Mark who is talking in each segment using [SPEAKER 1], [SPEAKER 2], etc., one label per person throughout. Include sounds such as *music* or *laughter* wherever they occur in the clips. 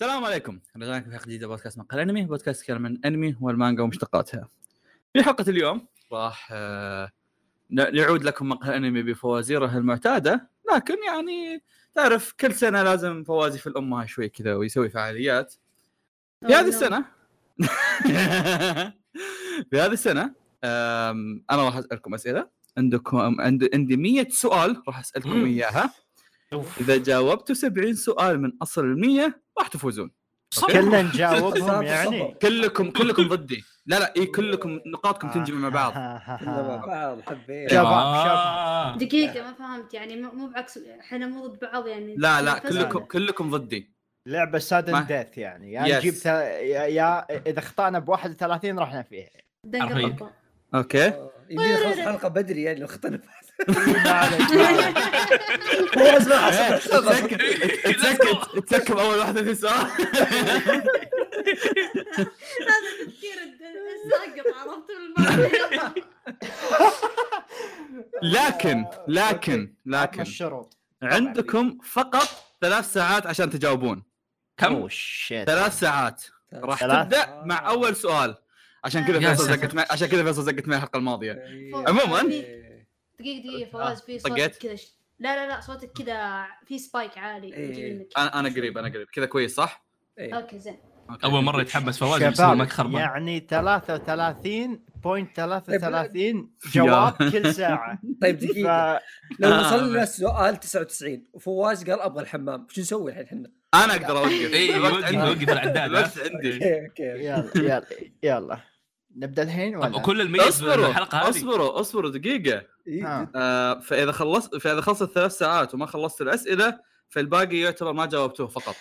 [SPEAKER 1] السلام عليكم رجعنا في حلقه جديده بودكاست مقال انمي بودكاست يتكلم عن الانمي والمانجا ومشتقاتها في حلقه اليوم راح آه، ن- نعود لكم مقهى انمي بفوازيره المعتاده لكن يعني تعرف كل سنه لازم فوازي في الامها شوي كذا ويسوي فعاليات في هذه السنه في هذه السنه آم، انا راح اسالكم اسئله عندكم عند- عندي 100 سؤال راح اسالكم اياها اذا جاوبتوا 70 سؤال من اصل ال 100 راح تفوزون
[SPEAKER 2] كلنا نجاوبهم
[SPEAKER 3] صبر،
[SPEAKER 2] يعني
[SPEAKER 3] صبر.
[SPEAKER 1] كلكم كلكم ضدي لا لا اي كلكم نقاطكم تنجمع مع بعض
[SPEAKER 2] آه.
[SPEAKER 3] بعض حبيت
[SPEAKER 2] شباب
[SPEAKER 4] آه.
[SPEAKER 2] شباب
[SPEAKER 5] دقيقة ما فهمت يعني مو مو بعكس احنا مو ضد بعض يعني
[SPEAKER 1] لا لا
[SPEAKER 5] فزنا.
[SPEAKER 1] كلكم كلكم ضدي
[SPEAKER 2] لعبه
[SPEAKER 1] ما-
[SPEAKER 2] سادن ديث يعني يا
[SPEAKER 1] Yes.
[SPEAKER 2] نجيب ثل- يا يا اذا اخطانا ب 31 رحنا
[SPEAKER 1] *laughs*
[SPEAKER 2] فيها
[SPEAKER 5] دنقة
[SPEAKER 4] عرفي.
[SPEAKER 5] طبة.
[SPEAKER 1] اوكي
[SPEAKER 3] يمدينا نخلص الحلقه بدري يعني لو اختلف
[SPEAKER 2] ما عليك، ما عليك.
[SPEAKER 3] خلاص ما حصل
[SPEAKER 1] تسكت تسكت تسكت اول واحده في سؤال
[SPEAKER 5] هذا تفكير الد- الساقط *laughs* عرفت بالمرة.
[SPEAKER 1] لكن لكن
[SPEAKER 2] عطنا
[SPEAKER 1] لكن
[SPEAKER 2] الشروط
[SPEAKER 1] عندكم فقط ثلاث ساعات عشان تجاوبون
[SPEAKER 4] إيه. كم؟
[SPEAKER 2] أوه، Oh, shit.
[SPEAKER 1] ثلاث ساعات راح
[SPEAKER 2] ثلاث؟
[SPEAKER 1] تبدا مع اول سؤال عشان كذا
[SPEAKER 4] يا
[SPEAKER 1] فيصل
[SPEAKER 4] ساتر.
[SPEAKER 1] زقت معي عشان كذا فيصل زقت معي الحلقه الماضيه عموماً.
[SPEAKER 3] إيه.
[SPEAKER 5] دقيقة دقيقة فواز في
[SPEAKER 1] آه، طقيت؟
[SPEAKER 5] صوتك كذا ش- لا لا لا صوتك كذا في سبايك عالي
[SPEAKER 3] إيه.
[SPEAKER 5] يجي منك.
[SPEAKER 1] انا انا قريب انا قريب كذا كويس صح؟
[SPEAKER 5] اوكي زين
[SPEAKER 1] أوكي.
[SPEAKER 4] اول مره يتحبس فواز بس
[SPEAKER 2] شباب
[SPEAKER 4] ما خربان
[SPEAKER 2] يعني 33.33
[SPEAKER 1] *laughs* يا.
[SPEAKER 2] جواب
[SPEAKER 1] *laughs*
[SPEAKER 2] كل ساعه
[SPEAKER 3] طيب دقيقه
[SPEAKER 2] ف-
[SPEAKER 3] لو
[SPEAKER 1] آه.
[SPEAKER 3] وصلنا سؤال 99 وفواز قال ابغى الحمام شو نسوي الحين
[SPEAKER 1] *laughs*
[SPEAKER 3] احنا؟
[SPEAKER 1] انا اقدر اوقف
[SPEAKER 4] اي
[SPEAKER 1] الوقت
[SPEAKER 4] وقف
[SPEAKER 1] عندي
[SPEAKER 4] وقف إيه، العداد ها؟ إيه،
[SPEAKER 1] الوقت عندي
[SPEAKER 3] اوكي اوكي
[SPEAKER 2] يلا يلا يلا نبدا الحين ولا
[SPEAKER 4] طب كل الميز بالحلقه
[SPEAKER 1] اصبروا
[SPEAKER 4] هذه
[SPEAKER 1] اصبروا اصبروا دقيقه
[SPEAKER 3] إيه،
[SPEAKER 2] ها.
[SPEAKER 1] آه، فاذا خلصت فاذا خلصت ثلاث ساعات وما خلصت الاسئله فالباقي يعتبر ما جاوبتوه فقط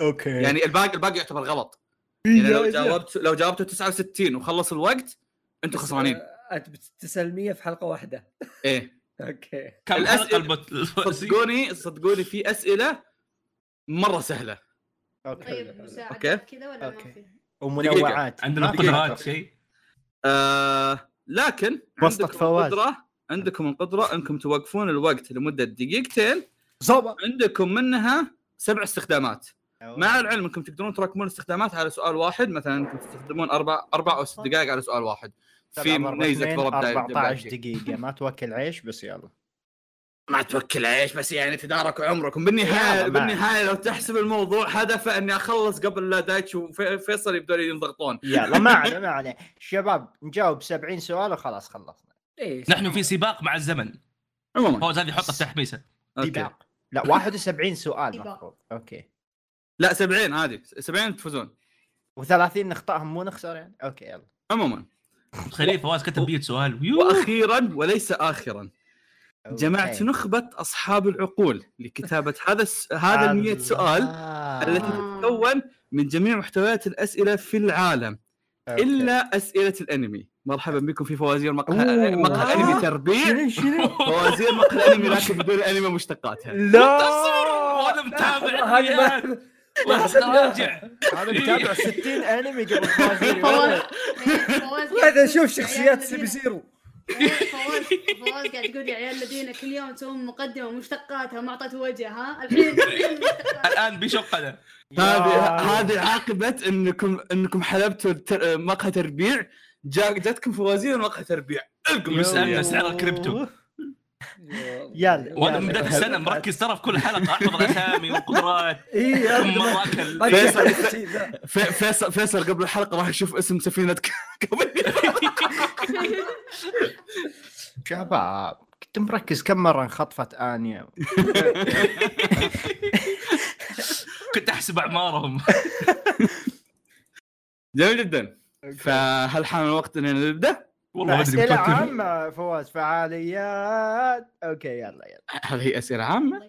[SPEAKER 2] اوكي
[SPEAKER 1] يعني الباقي الباقي يعتبر غلط يعني لو جاوبت لو جاوبتوا 69 وخلص الوقت انتم خسرانين
[SPEAKER 3] آه، انت بتسال 100 في حلقه واحده
[SPEAKER 1] ايه
[SPEAKER 3] اوكي
[SPEAKER 4] كم
[SPEAKER 1] الأسئلة-
[SPEAKER 4] حلقه البوت- الفوازير؟
[SPEAKER 1] إيه. صدقوني صدقوني في اسئله مره سهله
[SPEAKER 2] اوكي
[SPEAKER 5] طيب
[SPEAKER 1] أوكي.
[SPEAKER 5] مساعدة كذا ولا ما
[SPEAKER 2] أوكي.
[SPEAKER 5] في؟
[SPEAKER 2] ومنوعات
[SPEAKER 4] عندنا
[SPEAKER 2] ما في
[SPEAKER 4] قدرات
[SPEAKER 2] قدرة.
[SPEAKER 4] شيء
[SPEAKER 1] آه لكن
[SPEAKER 2] وسطك
[SPEAKER 1] عندكم
[SPEAKER 2] فواز.
[SPEAKER 1] القدره عندكم القدره انكم توقفون الوقت لمده دقيقتين
[SPEAKER 2] زوبا
[SPEAKER 1] عندكم منها سبع استخدامات مع العلم انكم تقدرون تراكمون الاستخدامات على سؤال واحد مثلا انكم تستخدمون اربع اربع او ست دقائق على سؤال واحد في ميزه ضرب دايرة-
[SPEAKER 2] 14
[SPEAKER 1] دايرة.
[SPEAKER 2] دقيقة ما توكل عيش بس يلا
[SPEAKER 1] ما توكل عيش بس يعني تداركوا عمركم بالنهايه
[SPEAKER 2] يلا، ما-
[SPEAKER 1] بالنهايه لو تحسب الموضوع هدفه اني اخلص قبل لا دايتش وفيصل يبدون ينضغطون
[SPEAKER 2] *laughs* يلا ما عليه ما عليه شباب نجاوب 70 سؤال وخلاص خلصنا
[SPEAKER 3] ايه
[SPEAKER 4] نحن في سباق مع الزمن
[SPEAKER 1] عموما
[SPEAKER 4] فواز هذه حطه في تحبيسه
[SPEAKER 1] أوكي.
[SPEAKER 2] سباق. لا 71 سؤال
[SPEAKER 5] سباق.
[SPEAKER 2] المفروض اوكي
[SPEAKER 1] لا 70 عادي 70 تفوزون
[SPEAKER 2] و30 نخطاهم مو نخسر يعني اوكي يلا
[SPEAKER 1] عموما
[SPEAKER 4] تخيل فواز كتب 100 سؤال يو.
[SPEAKER 1] واخيرا وليس اخرا
[SPEAKER 2] أوكي.
[SPEAKER 1] جمعت نخبه اصحاب العقول لكتابه هذا الس... هذا ال 100 سؤال
[SPEAKER 2] الله.
[SPEAKER 1] التي
[SPEAKER 5] آه.
[SPEAKER 1] تتكون من جميع محتويات الاسئله في العالم
[SPEAKER 2] أوكي.
[SPEAKER 1] الا اسئله الانمي مرحبا بكم في فوازير مقهى
[SPEAKER 2] أوه.
[SPEAKER 1] مقهى انمي تربيع
[SPEAKER 2] *laughs* شنو شنو
[SPEAKER 1] فوازير مقهى الانمي لكن بدون انمي مشتقاتها
[SPEAKER 4] أصبر،
[SPEAKER 1] *laughs*
[SPEAKER 4] وانا متابع
[SPEAKER 3] *laughs* هذه ما-
[SPEAKER 4] ريال.
[SPEAKER 3] ما
[SPEAKER 4] راجع
[SPEAKER 2] انا متابع 60 انمي
[SPEAKER 5] *laughs*
[SPEAKER 2] قبل فوازير.
[SPEAKER 1] *laughs*
[SPEAKER 5] فواز فواز قاعد
[SPEAKER 3] *laughs* هذا
[SPEAKER 5] تقول
[SPEAKER 3] شوف
[SPEAKER 5] يا عيال
[SPEAKER 3] شخصيات
[SPEAKER 5] الذين- إيه،
[SPEAKER 3] سيبي زيرو
[SPEAKER 5] فواز فواز قاعد يقول يا عيال الذين كل يوم تسوون مقدمه مشتقاتها ما اعطت وجه
[SPEAKER 1] *laughs*
[SPEAKER 5] ها الحين *laughs* مشتقات.
[SPEAKER 4] الان بشقنا
[SPEAKER 2] يا-
[SPEAKER 1] هذه هذه عاقبه انكم انكم حلبتوا التر- مقهى تربيع جا جاتكم فوازير مقهى تربيع القم
[SPEAKER 2] يو.
[SPEAKER 4] سألنا سعر الكريبتو.
[SPEAKER 2] يلا.
[SPEAKER 4] وانا من بدايه السنه مركز ترى في كل حلقه احفظ الاسامي والقدرات
[SPEAKER 1] *laughs*
[SPEAKER 3] اي
[SPEAKER 4] كم مره اكل
[SPEAKER 1] طيب.
[SPEAKER 3] فيصل
[SPEAKER 1] في- فيصل فيصل قبل الحلقه راح يشوف اسم سفينه *laughs* قبل
[SPEAKER 2] شباب كنت مركز كم مره انخطفت انيا
[SPEAKER 4] كنت احسب اعمارهم
[SPEAKER 1] جميل جدا فهل حان الوقت اننا نبدا؟
[SPEAKER 4] والله ما ادري
[SPEAKER 2] اسئله
[SPEAKER 4] مفكر
[SPEAKER 2] عامه فواز فعاليات اوكي يلا يلا
[SPEAKER 1] هل هي اسئله عامه؟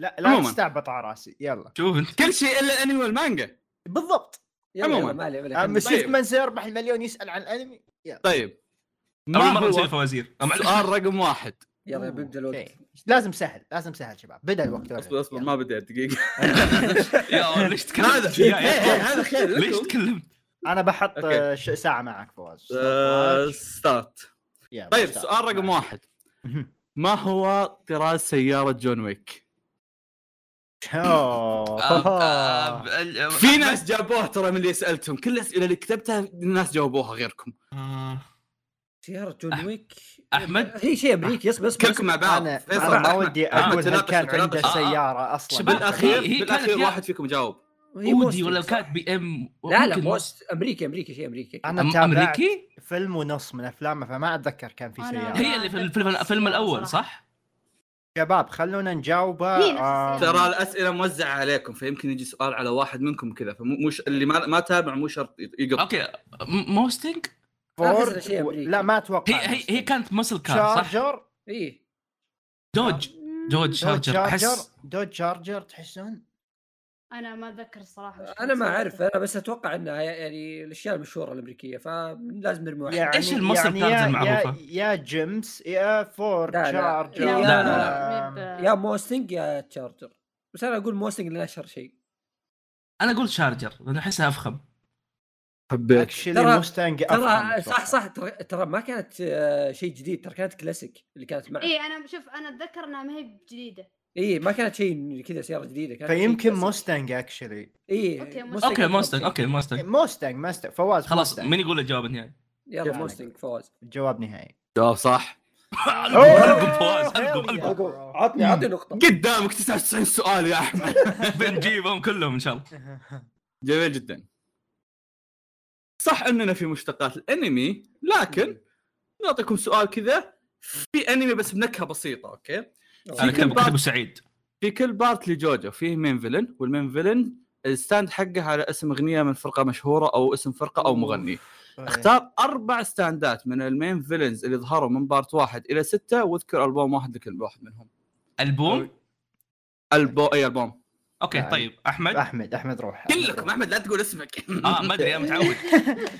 [SPEAKER 2] لا لا
[SPEAKER 1] عموماً.
[SPEAKER 2] تستعبط على راسي يلا
[SPEAKER 4] شوف انت
[SPEAKER 1] كل شيء الا الانمي والمانجا
[SPEAKER 2] بالضبط
[SPEAKER 1] عموماً.
[SPEAKER 3] ما عليه ما عليه
[SPEAKER 2] اما شفت
[SPEAKER 1] طيب.
[SPEAKER 2] من سيربح المليون يسال عن الانمي
[SPEAKER 1] طيب
[SPEAKER 4] اول
[SPEAKER 1] ما
[SPEAKER 4] مره نسوي
[SPEAKER 1] هو
[SPEAKER 4] فوازير أم-
[SPEAKER 1] سؤال رقم واحد
[SPEAKER 3] يلا بيبدا الوقت
[SPEAKER 2] أوكي. لازم سهل لازم سهل شباب بدا الوقت ولا
[SPEAKER 1] اصبر اصبر
[SPEAKER 2] يلا.
[SPEAKER 1] ما بديت دقيقه
[SPEAKER 4] يا الله، ليش
[SPEAKER 1] هذا
[SPEAKER 4] تكلمت
[SPEAKER 1] إيه،
[SPEAKER 4] يا-
[SPEAKER 1] إيه،
[SPEAKER 4] يا-
[SPEAKER 1] هذا خير
[SPEAKER 4] *laughs* ليش
[SPEAKER 1] لكم.
[SPEAKER 4] تكلمت
[SPEAKER 2] انا بحط
[SPEAKER 1] أوكي.
[SPEAKER 2] آه، ش- ساعه معك فواز
[SPEAKER 1] *laughs* آه، ستارت
[SPEAKER 2] يلا،
[SPEAKER 1] طيب
[SPEAKER 2] ستارت.
[SPEAKER 1] سؤال رقم واحد ما هو طراز سياره جون ويك؟
[SPEAKER 2] آه،
[SPEAKER 4] آه،
[SPEAKER 2] أوه.
[SPEAKER 1] في ناس جابوها ترى من اللي سالتهم كل الاسئله اللي كتبتها الناس جاوبوها غيركم
[SPEAKER 3] سيارة جون ويك
[SPEAKER 4] أحمد؟
[SPEAKER 3] هي شيء امريكي اصبر اصبر
[SPEAKER 1] كلكم مع بعض
[SPEAKER 2] انا
[SPEAKER 1] فيصل
[SPEAKER 2] أنا ما
[SPEAKER 1] أحمد-
[SPEAKER 2] ودي
[SPEAKER 1] أحمد
[SPEAKER 2] اقول هل
[SPEAKER 1] تناقش آه،
[SPEAKER 2] كان
[SPEAKER 1] وتناقش.
[SPEAKER 2] عنده سياره اصلا
[SPEAKER 4] شباب،
[SPEAKER 1] بالاخير
[SPEAKER 4] هي- هي كانت
[SPEAKER 1] بالاخير
[SPEAKER 4] يا-
[SPEAKER 1] واحد فيكم جاوب
[SPEAKER 3] هي
[SPEAKER 4] اودي
[SPEAKER 3] موستنج
[SPEAKER 4] ولو
[SPEAKER 3] صح.
[SPEAKER 4] كانت بي ام
[SPEAKER 3] آه، لا لا
[SPEAKER 4] ممكن-
[SPEAKER 3] موست امريكي امريكي شيء امريكي
[SPEAKER 2] انا
[SPEAKER 4] أم-
[SPEAKER 2] تابعت
[SPEAKER 4] امريكي
[SPEAKER 2] فيلم ونص من افلامه فما اتذكر كان في
[SPEAKER 5] أنا-
[SPEAKER 2] سياره
[SPEAKER 4] هي اللي في الفيلم الفيلم الاول صح؟
[SPEAKER 2] شباب خلونا نجاوبه
[SPEAKER 5] هي نفس
[SPEAKER 2] آه،
[SPEAKER 5] السيارة.
[SPEAKER 1] ترى الاسئله موزعه عليكم فيمكن يجي سؤال على واحد منكم كذا فمو مش اللي ما ما تابع مو شرط يقط
[SPEAKER 4] اوكي م- موستنج
[SPEAKER 3] أحس
[SPEAKER 2] فورد
[SPEAKER 3] شيء
[SPEAKER 2] و-
[SPEAKER 3] أمريكي.
[SPEAKER 2] لا ما اتوقع
[SPEAKER 4] هي هي, هي كانت مسل كار صح؟
[SPEAKER 2] شارجر
[SPEAKER 3] اي
[SPEAKER 4] دوج دوج
[SPEAKER 2] دوج
[SPEAKER 4] شارجر
[SPEAKER 2] شارجر
[SPEAKER 4] احس
[SPEAKER 2] دوج شارجر تحسون
[SPEAKER 5] انا ما اتذكر الصراحه وش
[SPEAKER 3] انا ما
[SPEAKER 5] كان
[SPEAKER 3] اعرف
[SPEAKER 5] سيارته.
[SPEAKER 3] انا بس اتوقع انها يعني الاشياء المشهوره الامريكيه فلازم نرموها
[SPEAKER 2] يعني
[SPEAKER 4] إيش المصر
[SPEAKER 2] يعني
[SPEAKER 4] كانت
[SPEAKER 2] يا-
[SPEAKER 4] المعروفة؟
[SPEAKER 2] يا, يا جيمس يا فورد
[SPEAKER 3] لا، لا.
[SPEAKER 2] شارجر
[SPEAKER 5] لا
[SPEAKER 3] لا،
[SPEAKER 5] لا
[SPEAKER 2] آم،
[SPEAKER 5] لا
[SPEAKER 3] يا موستنج يا تشارجر بس انا اقول موستنج لانه اشهر شيء
[SPEAKER 4] انا اقول شارجر لان احسها افخم
[SPEAKER 1] حبيت
[SPEAKER 2] اكشلي
[SPEAKER 3] ترى-
[SPEAKER 2] موستانج
[SPEAKER 3] ترى صح صح ترى, ترى ما كانت آه، شيء جديد ترى كانت كلاسيك اللي كانت معه
[SPEAKER 5] اي انا إيه، شوف انا اتذكر انها ما هي جديده
[SPEAKER 3] اي ما كانت شيء كذا سياره جديده كانت إيه،
[SPEAKER 2] فيمكن موستانج اكشلي
[SPEAKER 3] اي
[SPEAKER 5] أوكي،
[SPEAKER 4] اوكي موستنج اوكي موستنج
[SPEAKER 2] موستانج موستانج فواز
[SPEAKER 4] طيب. خلاص
[SPEAKER 2] موستانج.
[SPEAKER 4] مين يقول الجواب النهائي؟
[SPEAKER 3] يلا
[SPEAKER 2] يعني.
[SPEAKER 3] موستنج فواز
[SPEAKER 2] جواب نهائي
[SPEAKER 1] جواب صح
[SPEAKER 4] القم فواز القم
[SPEAKER 3] *laughs*
[SPEAKER 4] القم
[SPEAKER 3] عطني عطني نقطه
[SPEAKER 1] قدامك 99 سؤال يا احمد
[SPEAKER 4] بنجيبهم كلهم ان شاء الله
[SPEAKER 1] جميل جدا صح اننا في مشتقات الانمي لكن نعطيكم سؤال كذا في انمي بس بنكهه بسيطه اوكي كم
[SPEAKER 4] انا كتب
[SPEAKER 1] بارت؟
[SPEAKER 4] كتبه سعيد
[SPEAKER 1] في كل بارت لجوجو فيه مين فيلن والمين فيلن الستاند حقه على اسم اغنيه من فرقه مشهوره او اسم فرقه او مغني
[SPEAKER 2] إيه.
[SPEAKER 1] اختار اربع ستاندات من المين فيلنز اللي ظهروا من بارت واحد الى سته واذكر البوم واحد لكل واحد منهم
[SPEAKER 4] البوم
[SPEAKER 1] البو اي البوم
[SPEAKER 4] اوكي
[SPEAKER 2] يعني.
[SPEAKER 4] طيب احمد
[SPEAKER 2] احمد احمد روح
[SPEAKER 1] كلكم احمد لا تقول اسمك
[SPEAKER 4] اه ما ادري انا متعود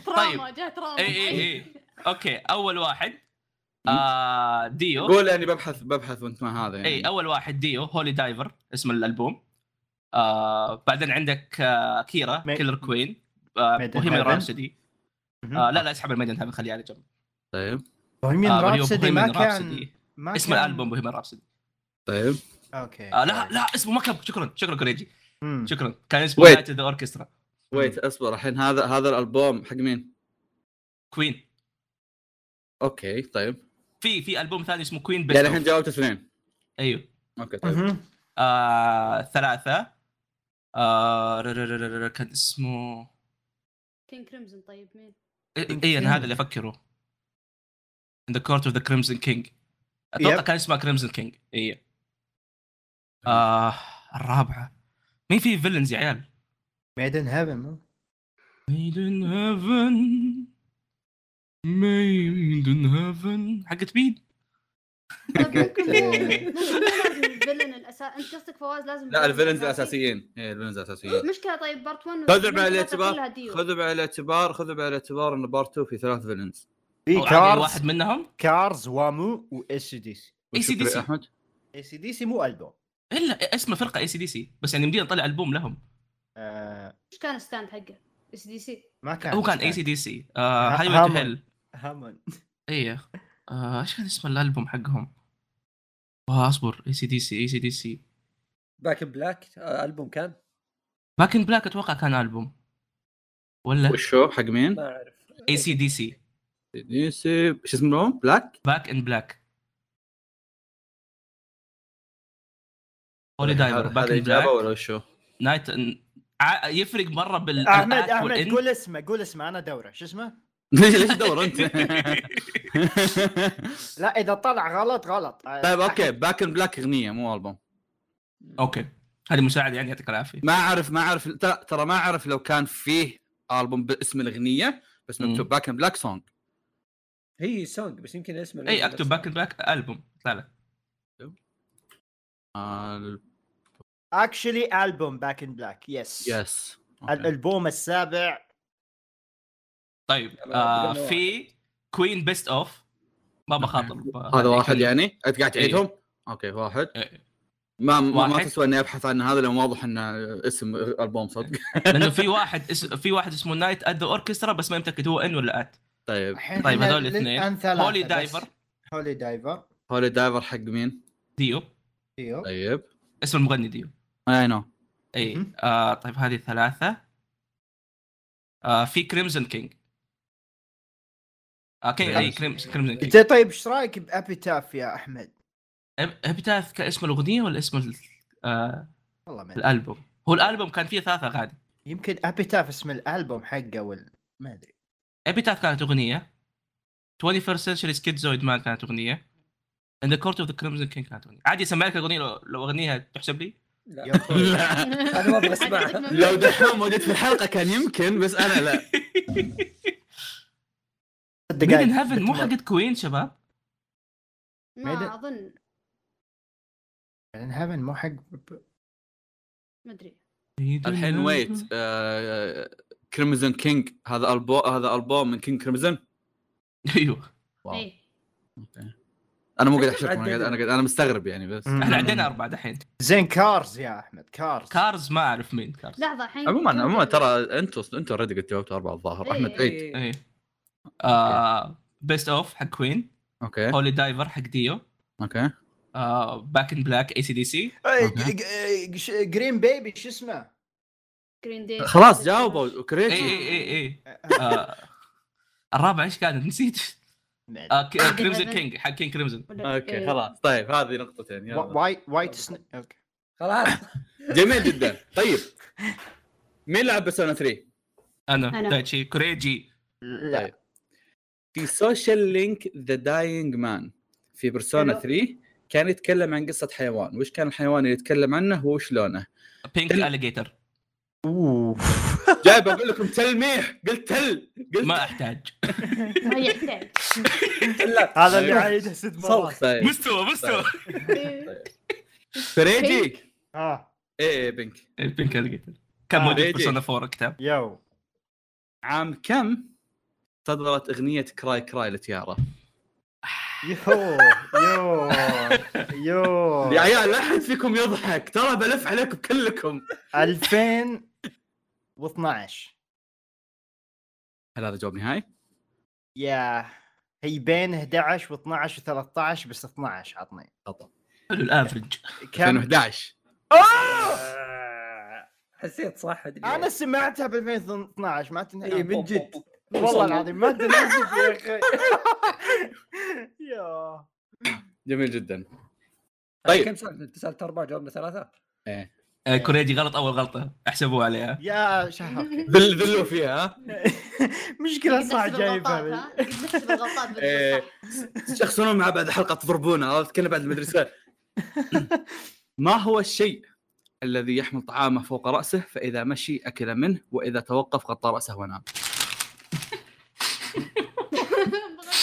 [SPEAKER 5] تراما جاء تراما
[SPEAKER 4] اي اي اي اوكي اول إيه. واحد آه ديو
[SPEAKER 1] قول اني ببحث ببحث وانت ما هذا يعني
[SPEAKER 4] اي اول واحد ديو هولي دايفر اسم الالبوم آه بعدين عندك آه كيرا
[SPEAKER 2] مي-
[SPEAKER 4] كيلر كوين آه
[SPEAKER 2] Maiden
[SPEAKER 4] بوهيميان
[SPEAKER 2] Heaven.
[SPEAKER 4] رابسودي آه لا لا اسحب الميدن هافن خليه على جنب
[SPEAKER 1] طيب
[SPEAKER 2] بوهيميان
[SPEAKER 4] آه، بوهيميان
[SPEAKER 2] رابسودي ما كان
[SPEAKER 4] رابسودي.
[SPEAKER 2] ما
[SPEAKER 4] اسم
[SPEAKER 2] كان-
[SPEAKER 4] الالبوم بوهيميان رابسودي
[SPEAKER 1] طيب
[SPEAKER 2] اوكي
[SPEAKER 4] آه لا لا اسمه ما كان شكرا شكرا كوريجي
[SPEAKER 2] مم.
[SPEAKER 4] شكرا كان اسمه
[SPEAKER 1] Wait.
[SPEAKER 4] نايت ذا اوركسترا
[SPEAKER 1] ويت اصبر الحين هذا هذا الالبوم حق مين؟
[SPEAKER 4] كوين
[SPEAKER 1] اوكي طيب
[SPEAKER 4] في في البوم ثاني اسمه كوين
[SPEAKER 1] يعني الحين
[SPEAKER 4] بيست
[SPEAKER 1] جاوبت اثنين
[SPEAKER 4] ايوه
[SPEAKER 1] اوكي طيب
[SPEAKER 2] مهم.
[SPEAKER 4] آه، ثلاثة آه، ر- ر- ر- ر- كان اسمه
[SPEAKER 5] كينج كريمزون طيب
[SPEAKER 1] *laughs*
[SPEAKER 5] مين؟
[SPEAKER 4] إي- اي انا إيه، هذا اللي افكره In the court of the crimson king اتوقع
[SPEAKER 2] Yep.
[SPEAKER 4] كان اسمه crimson king اي آه الرابعة مين في فيلنز يا عيال؟
[SPEAKER 2] ميدن هيفن
[SPEAKER 4] made in heaven made in heaven حقت مين؟
[SPEAKER 5] طيب ممكن ممكن الفيلن *laughs* الاساسي انت قصدك فواز لازم
[SPEAKER 1] لا الفيلنز الاساسيين اي الفيلنز الاساسيين
[SPEAKER 5] مشكله طيب بارت 1
[SPEAKER 1] خذوا بعين الاعتبار
[SPEAKER 4] أيوة.
[SPEAKER 1] خذوا بعين الاعتبار خذوا بعين الاعتبار ان بارت 2 في ثلاث فيلنز
[SPEAKER 2] في
[SPEAKER 4] أو عادي
[SPEAKER 2] كارز
[SPEAKER 4] واحد منهم
[SPEAKER 2] كارز وامو واي سي دي سي
[SPEAKER 4] اي سي دي
[SPEAKER 1] وشكرا يا
[SPEAKER 4] سي
[SPEAKER 1] احمد
[SPEAKER 2] اي سي دي سي مو البوم
[SPEAKER 4] الا اسم فرقة اي سي دي سي بس يعني مدينا نطلع البوم لهم
[SPEAKER 2] آه،
[SPEAKER 5] ايش كان الستاند حقه؟ اس دي
[SPEAKER 1] *laughs*
[SPEAKER 5] سي *laughs*
[SPEAKER 2] ما كان
[SPEAKER 4] هو كان اي سي دي سي
[SPEAKER 2] ها-
[SPEAKER 4] هاي تو
[SPEAKER 2] هامون.
[SPEAKER 4] هيل
[SPEAKER 2] هامون
[SPEAKER 4] ايه آه، ايش كان اسم الالبوم حقهم؟ آه، اصبر اي سي دي سي اي سي دي سي
[SPEAKER 3] باك ان بلاك آه، البوم كان
[SPEAKER 4] باك ان بلاك اتوقع كان البوم ولا
[SPEAKER 1] وشو حق مين؟
[SPEAKER 3] ما اعرف
[SPEAKER 4] اي سي دي سي
[SPEAKER 1] دي سي شو اسمه الألبوم؟ بلاك
[SPEAKER 4] باك ان بلاك هولي دايفر
[SPEAKER 1] هذا-
[SPEAKER 4] باك
[SPEAKER 1] هذا
[SPEAKER 4] ان
[SPEAKER 1] إجابة ولا
[SPEAKER 4] بلاك
[SPEAKER 1] وشو؟
[SPEAKER 4] نايت إن- ع- يفرق مره بال
[SPEAKER 2] احمد
[SPEAKER 4] الآت
[SPEAKER 2] احمد
[SPEAKER 4] والإن.
[SPEAKER 2] قول اسمه قول اسمه انا دوره شو اسمه؟
[SPEAKER 1] ليش ليش تدور انت؟
[SPEAKER 2] لا اذا طلع غلط غلط آه،
[SPEAKER 1] طيب اوكي
[SPEAKER 2] أحمد-
[SPEAKER 1] باك ان بلاك اغنيه مو البوم
[SPEAKER 4] اوكي هذه مساعده يعني يعطيك العافيه
[SPEAKER 1] ما اعرف ما اعرف ترى- ترى ما اعرف لو كان فيه البوم باسم الاغنيه بس مكتوب باك ان بلاك سونج
[SPEAKER 3] هي سونج بس يمكن اسمه
[SPEAKER 4] اي اكتب باك ان بلاك البوم طلع لك
[SPEAKER 1] آه،
[SPEAKER 2] اكشلي البوم باك ان بلاك يس
[SPEAKER 1] يس
[SPEAKER 2] الالبوم السابع
[SPEAKER 4] طيب
[SPEAKER 3] يلا،
[SPEAKER 4] آه
[SPEAKER 3] بدنا
[SPEAKER 4] في كوين بيست اوف ما
[SPEAKER 1] *laughs*
[SPEAKER 4] بخاطب آه،
[SPEAKER 1] هذا واحد
[SPEAKER 4] *laughs*
[SPEAKER 1] يعني انت قاعد تعيدهم؟ اوكي واحد
[SPEAKER 4] إيه.
[SPEAKER 1] ما ما, ما
[SPEAKER 4] واحد.
[SPEAKER 1] تسوى اني ابحث عن هذا لان واضح انه اسم البوم صدق
[SPEAKER 4] لانه في واحد اس... في واحد اسمه نايت ات ذا اوركسترا بس ما متاكد هو ان ولا ات
[SPEAKER 1] طيب
[SPEAKER 2] الحين
[SPEAKER 4] طيب،
[SPEAKER 2] إحنا
[SPEAKER 4] هذول
[SPEAKER 2] لل-
[SPEAKER 4] الاثنين.
[SPEAKER 2] الآن ثلاثة
[SPEAKER 4] هولي
[SPEAKER 2] بس.
[SPEAKER 4] دايفر
[SPEAKER 2] هولي دايفر
[SPEAKER 1] هولي دايفر حق مين؟
[SPEAKER 4] ديو
[SPEAKER 2] ايوه
[SPEAKER 1] طيب
[SPEAKER 4] اسم المغني ديو
[SPEAKER 1] اي *laughs* نو
[SPEAKER 4] اي
[SPEAKER 2] مهم.
[SPEAKER 4] آه طيب هذه ثلاثة آه في كريمزن كينج آه كينج اي كريمزن كينج
[SPEAKER 2] انت طيب ايش رايك بابيتاف يا احمد؟
[SPEAKER 4] ابتعث كاسم الاغنيه ولا اسم ال- آه
[SPEAKER 2] والله ما أدري.
[SPEAKER 4] الالبوم هو الالبوم كان فيه ثلاث اغاني
[SPEAKER 2] يمكن ابيتاف اسم الالبوم حقه ولا ما
[SPEAKER 4] *laughs*
[SPEAKER 2] ادري
[SPEAKER 4] ابيتاث كانت اغنيه 21st century schizoid man كانت اغنيه and the court of the crimson king كانت اغنيه عادي اسمع لك الاغنيه لو, لو اغنيها تحسب لي
[SPEAKER 3] لا
[SPEAKER 2] يا أخوي.
[SPEAKER 3] انا ما ابغى اسمعها
[SPEAKER 1] لو دحوم موجود في الحلقه كان يمكن بس انا لا
[SPEAKER 2] صدق
[SPEAKER 4] ميدن
[SPEAKER 2] قاعد
[SPEAKER 4] هيفن مو
[SPEAKER 2] بتمر.
[SPEAKER 4] حقت كوين شباب
[SPEAKER 2] ميدن.
[SPEAKER 5] ما اظن
[SPEAKER 2] ميدن هيفن مو حق
[SPEAKER 5] ما ادري
[SPEAKER 1] *laughs*
[SPEAKER 4] *laughs*
[SPEAKER 1] الحين *laughs* ويت كريمزون كينج آه، هذا البوم هذا البوم من كينج كريمزون
[SPEAKER 4] ايوه
[SPEAKER 1] واو.
[SPEAKER 5] ايه
[SPEAKER 1] انا مو قاعد احشركم انا قاعد انا قاعد انا مستغرب يعني بس
[SPEAKER 2] مم.
[SPEAKER 4] احنا عندنا اربعه دحين
[SPEAKER 2] زين كارز يا احمد كارز
[SPEAKER 4] كارز ما اعرف مين كارز
[SPEAKER 5] لحظه الحين
[SPEAKER 1] عموما
[SPEAKER 5] كم-
[SPEAKER 1] عموما ترى انتوا انتوا اوريدي قد جاوبتوا اربعه الظاهر
[SPEAKER 5] إيه.
[SPEAKER 1] احمد عيد
[SPEAKER 3] إيه.
[SPEAKER 4] ايه آه بيست اوف حق كوين
[SPEAKER 1] اوكي
[SPEAKER 4] هولي دايفر حق آه، ديو
[SPEAKER 1] اوكي
[SPEAKER 4] باك ان بلاك اي سي دي سي
[SPEAKER 2] جرين بيبي شو اسمه؟
[SPEAKER 5] Green Day.
[SPEAKER 1] خلاص جاوبوا
[SPEAKER 4] اي
[SPEAKER 1] كريتي
[SPEAKER 4] اي اي اي إيه، آه، الرابع ايش كان نسيت آه، كريمزن كينج حق كينج كريمزن
[SPEAKER 5] إيه.
[SPEAKER 1] اوكي خلاص طيب هذه نقطتين يلا.
[SPEAKER 2] وايت وايت سنيك اوكي
[SPEAKER 3] خلاص *laughs*
[SPEAKER 1] جميل جدا طيب مين لعب بيرسونا 3؟
[SPEAKER 4] انا
[SPEAKER 5] أنا.
[SPEAKER 4] دايتشي كوريجي
[SPEAKER 1] طيب. في سوشيال لينك ذا داينج مان في بيرسونا
[SPEAKER 5] حلو.
[SPEAKER 1] 3 كان يتكلم عن قصه حيوان، وش كان الحيوان اللي يتكلم عنه وش لونه؟
[SPEAKER 4] بينك اليجيتر
[SPEAKER 1] جاي بقول لكم تلميح قلت تل قلت
[SPEAKER 4] ما احتاج
[SPEAKER 5] ما يحتاج
[SPEAKER 2] هذا اللي عايده ست مرات
[SPEAKER 1] طيب
[SPEAKER 4] مستوى مستوى
[SPEAKER 5] إيه.
[SPEAKER 1] فريجي
[SPEAKER 2] اه
[SPEAKER 1] ايه بنك
[SPEAKER 4] بينك اليجيتر إيه، كان موجود في
[SPEAKER 1] ريجي.
[SPEAKER 4] بيرسونا 4 كتاب
[SPEAKER 2] يو
[SPEAKER 1] عام كم صدرت اغنيه كراي كراي لتيارا؟
[SPEAKER 2] يو يو
[SPEAKER 3] *laughs*
[SPEAKER 2] يو
[SPEAKER 1] يا عيال لا احد فيكم يضحك ترى بلف عليكم كلكم
[SPEAKER 2] 2012
[SPEAKER 1] هل هذا جواب نهائي؟
[SPEAKER 2] يا هي بين 11 و12 و13 بس 12 عطني
[SPEAKER 1] خطا
[SPEAKER 4] حلو الافرج
[SPEAKER 2] كم
[SPEAKER 1] 2011
[SPEAKER 2] آه.
[SPEAKER 3] حسيت صح ادري
[SPEAKER 2] انا سمعتها ب 2012 ما تنهي
[SPEAKER 3] اي إيه، من جد
[SPEAKER 2] والله العظيم ما تناسب يا اخي يا
[SPEAKER 1] جميل جدا
[SPEAKER 3] طيب
[SPEAKER 1] طيب
[SPEAKER 3] كم سالت سالت اربعه جاوبنا ثلاثه
[SPEAKER 4] آه، كوريجي غلط اول غلطه احسبوه عليها
[SPEAKER 2] يا شهر
[SPEAKER 1] ذل ذلوا فيها ها؟
[SPEAKER 5] *laughs*
[SPEAKER 2] مشكله صح
[SPEAKER 5] نحسب الغلطات،
[SPEAKER 2] جايبها
[SPEAKER 5] ها؟ نحسب الغلطات
[SPEAKER 2] *laughs*
[SPEAKER 1] إيه.
[SPEAKER 5] *laughs* بالضبط،
[SPEAKER 1] تشخصونون مع بعد حلقه تضربونه عرفت كنا بعد المدرسه ما هو الشيء الذي يحمل طعامه فوق راسه فاذا مشي اكل منه واذا توقف غطى راسه ونام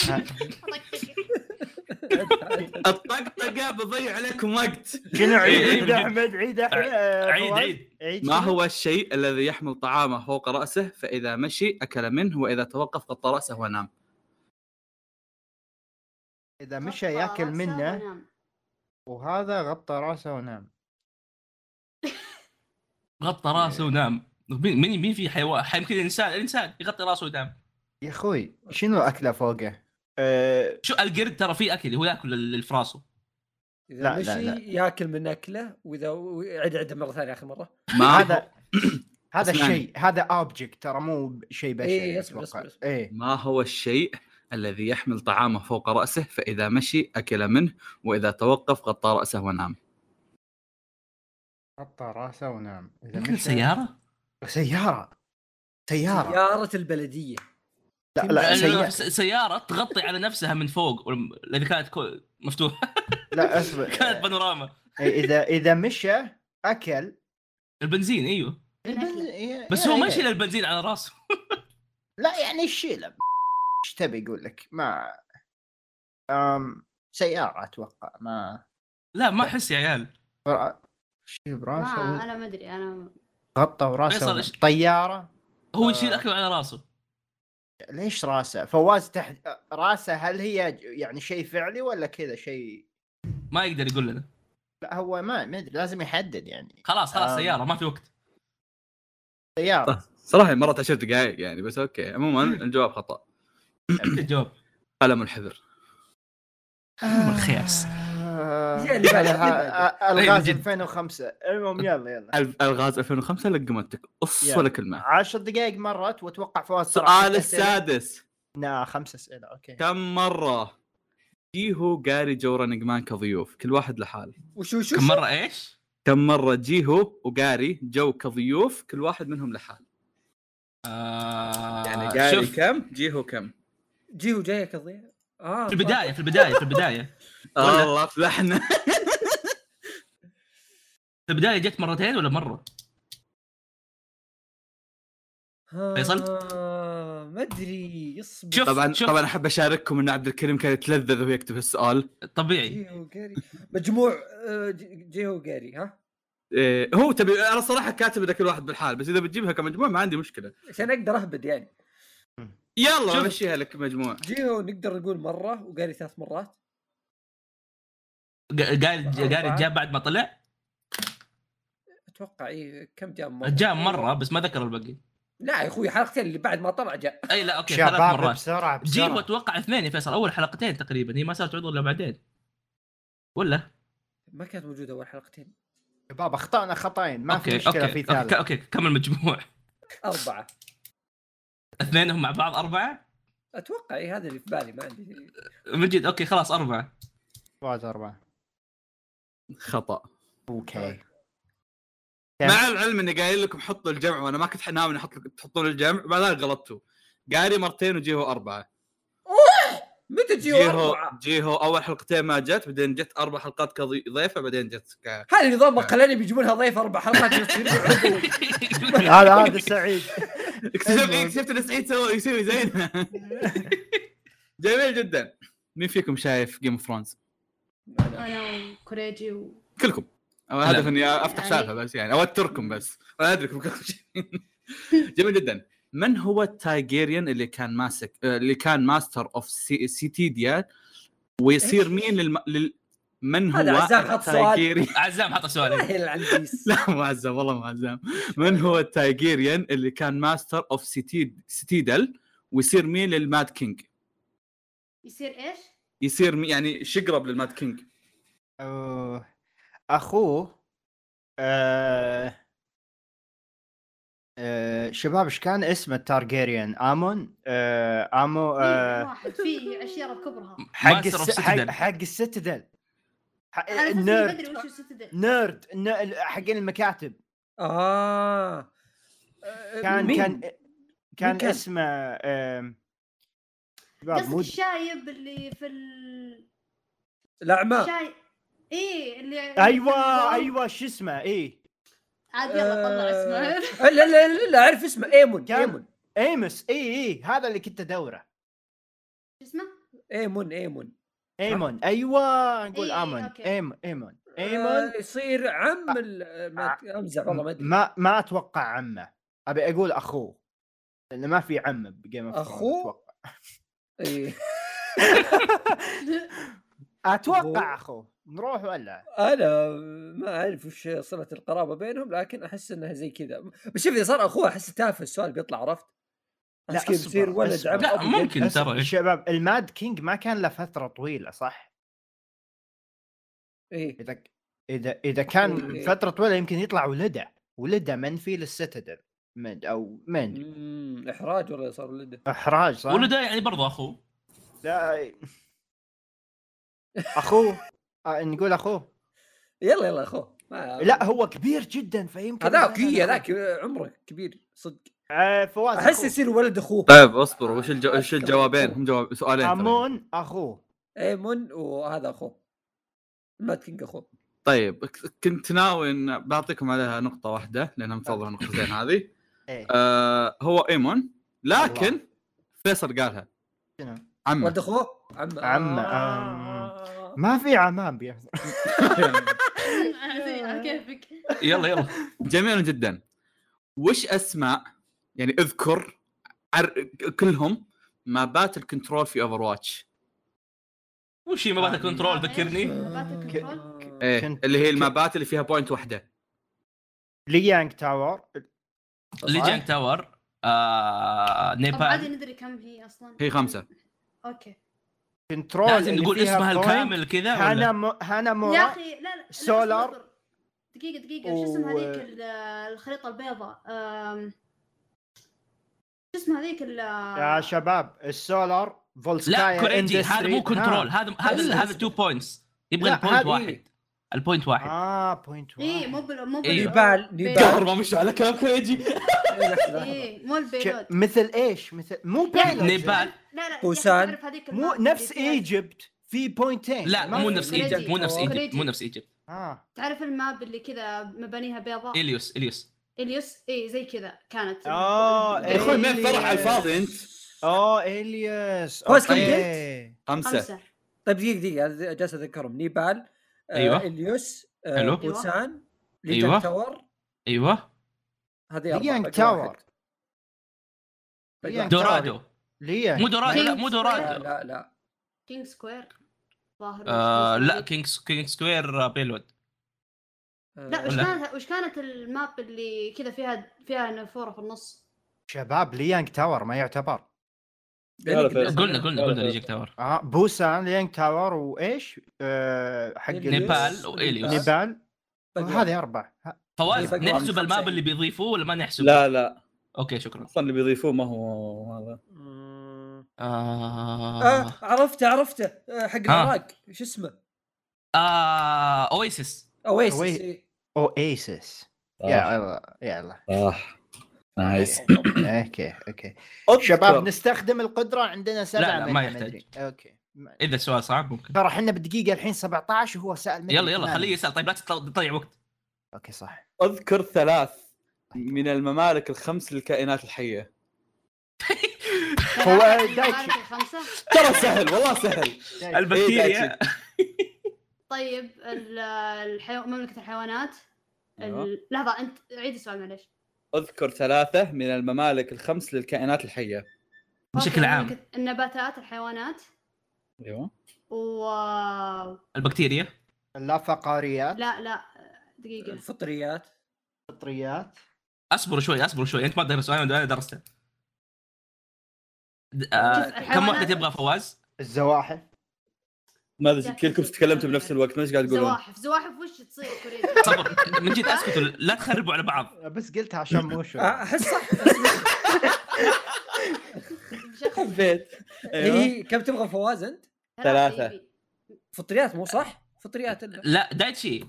[SPEAKER 5] صح. طقطقة.
[SPEAKER 1] الطقطقه بضيع عليكم وقت
[SPEAKER 2] شنو عيد
[SPEAKER 4] إيه،
[SPEAKER 2] عيد
[SPEAKER 4] إيه،
[SPEAKER 2] احمد عيد احمد
[SPEAKER 4] عيد عيد
[SPEAKER 2] عيد
[SPEAKER 1] ما
[SPEAKER 2] شنو؟
[SPEAKER 1] هو الشيء الذي يحمل طعامه فوق راسه فاذا مشي اكل منه واذا توقف غطى راسه ونام
[SPEAKER 2] اذا مشى ياكل
[SPEAKER 5] رأسه
[SPEAKER 2] منه
[SPEAKER 5] ونام.
[SPEAKER 2] وهذا غطى راسه ونام
[SPEAKER 4] غطى راسه ونام مين مين- مين في حيوان حي- يمكن الانسان الانسان يغطي راسه وينام
[SPEAKER 2] يا اخوي شنو اكله فوقه؟ أه
[SPEAKER 4] شو القرد ترى فيه اكل هو ياكل ال- الفراسه
[SPEAKER 3] اذا
[SPEAKER 2] لا، لا،
[SPEAKER 3] مشي
[SPEAKER 2] لا.
[SPEAKER 3] ياكل من اكله واذا و- عد عدها مره ثانيه اخر مره
[SPEAKER 1] ما هو
[SPEAKER 2] هذا *clears throat* هذا
[SPEAKER 1] اسمعني.
[SPEAKER 2] شيء هذا اوبجكت ترى مو شيء بشري
[SPEAKER 3] إيه، اسمع،
[SPEAKER 2] أتوقع.
[SPEAKER 3] اسمع، اسمع.
[SPEAKER 2] ايه
[SPEAKER 1] ما هو الشيء الذي يحمل طعامه فوق راسه فاذا مشي اكل منه واذا توقف غطى راسه ونام
[SPEAKER 2] غطى راسه ونام اذا
[SPEAKER 4] يمكن
[SPEAKER 2] مشى-
[SPEAKER 4] سياره؟
[SPEAKER 2] سياره سياره
[SPEAKER 3] سياره البلديه
[SPEAKER 2] لا لا
[SPEAKER 4] لأن *laughs*
[SPEAKER 2] سيارة.
[SPEAKER 4] س- سياره تغطي على نفسها من فوق والم- الذي كانت كو- مفتوحه
[SPEAKER 2] لا اصبر
[SPEAKER 4] *laughs* كانت بانوراما
[SPEAKER 2] إيه، اذا اذا مشى اكل
[SPEAKER 4] البنزين ايوه
[SPEAKER 2] إيه، البنز-
[SPEAKER 4] بس هو
[SPEAKER 2] إيه،
[SPEAKER 4] ما شيل البنزين على راسه
[SPEAKER 2] لا يعني الشيله ايش تبي اقول لك ما أم سياره اتوقع ما
[SPEAKER 4] لا ما احس يا عيال
[SPEAKER 2] شيل
[SPEAKER 5] ما
[SPEAKER 2] براسه
[SPEAKER 5] انا ما ادري انا
[SPEAKER 2] غطى راسه
[SPEAKER 4] فيصل، إيش-
[SPEAKER 2] طياره آه.
[SPEAKER 4] هو يشيل اكله على راسه
[SPEAKER 2] ليش راسه فواز تحت راسه هل هي ج- يعني شيء فعلي ولا كذا شيء
[SPEAKER 4] ما يقدر يقول لنا
[SPEAKER 2] لا هو ما ما ادري لازم يحدد يعني
[SPEAKER 4] خلاص خلاص
[SPEAKER 2] آه.
[SPEAKER 4] سياره ما في وقت
[SPEAKER 2] سياره
[SPEAKER 4] طيب،
[SPEAKER 1] صراحه مرات عشر دقائق يعني بس اوكي عموما الجواب خطا
[SPEAKER 4] الجواب
[SPEAKER 1] قلم الحبر
[SPEAKER 4] من الخياس. طيب،
[SPEAKER 2] آه،
[SPEAKER 3] الشيء اللي بعده، اللي
[SPEAKER 2] آه، الغاز
[SPEAKER 4] جد.
[SPEAKER 2] 2005 المهم يلا يلا
[SPEAKER 1] الف- الغاز 2005 لقمتك قص
[SPEAKER 2] يلا.
[SPEAKER 1] ولا كلمه
[SPEAKER 2] 10 دقائق مرت واتوقع فواز صراحة
[SPEAKER 1] السؤال
[SPEAKER 2] أسئلة.
[SPEAKER 1] السادس
[SPEAKER 2] لا خمس اسئله اوكي
[SPEAKER 1] كم مره جيهو جاري جورا نقمان كضيوف كل واحد لحاله
[SPEAKER 3] وشو شو
[SPEAKER 4] كم
[SPEAKER 3] شو؟
[SPEAKER 4] مره ايش؟
[SPEAKER 1] كم مره جيهو وجاري جو كضيوف كل واحد منهم لحاله
[SPEAKER 4] آه
[SPEAKER 1] يعني جاري
[SPEAKER 4] شوف
[SPEAKER 1] كم جيهو كم
[SPEAKER 3] جيه وجايه كضيع اه
[SPEAKER 4] في البدايه في البدايه في البدايه ولا-
[SPEAKER 1] الله فلحنا *laughs*
[SPEAKER 4] في البدايه جت مرتين ولا مره؟
[SPEAKER 3] آه،
[SPEAKER 4] فيصل؟
[SPEAKER 3] آه، ما ادري يصبر
[SPEAKER 4] شوف.
[SPEAKER 1] طبعا طبعا احب اشارككم ان عبد الكريم كان يتلذذ وهو يكتب السؤال
[SPEAKER 4] طبيعي
[SPEAKER 3] جيه وجاري مجموع آه، ج- جيه وجاري ها
[SPEAKER 1] إيه هو تبي انا صراحه كاتب إن كل واحد بالحال بس اذا بتجيبها كمجموع ما عندي مشكله
[SPEAKER 3] عشان اقدر اهبد يعني
[SPEAKER 1] يلا
[SPEAKER 4] شوف.
[SPEAKER 1] بمشيها لك مجموع
[SPEAKER 3] جيهو نقدر نقول مره وجاري ثلاث مرات
[SPEAKER 4] ج- قال قال جاء بعد ما طلع
[SPEAKER 3] اتوقع اي إيه، كم جاء مره
[SPEAKER 4] جاء مره بس ما ذكر الباقي
[SPEAKER 3] لا يا اخوي حلقتين اللي بعد ما طلع جاء
[SPEAKER 4] اي لا اوكي ثلاث
[SPEAKER 2] شباب
[SPEAKER 4] مرات
[SPEAKER 2] بسرعه
[SPEAKER 4] جيهو
[SPEAKER 2] بسرعه
[SPEAKER 4] اتوقع اثنين يا فيصل اول حلقتين تقريبا هي ما صارت عضو الا بعدين ولا
[SPEAKER 3] ما كانت موجوده اول حلقتين
[SPEAKER 2] شباب اخطانا خطأين ما في
[SPEAKER 4] اوكي
[SPEAKER 2] مشكله
[SPEAKER 4] اوكي
[SPEAKER 2] في
[SPEAKER 4] اوكي ك-
[SPEAKER 2] ثالث
[SPEAKER 4] اوكي كم المجموع؟ *laughs*
[SPEAKER 3] اربعه
[SPEAKER 4] اثنين هم مع بعض اربعه؟
[SPEAKER 3] اتوقع اي إيه، هذا اللي في بالي ما عندي
[SPEAKER 4] مجد اوكي خلاص *laughs* اربعه
[SPEAKER 2] فواز اربعه
[SPEAKER 1] خطا
[SPEAKER 4] *laughs*
[SPEAKER 2] اوكي تمام.
[SPEAKER 1] مع العلم اني قايل لكم حطوا الجمع وانا ما كنت حنام اني احط لك- تحطون الجمع بعدين غلطتوا قاري مرتين وجيهو اربعه
[SPEAKER 3] متى جيهو
[SPEAKER 1] جيهو
[SPEAKER 3] اربعه؟
[SPEAKER 1] جيهو اول حلقتين ما جت بعدين جت اربع حلقات كضيفه بعدين جت ك...
[SPEAKER 3] هذا النظام مقلاني بيجيبونها ضيف اربع حلقات يصير
[SPEAKER 2] *laughs*
[SPEAKER 3] عضو.
[SPEAKER 2] هذا هذا سعيد
[SPEAKER 1] *laughs* اكتشفت
[SPEAKER 2] المهم.
[SPEAKER 1] اكتشفت ان سعيد سوى يسوي زينا *laughs* جميل جدا مين فيكم شايف جيم اوف ثرونز؟
[SPEAKER 5] انا وكوريجي و...
[SPEAKER 1] كلكم انا
[SPEAKER 4] لا.
[SPEAKER 1] الهدف اني افتح
[SPEAKER 5] يعني-
[SPEAKER 1] سالفه بس يعني اوتركم بس انا ادري كلكم *laughs* جميل جدا من هو التايجيريان اللي كان ماسك آه، اللي كان ماستر اوف سي... سيتيديا ويصير
[SPEAKER 3] إيش؟
[SPEAKER 1] مين للم... لل... من هو
[SPEAKER 3] هذا عزام حط سؤال.
[SPEAKER 1] التايجيريان
[SPEAKER 4] عزام حط سؤال
[SPEAKER 3] سهل
[SPEAKER 1] *laughs*
[SPEAKER 3] العنديس
[SPEAKER 1] لا مو عزام والله مو عزام من هو التايجيريان اللي كان ماستر اوف سيتيد... سيتيدل ويصير مين للماد كينج
[SPEAKER 5] يصير ايش؟
[SPEAKER 1] يصير مين يعني شقرب للماد كينج
[SPEAKER 2] أوه. اخوه آه... آه... شباب ايش كان اسمه التارجيريان امون آه... امو
[SPEAKER 5] في
[SPEAKER 2] آه...
[SPEAKER 5] إيه، واحد في اشياء كبرها
[SPEAKER 2] حق
[SPEAKER 4] ماستر أوف
[SPEAKER 2] الس... حق
[SPEAKER 4] سيتادل.
[SPEAKER 2] حق الستدل حق...
[SPEAKER 5] انا فزت من بدري
[SPEAKER 2] نيرد
[SPEAKER 5] وش الستدل
[SPEAKER 2] نيرد ن... حقين المكاتب
[SPEAKER 3] اه آه،
[SPEAKER 2] كان
[SPEAKER 3] مين؟
[SPEAKER 2] كان كان,
[SPEAKER 3] كان؟
[SPEAKER 2] اسمه آه... شباب
[SPEAKER 5] قصدك
[SPEAKER 2] مو
[SPEAKER 5] الشايب اللي في ال
[SPEAKER 3] الاعمى
[SPEAKER 5] شاي ايه اللي
[SPEAKER 2] ايوه ايوه شو اسمه اي
[SPEAKER 5] عاد يلا طلع
[SPEAKER 3] آه،
[SPEAKER 5] اسمه *laughs*
[SPEAKER 3] لا لا لا لا اعرف اسمه ايمون
[SPEAKER 2] كان-
[SPEAKER 3] ايمون
[SPEAKER 2] ايمس اي اي إيه، هذا اللي كنت ادوره
[SPEAKER 3] أه.
[SPEAKER 5] شو اسمه؟ *laughs*
[SPEAKER 3] ايمون ايمون
[SPEAKER 2] ايمون ايوه نقول
[SPEAKER 5] إي، إي،
[SPEAKER 2] امون
[SPEAKER 5] إيه، أوكي.
[SPEAKER 2] ايمون ايمون ايمون
[SPEAKER 3] آه، يصير عم ال- ما-
[SPEAKER 2] آه.
[SPEAKER 3] امزح والله ما ادري
[SPEAKER 2] ما ما اتوقع عمه ابي اقول اخوه لانه ما في عمه بجيم اوف
[SPEAKER 3] أخوه؟ إيه.
[SPEAKER 2] اتوقع اخوه نروح ولا
[SPEAKER 3] انا ما اعرف وش صله القرابه بينهم لكن احس انها زي كذا بس شوف اذا صار اخوه احس تافه السؤال بيطلع عرفت؟
[SPEAKER 2] لا،
[SPEAKER 3] أحس كذا
[SPEAKER 2] أصبر،
[SPEAKER 3] بيصير ولد
[SPEAKER 2] أصبر.
[SPEAKER 3] عم
[SPEAKER 4] لا
[SPEAKER 3] أبيض.
[SPEAKER 4] ممكن
[SPEAKER 2] بس
[SPEAKER 4] ترى
[SPEAKER 2] شباب الماد كينج ما كان له فتره طويله صح
[SPEAKER 3] إيه.
[SPEAKER 2] اذا اذا اذا كان
[SPEAKER 3] إيه.
[SPEAKER 2] فتره طويله يمكن يطلع ولده ولده منفي للسيتادل مد او مد
[SPEAKER 3] مم، احراج ولا صار ولده
[SPEAKER 2] احراج صح
[SPEAKER 4] ولده يعني برضه اخوه
[SPEAKER 2] لا *laughs* اخوه آه نقول اخوه
[SPEAKER 3] يلا يلا اخوه ما-
[SPEAKER 2] لا هو كبير جدا فيمكن
[SPEAKER 3] هذاك إيه، هذاك عمره كبير صدق
[SPEAKER 2] آه، فواز
[SPEAKER 3] احس
[SPEAKER 2] أخوه.
[SPEAKER 3] يصير ولد اخوه
[SPEAKER 1] طيب اصبروا وش الجو... وش الجوابين هم جواب سؤالين ترى.
[SPEAKER 2] امون اخوه
[SPEAKER 3] ايمون وهذا اخوه مات كينج اخوه
[SPEAKER 1] طيب كنت ناوي ان بعطيكم عليها نقطه واحده لانها مفضله النقطتين هذه
[SPEAKER 2] ايه
[SPEAKER 1] آه هو ايمون لكن
[SPEAKER 2] الله.
[SPEAKER 1] فيصل قالها
[SPEAKER 2] شنو؟
[SPEAKER 1] عمه *laughs*
[SPEAKER 3] ولد اخوه عم
[SPEAKER 2] عمه،
[SPEAKER 3] آه.
[SPEAKER 2] ما في
[SPEAKER 4] *laughs*
[SPEAKER 2] عمام بيف...
[SPEAKER 5] أنا زي- على
[SPEAKER 1] إيه،
[SPEAKER 5] كيفك
[SPEAKER 4] يلا يلا
[SPEAKER 1] جميل جدا وش اسماء يعني اذكر عر... كلهم مابات الكنترول في اوفر واتش
[SPEAKER 4] وش هي
[SPEAKER 2] آه،
[SPEAKER 4] مبات الكنترول
[SPEAKER 2] يعني
[SPEAKER 4] ذكرني
[SPEAKER 3] آه.
[SPEAKER 5] مبات الكنترول.
[SPEAKER 1] ايه
[SPEAKER 2] كنت-
[SPEAKER 1] اللي هي
[SPEAKER 2] كنت-
[SPEAKER 1] المابات اللي فيها بوينت واحده
[SPEAKER 2] لي يانج تاور
[SPEAKER 4] ليجنج تاور آه
[SPEAKER 5] طب عادي
[SPEAKER 4] نيبال
[SPEAKER 5] ندري كم هي اصلا
[SPEAKER 1] هي خمسة.
[SPEAKER 5] اوكي
[SPEAKER 2] كنترول
[SPEAKER 4] لازم
[SPEAKER 2] اللي
[SPEAKER 4] نقول
[SPEAKER 2] يعني فيها
[SPEAKER 4] اسمها
[SPEAKER 2] بوينت،
[SPEAKER 4] الكامل كذا
[SPEAKER 2] هانا
[SPEAKER 4] ولا
[SPEAKER 2] مو... هانا مورا
[SPEAKER 5] يا اخي لا لا
[SPEAKER 2] سولار.
[SPEAKER 5] لا، بس اصبر. دقيقه دقيقه شو اسمها
[SPEAKER 2] و-
[SPEAKER 5] هذيك ال- الخريطه البيضاء أم، شو اسمها هذيك ال-
[SPEAKER 2] يا شباب السولار
[SPEAKER 4] لا
[SPEAKER 2] فولسكايا
[SPEAKER 4] كوريجي هذا مو
[SPEAKER 2] Industry.
[SPEAKER 4] كنترول
[SPEAKER 2] ها.
[SPEAKER 4] هذا هذا هذا تو بوينتس يبغى
[SPEAKER 2] لا،
[SPEAKER 4] البوينت
[SPEAKER 2] هذه-
[SPEAKER 4] واحد البوينت واحد
[SPEAKER 2] اه بوينت
[SPEAKER 5] اي مو بال مو
[SPEAKER 4] إيه.
[SPEAKER 5] بال
[SPEAKER 3] نيبال نيبال
[SPEAKER 1] ما مش على كلام كريجي
[SPEAKER 5] اي مو البيلود
[SPEAKER 2] مثل ايش مثل مو
[SPEAKER 5] يعني
[SPEAKER 2] بيلود.
[SPEAKER 4] نيبال
[SPEAKER 5] لا لا
[SPEAKER 3] بوسان.
[SPEAKER 5] تعرف هذيك
[SPEAKER 2] مو
[SPEAKER 5] المنطقة
[SPEAKER 2] نفس
[SPEAKER 5] اللي فيها-
[SPEAKER 2] ايجيبت في بوينتين
[SPEAKER 4] لا
[SPEAKER 2] ما
[SPEAKER 4] مو
[SPEAKER 2] في-
[SPEAKER 4] نفس
[SPEAKER 5] كوريجي.
[SPEAKER 4] ايجيبت مو نفس ايجيبت
[SPEAKER 5] كوريجي.
[SPEAKER 4] مو نفس ايجيبت
[SPEAKER 2] اه
[SPEAKER 5] تعرف الماب اللي كذا مبانيها بيضاء
[SPEAKER 4] اليوس اليوس
[SPEAKER 5] اليوس اي زي كذا كانت إيه.
[SPEAKER 2] آه،
[SPEAKER 1] يا اخوي ما في فرح على الفاضي انت
[SPEAKER 2] اوه الياس
[SPEAKER 3] فوز كم
[SPEAKER 2] أوكي.
[SPEAKER 1] خمسه
[SPEAKER 5] خمسه
[SPEAKER 3] طيب دقيقه دقيقه أنا جالس اذكرهم نيبال آه،
[SPEAKER 4] أيوة.
[SPEAKER 3] اليوس آه،
[SPEAKER 4] حلو.
[SPEAKER 3] بوسان ليجن
[SPEAKER 4] أيوة.
[SPEAKER 3] تاور
[SPEAKER 4] ايوه
[SPEAKER 3] هذه أربعة،
[SPEAKER 2] ليجن
[SPEAKER 3] باقي
[SPEAKER 2] تاور.
[SPEAKER 3] واحد. باقي
[SPEAKER 2] ليجن
[SPEAKER 3] واحد.
[SPEAKER 4] دورادو
[SPEAKER 2] طيب. ليا
[SPEAKER 4] مو دورادو لا مو
[SPEAKER 3] لا
[SPEAKER 4] دورادو
[SPEAKER 3] لا لا
[SPEAKER 5] كينج سكوير ظاهر
[SPEAKER 4] آه، لا كينج كينج سكوير بيلود
[SPEAKER 3] آه،
[SPEAKER 5] لا وش
[SPEAKER 4] ولا؟
[SPEAKER 3] يعني
[SPEAKER 5] كانت وش كانت الماب اللي كذا فيها فيها نافوره في النص؟
[SPEAKER 2] شباب ليانج تاور ما يعتبر
[SPEAKER 4] قلنا قلنا قلنا ليجيك تاور
[SPEAKER 2] اه بوسان ليانج تاور وايش آه حق ال-
[SPEAKER 4] نيبال وإليوس.
[SPEAKER 2] نيبال
[SPEAKER 3] باقي واحد.
[SPEAKER 2] هذه اربع ه-
[SPEAKER 4] فواز
[SPEAKER 3] باقي واحد.
[SPEAKER 4] نحسب الماب اللي بيضيفوه ولا ما نحسب؟
[SPEAKER 1] لا لا
[SPEAKER 4] اوكي شكرا
[SPEAKER 1] اصلا اللي بيضيفوه ما هو هذا
[SPEAKER 3] مم.
[SPEAKER 4] آه...
[SPEAKER 3] آه عرفته عرفته آه، حق العراق شو اسمه
[SPEAKER 4] آه... اويسس
[SPEAKER 3] اويسس
[SPEAKER 2] أوي-
[SPEAKER 3] إيه.
[SPEAKER 2] اواسيس
[SPEAKER 4] آه.
[SPEAKER 2] يا الله يا الله
[SPEAKER 1] صح آه. نايس طيب.
[SPEAKER 2] اوكي اوكي شباب نستخدم القدره عندنا سبعه
[SPEAKER 4] لا، لا، ما
[SPEAKER 2] منها
[SPEAKER 4] يحتاج.
[SPEAKER 2] مدري. اوكي ما-
[SPEAKER 4] اذا السؤال صعب ممكن
[SPEAKER 2] ترى احنا بالدقيقه الحين 17 وهو سال مدري
[SPEAKER 4] يلا يلا
[SPEAKER 2] ثمانية.
[SPEAKER 4] خليه يسال طيب لا تطلع- تضيع وقت
[SPEAKER 2] اوكي صح
[SPEAKER 1] اذكر ثلاث من الممالك الخمس للكائنات الحيه
[SPEAKER 2] هو
[SPEAKER 5] ثلاثة من
[SPEAKER 2] دايتشي.
[SPEAKER 5] المعارك الخمسة
[SPEAKER 1] ترى سهل والله سهل إيه،
[SPEAKER 4] البكتيريا
[SPEAKER 5] طيب ال- الحيو... مملكة الحيوانات ال- لحظة أنت عيد السؤال معليش
[SPEAKER 1] اذكر ثلاثه من الممالك الخمس للكائنات الحيه
[SPEAKER 4] بشكل
[SPEAKER 5] أوكي،
[SPEAKER 4] عام
[SPEAKER 5] مملكة النباتات الحيوانات
[SPEAKER 1] ايوه
[SPEAKER 5] و
[SPEAKER 4] البكتيريا
[SPEAKER 2] لا فقاريات
[SPEAKER 5] لا لا دقيقة
[SPEAKER 3] الفطريات
[SPEAKER 2] فطريات
[SPEAKER 4] اصبروا شوي اصبروا شوي انت ما تدرس انا انا درسته د-
[SPEAKER 5] شوف،
[SPEAKER 4] آه... كم
[SPEAKER 5] الحيوانات-
[SPEAKER 4] واحده تبغى فواز؟
[SPEAKER 2] الزواحف
[SPEAKER 1] ما ادري كلكم تكلمتوا بنفس الوقت ما ايش قاعد تقولون
[SPEAKER 5] زواحف زواحف وش تصير
[SPEAKER 1] *laughs*
[SPEAKER 5] كوريجي
[SPEAKER 4] صبر من جد اسكتوا لا تخربوا على بعض
[SPEAKER 2] بس قلتها عشان مو شو
[SPEAKER 3] آه، احس صح
[SPEAKER 2] *laughs*
[SPEAKER 5] بشخص
[SPEAKER 1] حبيت ايوه
[SPEAKER 3] هي
[SPEAKER 2] أيوه.
[SPEAKER 3] كم تبغى فواز انت
[SPEAKER 1] ثلاثة.
[SPEAKER 5] يبي.
[SPEAKER 3] فطريات مو صح فطريات الا
[SPEAKER 4] لا دايتشي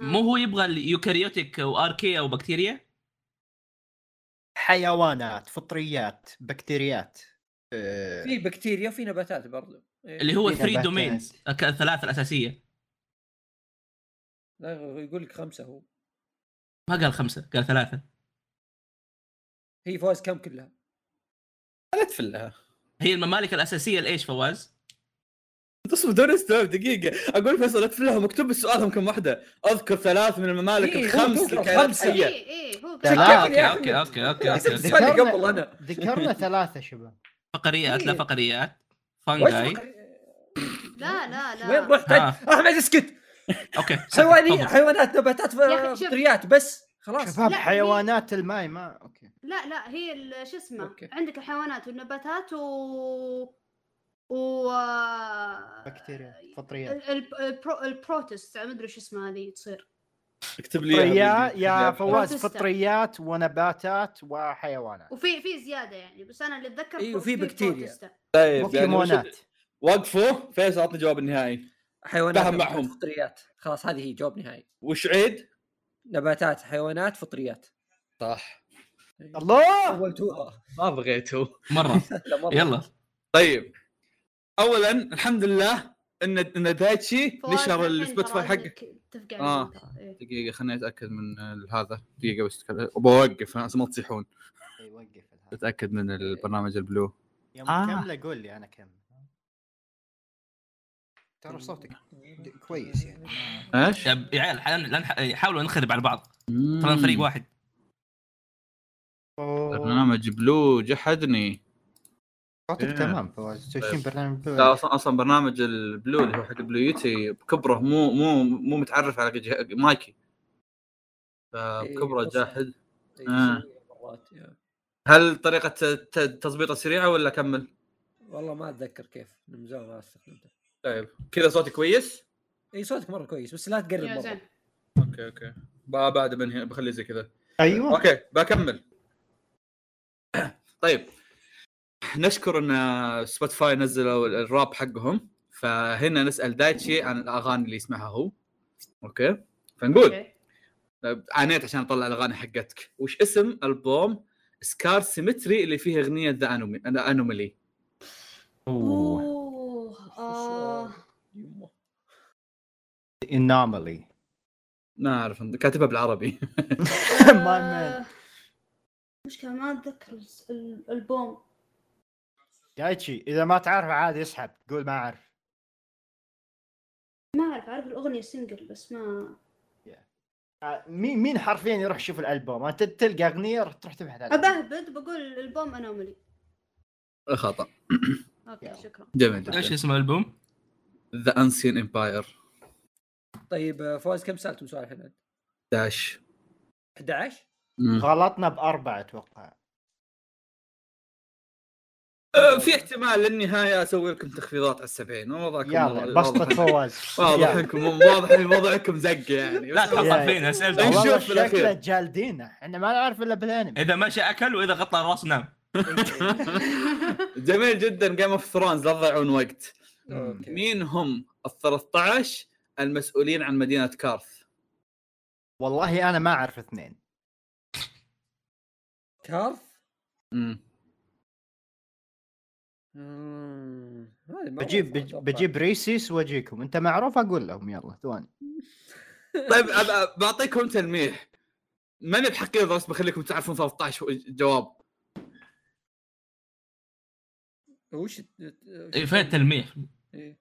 [SPEAKER 4] مو
[SPEAKER 5] إيه،
[SPEAKER 4] هو يبغى اليوكاريوتيك واركيا وبكتيريا؟
[SPEAKER 2] حيوانات فطريات بكتيريات آه،
[SPEAKER 3] في بكتيريا وفي نباتات برضو إيه.
[SPEAKER 4] اللي هو
[SPEAKER 2] في
[SPEAKER 4] الثري
[SPEAKER 2] نباتات.
[SPEAKER 4] دومينز الثلاثه الاساسيه
[SPEAKER 3] لا هو يقول لك خمسه هو
[SPEAKER 4] ما قال خمسه قال ثلاثه
[SPEAKER 3] هي فواز كم كلها
[SPEAKER 1] لا تفلها
[SPEAKER 4] هي الممالك الاساسيه لايش فواز؟
[SPEAKER 1] تصبر دوري استوعب دقيقه اقول فيصل لا تفلها مكتوب السؤال كم واحده اذكر ثلاث من الممالك
[SPEAKER 3] إيه، هو
[SPEAKER 1] الخمس
[SPEAKER 3] توقع
[SPEAKER 1] للكائنات
[SPEAKER 3] خمسة.
[SPEAKER 1] الحيه
[SPEAKER 5] إيه إيه هو
[SPEAKER 2] لا،
[SPEAKER 5] كذا.
[SPEAKER 4] آه،
[SPEAKER 2] لا.
[SPEAKER 4] اوكي
[SPEAKER 3] يا أخي.
[SPEAKER 4] اوكي اوكي اوقي اوكي, أوكي.
[SPEAKER 3] السؤال اللي قبل انا
[SPEAKER 2] ذكرنا ثلاثة شباب
[SPEAKER 4] فقريات لا
[SPEAKER 3] إيه.
[SPEAKER 4] فقريات
[SPEAKER 3] وش
[SPEAKER 4] فانجاي
[SPEAKER 3] فقر-
[SPEAKER 5] لا لا لا
[SPEAKER 3] وين رحت
[SPEAKER 4] ها. *laughs*
[SPEAKER 3] أنت؟ احمد اسكت *laughs*
[SPEAKER 4] اوكي
[SPEAKER 3] حيواني
[SPEAKER 4] تفضل.
[SPEAKER 3] حيوانات نباتات
[SPEAKER 5] يا أخي، شوف.
[SPEAKER 3] فطريات بس خلاص
[SPEAKER 2] شباب
[SPEAKER 5] لا،
[SPEAKER 2] حيوانات الماي ما اوكي
[SPEAKER 5] لا لا هي ال- شو اسمه
[SPEAKER 3] أوكي.
[SPEAKER 5] عندك الحيوانات والنباتات و و
[SPEAKER 2] بكتيريا فطريات
[SPEAKER 5] ال- ال- البرو... البروتست ما ادري شو اسمها هذه تصير
[SPEAKER 1] اكتب لي إياها
[SPEAKER 2] فطريا
[SPEAKER 1] بالدقيقة.
[SPEAKER 2] يا فواز
[SPEAKER 5] بروتستا.
[SPEAKER 2] فطريات ونباتات وحيوانات
[SPEAKER 5] وفي في زياده يعني بس انا اللي اتذكر
[SPEAKER 3] إيه،
[SPEAKER 1] إيوه،
[SPEAKER 5] برو-
[SPEAKER 3] وفي
[SPEAKER 5] في
[SPEAKER 3] بكتيريا.
[SPEAKER 5] بروتستا.
[SPEAKER 1] طيب يعني وش-
[SPEAKER 2] بوكيمونات
[SPEAKER 1] وقفوا فيصل اعطني الجواب النهائي
[SPEAKER 3] حيوانات
[SPEAKER 1] فهم
[SPEAKER 3] نباتات،
[SPEAKER 1] معهم.
[SPEAKER 3] فطريات خلاص هذه هي جواب نهائي
[SPEAKER 1] وش عيد؟
[SPEAKER 3] نباتات حيوانات فطريات
[SPEAKER 1] صح
[SPEAKER 4] آه.
[SPEAKER 2] الله
[SPEAKER 3] سولتوها
[SPEAKER 1] ما بغيته
[SPEAKER 4] مره
[SPEAKER 3] آه. *laughs* لا مرة.
[SPEAKER 4] يلا
[SPEAKER 1] طيب اولا الحمد لله ان ان دايتشي
[SPEAKER 5] فواز
[SPEAKER 1] نشر
[SPEAKER 5] الحين
[SPEAKER 1] السبوتيفاي
[SPEAKER 5] ترى
[SPEAKER 1] حقه
[SPEAKER 5] ك- تفقع
[SPEAKER 1] آه.
[SPEAKER 5] الجملة. إيه.
[SPEAKER 1] دقيقه خليني اتاكد من ال- هذا دقيقه بس بوقف عشان ما تصيحون
[SPEAKER 2] أي، وقف الهذا.
[SPEAKER 1] اتاكد من البرنامج البلو
[SPEAKER 2] يوم
[SPEAKER 4] آه.
[SPEAKER 2] كمله قول لي انا كمل ترى صوتك د- كويس يعني
[SPEAKER 1] ايش؟
[SPEAKER 4] يا ب- يا عيال حاول- لا نح- حاولوا نخرب على بعض ترى
[SPEAKER 1] ترى
[SPEAKER 4] فريق واحد
[SPEAKER 1] برنامج بلو جحدني
[SPEAKER 2] صوتك
[SPEAKER 1] إيه. طيب.
[SPEAKER 2] تمام فواز تشين برنامج
[SPEAKER 1] لا اصلا اصلا برنامج البلو اللي هو حق بلويتي بكبره مو مو مو متعرف على جه- مايكي فبكبره
[SPEAKER 3] إيه،
[SPEAKER 1] جاحد
[SPEAKER 3] إيه،
[SPEAKER 1] آه.
[SPEAKER 3] مرات، يا.
[SPEAKER 1] هل طريقه الت- التظبيطه سريعه ولا اكمل؟
[SPEAKER 3] والله ما اتذكر كيف من زمان ما استخدمته
[SPEAKER 1] طيب كذا صوتي كويس
[SPEAKER 3] اي صوتك مره كويس بس لا تقرب
[SPEAKER 5] يا
[SPEAKER 3] مره
[SPEAKER 5] زين
[SPEAKER 1] اوكي اوكي ب- بعد بنهي بخليه زي كذا
[SPEAKER 6] ايوه
[SPEAKER 1] اوكي بكمل طيب نشكر ان سبوتفاي نزلوا الراب حقهم فهنا نسال دايتشي عن الاغاني اللي يسمعها هو اوكي فنقول
[SPEAKER 5] أوكي.
[SPEAKER 1] عانيت عشان اطلع الاغاني حقتك وش اسم البوم سكار سيمتري اللي فيه اغنيه ذا انومي ذا انوملي
[SPEAKER 7] اوه
[SPEAKER 5] اوه آه.
[SPEAKER 3] يمه.
[SPEAKER 6] *laughs* انومالي
[SPEAKER 1] ما اعرف كاتبها بالعربي *laughs*
[SPEAKER 6] ما
[SPEAKER 5] آه. مشكلة ما اتذكر الس- ال- الالبوم
[SPEAKER 6] دايتشي اذا ما تعرف عادي اسحب قول ما اعرف
[SPEAKER 5] ما اعرف اعرف الاغنية سنجل بس ما
[SPEAKER 6] آه، مين مين حرفيا يروح يشوف الالبوم انت تلقى اغنيه راح تروح تبحث عنها
[SPEAKER 5] ابهبد بقول الالبوم انوملي
[SPEAKER 1] خطا
[SPEAKER 5] اوكي شكرا
[SPEAKER 1] جميل
[SPEAKER 4] ايش
[SPEAKER 1] جدا
[SPEAKER 4] اسم الالبوم؟
[SPEAKER 1] ذا انسين امباير
[SPEAKER 3] طيب آه، فواز كم سالتم سؤال الحين؟
[SPEAKER 1] داش
[SPEAKER 3] 11
[SPEAKER 6] غلطنا باربعه اتوقع
[SPEAKER 1] أه، في احتمال للنهايه اسوي لكم تخفيضات على 70 وضعكم
[SPEAKER 6] يلا بسطة فواز
[SPEAKER 1] واضح
[SPEAKER 6] يلا.
[SPEAKER 1] انكم واضح ان وضعكم زق يعني
[SPEAKER 4] لا
[SPEAKER 1] بس والله-
[SPEAKER 4] تخطط فينا اسئلتك
[SPEAKER 1] نشوف
[SPEAKER 6] والله
[SPEAKER 1] بالأخير.
[SPEAKER 6] شكله جالدينا احنا ما نعرف الا بالانمي
[SPEAKER 4] اذا مشى اكل واذا غطى الراس نام
[SPEAKER 1] جميل جدا جيم اوف ثرونز لا تضيعون وقت
[SPEAKER 3] اوكي
[SPEAKER 1] مين هم ال 13 المسؤولين عن مدينه كارث
[SPEAKER 6] والله انا ما اعرف اثنين
[SPEAKER 3] كارث
[SPEAKER 1] مم.
[SPEAKER 3] مم. آه، هذه معروفة
[SPEAKER 6] بجيب بج-
[SPEAKER 3] أتوقع.
[SPEAKER 6] بجيب ريسيس واجيكم انت معروف اقول لهم يلا ثواني
[SPEAKER 1] طيب أب- أب- بعطيكم تلميح ماني بحقير بس بخليكم تعرفون 13 جواب
[SPEAKER 3] وش الت-
[SPEAKER 4] إيه، فين التلميح؟
[SPEAKER 3] إيه.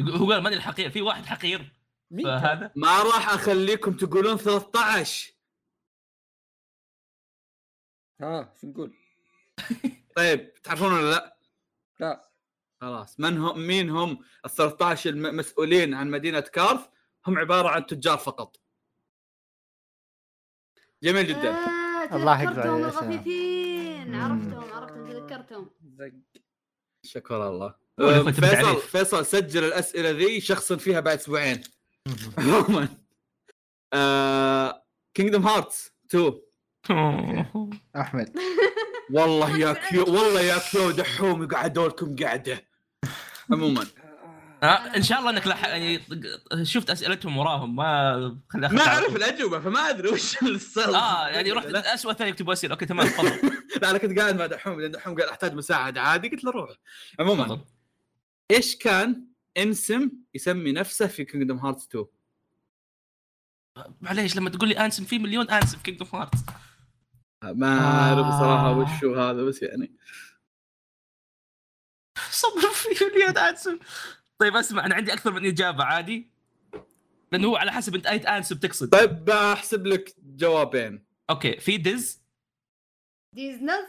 [SPEAKER 4] هو قال ما ادري الحقير في واحد حقير
[SPEAKER 3] مين كان؟
[SPEAKER 4] فهذا
[SPEAKER 1] ما راح اخليكم تقولون 13
[SPEAKER 3] ها شو نقول؟
[SPEAKER 1] طيب تعرفون ولا لا؟
[SPEAKER 3] لا
[SPEAKER 1] خلاص من هم مين هم ال 13 المسؤولين عن مدينه كارث هم عباره عن تجار فقط جميل جدا
[SPEAKER 5] آه،
[SPEAKER 6] الله يقطع
[SPEAKER 5] تذكرتهم
[SPEAKER 6] يا
[SPEAKER 5] الغفيفين
[SPEAKER 6] سلام.
[SPEAKER 5] عرفتهم عرفتهم تذكرتهم
[SPEAKER 3] زق
[SPEAKER 1] شكر الله
[SPEAKER 4] هو اللي
[SPEAKER 1] أم،
[SPEAKER 4] كنت
[SPEAKER 1] فيصل
[SPEAKER 4] بعرف.
[SPEAKER 1] فيصل سجل الاسئله ذي شخصا فيها بعد اسبوعين عموما آه، كينجدم هارتس 2
[SPEAKER 6] احمد *laughs*
[SPEAKER 1] والله يا كيو والله يا كيو دحوم يقعدوا لكم قعده
[SPEAKER 4] *laughs*
[SPEAKER 1] عموما
[SPEAKER 4] آه، ان شاء الله انك لح... يعني شفت اسئلتهم وراهم ما خلي أخذ
[SPEAKER 1] ما
[SPEAKER 4] على
[SPEAKER 1] اعرف
[SPEAKER 4] طول.
[SPEAKER 1] الاجوبه فما ادري وش السالفه
[SPEAKER 4] اه يعني رحت
[SPEAKER 1] لا
[SPEAKER 4] اسوء ثاني يكتبوا اسئله اوكي تمام تفضل *laughs*
[SPEAKER 1] لا، انا كنت قاعد مع دحوم لان دحوم قال احتاج مساعده عادي قلت له روح عموما
[SPEAKER 4] تفضل
[SPEAKER 1] ايش كان انسم يسمي نفسه في كينجدم هارتس 2
[SPEAKER 4] معليش لما تقول لي انسم في مليون انسم كينج اوف هارتس *laughs*
[SPEAKER 1] ما اعرف صراحه وش هو هذا بس يعني
[SPEAKER 4] صبر في مليون انسم طيب اسمع انا عندي اكثر من اجابه عادي لانه هو على حسب انت اي انسم تقصد
[SPEAKER 1] طيب بحسب لك جوابين
[SPEAKER 4] اوكي في دز
[SPEAKER 5] ديز نز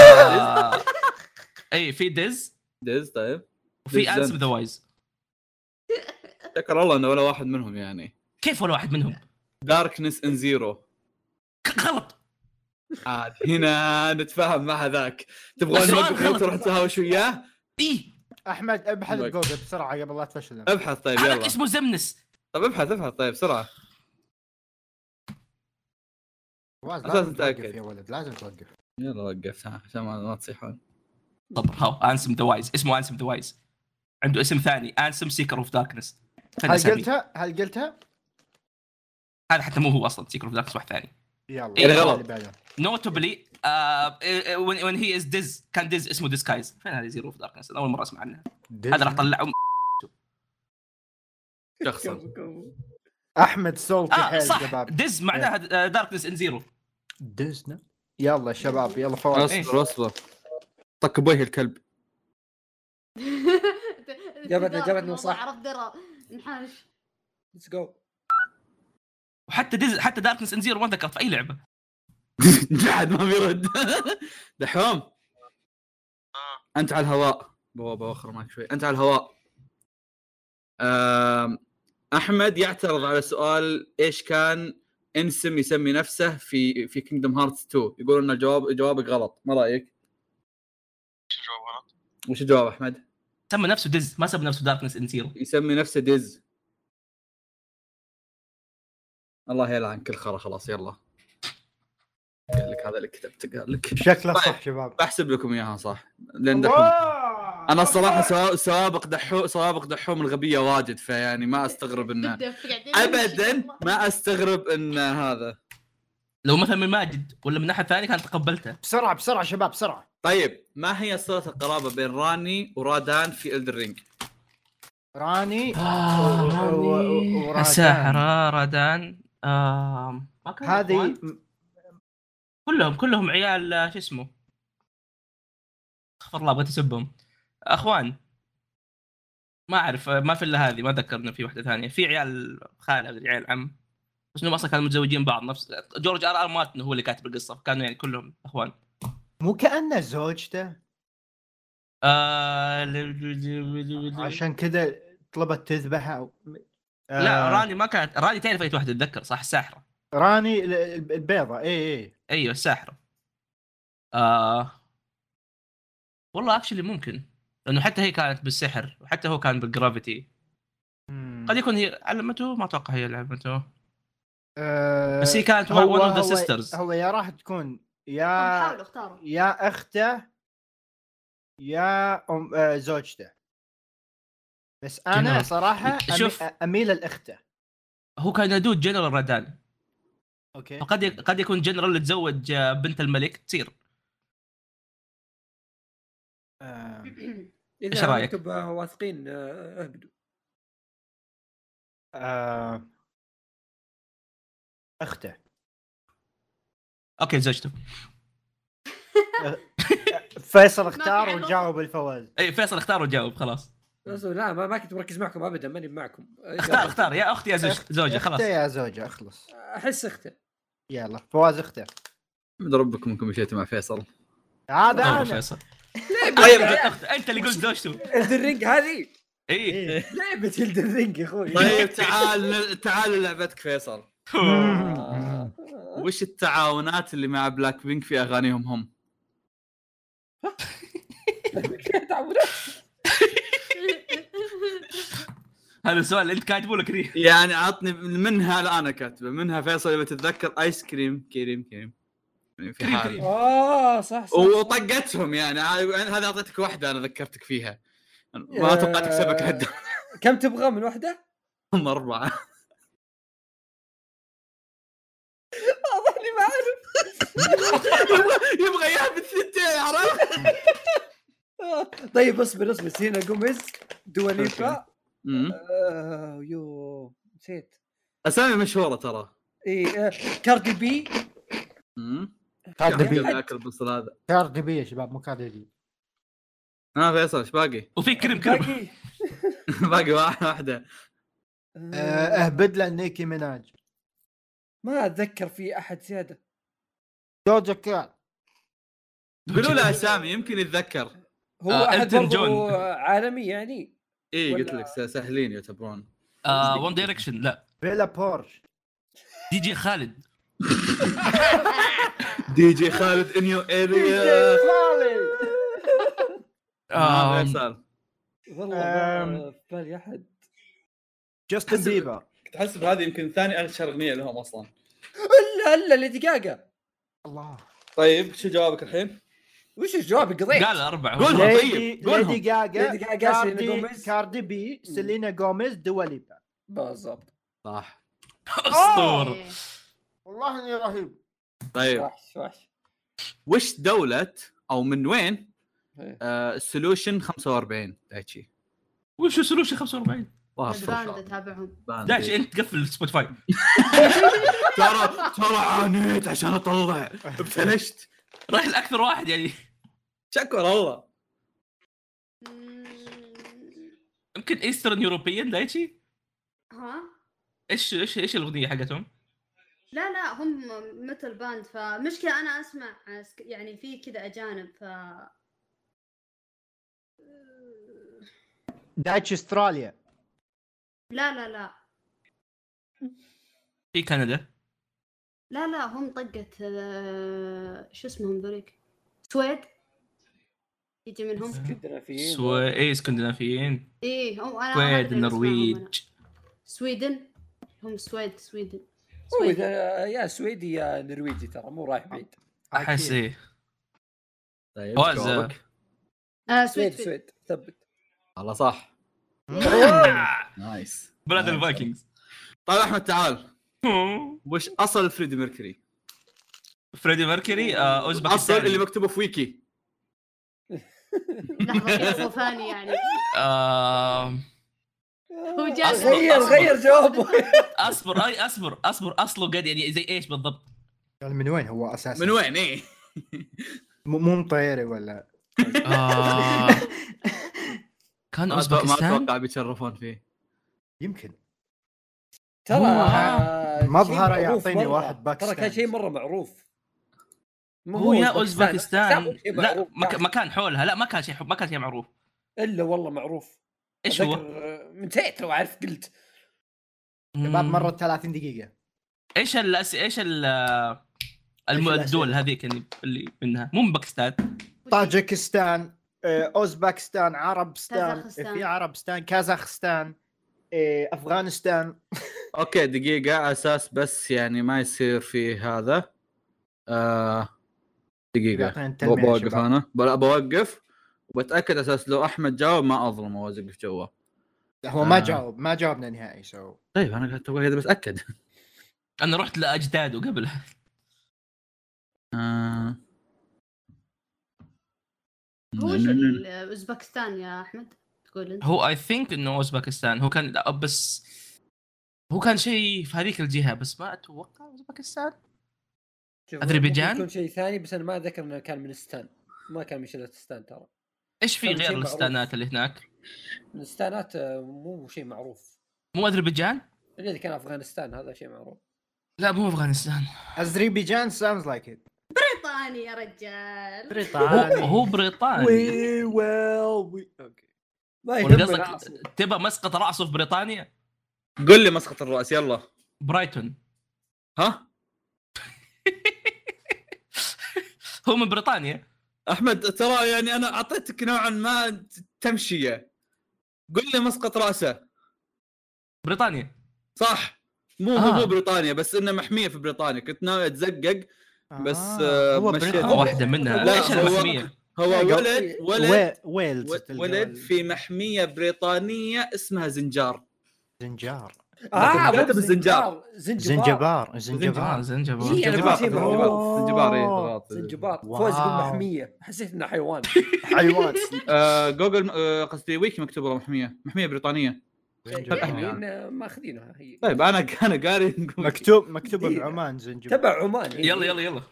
[SPEAKER 4] آه، اي في دز
[SPEAKER 1] ديز طيب
[SPEAKER 4] وفي
[SPEAKER 1] ديزنت.
[SPEAKER 4] انسم ذا وايز
[SPEAKER 1] شكر الله انه ولا واحد منهم يعني
[SPEAKER 4] كيف ولا واحد منهم
[SPEAKER 1] داركنس ان زيرو
[SPEAKER 4] غلط
[SPEAKER 1] عاد هنا نتفاهم مع ذاك تبغون
[SPEAKER 4] السؤال
[SPEAKER 1] نوقف
[SPEAKER 4] غلط.
[SPEAKER 1] تروح تهاوش وياه
[SPEAKER 4] اي
[SPEAKER 6] احمد ابحث
[SPEAKER 1] لك.
[SPEAKER 6] بجوجل بسرعه قبل لا
[SPEAKER 4] أه،
[SPEAKER 6] تفشل
[SPEAKER 1] ابحث طيب
[SPEAKER 4] هذاك
[SPEAKER 1] يلا
[SPEAKER 4] اسمه زمنس
[SPEAKER 1] طيب ابحث ابحث طيب بسرعه
[SPEAKER 6] فواز،
[SPEAKER 1] أساس
[SPEAKER 6] لازم توقف
[SPEAKER 1] نتأكد.
[SPEAKER 6] يا ولد لازم توقف
[SPEAKER 1] يلا وقف ها، عشان ما ما تصيحون
[SPEAKER 4] طب هاو انسم ذا وايز اسمه انسم ذا وايز عنده اسم ثاني انسم سيكر اوف داركنس
[SPEAKER 6] هل قلتها؟ هل قلتها؟
[SPEAKER 4] هذا حتى مو هو اصلا سيكر اوف داركنس واحد ثاني
[SPEAKER 6] يلا
[SPEAKER 4] إيه،
[SPEAKER 1] غلط.
[SPEAKER 6] اللي بعده.
[SPEAKER 4] نوتبلي آه، وين هي از ديز كان ديز اسمه ديسكايز فين هذا زيرو اوف داركنس اول مره اسمع عنها هذا راح طلع آه،
[SPEAKER 1] شخصا
[SPEAKER 6] احمد صوتي
[SPEAKER 4] اه
[SPEAKER 6] حيل
[SPEAKER 4] صح
[SPEAKER 6] شباب
[SPEAKER 4] ديز
[SPEAKER 6] إيه.
[SPEAKER 4] معناها آه، داركنس ان زيرو
[SPEAKER 6] دزنا يلا شباب يلا فواز
[SPEAKER 1] اصبر اصبر طق بوجه الكلب *laughs*
[SPEAKER 3] جابتنا- جابتنا صح.
[SPEAKER 5] عرفت درا نحاش
[SPEAKER 3] ليتس جو
[SPEAKER 4] وحتى ديز حتى داركنس ان زيرو ما ذكرت في اي لعبه
[SPEAKER 1] جعد ما بيرد *laughs* دحوم انت على الهواء بوا بوخر معك شوي انت على الهواء أم، احمد يعترض على سؤال ايش كان انسم يسمي نفسه في في كينجدم هارتس 2 يقول ان الجواب جوابك غلط ما رايك
[SPEAKER 8] الجواب غلط
[SPEAKER 1] وش الجواب احمد؟
[SPEAKER 4] سمى نفسه دز ما سمى نفسه داركنس ان زيرو
[SPEAKER 1] يسمي نفسه ديز الله يلعن كل خرا خلاص يلا قال لك هذا اللي كتبته قال لك
[SPEAKER 2] شكله
[SPEAKER 1] طيب.
[SPEAKER 2] صح شباب
[SPEAKER 1] بحسب لكم اياها صح لان دحوم انا الصراحه سوا- سوابق دحوم سوابق دحوم الغبيه واجد فيعني ما استغرب انه
[SPEAKER 5] تبدأ في قاعدين
[SPEAKER 1] ابدا ما استغرب ان هذا
[SPEAKER 4] لو مثلا من ماجد ولا من احد ثاني كان تقبلته
[SPEAKER 6] بسرعه بسرعه شباب بسرعه
[SPEAKER 1] طيب ما هي صله القرابه بين راني ورادان في الدرينج
[SPEAKER 6] راني
[SPEAKER 4] آه،
[SPEAKER 6] و- و- و- ورادان.
[SPEAKER 4] الساحرة آه، رادان آم، ما كانوا
[SPEAKER 6] هذه
[SPEAKER 4] إخوان؟ كلهم كلهم عيال آه، شو اسمه استغفر الله بغيت اسبهم اخوان ما اعرف آه، ما في الا هذه ما اتذكر انه في واحده ثانيه في عيال خاله مدري عيال عم بس انهم اصلا كانوا متزوجين بعض نفس جورج ار ار مارتن هو اللي كاتب القصه كانوا يعني كلهم اخوان
[SPEAKER 6] مو كانه زوجته
[SPEAKER 4] آه...
[SPEAKER 6] عشان كذا طلبت تذبحه أو- آه،
[SPEAKER 4] لا راني ما كانت راني تعرف اي واحده اتذكر صح الساحره
[SPEAKER 6] راني ال- ال- إيه، البيضه اي اي
[SPEAKER 4] ايوه الساحره آه والله اكشلي ممكن لانه حتى هي كانت بالسحر وحتى هو كان بالجرافيتي قد يكون هي علمته ما اتوقع هي اللي علمته بس هي كانت ون اوف ذا سيسترز
[SPEAKER 6] هو يا راح تكون
[SPEAKER 5] طب
[SPEAKER 6] يا
[SPEAKER 5] حاولوا اختاروا
[SPEAKER 6] يا اخته يا أم آه، زوجته بس انا
[SPEAKER 4] جنرال.
[SPEAKER 6] صراحه أمي-
[SPEAKER 4] شوف.
[SPEAKER 6] اميل الاخته
[SPEAKER 4] هو كان يدود جنرال رادان
[SPEAKER 6] اوكي
[SPEAKER 4] فقد ي... قد يكون جنرال اللي تزوج آه، بنت الملك تصير
[SPEAKER 6] آه،
[SPEAKER 4] إيش
[SPEAKER 3] اذا
[SPEAKER 4] رأيك؟
[SPEAKER 3] انتم واثقين آه، اهبدوا
[SPEAKER 6] آه، اخته
[SPEAKER 4] اوكي زوجته
[SPEAKER 6] فيصل
[SPEAKER 5] في
[SPEAKER 6] اختار
[SPEAKER 5] حلول.
[SPEAKER 6] وجاوب الفواز
[SPEAKER 4] اي فيصل اختار وجاوب خلاص
[SPEAKER 3] بس لا ما, ما كنت مركز معكم ابدا ماني معكم
[SPEAKER 4] *laughs* اختار اختار يا اختي يا زوج... زوجة خلاص
[SPEAKER 6] اخته يا زوجه اخلص
[SPEAKER 3] احس اخته
[SPEAKER 6] يلا فواز اخته
[SPEAKER 1] احمد ربكم انكم مشيتوا مع فيصل
[SPEAKER 6] هذا
[SPEAKER 1] آه،
[SPEAKER 4] طبعا
[SPEAKER 6] انا
[SPEAKER 4] فيصل طيب أخت... انت اللي قلت زوجته
[SPEAKER 3] الدرينج هذه
[SPEAKER 4] اي
[SPEAKER 6] إيه.
[SPEAKER 3] لعبه الدرينج يا اخوي *laughs*
[SPEAKER 1] طيب تعال تعال لعبتك فيصل
[SPEAKER 3] آه.
[SPEAKER 1] وش التعاونات اللي مع بلاك بينك في اغانيهم هم؟
[SPEAKER 4] هذا السؤال اللي انت كاتبه لك ليه؟
[SPEAKER 1] يعني عطني منها اللي انا كاتبه منها فيصل اذا تتذكر ايس كريم كريم كريم يعني في
[SPEAKER 4] كريم
[SPEAKER 1] حال
[SPEAKER 4] كريم.
[SPEAKER 3] اه صح صح
[SPEAKER 1] وطقتهم يعني ع- أنا هذا اعطيتك واحده انا ذكرتك فيها ما
[SPEAKER 3] آه.
[SPEAKER 1] توقعتك سبك *laughs* لهالدرجه
[SPEAKER 3] كم تبغى من واحده؟
[SPEAKER 1] هم اربعه
[SPEAKER 3] واضح لي *laughs* ما اعرف
[SPEAKER 1] يبغى اياها بالثنتين عرفت؟
[SPEAKER 3] آه. طيب اصبر اصبر سينا جوميز دواليفا
[SPEAKER 1] مم.
[SPEAKER 3] آه يو نسيت
[SPEAKER 1] اسامي مشهوره ترى
[SPEAKER 3] اي آه. كاردي بي
[SPEAKER 1] مم. يعني
[SPEAKER 2] كاردي بي
[SPEAKER 1] قاعد اكل بس هذا
[SPEAKER 2] كاردي بي يا شباب مو كاردي بي
[SPEAKER 1] ها آه، فيصل ايش باقي؟ *laughs*
[SPEAKER 4] وفي كريم كريم
[SPEAKER 3] باقي
[SPEAKER 1] باقي واحد- *laughs* واحده
[SPEAKER 6] آه، اهبد له نيكي ميناج
[SPEAKER 3] ما اتذكر في احد زياده
[SPEAKER 6] جوجا كات
[SPEAKER 1] قولوا له اسامي يمكن يتذكر
[SPEAKER 3] هو
[SPEAKER 4] آه،
[SPEAKER 3] احد
[SPEAKER 4] إلتون
[SPEAKER 3] برضو
[SPEAKER 4] جون.
[SPEAKER 3] عالمي يعني
[SPEAKER 1] اي إيه، قلت
[SPEAKER 3] ولا-
[SPEAKER 1] لك س- سهلين يعتبرون
[SPEAKER 4] آه، ون دايركشن لا
[SPEAKER 6] بيلا بورش
[SPEAKER 4] دي جي خالد
[SPEAKER 1] دي جي خالد انيو اريا آه.
[SPEAKER 4] آم،
[SPEAKER 1] فيصل
[SPEAKER 3] والله ما
[SPEAKER 6] آم.
[SPEAKER 3] في بالي احد
[SPEAKER 6] جاستن
[SPEAKER 1] حسب-
[SPEAKER 6] بيبر
[SPEAKER 1] كنت احسب هذه يمكن ثاني اشهر اغنيه لهم اصلا
[SPEAKER 3] الا الا ليدي جاجا
[SPEAKER 6] الله
[SPEAKER 1] طيب شو جوابك الحين؟
[SPEAKER 3] وش الجواب قضيت
[SPEAKER 4] قال اربعه
[SPEAKER 1] قول.
[SPEAKER 4] والله.
[SPEAKER 6] ليدي
[SPEAKER 1] طيب، قولهم.
[SPEAKER 6] ليدي جاجا
[SPEAKER 3] ليدي جاجا، سيلينا
[SPEAKER 6] كاردي
[SPEAKER 3] جوميز.
[SPEAKER 6] كاردي بي سيلينا جوميز دواليبا
[SPEAKER 3] بالضبط
[SPEAKER 1] صح
[SPEAKER 4] اسطوره
[SPEAKER 5] إيه.
[SPEAKER 6] والله اني رهيب
[SPEAKER 4] أيوه.
[SPEAKER 1] طيب
[SPEAKER 3] وحش وحش
[SPEAKER 1] وش دولة او من وين
[SPEAKER 3] إيه.
[SPEAKER 1] آه سولوشن 45 دايتشي؟
[SPEAKER 4] وش سولوشن 45
[SPEAKER 1] والله
[SPEAKER 5] هاد باندا
[SPEAKER 1] أفضل.
[SPEAKER 5] تابعهم
[SPEAKER 1] باند.
[SPEAKER 4] داش انت تقفل سبوتيفاي
[SPEAKER 1] ترى ترى عانيت عشان اطلع ابتلشت
[SPEAKER 4] رايح لاكثر واحد يعني
[SPEAKER 1] شكر الله
[SPEAKER 5] مم.
[SPEAKER 4] يمكن ايسترن يوروبيان دايتشي
[SPEAKER 5] ها
[SPEAKER 4] ايش ايش ايش الاغنيه حقتهم؟
[SPEAKER 5] لا لا هم متل باند فمشكلة أنا أسمع سك- يعني في كذا أجانب ف
[SPEAKER 6] دايتش استراليا
[SPEAKER 5] لا لا لا
[SPEAKER 4] في كندا
[SPEAKER 5] لا لا هم طقت آه، شو اسمهم ذوليك سويد يجي منهم
[SPEAKER 3] اسكندنافيين
[SPEAKER 4] سوي إيه، اي اسكندنافيين
[SPEAKER 5] ايه هم انا ما أدري اسمهم أنا.
[SPEAKER 4] كويت النرويج
[SPEAKER 5] سويدن هم سويد سويدن
[SPEAKER 3] هو
[SPEAKER 5] سويد.
[SPEAKER 3] إذا- يا سويدي يا نرويجي ترى مو رايح بعيد
[SPEAKER 4] احس ايه
[SPEAKER 1] طيب
[SPEAKER 4] فواز.
[SPEAKER 1] جوابك؟
[SPEAKER 5] آه
[SPEAKER 3] سويد
[SPEAKER 5] سويد سويد
[SPEAKER 3] سويد ثبت
[SPEAKER 1] والله صح إيه. نايس
[SPEAKER 4] بلاد
[SPEAKER 1] نايس.
[SPEAKER 4] الفايكنجز
[SPEAKER 1] طيب احمد تعال وش اصل فريدي ميركوري؟
[SPEAKER 4] فريدي ميركوري آه،
[SPEAKER 1] اصل
[SPEAKER 4] اوزبكستاني
[SPEAKER 1] اللي مكتوبه في ويكي
[SPEAKER 3] *laughs*
[SPEAKER 5] لحظه كذا طوفاني يعني
[SPEAKER 4] آه،
[SPEAKER 5] هو جاء
[SPEAKER 4] أصبر،
[SPEAKER 3] غير
[SPEAKER 4] أصبر.
[SPEAKER 3] غير
[SPEAKER 5] *laughs*
[SPEAKER 3] جوابه
[SPEAKER 4] اصبر اي اصبر اصبر اصله قد يعني زي ايش بالضبط؟
[SPEAKER 2] يعني من وين هو اساسا؟
[SPEAKER 1] من وين ايه؟
[SPEAKER 2] مو مو مطيري ولا
[SPEAKER 4] آه، *laughs* كان
[SPEAKER 1] ما أتوقع- ما
[SPEAKER 4] اوزبكستان
[SPEAKER 1] اتوقع بيتشرفون فيه
[SPEAKER 2] يمكن
[SPEAKER 3] ترى شيء
[SPEAKER 2] مظهره
[SPEAKER 3] معروف
[SPEAKER 2] يعطيني
[SPEAKER 3] مرة.
[SPEAKER 2] واحد باكستاني.
[SPEAKER 3] ترى كان شيء مره معروف ما
[SPEAKER 4] هو يا
[SPEAKER 3] أوزبكستان.
[SPEAKER 4] اوزبكستان
[SPEAKER 3] شيء
[SPEAKER 4] لا
[SPEAKER 3] معروف.
[SPEAKER 4] مك- مكان حولها لا ما كان شيء ما كان شيء معروف
[SPEAKER 3] الا والله معروف
[SPEAKER 4] ايش هو؟
[SPEAKER 3] أتذكر من تيت لو عارف قلت
[SPEAKER 2] شباب
[SPEAKER 4] مم.
[SPEAKER 2] مرت 30 دقيقة
[SPEAKER 4] ايش ال ايش ال الم-
[SPEAKER 2] الأسئلة؟
[SPEAKER 4] الدول هذيك اللي اللي منها مو من باكستان
[SPEAKER 6] طاجكستان آه، اوزبكستان عربستان
[SPEAKER 5] كازاخستان.
[SPEAKER 6] في عربستان كازاخستان آه، افغانستان
[SPEAKER 1] اوكي دقيقة على اساس بس يعني ما يصير في هذا آه دقيقة
[SPEAKER 2] يعطينا التلميح يا
[SPEAKER 1] بوقف
[SPEAKER 2] شباب.
[SPEAKER 1] انا بلا بوقف وبتاكد اساس لو احمد جاوب ما اظلمه واوقف جوا
[SPEAKER 2] هو ما
[SPEAKER 1] آه.
[SPEAKER 2] جاوب ما جاوبنا نهائي سو
[SPEAKER 1] طيب انا قاعد توي هذا بتاكد
[SPEAKER 4] انا رحت لاجداده قبلها
[SPEAKER 1] آه.
[SPEAKER 5] هو وش ال- اوزبكستان يا احمد تقول انت
[SPEAKER 4] هو اي ثينك انه اوزبكستان هو كان لا بس هو كان شيء في هذيك الجهه بس ما اتوقع اوزبكستان
[SPEAKER 3] شوف،
[SPEAKER 4] أذربيجان؟
[SPEAKER 3] ممكن يكون شيء ثاني بس انا ما اتذكر انه كان من ستان ما كان من شله ستان ترى
[SPEAKER 4] ايش في
[SPEAKER 3] كان شيء
[SPEAKER 4] غير
[SPEAKER 3] معروف.
[SPEAKER 4] الستانات اللي هناك؟
[SPEAKER 3] من ستانات آه، مو شيء معروف
[SPEAKER 4] مو اذربيجان؟
[SPEAKER 3] الا اذا كان افغانستان هذا شيء معروف
[SPEAKER 4] لا مو افغانستان
[SPEAKER 2] اذربيجان ساوندز لايك ات
[SPEAKER 5] بريطاني يا رجال
[SPEAKER 4] هو,
[SPEAKER 2] بريطانيا
[SPEAKER 4] هو بريطاني
[SPEAKER 2] ويل اوكي
[SPEAKER 3] ما
[SPEAKER 4] ولا
[SPEAKER 3] يهمنا
[SPEAKER 4] قصدك
[SPEAKER 3] أصلاً.
[SPEAKER 4] تبى مسقط راسه في بريطانيا؟
[SPEAKER 1] قل لي مسقط الراس يلا
[SPEAKER 4] برايتون
[SPEAKER 1] ها
[SPEAKER 4] *laughs* هو من بريطانيا
[SPEAKER 1] احمد ترى يعني انا اعطيتك نوعا ما تمشيه قل لي مسقط راسه
[SPEAKER 4] بريطانيا
[SPEAKER 1] صح مو
[SPEAKER 4] آه.
[SPEAKER 1] آه. مو بريطانيا بس انه محميه في بريطانيا كنت ناوي اتزقق بس، آه،
[SPEAKER 2] هو
[SPEAKER 1] مشيت.
[SPEAKER 2] بريطانيا.
[SPEAKER 1] هو
[SPEAKER 4] واحده منها
[SPEAKER 1] لا،
[SPEAKER 4] ايش
[SPEAKER 1] هو-
[SPEAKER 4] المحميه؟
[SPEAKER 1] هو ولد ولد
[SPEAKER 2] وي- ويلز
[SPEAKER 1] ولد في محميه بريطانيه اسمها زنجار
[SPEAKER 2] زنجار
[SPEAKER 3] اه
[SPEAKER 1] بدأت
[SPEAKER 3] مو
[SPEAKER 1] بالزنجار.
[SPEAKER 3] زنجبار
[SPEAKER 2] زنجبار
[SPEAKER 4] زنجبار
[SPEAKER 2] زنجبار
[SPEAKER 4] زنجبار
[SPEAKER 3] هي أنا
[SPEAKER 1] زنجبار
[SPEAKER 3] ما
[SPEAKER 1] زنجبار
[SPEAKER 3] شيء معروف.
[SPEAKER 1] زنجبار إيه، غلط.
[SPEAKER 3] زنجبار
[SPEAKER 2] واو.
[SPEAKER 3] فوز بالمحميه حسيت انه
[SPEAKER 4] *laughs*
[SPEAKER 3] حيوان
[SPEAKER 6] حيوان
[SPEAKER 1] آه، جوجل آه، قصدي ويكي مكتوب والله محميه محميه بريطانيه
[SPEAKER 3] *laughs* يعني إنه ماخذينها هي
[SPEAKER 1] طيب *laughs* انا انا قاري
[SPEAKER 2] مكتوب
[SPEAKER 1] إيه.
[SPEAKER 2] مكتوبه
[SPEAKER 3] دقيقة.
[SPEAKER 2] بعمان زنجبار
[SPEAKER 3] تبع عمان إيه. هي.
[SPEAKER 4] يلا يلا يلا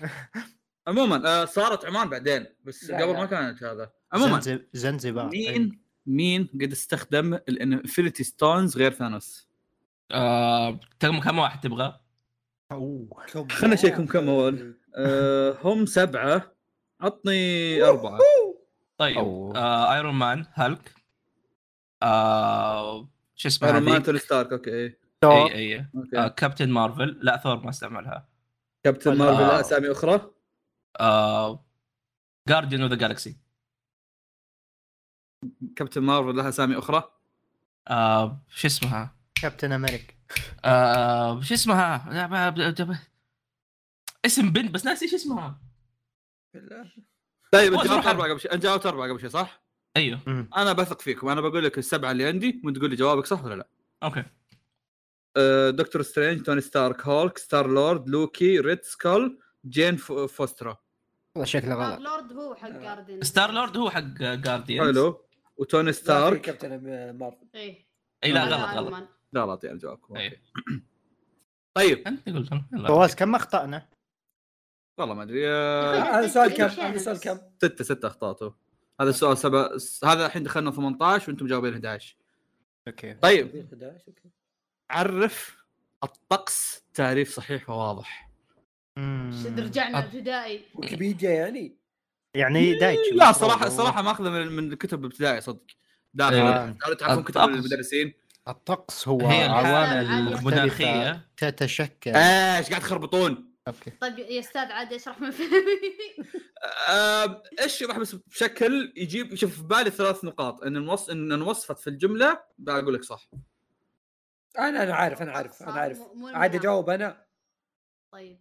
[SPEAKER 1] عموما آه، صارت عمان بعدين بس
[SPEAKER 3] لا،
[SPEAKER 1] قبل
[SPEAKER 3] لا.
[SPEAKER 1] ما كانت هذا عموما
[SPEAKER 2] زنزب- زنزبار
[SPEAKER 1] مين مين قد استخدم الانفينيتي ستونز غير ثانوس؟
[SPEAKER 4] آه، كم كم واحد تبغى؟
[SPEAKER 2] أوه.
[SPEAKER 1] خلنا نشيكهم كم اول أه هم سبعه عطني اربعه
[SPEAKER 4] طيب
[SPEAKER 1] أوه.
[SPEAKER 4] آه، ايرون مان هالك آه، شو اسمه
[SPEAKER 1] ايرون مان
[SPEAKER 4] هذيك؟
[SPEAKER 1] توني ستارك اوكي
[SPEAKER 2] ثور.
[SPEAKER 1] إيه.
[SPEAKER 4] اي اي آه،
[SPEAKER 1] اوكي
[SPEAKER 4] كابتن مارفل لا ثور ما استعملها
[SPEAKER 1] كابتن مارفل
[SPEAKER 4] آه.
[SPEAKER 1] اسامي اخرى
[SPEAKER 4] جارديان اوف ذا جالكسي
[SPEAKER 1] كابتن مارفل لها اسامي اخرى
[SPEAKER 4] آه، شو اسمها؟
[SPEAKER 2] كابتن امريكا
[SPEAKER 4] آه، شو اسمها؟ لا، ما- ب- ب- اسم بنت بس ناسي شو اسمها
[SPEAKER 1] طيب
[SPEAKER 4] فوز
[SPEAKER 1] انت جاوبت
[SPEAKER 4] روح.
[SPEAKER 1] اربعه قبل شيء انت جاوبت اربعه قبل شيء صح؟
[SPEAKER 4] ايوه
[SPEAKER 1] انا بثق فيكم انا بقول لك السبعه اللي عندي وانت تقول لي جوابك صح ولا لا
[SPEAKER 4] اوكي
[SPEAKER 1] أه دكتور سترينج توني ستارك هولك ستار لورد لوكي ريد سكول جين فو- فوسترا
[SPEAKER 2] والله شكله
[SPEAKER 5] ستار
[SPEAKER 2] غلط
[SPEAKER 5] لورد هو حق
[SPEAKER 3] آه.
[SPEAKER 5] جاردن
[SPEAKER 4] ستار لورد هو حق جارديان
[SPEAKER 1] حلو وتوني
[SPEAKER 3] ما في
[SPEAKER 1] ستارك
[SPEAKER 3] كابتن مارفل
[SPEAKER 5] ايه
[SPEAKER 4] اي إيه، لا
[SPEAKER 5] ولا
[SPEAKER 4] غلط
[SPEAKER 5] أيرون
[SPEAKER 4] غلط
[SPEAKER 5] مان.
[SPEAKER 1] لا لا يعني جوابكم
[SPEAKER 4] إيه.
[SPEAKER 1] أوكي. طيب
[SPEAKER 4] انت قلت يلا.
[SPEAKER 2] فواز كم اخطانا؟
[SPEAKER 1] والله ما ادري آه،
[SPEAKER 5] أخي،
[SPEAKER 3] هذا سؤال
[SPEAKER 5] أنت
[SPEAKER 3] كم
[SPEAKER 5] إيش يعني
[SPEAKER 3] هذا سؤال
[SPEAKER 5] بس؟
[SPEAKER 3] كم
[SPEAKER 1] ستة ستة اخطاء تو هذا السؤال سبع س- هذا الحين دخلنا 18 وانتم جاوبين 11
[SPEAKER 2] اوكي
[SPEAKER 1] طيب
[SPEAKER 3] 11 اوكي
[SPEAKER 1] عرف الطقس تعريف صحيح وواضح
[SPEAKER 5] شد رجعنا
[SPEAKER 4] أب-
[SPEAKER 5] ابتدائي
[SPEAKER 3] ويكيبيديا يعني
[SPEAKER 2] يعني دايتش
[SPEAKER 1] لا صراحة صراحة ماخذه من من الكتب الابتدائي صدق داخل
[SPEAKER 2] أيوة.
[SPEAKER 1] تعالوا تعرفون كتب
[SPEAKER 4] الطقس.
[SPEAKER 1] المدرسين
[SPEAKER 2] الطقس هو
[SPEAKER 4] هي
[SPEAKER 2] عوامل
[SPEAKER 5] الحالة
[SPEAKER 2] مختلفة
[SPEAKER 4] المناخية.
[SPEAKER 2] تتشكل
[SPEAKER 1] آه. يعني. ايش قاعد تخربطون
[SPEAKER 2] اوكي
[SPEAKER 5] طيب يا استاذ عاد اشرح ما فهمي
[SPEAKER 1] آه، ايش يضح بس بشكل يجيب شوف في بالي ثلاث نقاط ان الوصف ان انوصفت في الجمله بقول لك صح
[SPEAKER 3] انا انا عارف انا عارف
[SPEAKER 5] آه،
[SPEAKER 3] انا عارف عاد اجاوب انا
[SPEAKER 5] طيب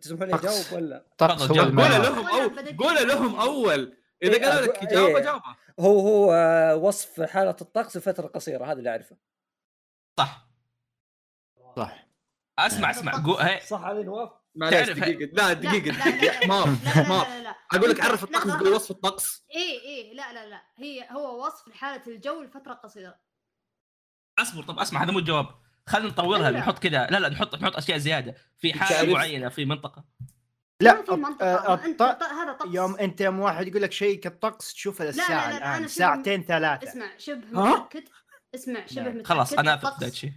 [SPEAKER 3] تسمحوا لي اجاوب ولا
[SPEAKER 2] طقس هو
[SPEAKER 4] تفضل،
[SPEAKER 1] قول
[SPEAKER 4] لا.
[SPEAKER 2] المعنى.
[SPEAKER 1] لهم اول قول لهم اول اذا
[SPEAKER 3] إيه،
[SPEAKER 1] قالوا لك
[SPEAKER 3] أقول-
[SPEAKER 1] جاوبه
[SPEAKER 3] إيه.
[SPEAKER 1] جاوبه
[SPEAKER 3] هو هو آه، وصف حاله الطقس بفتره قصيره هذا اللي اعرفه
[SPEAKER 4] صح
[SPEAKER 2] صح
[SPEAKER 4] اسمع اسمع قو... هي...
[SPEAKER 3] صح هذا نواف
[SPEAKER 1] معليش
[SPEAKER 4] تعرف-
[SPEAKER 1] دقيقه لا
[SPEAKER 5] لا،
[SPEAKER 1] دقيقه
[SPEAKER 5] لا، لا،
[SPEAKER 1] دقيقه ما
[SPEAKER 5] لا لا
[SPEAKER 1] ما
[SPEAKER 5] لا لا لا
[SPEAKER 1] اقول لك عرف الطقس
[SPEAKER 5] لا،
[SPEAKER 1] تقول وصف الطقس
[SPEAKER 5] ايه ايه لا لا لا هي هو وصف لحاله الجو لفتره قصيره
[SPEAKER 4] اصبر طب اسمع هذا مو الجواب خلينا نطورها
[SPEAKER 5] لا.
[SPEAKER 4] نحط كذا لا لا نحط نحط اشياء زياده في
[SPEAKER 1] تعرف-
[SPEAKER 4] حاله معينه في منطقه
[SPEAKER 5] ما
[SPEAKER 2] لا
[SPEAKER 5] في منطقه
[SPEAKER 2] آه،
[SPEAKER 5] ما انت
[SPEAKER 2] الط-
[SPEAKER 5] هذا طقس
[SPEAKER 2] يوم انت يوم واحد يقول لك شيء كالطقس تشوفه
[SPEAKER 5] لا، لا،
[SPEAKER 2] للساعه
[SPEAKER 5] لا، أنا
[SPEAKER 2] الان
[SPEAKER 5] شبه-
[SPEAKER 2] ساعتين ثلاثه
[SPEAKER 5] اسمع شبه
[SPEAKER 1] ها؟
[SPEAKER 5] متاكد اسمع شبه
[SPEAKER 2] نعم.
[SPEAKER 5] متاكد
[SPEAKER 4] خلاص انا في ذا
[SPEAKER 5] الطقس
[SPEAKER 4] الشيء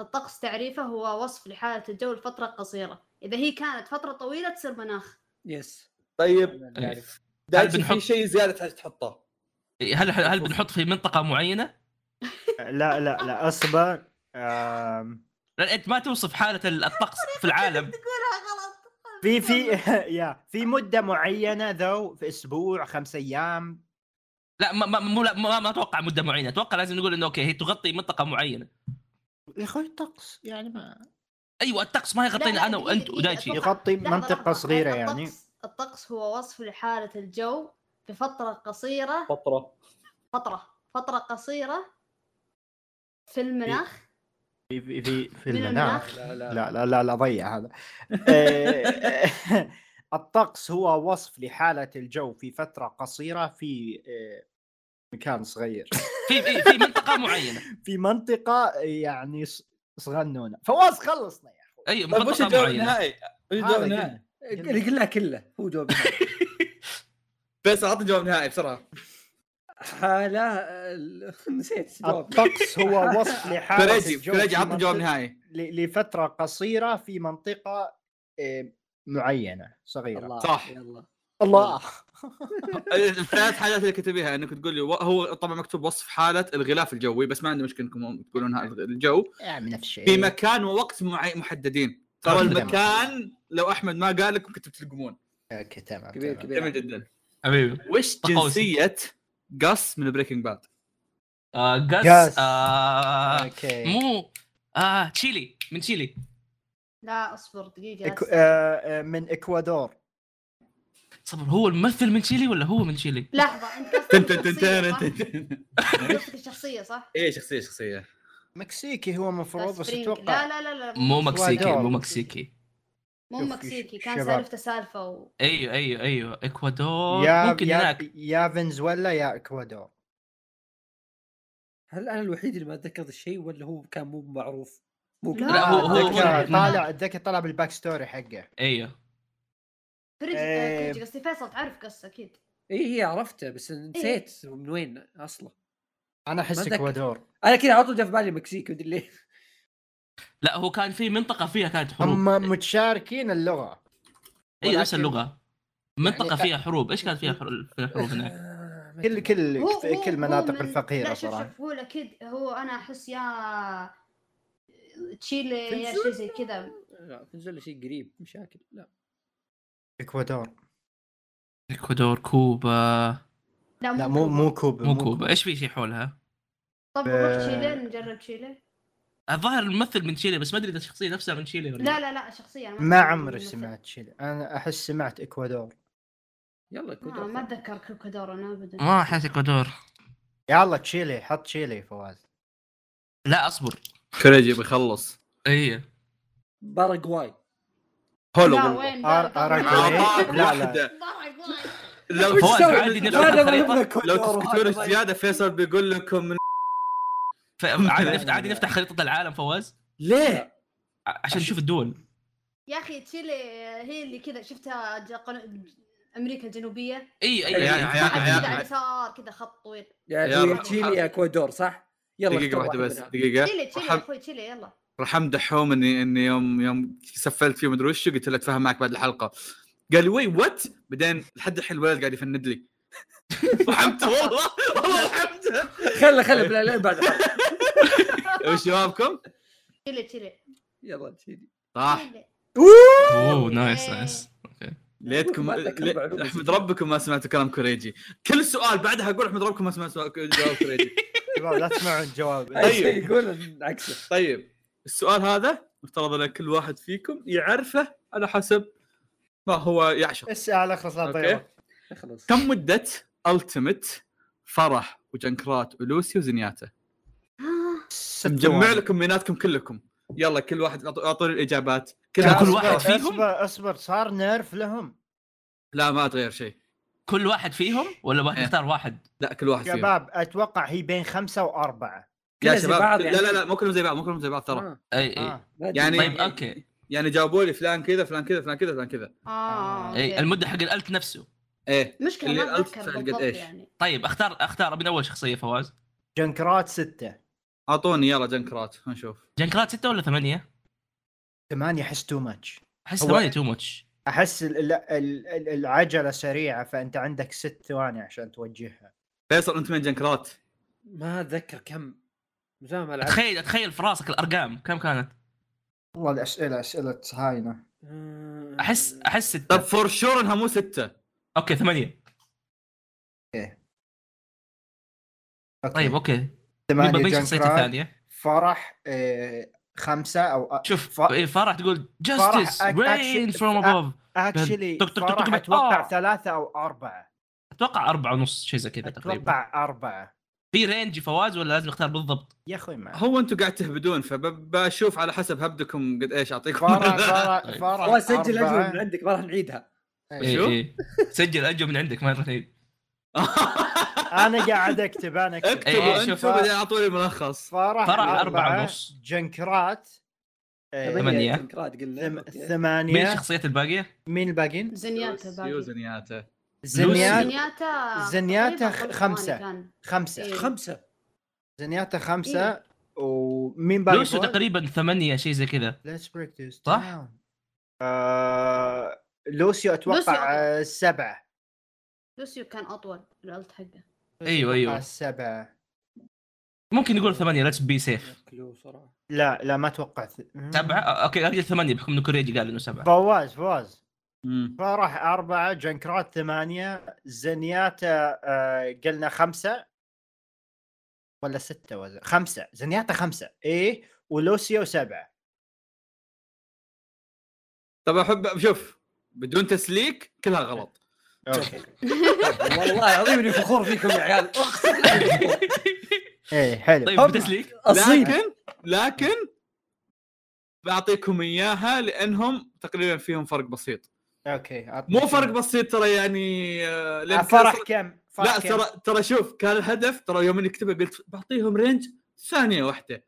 [SPEAKER 5] الطقس تعريفه هو وصف لحاله الجو لفتره قصيره اذا هي كانت فتره طويله تصير مناخ
[SPEAKER 3] يس
[SPEAKER 1] طيب
[SPEAKER 3] أنا اللي أعرف.
[SPEAKER 4] هل
[SPEAKER 1] دايتشي في
[SPEAKER 4] بنحط-
[SPEAKER 1] شيء زياده تحتاج تحطه
[SPEAKER 4] إيه، هل هل بنحط في منطقه معينه؟
[SPEAKER 2] لا لا لا آه، اصبر آم،
[SPEAKER 4] لان انت ما توصف حاله الطقس في العالم
[SPEAKER 5] تقولها غلط
[SPEAKER 2] في في *laughs* يا في مده معينه ذو في اسبوع خمس ايام
[SPEAKER 4] لا ما ما مو لا ما, ما اتوقع مده معينه اتوقع لازم نقول انه اوكي هي تغطي منطقه معينه
[SPEAKER 2] يا اخوي طقس يعني ما
[SPEAKER 4] ايوه الطقس ما
[SPEAKER 5] لا،
[SPEAKER 4] يغطينا
[SPEAKER 5] لا،
[SPEAKER 4] انا
[SPEAKER 5] دقيقة،
[SPEAKER 4] وانت
[SPEAKER 5] دقيقة،
[SPEAKER 4] ودايتشي
[SPEAKER 5] أتوقع-
[SPEAKER 2] يغطي
[SPEAKER 5] لحظة،
[SPEAKER 2] منطقه
[SPEAKER 5] لحظة.
[SPEAKER 2] صغيره
[SPEAKER 5] الطقس-
[SPEAKER 2] يعني
[SPEAKER 5] الطقس هو وصف لحاله الجو بفتره قصيره
[SPEAKER 1] فتره
[SPEAKER 5] فتره فتره قصيره في المناخ
[SPEAKER 2] في في في, في
[SPEAKER 5] من المناخ
[SPEAKER 2] المناخ
[SPEAKER 3] لا لا
[SPEAKER 2] لا لا لا لا ضيع
[SPEAKER 3] *laughs*
[SPEAKER 2] هذا آه، الطقس هو وصف لحالة الجو في فترة قصيرة في آه، مكان صغير
[SPEAKER 4] في في في منطقه معينه
[SPEAKER 2] في منطقة يعني ص- صغنونة فواز خلصنا يا أخوي
[SPEAKER 4] ايوه
[SPEAKER 1] طيب وش
[SPEAKER 4] منطقه
[SPEAKER 1] الجواب
[SPEAKER 4] معينه
[SPEAKER 1] النهائي؟ وش الجواب
[SPEAKER 2] هذا
[SPEAKER 1] النهائي؟
[SPEAKER 2] قلنا.
[SPEAKER 3] اللي قلناه كله هو جواب
[SPEAKER 1] بس اعطني جواب نهائي بسرعه
[SPEAKER 3] حاله ال- *laughs* نسيت جواب
[SPEAKER 2] الطقس هو وصف لحالة
[SPEAKER 1] كوريجي
[SPEAKER 2] الجو
[SPEAKER 1] كوريجي
[SPEAKER 2] في
[SPEAKER 1] اعطني جواب
[SPEAKER 2] منطقة-
[SPEAKER 1] نهائي
[SPEAKER 2] ل- لفترة قصيرة في منطقة آه، معينة صغيرة آه،
[SPEAKER 3] الله
[SPEAKER 1] صح.
[SPEAKER 3] يلا
[SPEAKER 2] الله
[SPEAKER 1] الثلاث حاجات اللي كتبيها انك تقول لي و- هو طبعا مكتوب وصف حاله الغلاف الجوي بس ما عندي مشكله انكم تقولون هذا الجو
[SPEAKER 2] يعني نفس الشيء
[SPEAKER 1] في مكان ووقت معي محددين ترى
[SPEAKER 2] تمام.
[SPEAKER 1] المكان لو احمد ما قال لكم كنتوا بتلقمون
[SPEAKER 2] اوكي تمام
[SPEAKER 3] كبير
[SPEAKER 2] آه، تمام.
[SPEAKER 1] جميل
[SPEAKER 3] كبير
[SPEAKER 1] جدا
[SPEAKER 4] حبيبي
[SPEAKER 1] وش
[SPEAKER 4] تقوسي.
[SPEAKER 1] جنسيه جاس من بريكنج باد
[SPEAKER 4] آه
[SPEAKER 2] Yes.
[SPEAKER 4] جاس آه
[SPEAKER 2] اوكي
[SPEAKER 4] مو آه تشيلي من تشيلي
[SPEAKER 5] لا اصبر دقيقه
[SPEAKER 2] إكو...
[SPEAKER 5] أس-
[SPEAKER 2] آه، آه، من اكوادور
[SPEAKER 4] صبر هو الممثل من تشيلي ولا هو من تشيلي؟
[SPEAKER 5] لحظه انت
[SPEAKER 1] تن-
[SPEAKER 5] قصدك
[SPEAKER 1] تن- تن-
[SPEAKER 5] الشخصية،
[SPEAKER 1] تن-
[SPEAKER 5] صح؟
[SPEAKER 1] تن- *laughs* تن.
[SPEAKER 5] قصدك الشخصيه صح؟
[SPEAKER 1] ايه شخصيه شخصيه
[SPEAKER 2] مكسيكي هو مفروض بس
[SPEAKER 5] سبرينج.
[SPEAKER 2] اتوقع
[SPEAKER 5] لا لا لا لا
[SPEAKER 4] مو مكسيكي
[SPEAKER 2] إكوادور.
[SPEAKER 4] مو مكسيكي
[SPEAKER 5] مو
[SPEAKER 2] شوف
[SPEAKER 5] مكسيكي
[SPEAKER 2] ش-
[SPEAKER 5] كان
[SPEAKER 2] شباب.
[SPEAKER 5] سالفته سالفه و...
[SPEAKER 4] ايوه ايوه ايوه اكوادور
[SPEAKER 2] يا
[SPEAKER 4] ممكن
[SPEAKER 2] يا
[SPEAKER 4] هناك
[SPEAKER 2] يا فنزويلا يا اكوادور
[SPEAKER 3] هل انا الوحيد اللي ما اتذكرت الشيء ولا هو كان مو معروف؟ مو
[SPEAKER 5] لا،
[SPEAKER 4] لا، هو- هو- هو-
[SPEAKER 2] اتذكر
[SPEAKER 4] هو-
[SPEAKER 2] طالع اتذكر طالع بالباك ستوري حقه
[SPEAKER 4] ايوه
[SPEAKER 5] فريج
[SPEAKER 2] إيه.
[SPEAKER 5] كوريجي قصدي فيصل تعرف قصه اكيد
[SPEAKER 3] اي اي إيه، عرفته بس نسيت من وين اصلا
[SPEAKER 2] انا احس
[SPEAKER 3] أتذكر.
[SPEAKER 2] اكوادور
[SPEAKER 3] انا كذا على طول جا في بالي مكسيكي مدري ليه
[SPEAKER 4] لا هو كان في منطقه فيها كانت
[SPEAKER 2] هم
[SPEAKER 4] حروب
[SPEAKER 2] متشاركين اللغه
[SPEAKER 4] ايوه نفس
[SPEAKER 2] ولكن-
[SPEAKER 4] اللغه منطقه
[SPEAKER 2] يعني-
[SPEAKER 4] فيها حروب ايش كان فيها حروب فيها حروب هناك؟
[SPEAKER 3] آه، ما
[SPEAKER 2] كل
[SPEAKER 3] أدري.
[SPEAKER 2] كل
[SPEAKER 5] هو- هو-
[SPEAKER 2] كل
[SPEAKER 5] هو
[SPEAKER 2] مناطق
[SPEAKER 5] من-
[SPEAKER 2] الفقيره
[SPEAKER 5] لا شوف
[SPEAKER 2] صراحه
[SPEAKER 5] شوف هو اكيد هو انا احس يا تشيلي يا شيء زي كذا
[SPEAKER 3] لا فنزويلا شيء قريب مشاكل لا
[SPEAKER 2] اكوادور
[SPEAKER 4] اكوادور كوبا
[SPEAKER 5] لا
[SPEAKER 2] لا مو مو كوبا
[SPEAKER 4] مو كوبا ايش في شيء حولها؟
[SPEAKER 5] طب نروح
[SPEAKER 2] آه،
[SPEAKER 5] تشيلي نجرب تشيلي
[SPEAKER 4] الظاهر الممثل من تشيلي بس ما ادري اذا الشخصيه نفسها من تشيلي ولا
[SPEAKER 5] لا لا لا شخصيا أنا
[SPEAKER 2] ما
[SPEAKER 5] أتكلم عن
[SPEAKER 2] عمري
[SPEAKER 5] الممثل.
[SPEAKER 2] سمعت شيء انا احس سمعت اكوادور
[SPEAKER 3] يلا
[SPEAKER 5] ما
[SPEAKER 3] كودور
[SPEAKER 5] آه، ما اتذكر كوكادور انا ابدا
[SPEAKER 4] ما احس اكوادور
[SPEAKER 2] يلا تشيلي حط تشيلي فواز
[SPEAKER 4] لا أيوه. اصبر
[SPEAKER 1] كوريجي بيخلص
[SPEAKER 4] اي
[SPEAKER 3] باراغواي
[SPEAKER 5] لا
[SPEAKER 1] هولو
[SPEAKER 5] وين
[SPEAKER 2] أر- أراجواي.
[SPEAKER 1] لا، لا.
[SPEAKER 5] لا لا
[SPEAKER 1] لو
[SPEAKER 4] فواز
[SPEAKER 3] إيه؟ وش تسوي؟
[SPEAKER 4] عادي نفس
[SPEAKER 3] هذا ما
[SPEAKER 4] الطريقة.
[SPEAKER 3] يبغى كودور،
[SPEAKER 1] لو
[SPEAKER 3] هذا
[SPEAKER 1] تسكتون
[SPEAKER 3] ما-
[SPEAKER 1] زياده فيصل بيقول لكم من
[SPEAKER 4] ف- عادي نفتح عادي نفتح خريطه العالم فواز
[SPEAKER 1] ليه؟
[SPEAKER 4] ع- عشان نشوف الدول
[SPEAKER 5] يا اخي تشيلي هي اللي كذا شفتها ج- قن- امريكا الجنوبيه
[SPEAKER 4] اي اي
[SPEAKER 1] يا- يا- يا-
[SPEAKER 5] واحد كذا
[SPEAKER 1] يا-
[SPEAKER 5] على اليسار كذا خط طويل
[SPEAKER 3] يعني
[SPEAKER 1] يا
[SPEAKER 3] هي
[SPEAKER 1] رب.
[SPEAKER 3] تشيلي يا اكوادور صح؟ يلا
[SPEAKER 1] دقيقه
[SPEAKER 3] اختار
[SPEAKER 1] واحده بس
[SPEAKER 3] منها.
[SPEAKER 1] دقيقه
[SPEAKER 5] تشيلي تشيلي يا
[SPEAKER 1] رحم
[SPEAKER 5] اخوي تشيلي يلا
[SPEAKER 1] رحم دحوم اني اني يوم يوم سفلت فيه مدري وش قلت له اتفاهم معك بعد الحلقه قال لي وي وات بعدين لحد الحين الولد قاعد يفند لي *laughs* رحمته والله والله رحمته
[SPEAKER 3] خله خله بلا لا بعد
[SPEAKER 1] وش جوابكم؟
[SPEAKER 5] تشيلي تشيلي
[SPEAKER 1] آه.
[SPEAKER 3] يلا تشيلي
[SPEAKER 1] صح
[SPEAKER 4] اوه نايس
[SPEAKER 5] إيه.
[SPEAKER 4] نايس
[SPEAKER 1] ليتكم
[SPEAKER 3] ما أتذكر
[SPEAKER 1] لي-
[SPEAKER 3] معلومة
[SPEAKER 1] احمد ربكم ما سمعتوا كلام كوريجي كل سؤال بعدها اقول احمد ربكم ما سمعتوا جواب كوريجي
[SPEAKER 2] شباب لا تسمعون
[SPEAKER 4] *laughs*
[SPEAKER 2] جواب
[SPEAKER 3] اي
[SPEAKER 1] طيب.
[SPEAKER 3] شيء *laughs* يقول عكسه
[SPEAKER 1] طيب السؤال هذا مفترض ان كل واحد فيكم يعرفه على حسب ما هو يعشق
[SPEAKER 2] اسال على اخلص لا
[SPEAKER 1] أوكي.
[SPEAKER 2] تضيع وقت.
[SPEAKER 3] خلاص
[SPEAKER 1] كم مدة التيمت فرح وجنكرات ولوسي وزنياته؟
[SPEAKER 2] ست
[SPEAKER 1] مجمع
[SPEAKER 2] ثواني.
[SPEAKER 1] لكم بيناتكم كلكم يلا كل واحد أعطوا- اعطوني الاجابات كل
[SPEAKER 4] كذا كل
[SPEAKER 2] اصبر-
[SPEAKER 4] واحد فيهم
[SPEAKER 2] اصبر اصبر صار نيرف لهم
[SPEAKER 1] لا ما اتغير شيء
[SPEAKER 4] كل واحد فيهم ولا واحد
[SPEAKER 1] إيه.
[SPEAKER 4] اختار واحد
[SPEAKER 1] لا كل واحد فيهم
[SPEAKER 2] شباب اتوقع هي بين خمسه واربعه
[SPEAKER 1] يا
[SPEAKER 3] كلها زي
[SPEAKER 1] شباب
[SPEAKER 3] بعض
[SPEAKER 1] لا
[SPEAKER 3] يعني.
[SPEAKER 1] لا لا مو كلهم زي بعض مو كلهم زي بعض ترى
[SPEAKER 3] آه،
[SPEAKER 4] اي اي
[SPEAKER 2] آه. إيه.
[SPEAKER 3] لا
[SPEAKER 1] يعني-
[SPEAKER 3] تجيب.
[SPEAKER 4] طيب اوكي
[SPEAKER 1] يعني جابوا لي فلان كذا فلان كذا فلان كذا فلان كذا
[SPEAKER 5] اه
[SPEAKER 4] اي
[SPEAKER 5] أوكي.
[SPEAKER 4] المده حق الالت نفسه
[SPEAKER 1] ايه
[SPEAKER 5] مشكله
[SPEAKER 1] اللي
[SPEAKER 5] ما
[SPEAKER 1] قلت
[SPEAKER 5] اتذكر
[SPEAKER 1] فعل قد
[SPEAKER 5] بالضبط
[SPEAKER 1] إيش.
[SPEAKER 5] يعني
[SPEAKER 4] طيب اختار اختار من اول شخصيه فواز
[SPEAKER 2] جنكرات سته
[SPEAKER 1] اعطوني يلا جنكرات نشوف
[SPEAKER 4] جنكرات ستة ولا ثمانية؟
[SPEAKER 2] ثمانيه احس تو ماتش
[SPEAKER 4] احس
[SPEAKER 2] هو-
[SPEAKER 4] ثمانية تو ماتش
[SPEAKER 2] احس ال- ال- ال- ال- العجله سريعه فانت عندك ست ثواني عشان توجهها
[SPEAKER 1] فيصل انت من جنكرات
[SPEAKER 3] ما اتذكر كم من زمان ما لعبت
[SPEAKER 4] تخيل تخيل في راسك الارقام كم كانت؟
[SPEAKER 2] والله الاسئله اسئله هاينه
[SPEAKER 3] آه،
[SPEAKER 4] احس احس
[SPEAKER 1] طب
[SPEAKER 4] ستة
[SPEAKER 1] فور شور انها مو سته
[SPEAKER 4] اوكي ثمانية
[SPEAKER 2] أوكي.
[SPEAKER 4] طيب اوكي
[SPEAKER 2] ثمانيه
[SPEAKER 4] نبغى بين شخصيته
[SPEAKER 2] جنكرات
[SPEAKER 4] الثانية
[SPEAKER 2] فرح آه، خمسة آه، او
[SPEAKER 4] شوف
[SPEAKER 2] ف-
[SPEAKER 4] إيه، فرح تقول
[SPEAKER 2] فرح
[SPEAKER 4] جاستس
[SPEAKER 2] أك-
[SPEAKER 4] رين
[SPEAKER 2] أكشن-
[SPEAKER 4] فروم ابوف
[SPEAKER 2] اكشلي
[SPEAKER 4] طق- طق- طق-
[SPEAKER 2] فرح
[SPEAKER 4] طق-
[SPEAKER 2] اتوقع
[SPEAKER 4] آه. إيه،
[SPEAKER 2] ثلاثة او اربعة
[SPEAKER 4] اتوقع أربعة ونص شيء زي كذا تقريبا
[SPEAKER 2] اتوقع اربعة
[SPEAKER 4] في رينج فواز ولا لازم اختار بالضبط؟
[SPEAKER 2] يا اخوي
[SPEAKER 4] *laughs*
[SPEAKER 2] ما
[SPEAKER 4] طيب.
[SPEAKER 1] هو انتم قاعد تهبدون فبشوف على حسب هبدكم قد ايش اعطيكم
[SPEAKER 2] فرح
[SPEAKER 1] *laughs*
[SPEAKER 4] طيب. *laughs*
[SPEAKER 2] فرح فرح
[SPEAKER 3] والله سجل
[SPEAKER 2] أربعة.
[SPEAKER 3] اجل من عندك ما راح نعيدها
[SPEAKER 2] إيه.
[SPEAKER 4] إيه، إيه. سجل اجو من عندك ما
[SPEAKER 1] يعني
[SPEAKER 4] تخيل
[SPEAKER 2] انا قاعد اكتب انا
[SPEAKER 1] اكتب
[SPEAKER 4] إيه،
[SPEAKER 1] انتم
[SPEAKER 4] شوف.
[SPEAKER 1] بعدين اعطوني ملخص
[SPEAKER 2] فرح
[SPEAKER 4] فرح
[SPEAKER 2] أربعة,
[SPEAKER 4] أربعة ونص.
[SPEAKER 2] جنكرات
[SPEAKER 3] إيه.
[SPEAKER 2] آه،
[SPEAKER 4] ثمانية.
[SPEAKER 3] جنكرات
[SPEAKER 2] ثم-
[SPEAKER 3] قلنا أوكي.
[SPEAKER 4] مين
[SPEAKER 2] ثمانية
[SPEAKER 4] الشخصيات الباقية؟
[SPEAKER 2] مين الباقيين؟
[SPEAKER 5] زنياتا
[SPEAKER 1] يو
[SPEAKER 5] باقي.
[SPEAKER 1] زنياته
[SPEAKER 2] زنيات
[SPEAKER 5] زنياتا
[SPEAKER 2] زنياتا
[SPEAKER 5] تقريباً
[SPEAKER 2] خ-
[SPEAKER 5] خمس
[SPEAKER 2] خمسة.
[SPEAKER 5] ثواني كان.
[SPEAKER 2] خمسة
[SPEAKER 5] إيه.
[SPEAKER 3] خمسه
[SPEAKER 2] زنياتا خمسة ومين باقي؟
[SPEAKER 4] لوسو تقريبا ثمانية شيء زي كذا
[SPEAKER 2] ليتس بريك ذيس
[SPEAKER 4] صح؟
[SPEAKER 2] لوسيو
[SPEAKER 5] لوسيو
[SPEAKER 2] اتوقع
[SPEAKER 5] أطول.
[SPEAKER 2] آه، سبعة
[SPEAKER 5] لوسيو كان اطول الالت حقه
[SPEAKER 4] أيوة، أيوة.
[SPEAKER 2] آه، سبعة
[SPEAKER 4] ممكن نقول ثمانية ليتس بي سيف
[SPEAKER 3] كلو صراحه
[SPEAKER 2] لا لا ما اتوقع ث-
[SPEAKER 4] سبعة أه، اوكي ارجع ثمانية بحكم انه كوريجي قال
[SPEAKER 1] طيب،
[SPEAKER 4] انه سبعة
[SPEAKER 2] فواز فواز فرح أربعة جنكرات ثمانية زنياتا آه، قلنا خمسة ولا ستة وزن. خمسة زنياتا خمسة إيه ولوسيو سبعة
[SPEAKER 1] طب احب شوف بدون تسليك كلها غلط
[SPEAKER 2] أوكي
[SPEAKER 3] والله العظيم اني فخور فيكم يا عيال اقسم بالله.
[SPEAKER 2] إيه حلو
[SPEAKER 4] طيب
[SPEAKER 3] هم-
[SPEAKER 4] بتسليك
[SPEAKER 3] اصيل
[SPEAKER 1] لكن لكن بعطيكم اياها لانهم تقريبا فيهم فرق بسيط
[SPEAKER 2] أوكي أعطني
[SPEAKER 1] مو
[SPEAKER 2] كم.
[SPEAKER 1] فرق بسيط ترى يعني آه، لأن
[SPEAKER 2] آه، فرح
[SPEAKER 1] كان-
[SPEAKER 2] كم فرح
[SPEAKER 1] لا
[SPEAKER 2] كم؟
[SPEAKER 1] ترى ترى شوف كان الهدف ترى يوم اني كتبه قلت بعطيهم رينج ثانيه واحده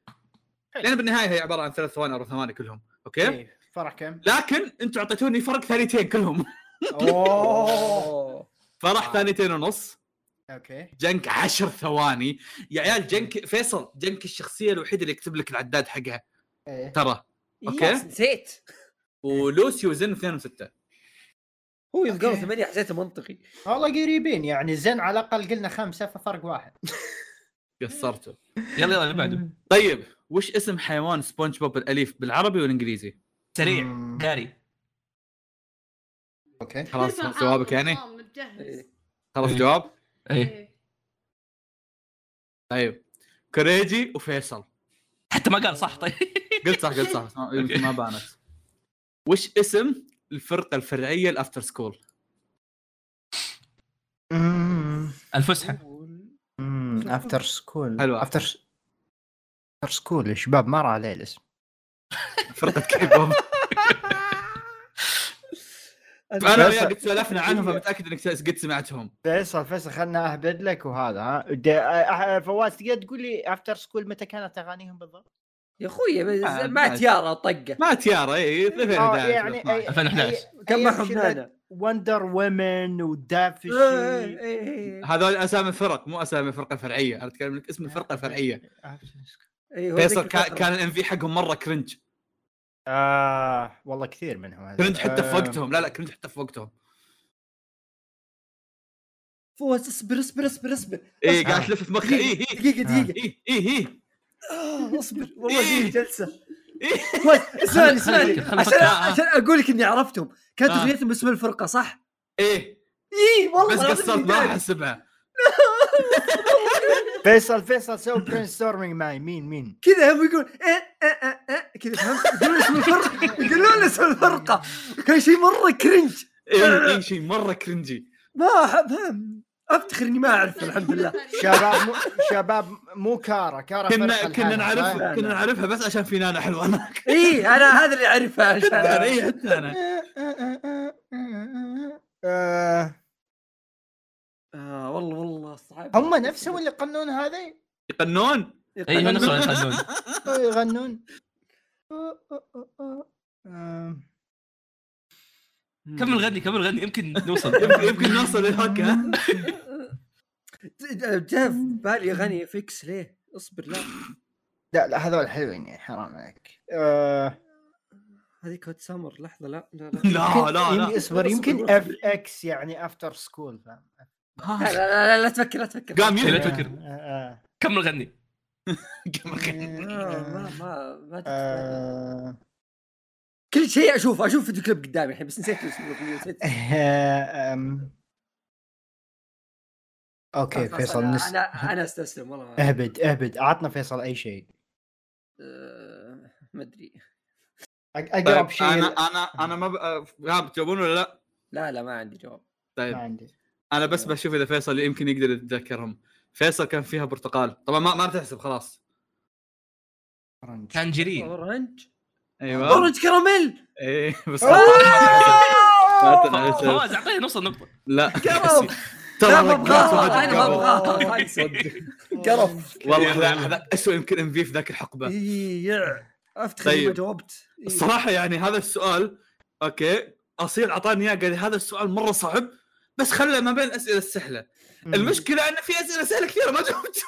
[SPEAKER 1] لان بالنهايه هي عباره عن ثلاث ثواني او ثواني كلهم اوكي
[SPEAKER 2] إيه، فرح
[SPEAKER 1] *laughs*
[SPEAKER 2] كم
[SPEAKER 1] لكن انتم اعطيتوني فرق ثانيتين كلهم *laughs*
[SPEAKER 2] أوه
[SPEAKER 3] أوه.
[SPEAKER 1] فرح ثانيتين ونص
[SPEAKER 2] أوكي
[SPEAKER 1] جنك عشر ثواني يا عيال جنك فيصل جنك الشخصيه الوحيده اللي يكتب لك العداد حقها
[SPEAKER 2] إيه.
[SPEAKER 1] ترى أوكي.
[SPEAKER 3] يس، نسيت
[SPEAKER 1] ولوسيو زن اثنين وستة
[SPEAKER 3] هو يوم قالوا
[SPEAKER 2] أوكي. إيه،
[SPEAKER 3] ثمانيه حسيته منطقي
[SPEAKER 2] والله قريبين يعني زين على الأقل قلنا خمسة ففرق واحد
[SPEAKER 1] قصرتوا
[SPEAKER 4] يلا يلا اللي بعده
[SPEAKER 1] طيب وش اسم حيوان سبونج بوب الاليف بالعربي والانجليزي؟
[SPEAKER 4] سريع
[SPEAKER 2] مم،
[SPEAKER 4] جاري
[SPEAKER 2] أوكي
[SPEAKER 5] *laughs*
[SPEAKER 1] خلاص
[SPEAKER 5] تقريباً
[SPEAKER 1] جوابك
[SPEAKER 5] عاطل
[SPEAKER 1] يعني؟
[SPEAKER 5] نظام آه، متجهز.
[SPEAKER 3] إيه.
[SPEAKER 1] خلاص جواب؟
[SPEAKER 4] ايه
[SPEAKER 5] إيه.
[SPEAKER 1] طيب كوريجي وفيصل
[SPEAKER 4] حتى ما قال صح طيب *laughs*
[SPEAKER 1] قلت صح قلت صح *laughs* بس ما- يمكن ما بانت وش اسم الفرقه الفرعيه الافتر سكول؟
[SPEAKER 2] مم.
[SPEAKER 4] الفسحة
[SPEAKER 2] امم افتر سكول
[SPEAKER 1] حلوة.
[SPEAKER 2] افتر س- افتر سكول يا شباب مر عليه الاسم
[SPEAKER 1] فرقه كي *laughs* بوب انا وياك قد سولفنا عنهم
[SPEAKER 2] فيصل.
[SPEAKER 1] فمتاكد انك قد سمعتهم
[SPEAKER 2] فيصل فيصل خلنا اهبد لك وهذا ها دي- أه- أه- فواز تقدر تقول لي افتر سكول متى كانت اغانيهم بالضبط؟
[SPEAKER 3] يا اخوي بس
[SPEAKER 1] آه،
[SPEAKER 3] مع
[SPEAKER 1] آه.
[SPEAKER 3] تيارة طقه
[SPEAKER 1] ما إيه، تيارا اي
[SPEAKER 2] آه،
[SPEAKER 1] 2011
[SPEAKER 2] يعني
[SPEAKER 1] 2012.
[SPEAKER 3] إيه،
[SPEAKER 4] 2011.
[SPEAKER 2] إيه،
[SPEAKER 3] كم حمانه
[SPEAKER 2] وندر وومن ودافشي
[SPEAKER 3] إيه، إيه، إيه.
[SPEAKER 1] هذول اسامي فرق مو اسامي فرقه فرعيه انا اتكلم لك اسم الفرقه الفرعيه
[SPEAKER 3] إيه، هو
[SPEAKER 1] فيصل
[SPEAKER 3] ذيك
[SPEAKER 1] كان
[SPEAKER 3] الفترة.
[SPEAKER 1] كان الام في حقهم مره كرنج
[SPEAKER 2] آه والله كثير منهم هذا
[SPEAKER 1] كرنج حتى في
[SPEAKER 2] آه،
[SPEAKER 1] وقتهم لا لا كرنج حتى في وقتهم
[SPEAKER 3] فوز اصبر اصبر اصبر اصبر
[SPEAKER 1] اي إيه، قاعد تلف في إيه، مخي اي إيه،
[SPEAKER 3] دقيقه دقيقه *laughs*
[SPEAKER 1] اي اي اي
[SPEAKER 3] آه، اصبر والله
[SPEAKER 1] إيه.
[SPEAKER 3] في جلسه اسمعني اسمعني
[SPEAKER 4] خليك- خليك-
[SPEAKER 3] عشان عشان اقول لك اني عرفتهم كانت
[SPEAKER 1] آه.
[SPEAKER 3] اغنيتهم باسم الفرقه صح؟
[SPEAKER 1] ايه
[SPEAKER 3] اي والله
[SPEAKER 1] بس
[SPEAKER 3] العظيم
[SPEAKER 1] قصرت ما
[SPEAKER 3] إني *laughs*
[SPEAKER 1] احسبها
[SPEAKER 2] فيصل فيصل سوي برين ستورمينج معي مين مين
[SPEAKER 3] كذا هم يقول إيه إيه إيه إيه كذا فهمت يقولون اسم الفرقه يقولون اسم الفرقه كان شيء مره كرنج
[SPEAKER 1] ايه اي شيء مره كرنجي
[SPEAKER 3] ما أحب افتخر اني ما اعرف الحمد
[SPEAKER 5] *laughs*
[SPEAKER 3] لله
[SPEAKER 2] شباب مو شباب مو كارا كارا فرقة
[SPEAKER 1] كنا كنا
[SPEAKER 2] الحالة، صح؟
[SPEAKER 1] نعرفها كنا نعرفها بس عشان في نانا حلوه *laughs* انا
[SPEAKER 3] اي انا هذا اللي اعرفه
[SPEAKER 1] انا
[SPEAKER 3] عشان
[SPEAKER 1] *laughs* إيه، حتى انا
[SPEAKER 2] آه،
[SPEAKER 3] آه والله والله صعب
[SPEAKER 2] هم نفسهم اللي يقنون هذا
[SPEAKER 1] قنون
[SPEAKER 4] ايوه نفس اللي يخلون
[SPEAKER 2] يغنون آه،
[SPEAKER 4] كمل غني كمل غني يمكن نوصل
[SPEAKER 1] *laughs* يمكن- يمكن نوصل *laughs* للهوك ها
[SPEAKER 3] جاء في بالي اغاني فيكس ليه؟ اصبر لا
[SPEAKER 2] لا لا هذول حلوين يعني حرام عليك آه،
[SPEAKER 3] هذيك هوت سامر لحظه لا لا لا
[SPEAKER 1] *laughs* آه، لا لا
[SPEAKER 2] يمكن-
[SPEAKER 1] لا
[SPEAKER 2] اصبر يمكن اف اكس يعني افتر سكول فاهم
[SPEAKER 1] *laughs*
[SPEAKER 3] لا لا, لا, لا تفكر لا تفكر
[SPEAKER 1] قام
[SPEAKER 4] لا
[SPEAKER 1] يلعب
[SPEAKER 4] تفكر.
[SPEAKER 1] *laughs*
[SPEAKER 2] آه،
[SPEAKER 4] كمل غني
[SPEAKER 3] آه،
[SPEAKER 2] آه،
[SPEAKER 3] ما ما ما تتخيل.
[SPEAKER 2] آه،
[SPEAKER 3] كل شيء اشوفه اشوف فيديو كليب قدامي الحين بس نسيت اسم الأغنية، نسيت اسمه.
[SPEAKER 2] آه، آم. طيب، اوكي
[SPEAKER 3] خلاص،
[SPEAKER 2] فيصل
[SPEAKER 3] أنا-
[SPEAKER 2] نس
[SPEAKER 3] انا انا استسلم والله ما-
[SPEAKER 2] اهبد اهبد عطنا فيصل اي شيء
[SPEAKER 3] آه، ما ادري
[SPEAKER 2] اقرب
[SPEAKER 1] طيب
[SPEAKER 2] شيء
[SPEAKER 1] انا انا انا ما ب... ها بتجاوبون ولا لا؟
[SPEAKER 3] لا لا ما عندي جواب
[SPEAKER 2] ما
[SPEAKER 1] طيب
[SPEAKER 2] عندي
[SPEAKER 1] انا بس بشوف اذا فيصل يمكن يقدر يتذكرهم فيصل كان فيها برتقال طبعا ما ما تحسب خلاص
[SPEAKER 2] أورنج.
[SPEAKER 1] إيه.
[SPEAKER 4] تانجرين
[SPEAKER 3] اورنج
[SPEAKER 1] ايوه
[SPEAKER 3] اورنج كراميل
[SPEAKER 1] ايه بس *laughs*
[SPEAKER 3] آه!
[SPEAKER 1] ما تحسب.
[SPEAKER 4] فواز اعطيني نص النقطة
[SPEAKER 1] لا
[SPEAKER 3] كرم
[SPEAKER 1] *laughs* ترى
[SPEAKER 3] لا
[SPEAKER 1] رجال صدق
[SPEAKER 3] ببغاها انا
[SPEAKER 1] قبل.
[SPEAKER 3] ببغاها
[SPEAKER 1] *laughs*
[SPEAKER 3] قرف
[SPEAKER 1] والله لا هذا اسوء يمكن ام في في ذاك الحقبه
[SPEAKER 3] إي، يع. افتخر
[SPEAKER 1] طيب.
[SPEAKER 3] ما جاوبت إيه. إي.
[SPEAKER 1] الصراحه يعني هذا السؤال اوكي اصيل اعطاني اياه قال لي هذا السؤال مره صعب بس خله ما بين الاسئله السهله المشكله ان في اسئله سهله كثيره ما جاوبت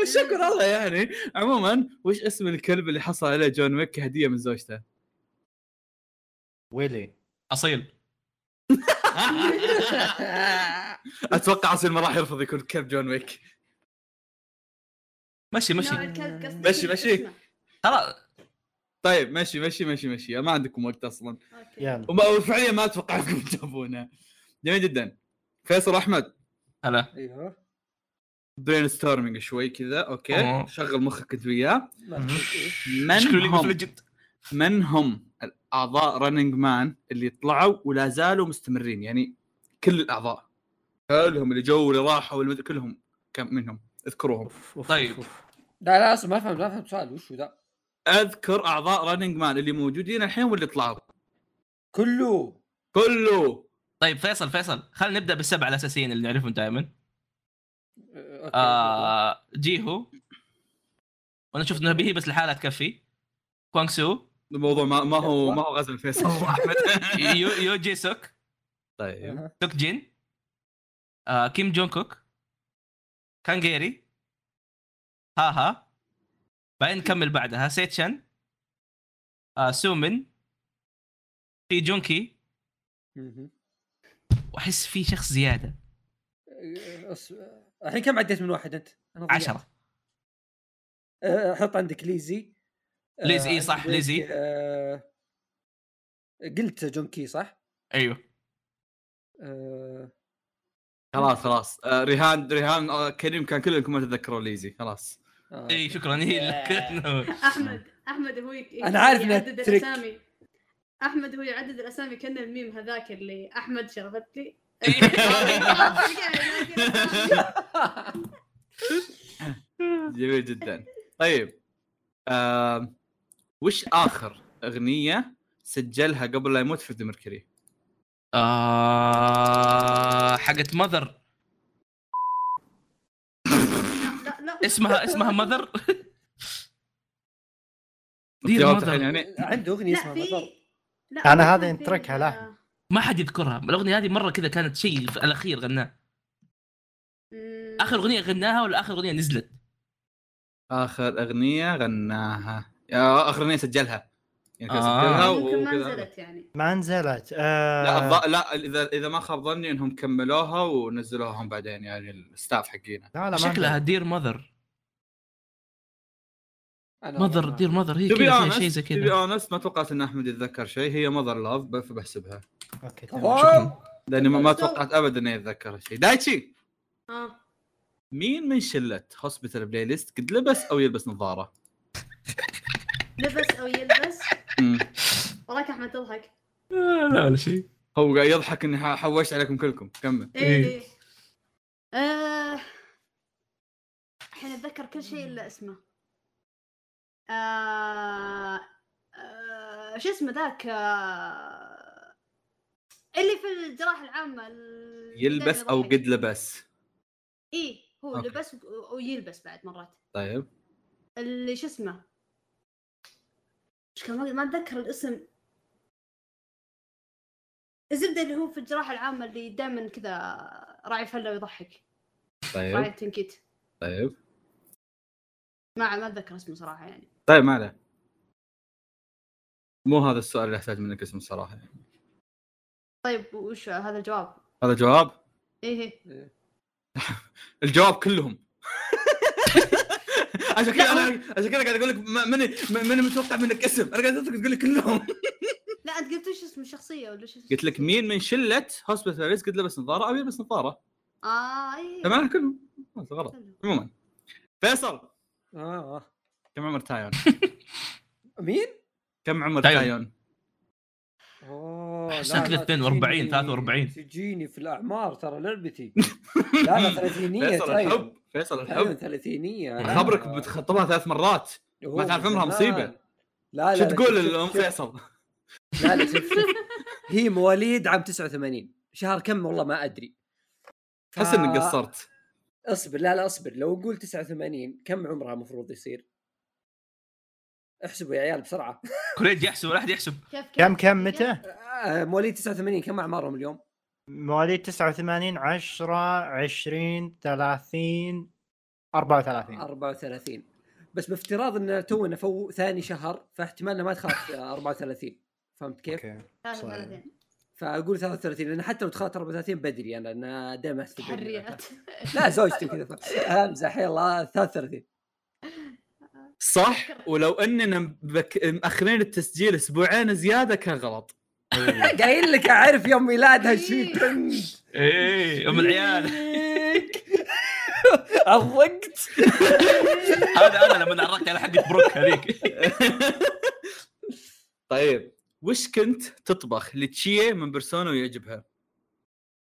[SPEAKER 1] الشكر الله يعني عموما وش اسم الكلب اللي حصل عليه جون ويك كهديه من زوجته؟
[SPEAKER 2] ويلي
[SPEAKER 4] اصيل
[SPEAKER 1] اتوقع اصيل ما راح يرفض يكون كلب جون ويك
[SPEAKER 4] مشي مشي
[SPEAKER 1] مشي، مشي.
[SPEAKER 4] خلاص
[SPEAKER 1] طيب ماشي ماشي ماشي مشي ما عندكم وقت اصلا
[SPEAKER 2] يلا
[SPEAKER 1] وما وفعليا ما اتوقع انكم تجاوبونه جميل جدا فيصل احمد
[SPEAKER 4] هلا
[SPEAKER 3] ايوه
[SPEAKER 1] برين ستورمينج شوي كذا اوكي
[SPEAKER 4] أوه.
[SPEAKER 1] شغل مخك انت وياه
[SPEAKER 3] ما أدري إيه.
[SPEAKER 1] من
[SPEAKER 4] شكله ليج اوف
[SPEAKER 1] هم
[SPEAKER 4] ليجند
[SPEAKER 1] من هم الاعضاء رننج مان اللي طلعوا ولا زالوا مستمرين يعني كل الاعضاء كلهم اللي جو واللي راحوا واللي مد- كلهم كم منهم اذكروهم
[SPEAKER 4] طيب
[SPEAKER 3] لا لا اسمع ما فهمت ما فهمت سؤال وش هو ذا
[SPEAKER 1] اذكر اعضاء رننج مان اللي موجودين الحين واللي طلعوا
[SPEAKER 3] كله
[SPEAKER 1] كله
[SPEAKER 4] طيب فيصل فيصل خلينا نبدا بالسبعة الاساسيين اللي نعرفهم دائما
[SPEAKER 3] آه، أوكي.
[SPEAKER 4] آه جيهو وانا شفت انها بهي بس لحالها تكفي كوانغ سو
[SPEAKER 1] الموضوع ما, ما هو ما هو غزل فيصل احمد
[SPEAKER 4] يو يو جي سوك
[SPEAKER 1] طيب
[SPEAKER 4] سوك جين آه كيم جون كوك كانجيري ها ها بعدين نكمل بعدها سيتشان آه سومن في جونكي
[SPEAKER 3] مهم.
[SPEAKER 4] واحس في شخص زياده
[SPEAKER 3] آه، أص- آه، الحين كم عديت من واحد انت؟ أنا ضيعت.
[SPEAKER 4] عشرة
[SPEAKER 3] آه، حط عندك ليزي آه،
[SPEAKER 4] ليز، إيه صح،
[SPEAKER 3] عندك،
[SPEAKER 4] ليزي.
[SPEAKER 3] آه، قلت جون كي صح؟
[SPEAKER 4] ايوه
[SPEAKER 3] آه،
[SPEAKER 1] خلاص خلاص آه، ريهان ريهان آه، كريم كان كلكم ما تتذكروا ليزي خلاص
[SPEAKER 3] آه،
[SPEAKER 4] اي شكرا إيه، هي لك
[SPEAKER 5] احمد احمد هو يك-
[SPEAKER 3] أنا عارف إنها
[SPEAKER 5] يعدد
[SPEAKER 3] تريك.
[SPEAKER 5] الاسامي احمد هو يعدد الاسامي كان الميم هذاك اللي احمد شرفت لي *laughs*
[SPEAKER 1] جميل جدا طيب آم، وش اخر اغنيه سجلها قبل لا يموت فريدي ميركوري
[SPEAKER 4] آه حقت ماذر
[SPEAKER 5] لا لا
[SPEAKER 4] اسمها اسمها ماذر دير
[SPEAKER 1] جوابت
[SPEAKER 4] mother.
[SPEAKER 1] الحين يعني
[SPEAKER 3] عنده اغنيه
[SPEAKER 5] لا
[SPEAKER 3] اسمها مطر.
[SPEAKER 5] في لا
[SPEAKER 2] أنا هذا
[SPEAKER 5] في-
[SPEAKER 2] ينتركها لا.
[SPEAKER 4] ما حد يذكرها الاغنيه هذه مره كذا كانت شيء في الاخير غناها
[SPEAKER 5] مم.
[SPEAKER 4] اخر اغنيه غناها ولا اخر اغنيه نزلت
[SPEAKER 1] اخر اغنيه غناها آه، اخر اغنيه سجلها يعني كذا
[SPEAKER 4] آه.
[SPEAKER 1] سجلها
[SPEAKER 5] ممكن ما
[SPEAKER 1] وكذا.
[SPEAKER 5] نزلت يعني
[SPEAKER 2] ما نزلت
[SPEAKER 1] لا
[SPEAKER 2] آه...
[SPEAKER 1] الظ- لا اذا اذا ما خاب ظني انهم كملوها ونزلوها هم بعدين يعني الستاف حقينا
[SPEAKER 2] لا لا ما
[SPEAKER 4] شكلها
[SPEAKER 2] نزلت.
[SPEAKER 4] دير ماذر
[SPEAKER 3] أنا
[SPEAKER 4] مذر دير مذر هي
[SPEAKER 1] تو بي
[SPEAKER 4] كذا
[SPEAKER 1] اونست
[SPEAKER 4] شيء زي
[SPEAKER 1] تو بي
[SPEAKER 4] كذا
[SPEAKER 1] اونست ما توقعت ان احمد يتذكر شيء هي ماذر لاف فبحسبها
[SPEAKER 2] اوكي تمام.
[SPEAKER 3] واو
[SPEAKER 1] لاني ما- ما توقعت ابدا انه يتذكر شيء دايتشي
[SPEAKER 5] ها
[SPEAKER 1] مين من شله هوسبيتال بلاي ليست قد لبس او يلبس نظاره؟
[SPEAKER 5] لبس او يلبس
[SPEAKER 1] مم.
[SPEAKER 5] وراك احمد تضحك
[SPEAKER 4] آه، لا ولا شيء
[SPEAKER 1] هو قاعد يضحك اني ح- حوشت عليكم كلكم كمل
[SPEAKER 5] ايه إيه. آه، الحين اتذكر كل شيء الا اسمه آه، آه، شو اسمه ذاك آه، اللي في الجراحه العامه ال-
[SPEAKER 1] يلبس او قد لبس
[SPEAKER 5] اي هو
[SPEAKER 1] أوكي.
[SPEAKER 5] لبس و- ويلبس بعد مرات
[SPEAKER 1] طيب
[SPEAKER 5] اللي شو اسمه مش كان ما- ما اتذكر الاسم الزبده اللي هو في الجراحه العامه اللي دائما كذا راعي فله ويضحك راعي
[SPEAKER 1] طيب
[SPEAKER 5] التنكيت
[SPEAKER 1] طيب
[SPEAKER 5] ما ما اتذكر اسمه صراحه يعني
[SPEAKER 1] طيب ما عليه مو هذا السؤال اللي احتاج منك اسم الصراحه
[SPEAKER 5] طيب وش هذا الجواب؟
[SPEAKER 1] هذا جواب
[SPEAKER 5] ايه إيه.
[SPEAKER 1] الجواب *laughs* كلهم عشان كذا انا عشان كذا قاعد اقول لك ما- ماني ما- ماني متوقع منك اسم انا قاعد اترك تقول لي كلهم
[SPEAKER 5] لا انت قلت وش اسم الشخصيه ولا شو
[SPEAKER 1] قلت لك مين من شله هوسبيتاليست قد لبس نظاره او يلبس نظاره
[SPEAKER 5] اه اي
[SPEAKER 1] تمام كلهم هذا غلط عموما فيصل
[SPEAKER 3] آه. آه.
[SPEAKER 1] كم عمر تايون؟
[SPEAKER 3] مين؟
[SPEAKER 1] كم عمر
[SPEAKER 4] تايون.
[SPEAKER 1] تايون؟
[SPEAKER 3] اوه لا،
[SPEAKER 4] سنة
[SPEAKER 3] لا،
[SPEAKER 4] 42
[SPEAKER 3] تجيني-
[SPEAKER 4] 43.
[SPEAKER 3] تجيني في الاعمار
[SPEAKER 4] *laughs*
[SPEAKER 3] ترى لعبتي لا لا طيب. ثلاثينيه
[SPEAKER 1] فيصل
[SPEAKER 3] تايم.
[SPEAKER 1] الحب فيصل
[SPEAKER 3] تايم
[SPEAKER 1] الحب
[SPEAKER 3] ثلاثينيه لا،
[SPEAKER 1] *laughs* خبرك
[SPEAKER 3] لا.
[SPEAKER 1] بتخطبها ثلاث مرات
[SPEAKER 3] هو
[SPEAKER 1] ما تعرف
[SPEAKER 3] من
[SPEAKER 1] عمرها
[SPEAKER 3] زمان.
[SPEAKER 1] مصيبة.
[SPEAKER 3] لا لا
[SPEAKER 1] شو
[SPEAKER 3] لا،
[SPEAKER 1] تقول
[SPEAKER 3] شوف-
[SPEAKER 1] لام
[SPEAKER 3] شوف-
[SPEAKER 1] فيصل؟
[SPEAKER 3] لا لا شوف شوف هي مواليد عام 89 شهر كم والله
[SPEAKER 1] *laughs*
[SPEAKER 3] ما ادري ف-
[SPEAKER 1] احس انك قصرت
[SPEAKER 3] اصبر لا لا اصبر لو نقول 89 كم عمرها المفروض يصير؟ احسبوا يا عيال بسرعه
[SPEAKER 4] كوريج يحسب ولا احد يحسب
[SPEAKER 5] كيف كيف
[SPEAKER 2] كم كم متى؟
[SPEAKER 3] آه، مواليد 89 كم اعمارهم اليوم؟
[SPEAKER 2] مواليد 89 10 20 30 34
[SPEAKER 3] 34 بس بافتراض ان تونا فو ثاني شهر فاحتمال انها ما تخالف آه، 34 فهمت كيف؟
[SPEAKER 2] اوكي
[SPEAKER 5] 33
[SPEAKER 3] فاقول 33 لان حتى لو تخالف 34 بدري انا لان دائما احسب
[SPEAKER 5] حريات
[SPEAKER 3] لا زوجتي كذا ف- امزح يلا 33
[SPEAKER 4] *laughs*
[SPEAKER 1] صح ولو اننا بك... مأخرين التسجيل اسبوعين زياده كان غلط *laughs*
[SPEAKER 3] قايل لك اعرف يوم ميلادها
[SPEAKER 5] إيه.
[SPEAKER 3] شو كنت
[SPEAKER 4] ايه ام
[SPEAKER 3] *laughs*
[SPEAKER 4] العيال
[SPEAKER 3] عرقت
[SPEAKER 4] *laughs* هذا انا لما عرضت على حقة بروك هذيك
[SPEAKER 1] طيب وش كنت تطبخ لتشيه من بيرسونا ويعجبها؟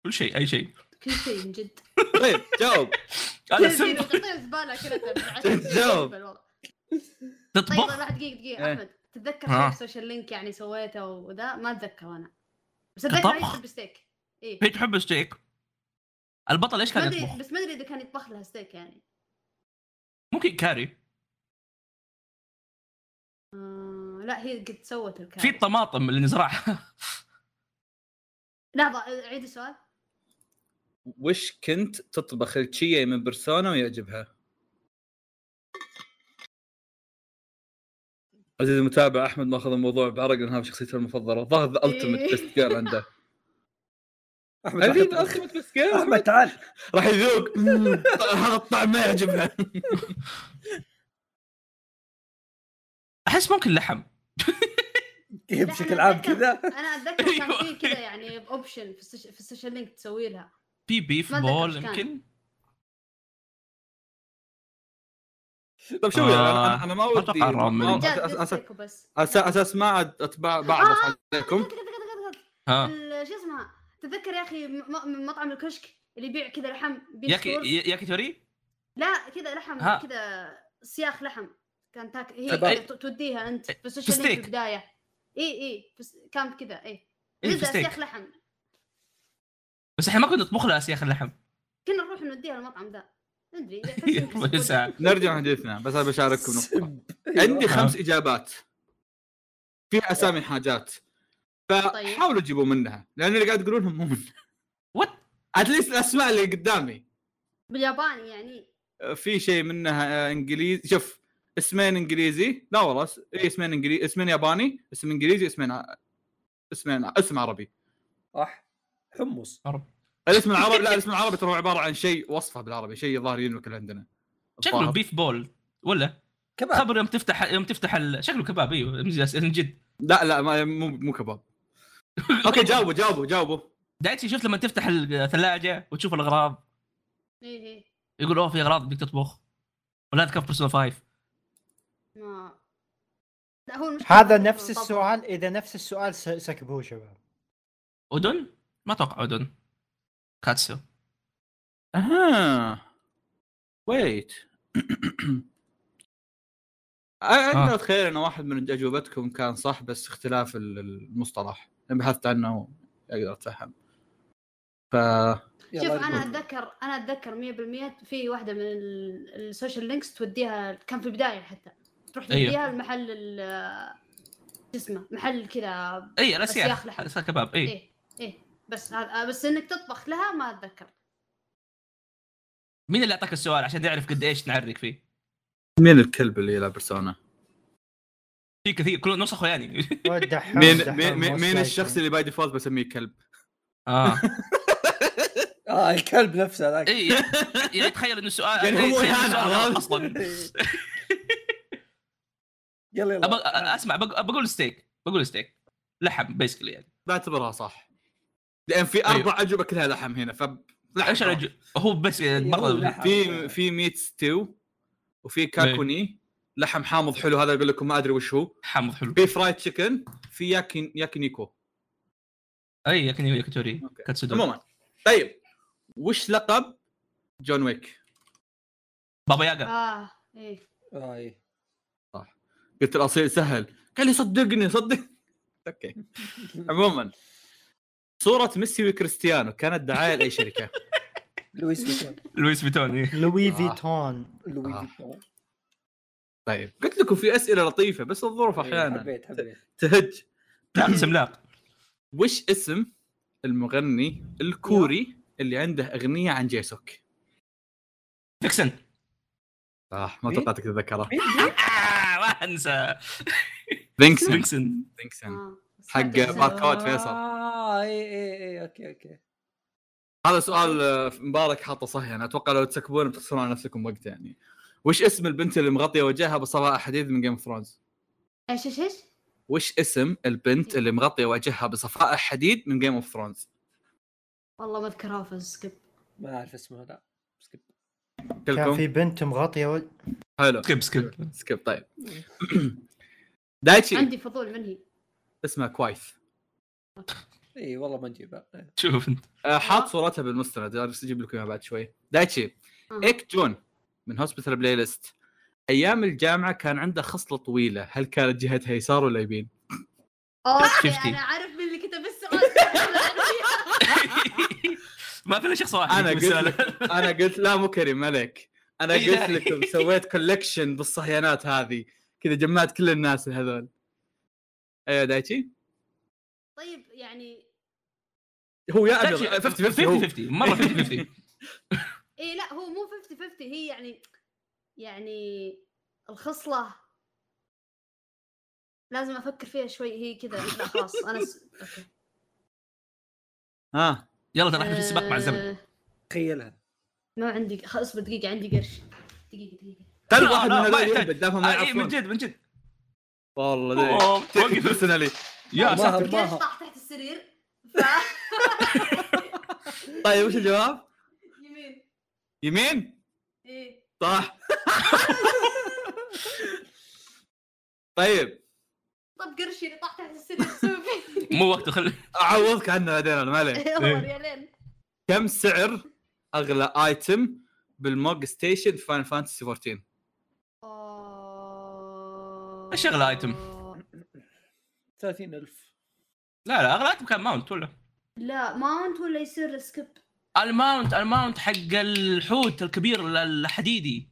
[SPEAKER 4] كل شيء اي شيء
[SPEAKER 5] *laughs* كل شيء من جد
[SPEAKER 1] طيب جاوب
[SPEAKER 4] انا سم
[SPEAKER 5] تقطيع زباله كذا
[SPEAKER 1] *laughs*
[SPEAKER 5] *laughs*
[SPEAKER 1] جاوب.
[SPEAKER 5] طيب
[SPEAKER 4] تطبخ
[SPEAKER 5] لا دقيقه دقيقه
[SPEAKER 1] إيه.
[SPEAKER 5] احمد تتذكر
[SPEAKER 4] ها.
[SPEAKER 5] شيء سوشيال لينك يعني سويته وذا ما اتذكر انا بس
[SPEAKER 4] كطبخ؟
[SPEAKER 5] اتذكر أنا يحب ستيك اي
[SPEAKER 4] هي تحب الستيك البطل ايش
[SPEAKER 5] إيه. ما
[SPEAKER 4] كان
[SPEAKER 5] ادري
[SPEAKER 4] يطبخ؟
[SPEAKER 5] بس ما ادري اذا كان يطبخ لها ستيك يعني
[SPEAKER 4] ممكن كاري
[SPEAKER 5] آه، لا هي قد سوت
[SPEAKER 4] في
[SPEAKER 5] الكاري
[SPEAKER 4] طماطم اللي نزرعها *laughs*
[SPEAKER 5] لحظه عيد السؤال
[SPEAKER 1] وش كنت تطبخ لتشيه من بيرسونا ويعجبها؟ عزيزي المتابع احمد ماخذ الموضوع بعرق لان هذا شخصيته المفضله ظاهر ذا التمت
[SPEAKER 5] إيه.
[SPEAKER 1] بيست جيرل عنده *laughs*
[SPEAKER 3] احمد
[SPEAKER 1] هل
[SPEAKER 3] راح
[SPEAKER 1] ذا
[SPEAKER 3] يطبخ.
[SPEAKER 1] التمت بيست جيرل
[SPEAKER 3] احمد تعال
[SPEAKER 1] راح *laughs* يذوق مم، هذا الطعم ما يعجبها
[SPEAKER 4] احس ممكن لحم
[SPEAKER 5] لا،
[SPEAKER 3] بشكل
[SPEAKER 5] أنا
[SPEAKER 3] عام
[SPEAKER 5] أتذكر-
[SPEAKER 3] كذا
[SPEAKER 5] انا
[SPEAKER 4] *laughs*
[SPEAKER 5] اتذكر
[SPEAKER 4] أيوة.
[SPEAKER 5] كان في كذا يعني اوبشن في السوش- في السوشيال لينك تسوي لها
[SPEAKER 4] في بيف
[SPEAKER 5] ما أتذكر
[SPEAKER 4] بول
[SPEAKER 5] إيش كان.
[SPEAKER 4] يمكن
[SPEAKER 1] طيب شوف
[SPEAKER 4] آه،
[SPEAKER 1] انا أنا- انا ما ودي
[SPEAKER 4] أتوقع الرامل.
[SPEAKER 1] ما-
[SPEAKER 5] جد
[SPEAKER 1] أساس- أساس- آه.
[SPEAKER 5] ديسليك وبس
[SPEAKER 1] أساس- اساس ما عاد اتبع بعض عليكم
[SPEAKER 5] دقيقة- دقيقة- دقيقة- دقيقة.
[SPEAKER 4] ها
[SPEAKER 5] ال- شو اسمها تتذكر يا اخي م- م- من مطعم الكشك اللي يبيع كذا لحم بيف
[SPEAKER 4] ياكي
[SPEAKER 5] ستورز؟
[SPEAKER 4] ياكي توري؟ إيه،
[SPEAKER 5] لا كذا لحم
[SPEAKER 4] ها.
[SPEAKER 5] كذا سياخ لحم كان تاك هي
[SPEAKER 4] طيب،
[SPEAKER 5] كذا
[SPEAKER 4] أي- إيه،
[SPEAKER 5] ت- توديها انت في السوشيال لينك
[SPEAKER 4] فستيك.
[SPEAKER 5] في البدايه اي اي فس- كان كذا اي
[SPEAKER 4] اي
[SPEAKER 5] جدا سياخ
[SPEAKER 4] ستيك
[SPEAKER 5] لحم
[SPEAKER 4] بس احنا ما كنا نطبخ لها سياخ اللحم
[SPEAKER 5] كنا نروح نوديها المطعم ذا ادري
[SPEAKER 4] *laughs* ربع ساعة
[SPEAKER 1] نرجع حديثنا بس انا بشارككم نقطه عندي خمس اجابات فيها اسامي حاجات فحاولوا تجيبوا منها لان اللي قاعد تقولونهم مو منها
[SPEAKER 4] وات
[SPEAKER 1] اتليست الاسماء اللي قدامي
[SPEAKER 5] بالياباني يعني
[SPEAKER 1] في شيء منها آه، انجليزي شوف اسمين انجليزي لا والله اس- إيه، اسمين انجليزي اسمين ياباني اسم انجليزي اسمين ع- اسمين ع- اسم عربي
[SPEAKER 3] صح حمص
[SPEAKER 1] الاسم العربي لا الاسم العربي ترى هو عباره عن شيء وصفه بالعربي شيء ظاهر ينوكل عندنا
[SPEAKER 4] شكله
[SPEAKER 1] الظاهر.
[SPEAKER 4] بيف بول ولا
[SPEAKER 3] كباب
[SPEAKER 4] خبر يوم تفتح يوم تفتح ال- شكله كباب ايوه من جد
[SPEAKER 1] لا لا ما مو مو كباب اوكي جاوبوا جاوبوا جاوبوا
[SPEAKER 4] دايتشي شفت لما تفتح الثلاجه وتشوف الاغراض
[SPEAKER 5] اي اي
[SPEAKER 4] يقول اوه في اغراض بدك تطبخ ولا تكفى بيرسونا 5
[SPEAKER 5] ما لا هو المشكلة
[SPEAKER 2] هذا
[SPEAKER 5] إنه
[SPEAKER 2] نفس
[SPEAKER 5] طبعاً.
[SPEAKER 2] السؤال اذا نفس السؤال س- سكبوه شباب
[SPEAKER 4] اودون ما اتوقع اودون كاتسو
[SPEAKER 1] اها *clears throat* ويت اقدر
[SPEAKER 4] آه.
[SPEAKER 1] اتخيل ان واحد من اجوبتكم كان صح بس اختلاف ال- المصطلح لما بحثت عنه اقدر اتفهم ف
[SPEAKER 5] شوف انا اتذكر انا اتذكر 100% في واحده من ال- السوشيال لينكس توديها كان في البدايه حتى تروح
[SPEAKER 4] أيوه.
[SPEAKER 5] توديها المحل ال- شو اسمه محل كذا
[SPEAKER 4] اي
[SPEAKER 5] أسياخ
[SPEAKER 4] الاسياخ
[SPEAKER 5] لحم.
[SPEAKER 4] الاسياخ كباب اي
[SPEAKER 5] ايه ايه بس هذا بس انك تطبخ لها ما اتذكر
[SPEAKER 4] مين اللي اعطاك السؤال عشان نعرف قد ايش نعرق فيه
[SPEAKER 1] مين الكلب اللي يلعب بيرسونا؟
[SPEAKER 4] في كثير كل نص اخواني
[SPEAKER 2] والدحوم-
[SPEAKER 1] مين
[SPEAKER 2] الدحوم
[SPEAKER 1] مين, مين,
[SPEAKER 2] مو
[SPEAKER 1] مين
[SPEAKER 2] سايكو.
[SPEAKER 1] الشخص اللي باي ديفولت بسميه كلب؟ آه.
[SPEAKER 4] *laughs* اه
[SPEAKER 3] اه الكلب نفسه ذاك
[SPEAKER 4] اي يعني تخيل انه السؤال
[SPEAKER 1] يعني هو
[SPEAKER 4] تخيل إنه
[SPEAKER 1] يعني
[SPEAKER 4] السؤال
[SPEAKER 1] عرفت؟
[SPEAKER 4] غلط اصلا
[SPEAKER 1] *laughs*
[SPEAKER 3] يلا
[SPEAKER 4] أبغى-
[SPEAKER 3] يلا
[SPEAKER 4] أ- اسمع بق- بقول ستيك بقول ستيك لحم بيسكلي يعني
[SPEAKER 1] بعتبرها صح لان في اربع اجوبه كلها لحم هنا ف لحم.
[SPEAKER 4] ايش الأج- هو بس
[SPEAKER 3] يقول
[SPEAKER 4] برضه
[SPEAKER 3] لحم.
[SPEAKER 1] في في ميت ستيو وفي كاكوني لحم حامض حلو هذا اقول لكم ما ادري وش هو
[SPEAKER 4] حامض حلو
[SPEAKER 1] في فرايد تشيكن في ياكي ياكينيكو
[SPEAKER 4] اي ياكني ياكتوري
[SPEAKER 1] أوكي.
[SPEAKER 4] كاتسودو
[SPEAKER 1] عموما طيب وش لقب جون ويك؟
[SPEAKER 4] بابا ياغا
[SPEAKER 1] آه.
[SPEAKER 5] اه ايه
[SPEAKER 3] آه، إيه.
[SPEAKER 1] قلت الاصيل سهل قال لي صدقني صدق اوكي عموما صورة ميسي وكريستيانو كانت دعاية لأي شركة؟
[SPEAKER 3] لويس فيتون
[SPEAKER 4] لويس فيتون إيه.
[SPEAKER 2] لوي
[SPEAKER 1] آه.
[SPEAKER 2] فيتون
[SPEAKER 3] لويس
[SPEAKER 1] آه.
[SPEAKER 3] فيتون
[SPEAKER 1] *laughs* طيب قلت لكم في أسئلة لطيفة بس الظروف أحيانا
[SPEAKER 3] إيه، حبيت حبيت
[SPEAKER 1] تهج
[SPEAKER 4] لا سملاق
[SPEAKER 1] وش اسم المغني الكوري اللي عنده أغنية عن جيسوك؟
[SPEAKER 4] فيكسن
[SPEAKER 1] صح ما
[SPEAKER 3] مين؟
[SPEAKER 1] توقعتك تتذكرها
[SPEAKER 3] مين- مين؟
[SPEAKER 4] آه، ما انسى
[SPEAKER 1] بينكسن
[SPEAKER 4] فيكسن
[SPEAKER 1] بينكسن
[SPEAKER 5] آه.
[SPEAKER 1] حق
[SPEAKER 5] سمعت
[SPEAKER 1] باركود.
[SPEAKER 5] الاسم.
[SPEAKER 1] فيصل.
[SPEAKER 3] اه اي اي اي اوكي اوكي
[SPEAKER 1] هذا سؤال آه، مبارك حاطه صح يعني اتوقع لو تسكبون بتخسرون على نفسكم وقت يعني وش اسم البنت اللي مغطيه وجهها بصباغه حديد من جيم اوف ثرونز؟
[SPEAKER 5] ايش ايش ايش؟
[SPEAKER 1] وش اسم البنت اللي مغطيه وجهها بصفائح حديد من جيم اوف ثرونز؟
[SPEAKER 5] والله ما اذكرها في السكيب
[SPEAKER 3] ما اعرف اسمه لا سكيب.
[SPEAKER 2] كان في
[SPEAKER 1] كلكم
[SPEAKER 2] بنت مغطيه وجه
[SPEAKER 1] حلو
[SPEAKER 4] سكيب سكيب
[SPEAKER 1] سكيب طيب دايتشي
[SPEAKER 5] عندي فضول من هي
[SPEAKER 1] اسمها كوايث
[SPEAKER 3] اي والله ما نجيبها إيه.
[SPEAKER 4] شوف انت
[SPEAKER 1] آه، حاط صورتها بالمستند بس اجيب لكم اياها بعد شوي دايتشي
[SPEAKER 5] آه.
[SPEAKER 1] ايك جون من هوسبيتال بلاي ليست ايام الجامعه كان عنده خصله طويله هل كانت جهتها يسار ولا يمين؟
[SPEAKER 5] اوكي
[SPEAKER 4] 50.
[SPEAKER 5] انا عارف مين اللي كتب السؤال
[SPEAKER 4] ما في الا شخص واحد
[SPEAKER 1] انا
[SPEAKER 4] يجيب
[SPEAKER 1] قلت
[SPEAKER 4] السؤال.
[SPEAKER 1] لك انا قلت لا مو كريم ملك انا
[SPEAKER 4] إيه
[SPEAKER 1] قلت
[SPEAKER 4] يعني.
[SPEAKER 1] لكم سويت كولكشن بالصهيانات هذه كذا جمعت كل الناس هذول ايوه دايتشي
[SPEAKER 5] *laughs* طيب يعني
[SPEAKER 1] هو يا ابيض 50
[SPEAKER 4] 50
[SPEAKER 1] 50 هو.
[SPEAKER 4] 50 مره 50 50
[SPEAKER 1] *laughs*
[SPEAKER 5] ايه لا هو مو 50 50 هي يعني يعني الخصله لازم افكر فيها شوي هي كذا لا
[SPEAKER 4] *laughs*
[SPEAKER 5] خلاص انا س... اوكي
[SPEAKER 1] ها
[SPEAKER 4] يلا ترى احنا في السباق مع الزمن
[SPEAKER 5] آه،
[SPEAKER 3] تخيلها
[SPEAKER 5] ما عندي خ- اصبر دقيقه عندي قرش دقيقه دقيقه
[SPEAKER 1] خلي
[SPEAKER 4] لا،
[SPEAKER 1] واحد من
[SPEAKER 4] لا، ما
[SPEAKER 1] هذول
[SPEAKER 4] يحتاج.
[SPEAKER 1] يهبد دافهم ما
[SPEAKER 4] آه، إيه، من
[SPEAKER 1] يعرفون
[SPEAKER 4] جد من جد
[SPEAKER 1] والله
[SPEAKER 4] أوه،
[SPEAKER 1] دايتشي *laughs*
[SPEAKER 4] وقف.
[SPEAKER 1] بيرسونالي
[SPEAKER 4] يا
[SPEAKER 3] ما-
[SPEAKER 4] ساتر
[SPEAKER 5] القرش
[SPEAKER 3] أرباها.
[SPEAKER 5] طاح تحت السرير
[SPEAKER 1] طيب وش الجواب؟
[SPEAKER 5] يمين
[SPEAKER 1] يمين؟
[SPEAKER 5] ايه
[SPEAKER 1] صح *laughs* طيب
[SPEAKER 5] طب قرشي اللي طاح تحت السرير
[SPEAKER 4] *laughs*
[SPEAKER 5] إيش أسوي فيه؟
[SPEAKER 4] مو وقته خل
[SPEAKER 1] اعوضك عنه بعدين انا ما
[SPEAKER 5] *laughs*
[SPEAKER 4] إيه.
[SPEAKER 1] عليك
[SPEAKER 5] يلا ريالين
[SPEAKER 1] كم سعر اغلى ايتم بالموج ستيشن في فاينل فانتسي 14
[SPEAKER 5] أوه.
[SPEAKER 4] إيش أغلى آيتم؟
[SPEAKER 3] 30000
[SPEAKER 4] لا لا اغلى ايتم كان ماونت ولا
[SPEAKER 5] لا ماونت ولا يصير سكيب
[SPEAKER 4] الماونت الماونت حق الحوت الكبير ال- الحديدي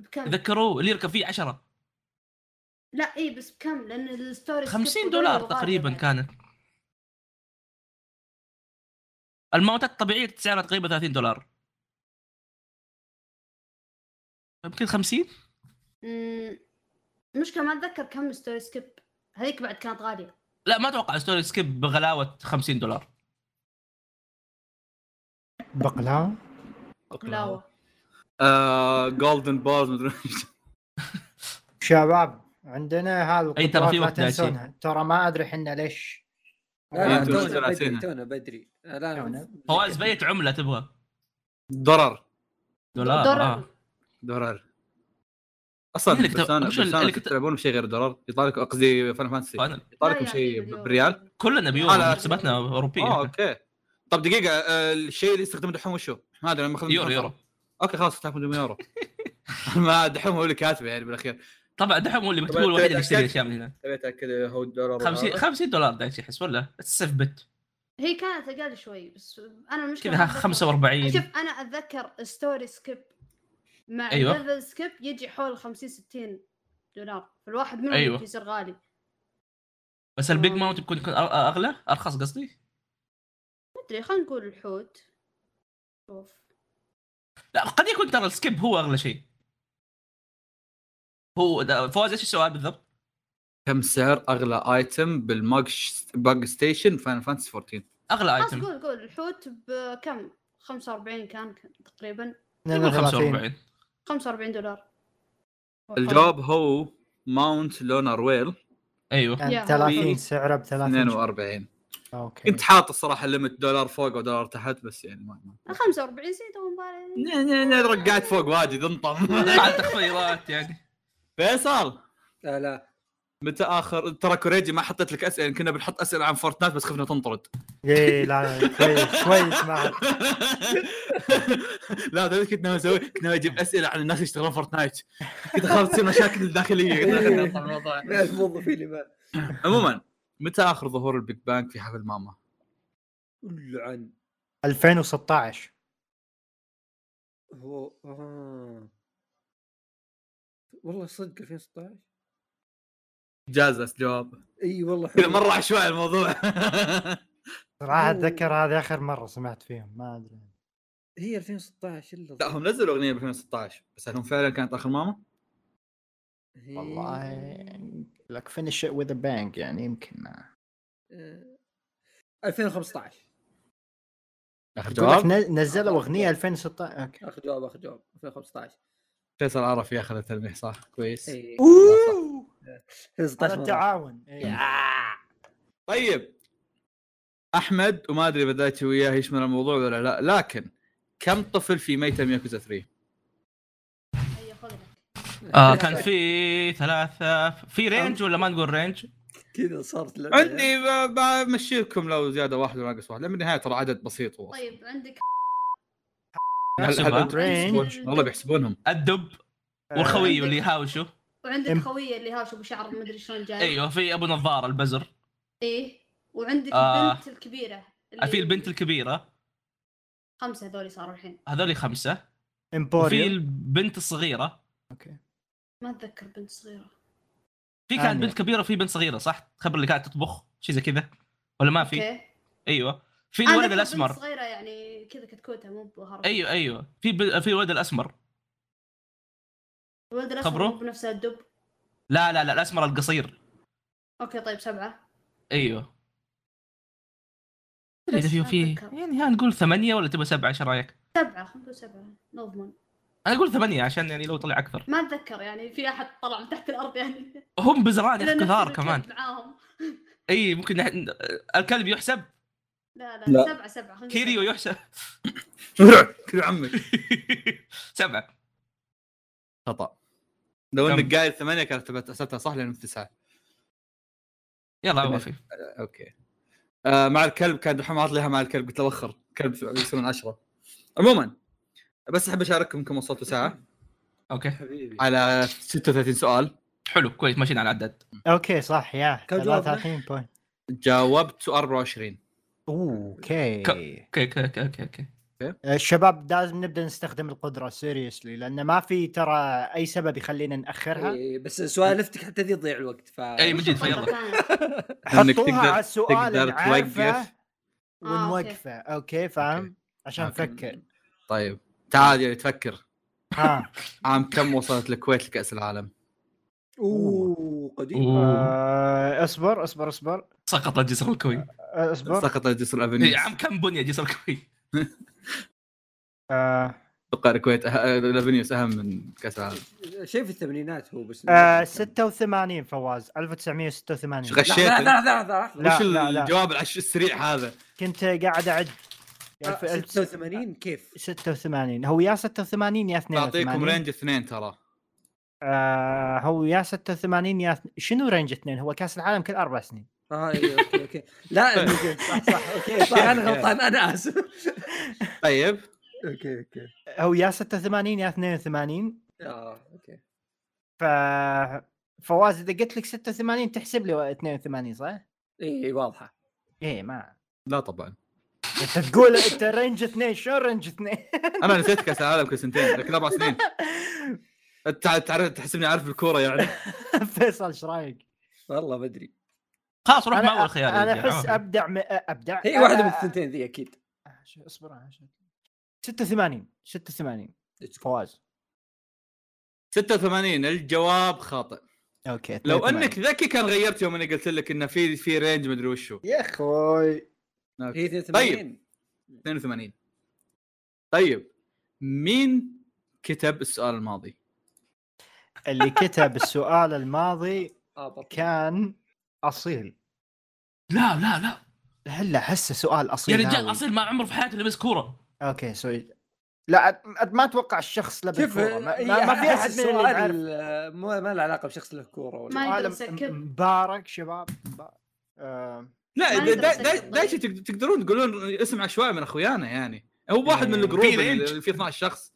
[SPEAKER 5] بكم؟
[SPEAKER 4] تذكروه اللي يركب فيه 10
[SPEAKER 5] لا اي بس بكم لان الستوري skip
[SPEAKER 4] 50
[SPEAKER 5] وضرب
[SPEAKER 4] دولار
[SPEAKER 5] وضرب
[SPEAKER 4] تقريبا
[SPEAKER 5] يعني.
[SPEAKER 4] كانت الماونتات الطبيعيه سعرها تقريبا 30 دولار يمكن 50
[SPEAKER 5] أمم، المشكله ما اتذكر كم ستوري سكيب هذيك بعد كانت غاليه
[SPEAKER 4] لا ما اتوقع ستوري سكيب بغلاوه 50 دولار
[SPEAKER 2] بقلاوه
[SPEAKER 5] بقلاوه
[SPEAKER 1] آه، جولدن بارز آه، مدري إيش.
[SPEAKER 2] شباب عندنا هذا
[SPEAKER 4] أي ترى
[SPEAKER 2] القدرات
[SPEAKER 4] في
[SPEAKER 2] لا
[SPEAKER 4] وقت داعشين.
[SPEAKER 2] تنسونها. ترى ما ادري احنا ليش
[SPEAKER 3] لا، لا،
[SPEAKER 1] أنتم
[SPEAKER 3] آه، تونا بدري
[SPEAKER 1] آه، ثلاثين.
[SPEAKER 3] تونا بدري الان
[SPEAKER 1] *laughs*
[SPEAKER 4] فواز باية عمله تبغى؟
[SPEAKER 1] ضرر
[SPEAKER 4] دولار
[SPEAKER 5] ضرر.
[SPEAKER 4] آه.
[SPEAKER 1] ضرر اصلا
[SPEAKER 4] مين اللي يعني كتب-
[SPEAKER 1] بسانة
[SPEAKER 4] وش ال-
[SPEAKER 1] بسانة
[SPEAKER 4] اللي كتب-
[SPEAKER 1] تلعبون بشيء غير ضرر يطلع لك قصدي فان فانتسي
[SPEAKER 4] فأنا-
[SPEAKER 1] يطلع
[SPEAKER 5] لا
[SPEAKER 1] لكم
[SPEAKER 5] يا
[SPEAKER 1] شيء
[SPEAKER 5] حبيبي،
[SPEAKER 1] بريال
[SPEAKER 4] كلنا
[SPEAKER 1] أنا-
[SPEAKER 4] بيورو حساباتنا اوروبيه
[SPEAKER 1] اه
[SPEAKER 4] إحنا.
[SPEAKER 1] اوكي طب دقيقة آه، الشيء اللي يستخدمه دحوم وشو؟ ما ادري انا ماخذ
[SPEAKER 4] يورو يورو
[SPEAKER 1] اوكي خلاص تاخذ
[SPEAKER 4] *laughs*
[SPEAKER 1] يورو ما دحوم هو اللي كاتبه يعني بالاخير
[SPEAKER 4] طبعا دحوم هو اللي
[SPEAKER 1] طبعاً
[SPEAKER 4] مكتوب الوحيد اللي
[SPEAKER 1] تأكد.
[SPEAKER 4] يشتري الاشياء من هنا
[SPEAKER 1] تبي اتاكد هو الدولار
[SPEAKER 4] 50 50 دولار دايتش احس ولا السفبت
[SPEAKER 5] هي كانت اقل شوي بس انا المشكله
[SPEAKER 4] كذا
[SPEAKER 5] أتذكر-
[SPEAKER 4] 45
[SPEAKER 5] شوف انا اتذكر ستوري سكيب مع
[SPEAKER 4] أيوة.
[SPEAKER 5] أيوة. ليفل سكيب يجي حول 50 60 دولار فالواحد منهم
[SPEAKER 4] أيوة.
[SPEAKER 5] أيوة. يصير غالي
[SPEAKER 4] بس البيج ماونت يكون يكون أر- اغلى ارخص قصدي
[SPEAKER 5] مدري خلينا نقول الحوت شوف
[SPEAKER 4] لا قد يكون ترى السكيب هو اغلى شيء هو ده- فواز ايش السؤال بالضبط؟
[SPEAKER 1] كم سعر اغلى ايتم بالماج باج ستيشن فاينل فانتسي 14
[SPEAKER 4] اغلى
[SPEAKER 5] خلاص
[SPEAKER 4] ايتم
[SPEAKER 5] قول قول الحوت بكم 45 كان تقريبا
[SPEAKER 4] يقول
[SPEAKER 2] 42
[SPEAKER 4] 45
[SPEAKER 5] 45 دولار
[SPEAKER 1] الجواب هو ماونت لونر ويل
[SPEAKER 4] ايوه
[SPEAKER 2] كان
[SPEAKER 5] يا
[SPEAKER 2] 30
[SPEAKER 1] حبيبي.
[SPEAKER 2] سعره ب 30
[SPEAKER 1] 42
[SPEAKER 2] اوكي
[SPEAKER 1] كنت حاط الصراحه الليمت دولار فوق ودولار تحت بس يعني ما ما-
[SPEAKER 5] 45 زيدوا مباراة
[SPEAKER 1] ن- ن- ن- رقعت فوق واجد انطم
[SPEAKER 4] على التخفيضات يعني
[SPEAKER 1] *laughs* فيصل
[SPEAKER 3] لا لا
[SPEAKER 1] متى اخر ترى كوريجي ما حطيت لك اسئله كنا بنحط اسئله عن فورتنايت بس خفنا تنطرد *laughs*
[SPEAKER 2] اي إيه، لا كويس كويس معك
[SPEAKER 1] لا تدري كنت ناوي اسوي كنت ناوي اجيب اسئله عن الناس اللي يشتغلون فورتنايت كنت اخاف تصير مشاكل داخليه كنت أخاف نطلع *laughs* الموضوع.
[SPEAKER 3] من الموظفين اللي ما
[SPEAKER 1] عموما متى اخر ظهور البيج بانك في حفل ماما؟
[SPEAKER 3] لعن
[SPEAKER 2] 2016
[SPEAKER 3] هو آه. والله صدق 2016
[SPEAKER 1] جازس جواب
[SPEAKER 3] اي والله
[SPEAKER 1] كذا
[SPEAKER 3] حلو
[SPEAKER 1] مره عشوائي الموضوع *laughs*
[SPEAKER 2] صراحه اتذكر هذه اخر مره سمعت فيهم ما ادري
[SPEAKER 3] هي 2016 الا
[SPEAKER 1] لا هم نزلوا اغنيه ب 2016 بس هل هم فعلا كانت اخر ماما؟
[SPEAKER 3] هي-
[SPEAKER 2] إيه.
[SPEAKER 6] والله لك فينش وذ بانج يعني يمكن ما.
[SPEAKER 3] آه، 2015
[SPEAKER 1] اخر
[SPEAKER 2] يقول لك
[SPEAKER 1] جواب
[SPEAKER 2] نز- نزلوا اغنيه 2016 اوكي
[SPEAKER 3] اخر جواب اخر جواب 2015
[SPEAKER 1] فيصل عرف ياخذ التلميح صح كويس
[SPEAKER 3] اي
[SPEAKER 2] اوه هذا
[SPEAKER 3] 2016
[SPEAKER 2] التعاون إيه.
[SPEAKER 1] طيب احمد وما ادري بدات وياه يشمل الموضوع ولا لا لكن كم طفل في ميتم ياكوزا 3
[SPEAKER 5] اي خذها
[SPEAKER 4] آه كان في ثلاثه في رينج ولا ما نقول رينج؟
[SPEAKER 3] كذا صارت لعبة.
[SPEAKER 1] عندي ب- بمشي لكم لو زياده واحد ولا ناقص واحد لان بالنهايه ترى عدد بسيط هو
[SPEAKER 5] طيب عندك
[SPEAKER 1] هل- هل
[SPEAKER 4] نحسبها.
[SPEAKER 1] أنتم
[SPEAKER 2] آه،
[SPEAKER 1] بيحسبون- والله بيحسبونهم
[SPEAKER 4] الدب
[SPEAKER 5] آه،
[SPEAKER 4] والخوي اللي يهاوشه
[SPEAKER 5] وعندك
[SPEAKER 2] إم.
[SPEAKER 5] خويه اللي هاش ابو شعر ما ادري شلون جاي
[SPEAKER 4] ايوه في ابو نظاره البزر
[SPEAKER 5] ايه وعندك
[SPEAKER 4] آه.
[SPEAKER 5] البنت الكبيره
[SPEAKER 4] آه، في البنت الكبيره
[SPEAKER 5] خمسه هذول صاروا الحين
[SPEAKER 4] هذول خمسه وفي
[SPEAKER 2] امبوريوم
[SPEAKER 4] البنت الصغيره
[SPEAKER 5] ما اتذكر بنت صغيره
[SPEAKER 4] في كانت
[SPEAKER 5] آه،
[SPEAKER 2] آمنة.
[SPEAKER 4] بنت كبيره وفي بنت صغيره صح؟ تخبر اللي كانت تطبخ شيء زي كذا ولا ما في؟
[SPEAKER 5] اوكي
[SPEAKER 4] ايوه في
[SPEAKER 5] أنا
[SPEAKER 4] الولد
[SPEAKER 5] أذكر بنت
[SPEAKER 4] الاسمر
[SPEAKER 5] صغيره يعني كذا كتكوته مو بظهرها
[SPEAKER 4] ايوه ايوه في ب... في الولد الاسمر
[SPEAKER 5] الولد الاسمر
[SPEAKER 4] خبره؟
[SPEAKER 5] مو بنفس الدب
[SPEAKER 4] لا لا لا الاسمر القصير
[SPEAKER 5] اوكي طيب سبعه
[SPEAKER 2] أيوه.
[SPEAKER 4] ايوه ادري اذا
[SPEAKER 5] بس
[SPEAKER 4] في
[SPEAKER 5] ما
[SPEAKER 4] في
[SPEAKER 5] أتذكر.
[SPEAKER 4] يعني ها نقول ثمانيه ولا تبغى سبعه ايش رايك؟
[SPEAKER 5] سبعه خلينا نقول سبعه نضمن
[SPEAKER 4] انا اقول ثمانيه عشان يعني لو طلع اكثر
[SPEAKER 5] ما اتذكر يعني في احد طلع من تحت الارض يعني
[SPEAKER 4] هم
[SPEAKER 5] *laughs*
[SPEAKER 4] بزران يا
[SPEAKER 5] لأن
[SPEAKER 4] أخي، كثار
[SPEAKER 5] الكلب
[SPEAKER 4] كمان
[SPEAKER 5] معاهم
[SPEAKER 4] اي ممكن نحن... الكلب يحسب
[SPEAKER 5] لا لا,
[SPEAKER 1] لا.
[SPEAKER 5] سبعه سبعه خلينا نقول
[SPEAKER 4] كيريو يحسب *laughs*
[SPEAKER 1] *laughs* كل عمك
[SPEAKER 4] سبعه
[SPEAKER 1] خطا لو
[SPEAKER 4] كم؟
[SPEAKER 1] انك قايل ثمانيه كانت تبقى تحسبتها صح لان في تسعه
[SPEAKER 4] يلا ما في
[SPEAKER 1] اوكي آه مع الكلب كان دحوم عاط لها مع الكلب قلت له وخر كلب يسوون عشرة عموما بس احب اشارككم كم وصلتوا ساعه
[SPEAKER 4] اوكي
[SPEAKER 3] حبيبي
[SPEAKER 1] على 36 سؤال
[SPEAKER 4] حلو كويس ماشيين على العدد
[SPEAKER 2] اوكي صح يا
[SPEAKER 3] كم جوابنا؟
[SPEAKER 2] 33 بوينت
[SPEAKER 1] جاوبت 24
[SPEAKER 4] اوكي
[SPEAKER 2] اوكي
[SPEAKER 4] اوكي اوكي اوكي, أوكي.
[SPEAKER 2] الشباب آه، لازم نبدا نستخدم القدره سيريسلي لان ما في ترى اي سبب يخلينا ناخرها
[SPEAKER 3] إي، بس سوالفتك حتى ذي تضيع الوقت ف
[SPEAKER 4] اي من جد فيلا
[SPEAKER 5] كانت.
[SPEAKER 1] إنك
[SPEAKER 2] حطوها
[SPEAKER 1] تقدر-
[SPEAKER 2] على السؤال
[SPEAKER 1] تقدر
[SPEAKER 2] اللي
[SPEAKER 1] توقف.
[SPEAKER 2] عارفه
[SPEAKER 5] آه، أوكي.
[SPEAKER 2] ونوقفه اوكي فاهم عشان
[SPEAKER 1] أوكي.
[SPEAKER 2] نفكر
[SPEAKER 1] طيب تعال يعني تفكر
[SPEAKER 2] ها
[SPEAKER 1] عام كم وصلت الكويت لكاس العالم؟
[SPEAKER 3] اوه قديم
[SPEAKER 4] أوه.
[SPEAKER 2] آه، اصبر اصبر اصبر
[SPEAKER 4] سقط جسر الكوي
[SPEAKER 2] آه، اصبر
[SPEAKER 1] سقط جسر
[SPEAKER 4] إيه،
[SPEAKER 1] الافنيوس
[SPEAKER 4] عام كم بني جسر الكوي
[SPEAKER 2] آه،
[SPEAKER 1] اتوقع الكويت أه- لافينيوس اهم من كاس العالم
[SPEAKER 3] شيء في الثمانينات هو بس
[SPEAKER 2] آه 86 فواز 1986
[SPEAKER 1] إيش غش؟
[SPEAKER 3] لحظة، لحظة لحظة لحظة لحظة
[SPEAKER 2] لا،
[SPEAKER 1] وش
[SPEAKER 2] لا، لا.
[SPEAKER 1] الجواب العش السريع هذا؟
[SPEAKER 2] كنت قاعد اعد
[SPEAKER 3] آه، 86 كيف؟
[SPEAKER 2] 86 هو يا 86 يا 82
[SPEAKER 1] بعطيكم رينج اثنين ترى
[SPEAKER 2] آه هو يا 86 يا اثن- شنو رينج اثنين هو كاس العالم كل اربع سنين
[SPEAKER 3] اه ايوه اوكي اوكي
[SPEAKER 2] *laughs*
[SPEAKER 3] لا أوكي، صح صح اوكي صح انا غلطان انا اسف
[SPEAKER 1] طيب
[SPEAKER 3] اوكي اوكي
[SPEAKER 2] هو يا 86 يا 82
[SPEAKER 3] اه اوكي
[SPEAKER 2] ف فواز اذا قلت لك 86 تحسب لي 82 صح؟
[SPEAKER 3] اي واضحه
[SPEAKER 2] ايه ما
[SPEAKER 1] لا طبعا
[SPEAKER 2] انت تقول انت رينج اثنين شو رينج اثنين؟ *laughs*
[SPEAKER 1] انا نسيت كاس العالم كل سنتين لكن اربع سنين انت تعرف تحسبني عارف الكوره يعني
[SPEAKER 2] فيصل ايش رايك؟
[SPEAKER 3] والله ما ادري
[SPEAKER 4] خلاص روح مع
[SPEAKER 2] انا
[SPEAKER 4] اول خيار يا
[SPEAKER 2] انا
[SPEAKER 4] رجال.
[SPEAKER 2] احس
[SPEAKER 4] عوافي.
[SPEAKER 2] ابدع م... ابدع
[SPEAKER 3] هي واحده من الثنتين ذي اكيد
[SPEAKER 2] آه، شو- اصبر آه، شو- 86 86 فواز
[SPEAKER 1] ستة 86 الجواب خاطئ
[SPEAKER 2] اوكي
[SPEAKER 1] لو انك ذكي كان غيرت يوم انا قلت لك انه في في رينج مدري وشو
[SPEAKER 6] يا اخوي
[SPEAKER 3] هي
[SPEAKER 1] أوكي.
[SPEAKER 2] طيب.
[SPEAKER 3] 82
[SPEAKER 1] 82 طيب مين كتب السؤال الماضي؟
[SPEAKER 2] اللي كتب السؤال الماضي
[SPEAKER 3] اه بطل.
[SPEAKER 2] كان اصيل
[SPEAKER 4] لا لا لا
[SPEAKER 2] هلا حسه سؤال
[SPEAKER 4] يا
[SPEAKER 2] اصيل
[SPEAKER 4] رجال
[SPEAKER 2] هاوي.
[SPEAKER 4] اصيل ما عمره في حياته لبس كوره
[SPEAKER 2] اوكي سوري لا أت- أت- ما اتوقع الشخص لبس
[SPEAKER 3] شوف
[SPEAKER 2] كورة. ما,
[SPEAKER 3] هي
[SPEAKER 2] ما, ما في
[SPEAKER 3] أحس
[SPEAKER 2] احد من اللي
[SPEAKER 3] السؤال،
[SPEAKER 2] يعرف
[SPEAKER 3] آه، ما ما له علاقه بشخص له كوره ولا
[SPEAKER 5] ما يدري.
[SPEAKER 2] عالم
[SPEAKER 5] مسكر.
[SPEAKER 2] مبارك شباب مبارك. آه،
[SPEAKER 1] لا
[SPEAKER 5] ما
[SPEAKER 1] دا-
[SPEAKER 5] أقدر
[SPEAKER 1] دا-
[SPEAKER 5] أسجل
[SPEAKER 1] دا- دايش تق- تقدرون تقولون اسم عشوائي من اخويانا يعني هو واحد من
[SPEAKER 2] إيه.
[SPEAKER 1] الجروب
[SPEAKER 4] في
[SPEAKER 1] اللي
[SPEAKER 4] رينج.
[SPEAKER 1] اللي فيه 12 شخص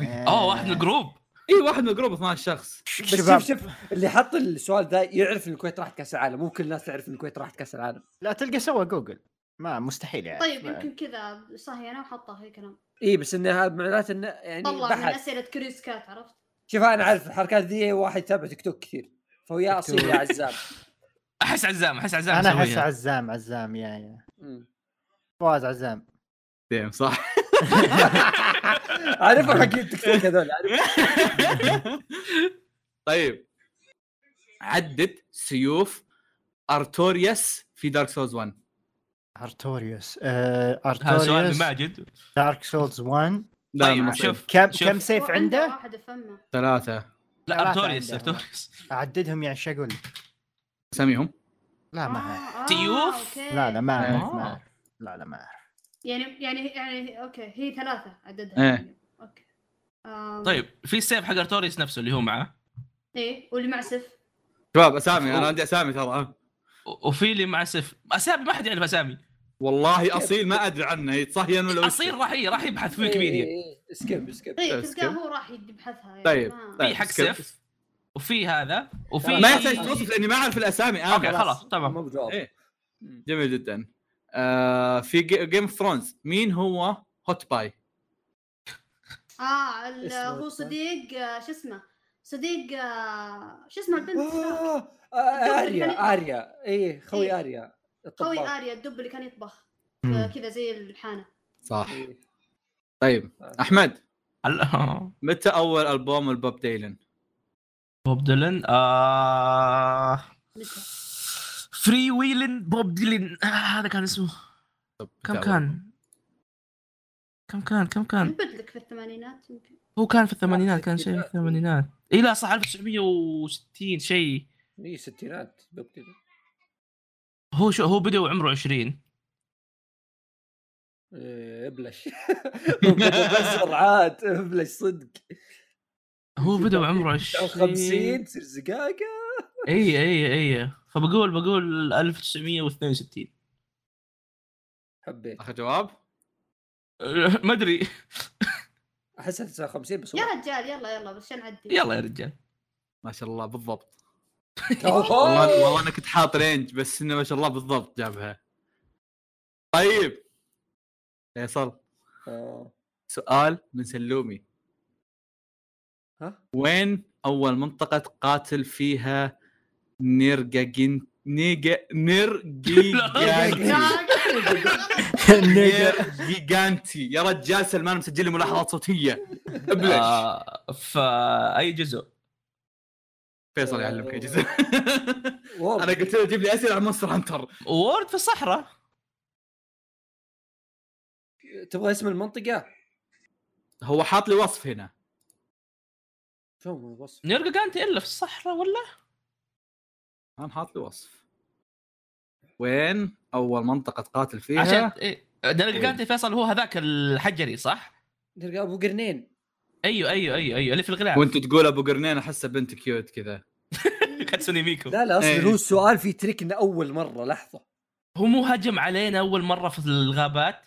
[SPEAKER 2] آه.
[SPEAKER 4] اه واحد من الجروب
[SPEAKER 1] اي واحد من الجروب 12 شخص
[SPEAKER 3] بس
[SPEAKER 2] شباب
[SPEAKER 3] شوف شوف اللي حط السؤال ذا يعرف ان الكويت راحت كاس العالم مو كل الناس تعرف ان الكويت راحت كاس العالم
[SPEAKER 2] لا تلقى سوى جوجل ما مستحيل يعني *laughs*
[SPEAKER 5] طيب يمكن كذا صاحي انا وحطه في كلام
[SPEAKER 3] اي إيه، بس انها معناته انه يعني
[SPEAKER 5] طلع من
[SPEAKER 3] بحث
[SPEAKER 5] اسئله كريس كات عرفت؟
[SPEAKER 3] شوف انا اعرف الحركات ذي واحد يتابع تيك توك كثير فهو يا اصيل يا عزام
[SPEAKER 4] احس عزام احس عزام
[SPEAKER 2] انا احس
[SPEAKER 4] مسويها.
[SPEAKER 2] عزام عزام يا يا
[SPEAKER 3] مم.
[SPEAKER 2] فواز عزام
[SPEAKER 1] ديم صح
[SPEAKER 3] اعرفهم حق التيك توك هذول أعرف-
[SPEAKER 1] طيب عدد سيوف ارتوريوس في دارك سولز 1
[SPEAKER 2] ارتوريوس آه،
[SPEAKER 4] هذا سؤال
[SPEAKER 2] ارتوريوس
[SPEAKER 4] من ماجد
[SPEAKER 2] دارك سولز 1
[SPEAKER 1] لا
[SPEAKER 4] طيب،
[SPEAKER 1] ما
[SPEAKER 4] شوف.
[SPEAKER 2] كم
[SPEAKER 4] شوف.
[SPEAKER 2] كم سيف عنده؟
[SPEAKER 5] واحد فمه
[SPEAKER 1] ثلاثة
[SPEAKER 4] لا
[SPEAKER 2] ثلاثة
[SPEAKER 4] ارتوريس
[SPEAKER 2] عندهم.
[SPEAKER 4] ارتوريس
[SPEAKER 2] اعددهم يعني ايش اقول؟ لك؟
[SPEAKER 1] اساميهم
[SPEAKER 2] لا
[SPEAKER 5] آه،
[SPEAKER 2] ما أعرف.
[SPEAKER 4] سيوف؟
[SPEAKER 2] لا لا ما اعرف ما
[SPEAKER 4] آه.
[SPEAKER 2] أعرف. لا لا ما اعرف
[SPEAKER 5] يعني يعني يعني اوكي هي ثلاثه عددها
[SPEAKER 1] إيه.
[SPEAKER 5] يعني. اوكي آم،
[SPEAKER 4] طيب في السيف حق ارتوريس نفسه اللي هو معاه
[SPEAKER 5] ايه واللي مع سيف
[SPEAKER 1] شباب اسامي انا عندي اسامي ترى
[SPEAKER 4] و- وفي اللي مع سيف اسامي ما حد يعرف اسامي
[SPEAKER 1] والله اصيل ما ادري عنه يتصهين ولا وش.
[SPEAKER 4] اصيل راح ي- راح يبحث في
[SPEAKER 3] إيه،
[SPEAKER 4] ويكيبيديا
[SPEAKER 3] إيه، إيه، سكيب سكيب
[SPEAKER 5] ايه
[SPEAKER 1] بس
[SPEAKER 5] تلقاه
[SPEAKER 1] كده.
[SPEAKER 5] هو راح يبحثها يعني
[SPEAKER 1] طيب،
[SPEAKER 5] ما-
[SPEAKER 1] طيب.
[SPEAKER 4] في حق
[SPEAKER 1] سكيب.
[SPEAKER 4] سيف وفي هذا وفي
[SPEAKER 1] ما يحتاج توصف لاني ما اعرف الاسامي انا
[SPEAKER 4] اوكي خلاص تمام
[SPEAKER 3] مو بجواب
[SPEAKER 1] إيه. جميل جدا آه في جيم اوف ثرونز مين هو هوت باي؟
[SPEAKER 5] اه ال-
[SPEAKER 2] اسمه
[SPEAKER 5] هو
[SPEAKER 2] بس.
[SPEAKER 5] صديق آه، شو اسمه صديق آه، شو اسمه البنت
[SPEAKER 3] آه، آه، اريا اريا اي خوي
[SPEAKER 5] إيه.
[SPEAKER 3] اريا
[SPEAKER 5] خوي
[SPEAKER 3] الطباخ.
[SPEAKER 5] اريا الدب اللي كان يطبخ
[SPEAKER 2] مم. *laughs*
[SPEAKER 5] آه، كذا زي الحانه
[SPEAKER 1] صح
[SPEAKER 3] إيه.
[SPEAKER 1] طيب احمد
[SPEAKER 4] هلا.
[SPEAKER 1] متى اول البوم البوب ديلن؟
[SPEAKER 4] بوب ديلن آه...
[SPEAKER 5] متى؟
[SPEAKER 4] فري ويلن بوب ديلن آه هذا كان اسمه
[SPEAKER 1] طب متى
[SPEAKER 4] كم
[SPEAKER 1] أول؟
[SPEAKER 4] كان كم كان كم كان
[SPEAKER 5] نبت لك في الثمانينات يمكن
[SPEAKER 4] هو كان في الثمانينات كان شيء في الثمانينات اي لا صح 1960 شيء
[SPEAKER 3] اي إيه، ستينات بالضبط.
[SPEAKER 4] هو شو هو بدا وعمره 20
[SPEAKER 3] إيه، ابلش *laughs* بس عاد ابلش صدق
[SPEAKER 4] هو بدا *laughs* وعمره
[SPEAKER 3] 50
[SPEAKER 4] 20
[SPEAKER 3] تصير زقاقه
[SPEAKER 4] اي اي اي فبقول بقول 1962
[SPEAKER 3] حبيت
[SPEAKER 1] اخر جواب؟
[SPEAKER 4] أه، *laughs* ما ادري
[SPEAKER 3] احسها 59 بس
[SPEAKER 5] يا رجال يلا يلا بس عشان نعدي *laughs*
[SPEAKER 4] يلا *laughs* يا رجال
[SPEAKER 1] ما شاء الله بالضبط والله
[SPEAKER 3] والله
[SPEAKER 1] والله انا كنت حاط رينج بس انه ما شاء الله بالضبط جابها طيب فيصل
[SPEAKER 3] آه.
[SPEAKER 1] سؤال من سلومي
[SPEAKER 3] ها؟
[SPEAKER 1] وين اول منطقه قاتل فيها نيرجاجين نيجا نيرجيجانتي نيرجيجانتي يا رجال سلمان مسجل لي ملاحظات صوتيه ابلش
[SPEAKER 4] آه فاي جزء؟
[SPEAKER 1] فيصل يعلمك يا *laughs* جزء
[SPEAKER 3] وورد.
[SPEAKER 1] انا قلت له جيب لي اسئله عن مونستر هانتر
[SPEAKER 4] وورد في الصحراء
[SPEAKER 3] تبغى اسم المنطقه
[SPEAKER 1] هو حاط لي وصف هنا
[SPEAKER 3] شو ما وصف
[SPEAKER 4] نيرجا كانت الا في الصحراء ولا؟
[SPEAKER 1] انا حاط لي وصف وين اول منطقه تقاتل فيها
[SPEAKER 4] عشان إيه. نيرجا كانت فيصل هو هذاك الحجري صح؟
[SPEAKER 3] نلقى ابو قرنين
[SPEAKER 4] ايوه ايوه ايوه ايوه اللي في الغلاف
[SPEAKER 1] وانت تقول ابو قرنين احسه بنت كيوت كذا
[SPEAKER 4] *laughs* كاتسوني ميكو
[SPEAKER 3] لا لا
[SPEAKER 1] إيه.
[SPEAKER 3] اصلا هو السؤال في تريك انه اول مره لحظه
[SPEAKER 4] هو مو هجم علينا اول مره في الغابات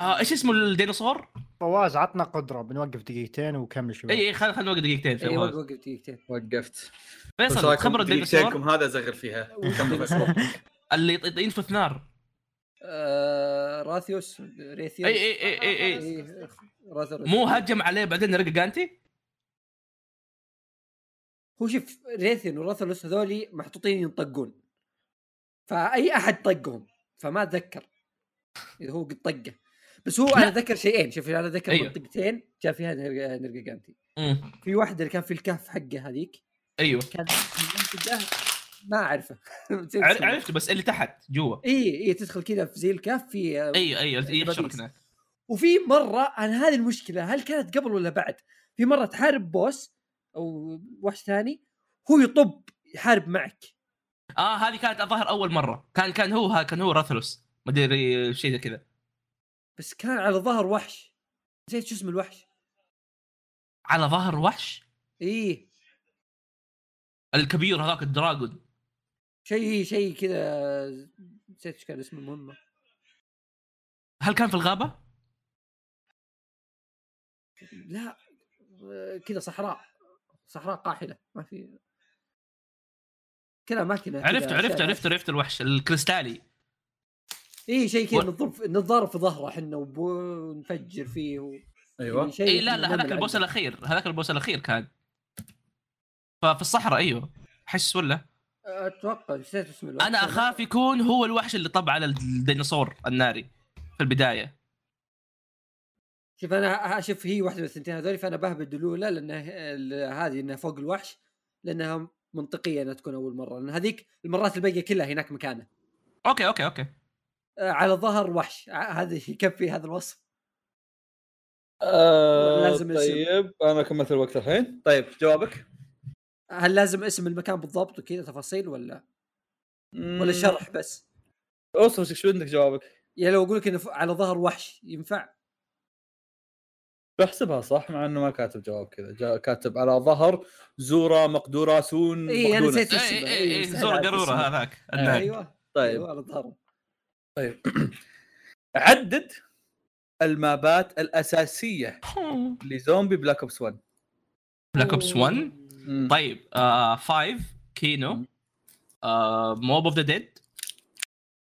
[SPEAKER 4] آه ايش اسمه الديناصور؟
[SPEAKER 2] فواز عطنا قدره بنوقف دقيقتين وكمل شوي
[SPEAKER 4] اي اي إيه، خل خل نوقف دقيقتين
[SPEAKER 3] اي
[SPEAKER 4] شباب.
[SPEAKER 3] إيه، وقف وقف دقيقتين
[SPEAKER 1] وقفت وش
[SPEAKER 4] فيصل
[SPEAKER 1] رأيكم
[SPEAKER 4] خبر الديناصور
[SPEAKER 1] دقيقتينكم هذا زغر فيها *laughs* كمل بس.
[SPEAKER 4] اللي يط- ينفث نار
[SPEAKER 3] آه، راثيوس ريثيوس
[SPEAKER 4] اي اي اي اي, أي.
[SPEAKER 3] إيه. راثيوس
[SPEAKER 4] مو هجم عليه بعدين رقى جانتي
[SPEAKER 3] هو شوف ريثين وراثلوس هذولي محطوطين ينطقون فاي احد طقهم فما اتذكر اذا هو قد طقه بس هو انا ذكر شيئين شوف انا ذكر
[SPEAKER 4] أيوه.
[SPEAKER 3] أيوه. منطقتين جاء فيها نرجانتي في واحده اللي كان في الكهف حقه هذيك
[SPEAKER 4] ايوه
[SPEAKER 3] كان منطقه *laughs* ما اعرفه
[SPEAKER 4] عر- عرفته بس اللي تحت جوا
[SPEAKER 3] اي اي تدخل كذا في زي الكهف في آه،
[SPEAKER 4] ايوه ايوه يبشرك
[SPEAKER 3] باريس.
[SPEAKER 4] هناك
[SPEAKER 3] وفي مره انا هذه المشكله هل كانت قبل ولا بعد؟ في مره تحارب بوس او وحش ثاني هو يطب يحارب معك
[SPEAKER 4] اه هذه كانت الظاهر اول مره كان كان هو كان هو راثلوس ما ادري شيء زي كذا
[SPEAKER 3] بس كان على ظهر وحش نسيت شو اسم الوحش
[SPEAKER 4] على ظهر وحش
[SPEAKER 3] ايه
[SPEAKER 4] الكبير هذاك الدراجون
[SPEAKER 3] شيء شيء كذا نسيت ايش كان اسمه المهمه
[SPEAKER 4] هل كان في الغابه؟
[SPEAKER 3] لا آه، كذا صحراء صحراء قاحله ما في كذا اماكن
[SPEAKER 4] عرفت عرفت عرفت عرفت الوحش الكريستالي
[SPEAKER 3] اي إيه، شيء كذا
[SPEAKER 4] و-
[SPEAKER 3] نضرب نتضارب في ظهره احنا وب- ونفجر فيه و... يعني
[SPEAKER 1] ايوه
[SPEAKER 3] شيء
[SPEAKER 4] اي إيه، لا
[SPEAKER 3] كذا
[SPEAKER 4] لا هذاك
[SPEAKER 3] نعمل
[SPEAKER 4] البوس
[SPEAKER 3] عنده.
[SPEAKER 4] الاخير هذاك البوس الاخير كان ففي الصحراء ايوه حس ولا
[SPEAKER 3] اتوقع نسيت اسم الوحش
[SPEAKER 4] انا اخاف يكون هو الوحش اللي طب على الديناصور الناري في البدايه
[SPEAKER 3] شوف انا اشوف هي واحده من الثنتين هذول فانا بهبد الاولى لانها ال- هذه انها فوق الوحش لانها منطقيه انها تكون اول مره لان هذيك المرات الباقيه كلها هناك مكانه
[SPEAKER 4] اوكي اوكي اوكي
[SPEAKER 3] آه، على ظهر وحش ع- هذا يكفي هذا الوصف لازم اسم.
[SPEAKER 1] طيب انا كملت الوقت الحين طيب جوابك
[SPEAKER 3] هل لازم اسم المكان بالضبط وكذا تفاصيل ولا ولا
[SPEAKER 1] مم.
[SPEAKER 3] شرح بس
[SPEAKER 1] اوصف شو عندك جوابك
[SPEAKER 3] يعني لو اقول لك انه ف- على ظهر وحش ينفع
[SPEAKER 1] بحسبها صح مع انه ما كاتب جواب كذا جا- كاتب على ظهر زورا مقدورة سون
[SPEAKER 3] إي، إيه، أنا
[SPEAKER 1] مقدونة.
[SPEAKER 3] نسيت.
[SPEAKER 4] اي اي اي
[SPEAKER 3] يستاهل
[SPEAKER 4] إيه، زور
[SPEAKER 3] عاد
[SPEAKER 4] قروره
[SPEAKER 3] اسمه.
[SPEAKER 4] هذاك الناري
[SPEAKER 3] ايوه
[SPEAKER 1] طيب
[SPEAKER 3] ايوه على ظهره
[SPEAKER 1] *clears throat* عدد المابات
[SPEAKER 3] *laughs*
[SPEAKER 1] الاساسيه لزومبي بلاك اوبس 1
[SPEAKER 4] بلاك اوبس 1 طيب 5 كينو
[SPEAKER 1] مم.
[SPEAKER 4] موب اوف ذا ديد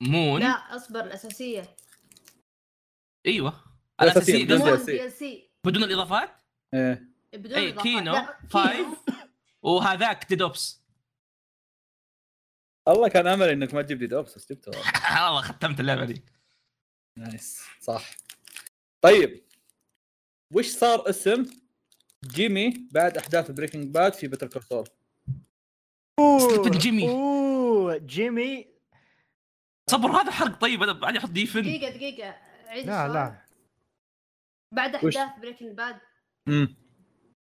[SPEAKER 4] مون
[SPEAKER 5] لا اصبر الاساسيه
[SPEAKER 4] ايوه
[SPEAKER 1] الأساسية.
[SPEAKER 4] الاساسيه
[SPEAKER 1] بدون DLC.
[SPEAKER 5] مو
[SPEAKER 4] قصدك
[SPEAKER 5] دي ال سي
[SPEAKER 4] بدون الاضافات
[SPEAKER 3] إيه.
[SPEAKER 1] ايه
[SPEAKER 5] بدون
[SPEAKER 4] اي
[SPEAKER 5] إضافات.
[SPEAKER 4] إيه، كينو
[SPEAKER 5] لا،
[SPEAKER 4] 5 وهذاك ديد اوبس
[SPEAKER 1] الله كان امل انك ما تجيب ديد اوبس بس جبته والله.
[SPEAKER 4] *laughs* والله ختمت اللعبه دي
[SPEAKER 1] نايس صح طيب وش صار اسم جيمي بعد احداث بريكنج باد في بتر كورسول
[SPEAKER 4] سلطة جيمي.
[SPEAKER 2] اوه جيمي
[SPEAKER 4] صبر هذا حرق طيب انا بعدين احط ديفن
[SPEAKER 5] دقيقه دقيقه عيد
[SPEAKER 2] لا
[SPEAKER 5] السؤال.
[SPEAKER 2] لا
[SPEAKER 5] بعد
[SPEAKER 1] وش؟
[SPEAKER 5] احداث بريكنج باد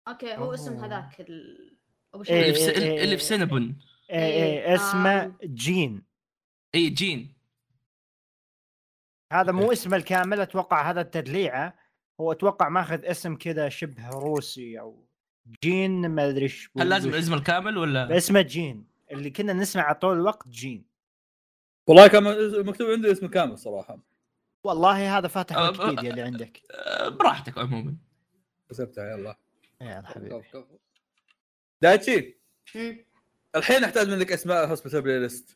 [SPEAKER 5] اوكي هو اسم
[SPEAKER 2] أوه.
[SPEAKER 5] هذاك ال... ابو
[SPEAKER 4] اللي
[SPEAKER 2] إيه،
[SPEAKER 4] في
[SPEAKER 5] شيء
[SPEAKER 4] س-
[SPEAKER 2] إيه، إيه،
[SPEAKER 4] اللي في سينابون
[SPEAKER 2] إيه إيه
[SPEAKER 5] إيه،
[SPEAKER 2] اسمه
[SPEAKER 5] آم.
[SPEAKER 2] جين
[SPEAKER 4] اي جين
[SPEAKER 2] هذا مو اسمه الكامل اتوقع هذا التدليعه هو اتوقع ماخذ اسم كذا شبه روسي او جين ما ادري ايش
[SPEAKER 4] هل لازم الاسم الكامل ولا
[SPEAKER 2] اسمه جين اللي كنا نسمعه طول الوقت جين
[SPEAKER 1] والله كان مكتوب عندي اسمه كامل صراحه
[SPEAKER 2] والله هذا فاتح
[SPEAKER 4] أه،
[SPEAKER 2] ويكيبيديا اللي
[SPEAKER 4] *laughs*
[SPEAKER 2] عندك
[SPEAKER 4] آه، براحتك عموما
[SPEAKER 1] كتبتها يلا
[SPEAKER 2] يا
[SPEAKER 3] *laughs*
[SPEAKER 2] حبيبي
[SPEAKER 1] دايتشي
[SPEAKER 5] مم.
[SPEAKER 1] الحين احتاج منك اسماء الهوسبيتال بلاي ليست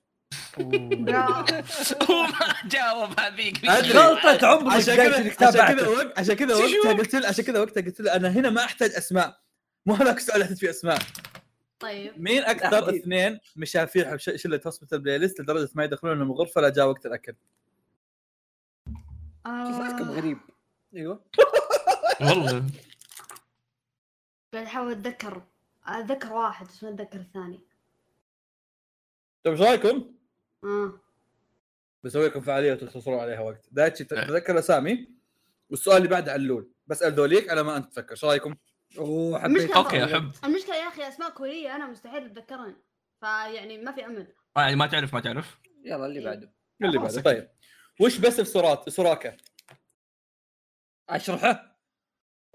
[SPEAKER 5] برافو.
[SPEAKER 4] *laughs* هو ما جاوب هذيك
[SPEAKER 1] أدري.
[SPEAKER 3] غلطة عمرك
[SPEAKER 1] عشان
[SPEAKER 3] زي
[SPEAKER 1] كذا
[SPEAKER 3] اللي
[SPEAKER 1] عشان كذا
[SPEAKER 3] تابعته.
[SPEAKER 1] وقت عشان كذا
[SPEAKER 4] شو؟
[SPEAKER 1] وقتها قلت له عشان كذا وقتها قلت له انا هنا ما احتاج اسماء مو هذاك السؤال اللي احتاج فيه اسماء
[SPEAKER 5] *laughs* طيب
[SPEAKER 1] مين اكثر
[SPEAKER 3] تحديد.
[SPEAKER 1] اثنين مشافيح بش- شله هوسبيتال بلاي ليست لدرجه ما يدخلون لهم غرفه لا جاء وقت الاكل
[SPEAKER 3] كم
[SPEAKER 5] آه...
[SPEAKER 3] غريب
[SPEAKER 1] أيوة.
[SPEAKER 3] ايوه
[SPEAKER 4] والله *laughs*
[SPEAKER 5] قاعد احاول اتذكر اتذكر واحد بس ما اتذكر الثاني
[SPEAKER 1] طيب ايش رايكم؟
[SPEAKER 5] اه
[SPEAKER 1] بسوي لكم فعاليه وتختصرون عليها وقت دايتشي
[SPEAKER 4] إيه.
[SPEAKER 1] تتذكر اسامي والسؤال اللي بعده على اللول بسال ذوليك على ما انت تفكر ايش رايكم؟
[SPEAKER 3] اوه
[SPEAKER 5] مش
[SPEAKER 3] حبيت
[SPEAKER 5] كم-
[SPEAKER 4] اوكي احب
[SPEAKER 5] المشكله يا اخي اسماء كوريه انا مستحيل اتذكرها فيعني ما في امل
[SPEAKER 4] آه، يعني ما تعرف ما تعرف
[SPEAKER 3] يلا اللي بعده
[SPEAKER 1] اللي بعده طيب وش بس في سورات سوراكا؟
[SPEAKER 3] اشرحه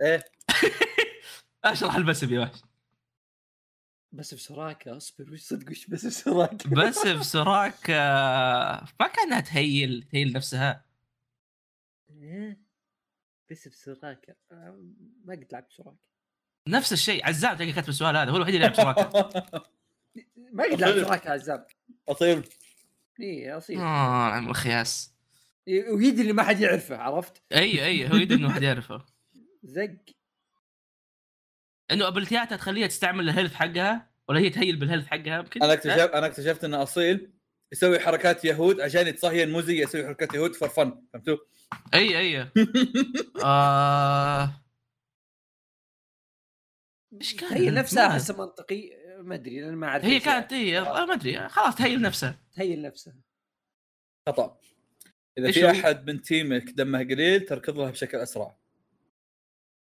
[SPEAKER 1] ايه
[SPEAKER 4] اشرح البسب *laughs* يا وحش
[SPEAKER 3] بس بسراكه اصبر وش صدق وش بس بسراكه
[SPEAKER 4] بسب سراك آه، ما كانها تهيل تهيل نفسها
[SPEAKER 3] إيه؟ بس بسراكه آه، ما قد لعبت سراكه
[SPEAKER 4] نفس الشيء عزام تلقى كاتب السؤال هذا هو الوحيد اللي
[SPEAKER 1] *laughs*
[SPEAKER 4] يلعب سراك
[SPEAKER 3] ما قد لعبت سراكه عزام
[SPEAKER 1] اطير
[SPEAKER 3] اي اصيل
[SPEAKER 4] اه العم الخياس
[SPEAKER 3] إيه، ويدري اللي ما حد يعرفه عرفت
[SPEAKER 4] اي اي هو يدري انه واحد يعرفه
[SPEAKER 3] زق
[SPEAKER 4] انه ابلتياتها تخليها تستعمل الهيلث حقها ولا هي تهيل بالهيلث حقها يمكن
[SPEAKER 1] انا
[SPEAKER 4] *laughs*
[SPEAKER 1] اكتشفت انا اكتشفت ان اصيل يسوي حركات يهود عشان يتصهين مو زي يسوي حركات يهود فور فن فهمتوا؟
[SPEAKER 4] اي اي آه، إيش كان؟ *laughs*
[SPEAKER 3] هي نفسها
[SPEAKER 4] ما-
[SPEAKER 3] احسه منطقي ما ادري لان ما اعرف
[SPEAKER 4] هي
[SPEAKER 3] إيش
[SPEAKER 4] كانت هي ما ادري خلاص تهيل نفسها
[SPEAKER 3] تهيل نفسها
[SPEAKER 1] خطا اذا
[SPEAKER 4] إيش
[SPEAKER 1] في
[SPEAKER 4] هو؟
[SPEAKER 1] احد من تيمك دمه قليل تركض لها بشكل اسرع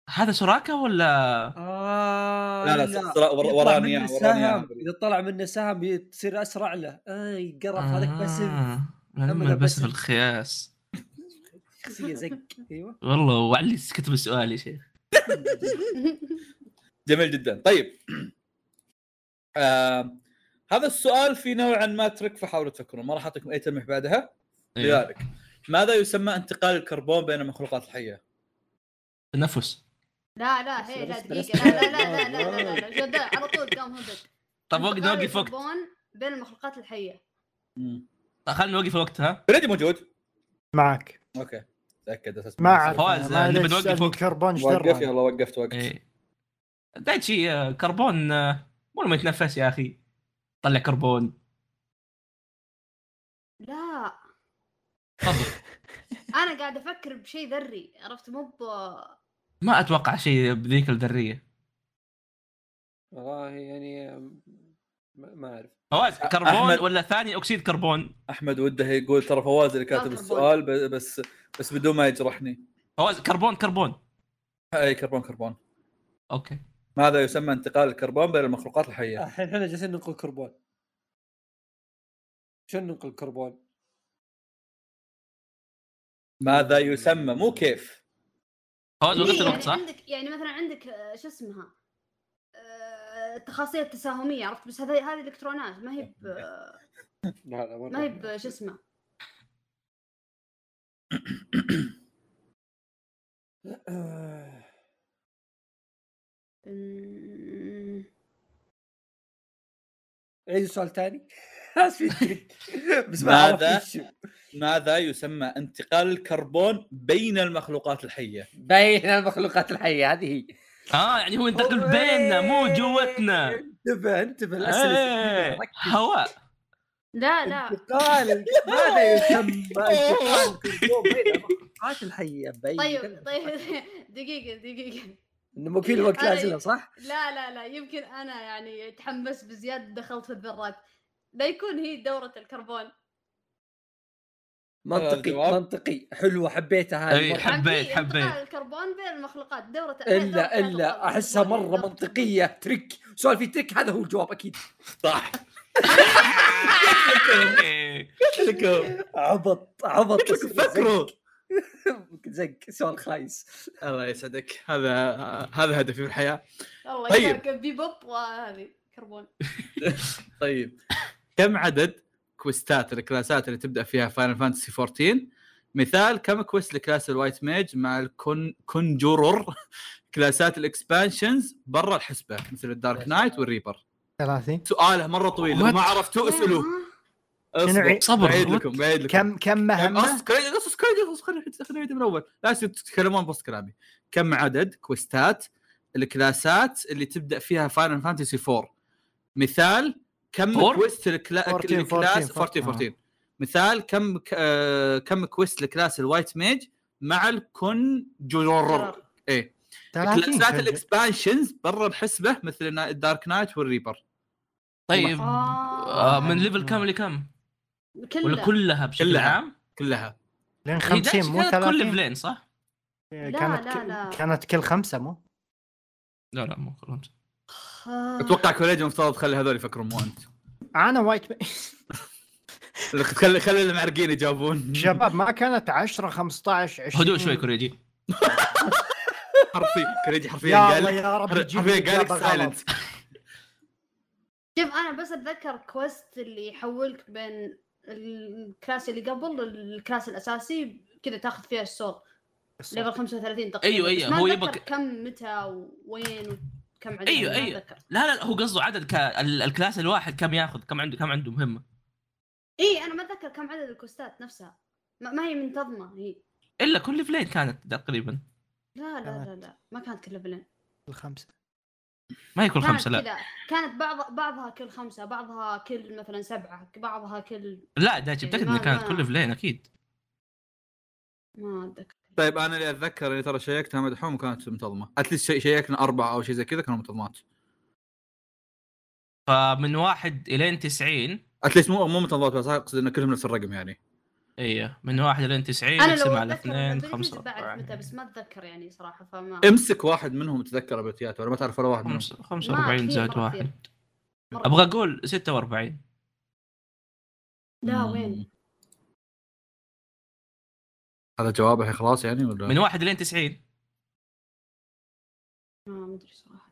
[SPEAKER 4] هذا سوراكا ولا
[SPEAKER 3] آه
[SPEAKER 1] لا لا سرا- ور-
[SPEAKER 3] يطلع
[SPEAKER 1] وراني إياها،
[SPEAKER 3] منه
[SPEAKER 1] وراني إياها.
[SPEAKER 3] سهم اذا طلع منه سهم بتصير اسرع له اي قرف هذاك بس
[SPEAKER 4] آه،
[SPEAKER 3] أما
[SPEAKER 4] لما
[SPEAKER 3] ذا
[SPEAKER 4] البسف
[SPEAKER 3] بسف.
[SPEAKER 4] الخياس
[SPEAKER 3] شخصيه زق ايوه
[SPEAKER 4] والله وعلي كتب السؤال يا شيخ
[SPEAKER 1] جميل جدا طيب آه هذا السؤال في نوعا ما ترك فحاولوا تفكرون ما راح اعطيكم اي تلميح بعدها
[SPEAKER 3] إيه.
[SPEAKER 4] أيوه.
[SPEAKER 1] لذلك ماذا يسمى انتقال الكربون بين المخلوقات الحيه؟
[SPEAKER 4] تنفس
[SPEAKER 5] لا لا هي لا
[SPEAKER 3] بس- بس-
[SPEAKER 5] دقيقه لا لا لا لا لا لا لا الجدال على طول قام هبط
[SPEAKER 4] طب وقت
[SPEAKER 5] انتقال
[SPEAKER 4] نوقف وقت
[SPEAKER 5] الكربون بين المخلوقات الحيه
[SPEAKER 4] طيب خلينا نوقف وقت ها
[SPEAKER 1] بريدي موجود
[SPEAKER 2] معك
[SPEAKER 1] اوكي تاكد اساس
[SPEAKER 2] ما اعرف
[SPEAKER 3] طيب.
[SPEAKER 4] فواز،
[SPEAKER 2] أنا ما
[SPEAKER 4] نبي
[SPEAKER 2] أدري
[SPEAKER 4] نوقف
[SPEAKER 2] تسألني
[SPEAKER 4] وقت.
[SPEAKER 2] كربون ايش
[SPEAKER 1] وقف
[SPEAKER 2] درى؟
[SPEAKER 1] يلا وقفت وقت
[SPEAKER 4] إيه. دايتشي آه، كربون آه، مو لما يتنفس يا اخي طلع كربون
[SPEAKER 5] لا
[SPEAKER 4] تفضل.
[SPEAKER 5] انا قاعد افكر بشيء ذري عرفت مو ب
[SPEAKER 4] ما اتوقع شيء بذيك الذريه
[SPEAKER 3] والله يعني أم، ما ما اعرف
[SPEAKER 4] فواز كربون
[SPEAKER 1] أحمد.
[SPEAKER 4] ولا ثاني اكسيد كربون
[SPEAKER 1] احمد وده يقول ترى فواز اللي كاتب
[SPEAKER 5] كربون.
[SPEAKER 1] السؤال ب- بس بس بدون ما يجرحني
[SPEAKER 4] فواز كربون كربون
[SPEAKER 1] اي كربون كربون
[SPEAKER 4] اوكي
[SPEAKER 1] ماذا يسمى انتقال الكربون بين المخلوقات الحيه؟
[SPEAKER 3] آه، الحين احنا جالسين ننقل كربون شلون ننقل كربون؟
[SPEAKER 1] ماذا يسمى مو كيف
[SPEAKER 4] فواز
[SPEAKER 5] إيه،
[SPEAKER 4] وقفت
[SPEAKER 5] يعني
[SPEAKER 4] الوقت صح؟
[SPEAKER 5] عندك يعني مثلا عندك آه، شو اسمها آه، التخاصيل التساهميه عرفت بس هذه هذه الكترونات ما هي ب- آه،
[SPEAKER 3] لا لا
[SPEAKER 5] ما هي ب- شو اسمه
[SPEAKER 3] آه،
[SPEAKER 5] أمم.
[SPEAKER 3] عيد السؤال ثاني *laughs* اسف يترك. بس ما
[SPEAKER 1] ماذا؟
[SPEAKER 3] عرفت إيش.
[SPEAKER 1] ماذا يسمى انتقال الكربون بين المخلوقات الحيه؟
[SPEAKER 3] بين المخلوقات الحيه هذه هي
[SPEAKER 4] اه يعني هو ينتقل بيننا مو جوتنا
[SPEAKER 3] انتبه انتبه
[SPEAKER 4] إيه،
[SPEAKER 3] الاسئله
[SPEAKER 4] هواء
[SPEAKER 5] لا *laughs* لا
[SPEAKER 3] انتقال ماذا يسمى انتقال
[SPEAKER 5] *laughs*
[SPEAKER 3] كربون بين المخلوقات الحيه بين
[SPEAKER 5] طيب طيب *laughs* دقيقه دقيقه
[SPEAKER 3] انه مو كل وقت
[SPEAKER 5] أنا-
[SPEAKER 3] لازم صح؟
[SPEAKER 5] لا لا لا يمكن انا يعني تحمس بزياده دخلت في الذرات لا يكون هي دوره الكربون
[SPEAKER 3] منطقي
[SPEAKER 1] الجواب.
[SPEAKER 3] منطقي حلوه حبيتها
[SPEAKER 4] آه، أي،
[SPEAKER 3] هذه مرة.
[SPEAKER 4] حبيت،
[SPEAKER 5] عن يعني في انتقال
[SPEAKER 4] حبيت.
[SPEAKER 5] الكربون بين المخلوقات دورة دورة
[SPEAKER 3] الا الا
[SPEAKER 5] الكربون.
[SPEAKER 3] احسها مره
[SPEAKER 5] دورة الكربون.
[SPEAKER 3] منطقيه تريك سؤال في تريك هذا هو الجواب اكيد
[SPEAKER 1] صح
[SPEAKER 4] إيه.
[SPEAKER 1] لكم
[SPEAKER 3] عبط عبط
[SPEAKER 1] لكم فكروا
[SPEAKER 3] *laughs* زق سؤال خايس
[SPEAKER 1] الله يسعدك هذا هذا هدفي في الحياه
[SPEAKER 5] والله
[SPEAKER 1] طيب.
[SPEAKER 5] طيب بيبوب وهذه كربون
[SPEAKER 1] طيب كم عدد كويستات الكلاسات اللي تبدا فيها فاينل فانتسي 14 مثال كم كويست لكلاس الوايت ميج مع الكونجورر *laughs* كلاسات الاكسبانشنز برا الحسبه مثل الدارك نايت والريبر
[SPEAKER 2] 30
[SPEAKER 1] سؤاله مره طويل لو ما عرفتوه اسالوه اصبر
[SPEAKER 2] شنو
[SPEAKER 4] *laughs* صبر.
[SPEAKER 1] بعيد لكم بعيد لكم
[SPEAKER 2] كم كم مهمه؟
[SPEAKER 1] قصص كريدي قصص كريدي قصص كريدي خلينا نعيد من الاول لا يصير تتكلمون بوسط كلامي كم عدد كويستات الكلاسات اللي تبدا فيها فاينل فانتسي 4 مثال كم
[SPEAKER 4] فور؟
[SPEAKER 1] كويست الكلا...
[SPEAKER 2] 14
[SPEAKER 1] الكلاس 14
[SPEAKER 2] 14
[SPEAKER 1] 14 مثال كم ك... آه... كم كويست الكلاس الوايت ميج مع الكونجورر ايه
[SPEAKER 2] 30
[SPEAKER 1] كلاسات
[SPEAKER 2] فجأة.
[SPEAKER 1] الاكسبانشنز برا الحسبه مثل نا- الدارك نايت والريبر
[SPEAKER 4] طيب آه،
[SPEAKER 5] آه.
[SPEAKER 4] من ليفل كم لكم؟
[SPEAKER 5] كله
[SPEAKER 4] ولا كلها بشكل
[SPEAKER 1] كلها.
[SPEAKER 4] عام؟
[SPEAKER 1] كلها
[SPEAKER 2] لين
[SPEAKER 4] هي دايتشي
[SPEAKER 2] 50 مو
[SPEAKER 4] إيه، كانت كل
[SPEAKER 2] 30
[SPEAKER 4] ليفلين صح؟
[SPEAKER 5] لا،
[SPEAKER 2] كانت
[SPEAKER 5] لا،
[SPEAKER 2] ك-
[SPEAKER 5] لا.
[SPEAKER 2] كانت كل خمسه مو
[SPEAKER 4] لا لا مو كلهم
[SPEAKER 5] آه،
[SPEAKER 1] اتوقع كوليجيوم صار تخلي هذول يفكرون مو انت
[SPEAKER 2] انا وايت ب- *laughs*
[SPEAKER 1] خلي خلي المعرقين يجاوبون
[SPEAKER 2] شباب ما كانت 10 15 20
[SPEAKER 4] هدوء شوي كوريجي
[SPEAKER 1] حرفيا كوليجي حرفيا
[SPEAKER 2] يا
[SPEAKER 1] قال
[SPEAKER 2] الله يا رب
[SPEAKER 1] حرفيا
[SPEAKER 2] يجيب
[SPEAKER 1] قال لك
[SPEAKER 2] الإجابة غلط.
[SPEAKER 1] سايلنت
[SPEAKER 5] شوف انا بس اتذكر كويست اللي يحولك بين الكلاس اللي قبل للكلاس الاساسي كذا تاخذ فيها الصوت ليفل 35 تقريبا
[SPEAKER 4] أيوة، أيوة،
[SPEAKER 5] بس ما
[SPEAKER 4] هو
[SPEAKER 5] أتذكر
[SPEAKER 4] يبك-
[SPEAKER 5] كم متى وين وكم عندهم
[SPEAKER 4] أيوة،
[SPEAKER 5] ما
[SPEAKER 4] أيوة.
[SPEAKER 5] أتذكر.
[SPEAKER 4] لا لا هو قصده عدد ك... ال- الكلاس الواحد كم ياخذ كم عنده كم عنده مهمه
[SPEAKER 5] اي انا ما اتذكر كم عدد الكوستات نفسها ما, ما هي منتظمه هي
[SPEAKER 4] الا كل فلين كانت تقريبا
[SPEAKER 5] لا لا
[SPEAKER 2] كانت-
[SPEAKER 5] لا لا ما كانت كل بلين
[SPEAKER 2] الخمسه
[SPEAKER 4] ما هي كل
[SPEAKER 5] كانت
[SPEAKER 4] خمسه لا
[SPEAKER 5] كذا كانت بعض بعضها كل خمسه بعضها كل مثلا سبعه بعضها كل
[SPEAKER 4] لا ده جبتك
[SPEAKER 5] ما-
[SPEAKER 4] انها كانت
[SPEAKER 5] ما-
[SPEAKER 4] كل فلين اكيد
[SPEAKER 5] ما اتذكر
[SPEAKER 1] طيب انا اللي اتذكر اللي ترى شيكتها مدحوم وكانت منتظمه اتليست شي- شيكنا اربعه او شيء زي كذا كانوا منتظمات
[SPEAKER 4] فمن واحد الين 90
[SPEAKER 1] اتليست مو مو منتظمات بس اقصد ان كلهم نفس الرقم يعني
[SPEAKER 4] ايه من واحد الين 90
[SPEAKER 5] انا لو
[SPEAKER 4] اقسم على
[SPEAKER 5] اتذكر
[SPEAKER 4] اثنين
[SPEAKER 5] الابيلتيز
[SPEAKER 4] خمسة
[SPEAKER 5] بعرف متى
[SPEAKER 4] أربعة.
[SPEAKER 5] بس ما اتذكر يعني صراحه فما
[SPEAKER 1] امسك واحد منهم تذكر ابيتيات ولا ما تعرف ولا واحد منهم
[SPEAKER 4] خمسة- خمسة
[SPEAKER 5] ما
[SPEAKER 4] 45
[SPEAKER 5] كثير،
[SPEAKER 4] زائد
[SPEAKER 5] ما كثير.
[SPEAKER 4] واحد
[SPEAKER 5] مرة.
[SPEAKER 4] ابغى اقول 46
[SPEAKER 5] لا
[SPEAKER 1] مم.
[SPEAKER 5] وين
[SPEAKER 1] هذا جواب الحين خلاص يعني ولا
[SPEAKER 4] من واحد لين 90
[SPEAKER 5] ما ما ادري صراحه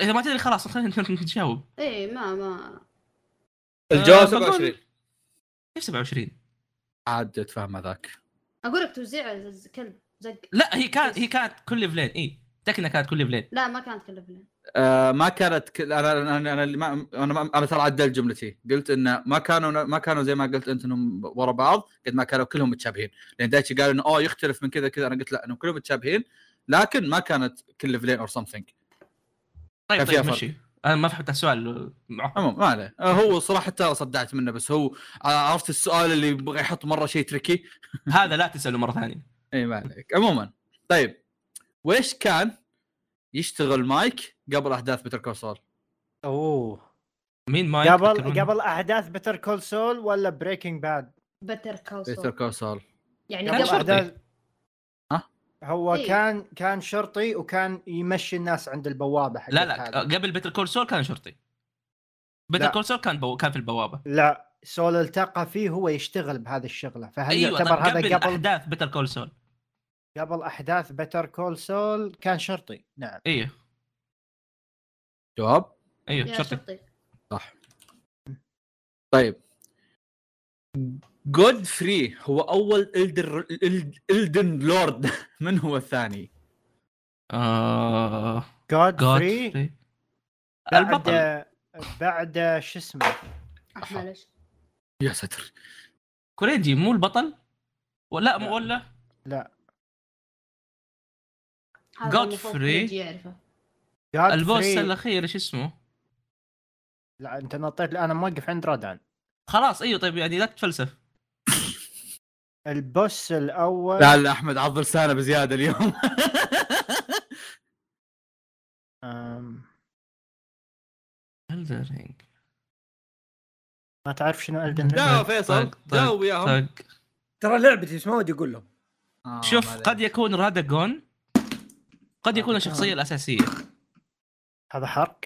[SPEAKER 4] اذا ما تدري خلاص خلينا *laughs* نجاوب
[SPEAKER 5] ايه ما ما
[SPEAKER 1] الجواب
[SPEAKER 4] آه،
[SPEAKER 1] 27
[SPEAKER 4] بقول- كيف 27
[SPEAKER 1] عاد اتفهم هذاك
[SPEAKER 5] اقول لك توزيع ز- كلب زق
[SPEAKER 4] لا هي كانت هي كانت كل فلين اي تكنا كانت كل فلين
[SPEAKER 5] لا ما كانت كلب لين
[SPEAKER 1] آه ما كانت ك... انا انا انا اللي ما... انا ما... انا ترى عدلت جملتي قلت انه ما كانوا ما كانوا زي ما قلت انت انهم ورا بعض قد ما كانوا كلهم متشابهين لان دايتشي قالوا انه اوه يختلف من كذا كذا انا قلت لا انهم كلهم متشابهين لكن ما كانت كل ليفلين اور سمثينج
[SPEAKER 4] طيب
[SPEAKER 1] كان فيها
[SPEAKER 4] طيب
[SPEAKER 1] فرق.
[SPEAKER 4] مشي انا ما فهمت السؤال معقد
[SPEAKER 1] عموما ما عليه آه، هو صراحه ترى صدعت منه بس هو آه، عرفت السؤال اللي يبغى يحط مره شيء تركي
[SPEAKER 2] أمم.
[SPEAKER 4] هذا لا تساله مره ثانيه
[SPEAKER 1] اي ما عليك عموما طيب ويش كان يشتغل مايك قبل احداث بيتر كوسول
[SPEAKER 2] اوه
[SPEAKER 4] مين مايك
[SPEAKER 2] قبل
[SPEAKER 4] يذكرون؟
[SPEAKER 2] قبل احداث بتر كول سول ولا بريكنج باد
[SPEAKER 5] بتر
[SPEAKER 1] بيتر
[SPEAKER 5] كوسول
[SPEAKER 1] كوسول
[SPEAKER 5] يعني
[SPEAKER 4] كان
[SPEAKER 2] قبل
[SPEAKER 4] شرطي.
[SPEAKER 5] قبل
[SPEAKER 2] احداث
[SPEAKER 1] ها؟
[SPEAKER 2] هو
[SPEAKER 5] إيه.
[SPEAKER 2] كان كان شرطي وكان يمشي الناس عند البوابه حق
[SPEAKER 4] لا لا قبل بيتر كول سول كان شرطي بيتر
[SPEAKER 2] لا.
[SPEAKER 4] كول سول كان بو... كان في البوابه
[SPEAKER 2] لا سول التقى فيه هو يشتغل بهذه الشغله فهل
[SPEAKER 4] ايوه
[SPEAKER 2] يعتبر
[SPEAKER 4] طب قبل
[SPEAKER 2] هذا قبل
[SPEAKER 4] احداث بيتر كول سول
[SPEAKER 2] قبل احداث بتر كول سول كان شرطي نعم
[SPEAKER 4] ايوه
[SPEAKER 1] جواب
[SPEAKER 4] ايوه
[SPEAKER 5] يا
[SPEAKER 4] شرطي
[SPEAKER 5] شرطي
[SPEAKER 1] صح طيب جود فري هو اول الدر الدن لورد *laughs* من هو الثاني؟
[SPEAKER 4] آه...
[SPEAKER 2] جود فري
[SPEAKER 4] جودفري
[SPEAKER 2] بعد
[SPEAKER 4] البطل
[SPEAKER 2] بعد شو اسمه
[SPEAKER 5] معلش
[SPEAKER 1] يا ساتر
[SPEAKER 4] كوريجي مو البطل ولا مو ولا
[SPEAKER 5] هذا
[SPEAKER 4] God
[SPEAKER 5] المفروض
[SPEAKER 4] free.
[SPEAKER 5] يجي يعرفه
[SPEAKER 4] *laughs*
[SPEAKER 2] جود
[SPEAKER 4] البوس
[SPEAKER 2] فري
[SPEAKER 4] الاخير ايش اسمه
[SPEAKER 2] لا انت نطيت انا موقف عند رادان
[SPEAKER 4] خلاص ايوه طيب يعني لا تتفلسف
[SPEAKER 2] البوس الاول
[SPEAKER 1] لا لا احمد عض لسانه بزياده *laughs* اليوم
[SPEAKER 2] أم،
[SPEAKER 4] الدرينج
[SPEAKER 2] ما تعرف شنو الدن
[SPEAKER 1] لا فيصل
[SPEAKER 4] طق، طق،
[SPEAKER 1] جاوب وياهم
[SPEAKER 4] طق
[SPEAKER 3] ترى لعبتي بس ما ودي اقول لهم
[SPEAKER 1] آه،
[SPEAKER 4] شوف
[SPEAKER 1] ما عليك.
[SPEAKER 4] قد يكون راداجون قد يكون الشخصيه الاساسيه
[SPEAKER 2] هذا حرق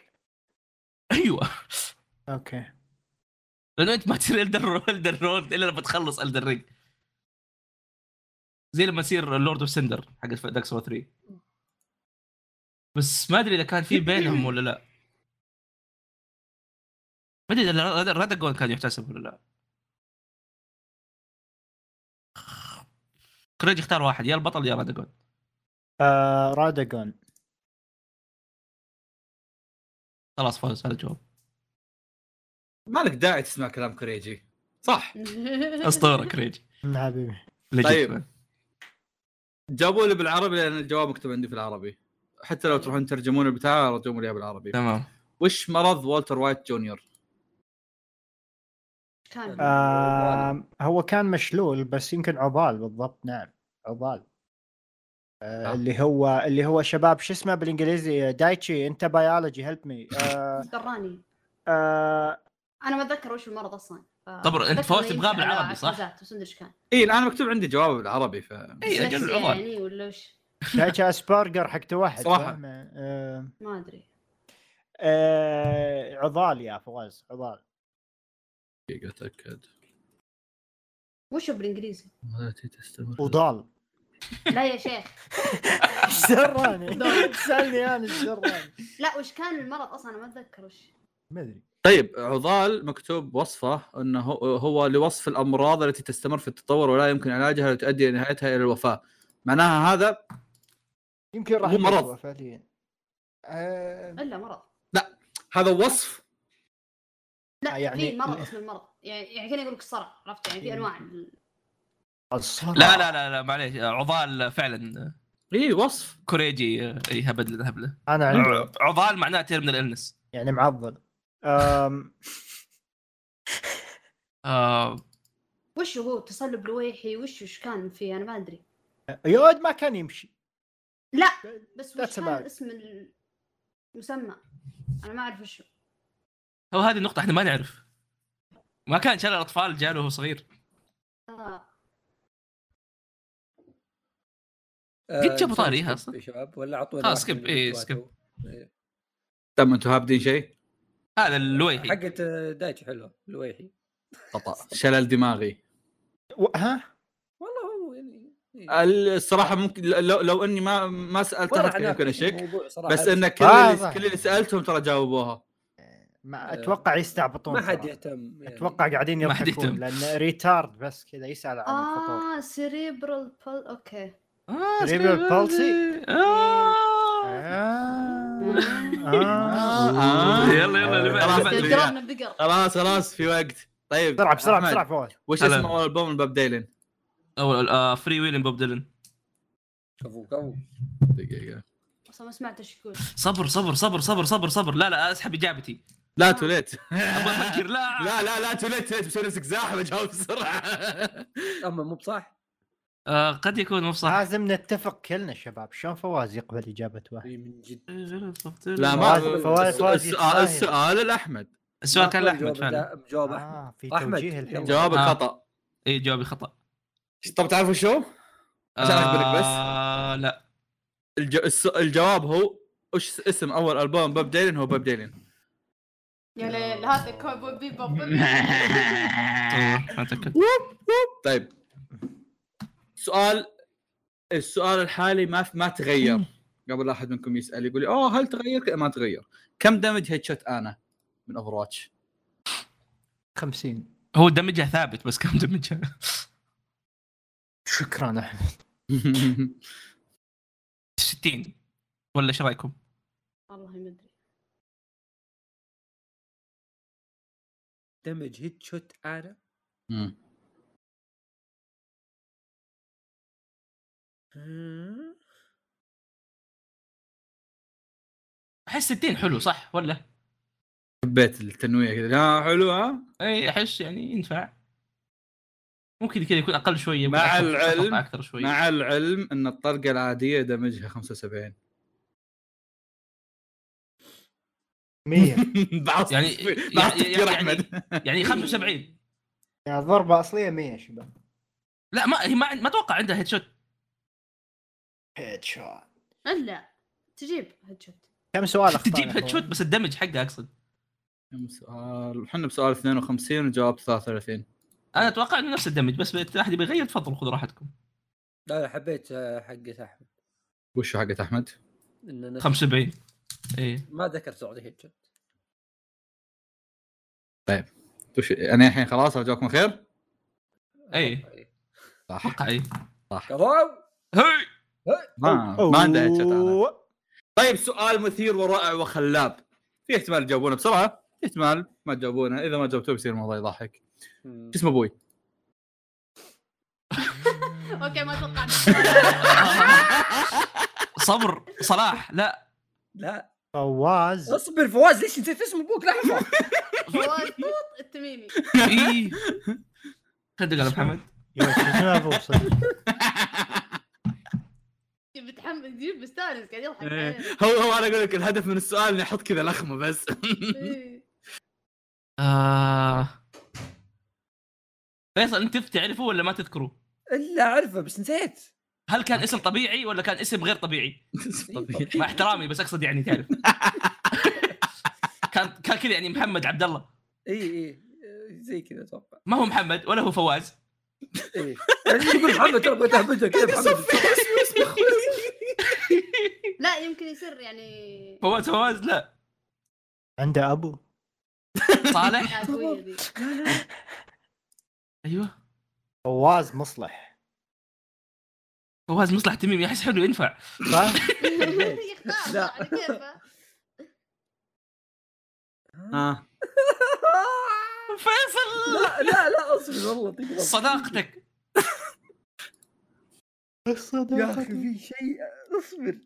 [SPEAKER 4] ايوه
[SPEAKER 2] اوكي
[SPEAKER 4] لانه انت ما تصير الدر الدر رود الا لما تخلص الدر رينج زي لما تصير لورد اوف سندر حق دارك سول 3 بس ما ادري اذا كان في بينهم ولا لا ما ادري اذا راداجون كان يحتسب ولا لا كريج اختار واحد يا البطل يا راداجون
[SPEAKER 2] آه راداجون
[SPEAKER 4] خلاص فوز هذا الجواب
[SPEAKER 1] مالك داعي تسمع كلام كريجي صح
[SPEAKER 4] اسطوره كريج
[SPEAKER 2] نعم حبيبي
[SPEAKER 1] طيب. جابوا لي بالعربي لان الجواب مكتوب عندي في العربي حتى لو تروحون ترجمون البتاع ارجوهم لي إياه بالعربي
[SPEAKER 4] تمام
[SPEAKER 1] وش مرض والتر وايت جونيور؟
[SPEAKER 5] *laughs* كان
[SPEAKER 2] آه هو كان مشلول بس يمكن عضال بالضبط نعم عضال آه
[SPEAKER 1] آه.
[SPEAKER 2] اللي هو اللي هو شباب شو اسمه بالانجليزي دايتشي انت بايولوجي هيلب مي
[SPEAKER 5] دراني
[SPEAKER 2] آه
[SPEAKER 5] انا ما اتذكر وش المرض اصلا
[SPEAKER 4] طب انت فوت تبغاه بالعربي صح؟
[SPEAKER 5] بس مدري ايش كان
[SPEAKER 1] اي الان إيه، مكتوب عندي جواب بالعربي ف
[SPEAKER 4] اي
[SPEAKER 5] بس
[SPEAKER 4] اجل العمر
[SPEAKER 5] يعني ولا وش
[SPEAKER 2] شاشة اسبرجر حق واحد
[SPEAKER 1] صراحة.
[SPEAKER 2] فاهمة؟ آه،
[SPEAKER 5] ما ادري
[SPEAKER 2] آه، عضال يا فواز عضال
[SPEAKER 1] دقيقه اتاكد
[SPEAKER 5] وش بالانجليزي؟
[SPEAKER 1] التي تستمر
[SPEAKER 4] *laughs*
[SPEAKER 2] وضال
[SPEAKER 5] لا يا شيخ
[SPEAKER 2] ايش سراني؟ سالني انا ايش سراني؟
[SPEAKER 5] لا وش كان المرض اصلا انا ما اتذكر وش
[SPEAKER 2] ما ادري
[SPEAKER 1] طيب عضال مكتوب وصفه انه هو- هو لوصف الامراض التي تستمر في التطور ولا يمكن علاجها وتؤدي الى نهايتها الى الوفاه معناها هذا
[SPEAKER 2] يمكن راح
[SPEAKER 1] مو مرض.
[SPEAKER 2] يتوفى فعليا آه،
[SPEAKER 5] الا مرض
[SPEAKER 1] هذا وصف
[SPEAKER 5] لا
[SPEAKER 2] آه، يعني-
[SPEAKER 5] يعني في مرض اسمه المرض يعني يعني كان يقول لك الصرع عرفت يعني في انواع
[SPEAKER 2] الصرع.
[SPEAKER 4] لا لا لا لا معليش عضال فعلا
[SPEAKER 1] اي إيه، وصف
[SPEAKER 4] كوريجي إيه، اي هبل لنا هبله
[SPEAKER 2] انا عندي
[SPEAKER 4] عضال معناه تيرمينال النس
[SPEAKER 2] يعني معضل آم،
[SPEAKER 4] آه
[SPEAKER 5] وش هو تصلب لويحي وش وش كان فيه انا ما ادري
[SPEAKER 2] يود ما كان يمشي
[SPEAKER 5] بس
[SPEAKER 2] That's
[SPEAKER 5] وش
[SPEAKER 2] about
[SPEAKER 5] كان
[SPEAKER 2] it.
[SPEAKER 5] اسم المسمى انا ما اعرف وش هو.
[SPEAKER 4] هو هذه النقطه احنا ما نعرف ما كان شلل الاطفال جاله وهو صغير
[SPEAKER 5] آه.
[SPEAKER 4] قد جابوا طاريها
[SPEAKER 3] اصلا
[SPEAKER 4] أصلا.
[SPEAKER 3] آه، يا شباب ولا اعطونا
[SPEAKER 4] خلاص،
[SPEAKER 3] واحد من
[SPEAKER 4] skip، إيه،
[SPEAKER 3] الأخوات
[SPEAKER 4] skip.
[SPEAKER 3] هو. إيه.
[SPEAKER 1] تم انتم طيب، هابدين شيء
[SPEAKER 4] هذا اللويحي
[SPEAKER 3] حقت آه، دايتش حلوه الويحي
[SPEAKER 1] خطا شلل دماغي
[SPEAKER 2] و- ها
[SPEAKER 3] والله هو يعني إيه.
[SPEAKER 1] ال- الصراحه ممكن لو, لو اني ما ما سالتها
[SPEAKER 3] والله
[SPEAKER 1] كان
[SPEAKER 3] علاقة
[SPEAKER 1] يمكن اشك
[SPEAKER 3] الموضوع صراحة
[SPEAKER 1] بس ان كل
[SPEAKER 2] آه،
[SPEAKER 1] اللي
[SPEAKER 2] صح.
[SPEAKER 1] كل اللي سالتهم ترى جاوبوها
[SPEAKER 2] ما اتوقع يستعبطون
[SPEAKER 3] ما حد
[SPEAKER 2] صراحة.
[SPEAKER 3] يهتم يعني.
[SPEAKER 2] اتوقع قاعدين
[SPEAKER 4] ما حد
[SPEAKER 2] يضحكون
[SPEAKER 4] يهتم.
[SPEAKER 2] لان ريتارد بس كذا يسال عن الفطور
[SPEAKER 5] اه سيريبرال بول اوكي
[SPEAKER 4] آه،
[SPEAKER 2] cerebral palsy.
[SPEAKER 4] آه.
[SPEAKER 2] آه.
[SPEAKER 1] آه.
[SPEAKER 2] آه.
[SPEAKER 4] يلا يلا
[SPEAKER 5] *laughs*
[SPEAKER 4] اللي
[SPEAKER 1] خلاص،
[SPEAKER 4] بعده.
[SPEAKER 1] أدري.
[SPEAKER 5] جربنا بقر
[SPEAKER 1] خلاص خلاص في وقت طيب
[SPEAKER 2] بسرعه بسرعه
[SPEAKER 1] أحمد،
[SPEAKER 2] بسرعه فوز
[SPEAKER 1] وش
[SPEAKER 4] هلا.
[SPEAKER 1] اسم اول البوم لباب ديلن؟
[SPEAKER 4] اول آه فري ويلين بوب ديلن
[SPEAKER 3] كفو كفو
[SPEAKER 1] دقيقه
[SPEAKER 5] اصلا ما سمعت ايش يقول
[SPEAKER 4] صبر صبر صبر صبر صبر صبر لا لا اسحب اجابتي
[SPEAKER 1] لا توليت
[SPEAKER 4] ابغى افكر لا
[SPEAKER 1] لا لا لا توليت توليت مسوي نفسك زاحمه جاوب بسرعه
[SPEAKER 3] اما مو بصح
[SPEAKER 4] آه قد يكون مو بصح
[SPEAKER 2] لازم نتفق كلنا شباب شلون فواز يقبل اجابه واحد
[SPEAKER 3] إي من جد
[SPEAKER 1] لا ما
[SPEAKER 2] فواز-
[SPEAKER 1] السؤال
[SPEAKER 2] فواز- فواز
[SPEAKER 1] السؤال-
[SPEAKER 2] يتساهل.
[SPEAKER 1] آه، السؤال لاحمد
[SPEAKER 4] السؤال كان
[SPEAKER 3] ما
[SPEAKER 4] لاحمد
[SPEAKER 3] جواب
[SPEAKER 4] فعلا
[SPEAKER 3] دا- جواب احمد
[SPEAKER 2] آه في
[SPEAKER 3] أحمد،
[SPEAKER 2] توجيه الحين
[SPEAKER 3] يلا.
[SPEAKER 1] جوابك
[SPEAKER 4] آه.
[SPEAKER 1] خطا
[SPEAKER 4] اي جوابي خطا
[SPEAKER 1] طب تعرفوا شو؟ عشان أخبرك بس.
[SPEAKER 4] آه، لا
[SPEAKER 1] *laughs* الج... الس- الجواب هو وش اسم اول البوم باب ديلن هو باب ديلن
[SPEAKER 5] يا ليل يعني هذا كوب بيب بوب
[SPEAKER 4] أتصور، ما اتاكد
[SPEAKER 1] طيب سؤال السؤال الحالي ما ما تغير قبل احد منكم يسال يقول لي اوه هل تغير ما تغير كم دمج هيد شوت انا من اوفر واتش
[SPEAKER 2] 50
[SPEAKER 4] هو دمجها ثابت بس كم دمجها
[SPEAKER 2] شكرا احمد
[SPEAKER 4] 60 ولا ايش رايكم؟
[SPEAKER 5] والله ما ادري
[SPEAKER 3] دمج هيت شوت انا آه.
[SPEAKER 4] احس 60 حلو صح ولا؟
[SPEAKER 1] *laughs* حبيت التنويه كذا ها حلو ها
[SPEAKER 4] اي احس يعني ينفع ممكن كذا يكون اقل شويه
[SPEAKER 1] مع
[SPEAKER 4] يكون أكثر-
[SPEAKER 1] العلم-
[SPEAKER 4] اكثر شويه
[SPEAKER 1] مع العلم ان الطلقه العاديه دمجها 75
[SPEAKER 2] 100
[SPEAKER 1] *laughs* بعض *laughs* بعض
[SPEAKER 4] يعني- يعني-
[SPEAKER 1] تفكير
[SPEAKER 4] يعني-
[SPEAKER 1] احمد
[SPEAKER 4] يعني 75
[SPEAKER 2] يعني الضربه اصليه 100 يا شباب
[SPEAKER 4] لا ما هي ما عند- ما اتوقع عندها هيد شوت
[SPEAKER 2] هيد شوت
[SPEAKER 5] الا تجيب هجت
[SPEAKER 2] كم
[SPEAKER 4] *laughs*
[SPEAKER 2] سؤال اخطانا
[SPEAKER 4] تجيب هيد
[SPEAKER 2] فوز؟
[SPEAKER 4] شوت بس الدمج حقه اقصد
[SPEAKER 1] كم سؤال احنا بسؤال 52 وجواب 33
[SPEAKER 4] انا اتوقع انه نفس الدمج بس إذا احد يبي يغير تفضلوا خذوا راحتكم
[SPEAKER 3] لا لا حبيت آه، حقة احمد
[SPEAKER 1] وش حقت احمد؟
[SPEAKER 3] إن أنا
[SPEAKER 4] 75 اي
[SPEAKER 3] ما ذكرت سعودي هيت شوت
[SPEAKER 1] وش انا الحين خلاص رجاكم خير؟
[SPEAKER 4] اي
[SPEAKER 1] صح
[SPEAKER 4] اتوقع اي
[SPEAKER 3] كفو
[SPEAKER 4] إيه. هي
[SPEAKER 1] ما ما عنده هيد شوت انا
[SPEAKER 2] أوه.
[SPEAKER 1] طيب سؤال مثير ورائع وخلاب في احتمال تجاوبونه بسرعه في احتمال ما تجاوبونه اذا ما جاوبتوه بيصير الموضوع يضحك
[SPEAKER 3] مم.
[SPEAKER 1] شو اسم ابوي؟
[SPEAKER 5] اوكي ما توقعت
[SPEAKER 4] صبر
[SPEAKER 1] *laughs*
[SPEAKER 4] صلاح لا
[SPEAKER 3] لا
[SPEAKER 2] فواز
[SPEAKER 3] اصبر فواز ليش نسيت اسم ابوك لحظه
[SPEAKER 5] فواز بوط التميمي
[SPEAKER 4] اي صدق على محمد
[SPEAKER 2] يا شو اسمه
[SPEAKER 3] *laughs*
[SPEAKER 2] ابو صدق
[SPEAKER 5] متحمس جيب مستانس قاعد يضحك
[SPEAKER 1] إيه. *laughs*
[SPEAKER 5] علينا.
[SPEAKER 1] هو هو انا اقول لك الهدف من السؤال اني
[SPEAKER 4] *laughs*
[SPEAKER 1] احط كذا لخمه بس
[SPEAKER 5] إيه.
[SPEAKER 4] آه... فيصل انت تعرفه ولا ما تذكره؟
[SPEAKER 3] الا اعرفه بس نسيت
[SPEAKER 4] هل كان اسم طبيعي ولا كان اسم غير طبيعي؟ مع احترامي بس اقصد يعني *laughs* تعرف كان كان كذا يعني محمد عبد الله
[SPEAKER 3] اي اي آه، زي كذا اتوقع
[SPEAKER 4] ما هو محمد ولا هو فواز
[SPEAKER 3] اي يقول محمد ترى بغيت اهبده كذا
[SPEAKER 4] *laughs*
[SPEAKER 3] محمد
[SPEAKER 5] لا يمكن يصير
[SPEAKER 4] *laughs*
[SPEAKER 5] يعني
[SPEAKER 4] فواز فواز لا
[SPEAKER 2] عنده ابو
[SPEAKER 4] صالح
[SPEAKER 5] لا، قوية ذي.
[SPEAKER 4] ايوه
[SPEAKER 2] فواز مصلح
[SPEAKER 4] فواز مصلح تميمي احس حلو ينفع
[SPEAKER 2] صح؟
[SPEAKER 5] *laughs* يختار يعني
[SPEAKER 3] لا.
[SPEAKER 5] على كيفه
[SPEAKER 1] ها
[SPEAKER 3] آه.
[SPEAKER 4] فيصل
[SPEAKER 3] لا لا لا اصبر والله طيب، تقرب.
[SPEAKER 4] صداقتك
[SPEAKER 3] يا اخي في شيء اصبر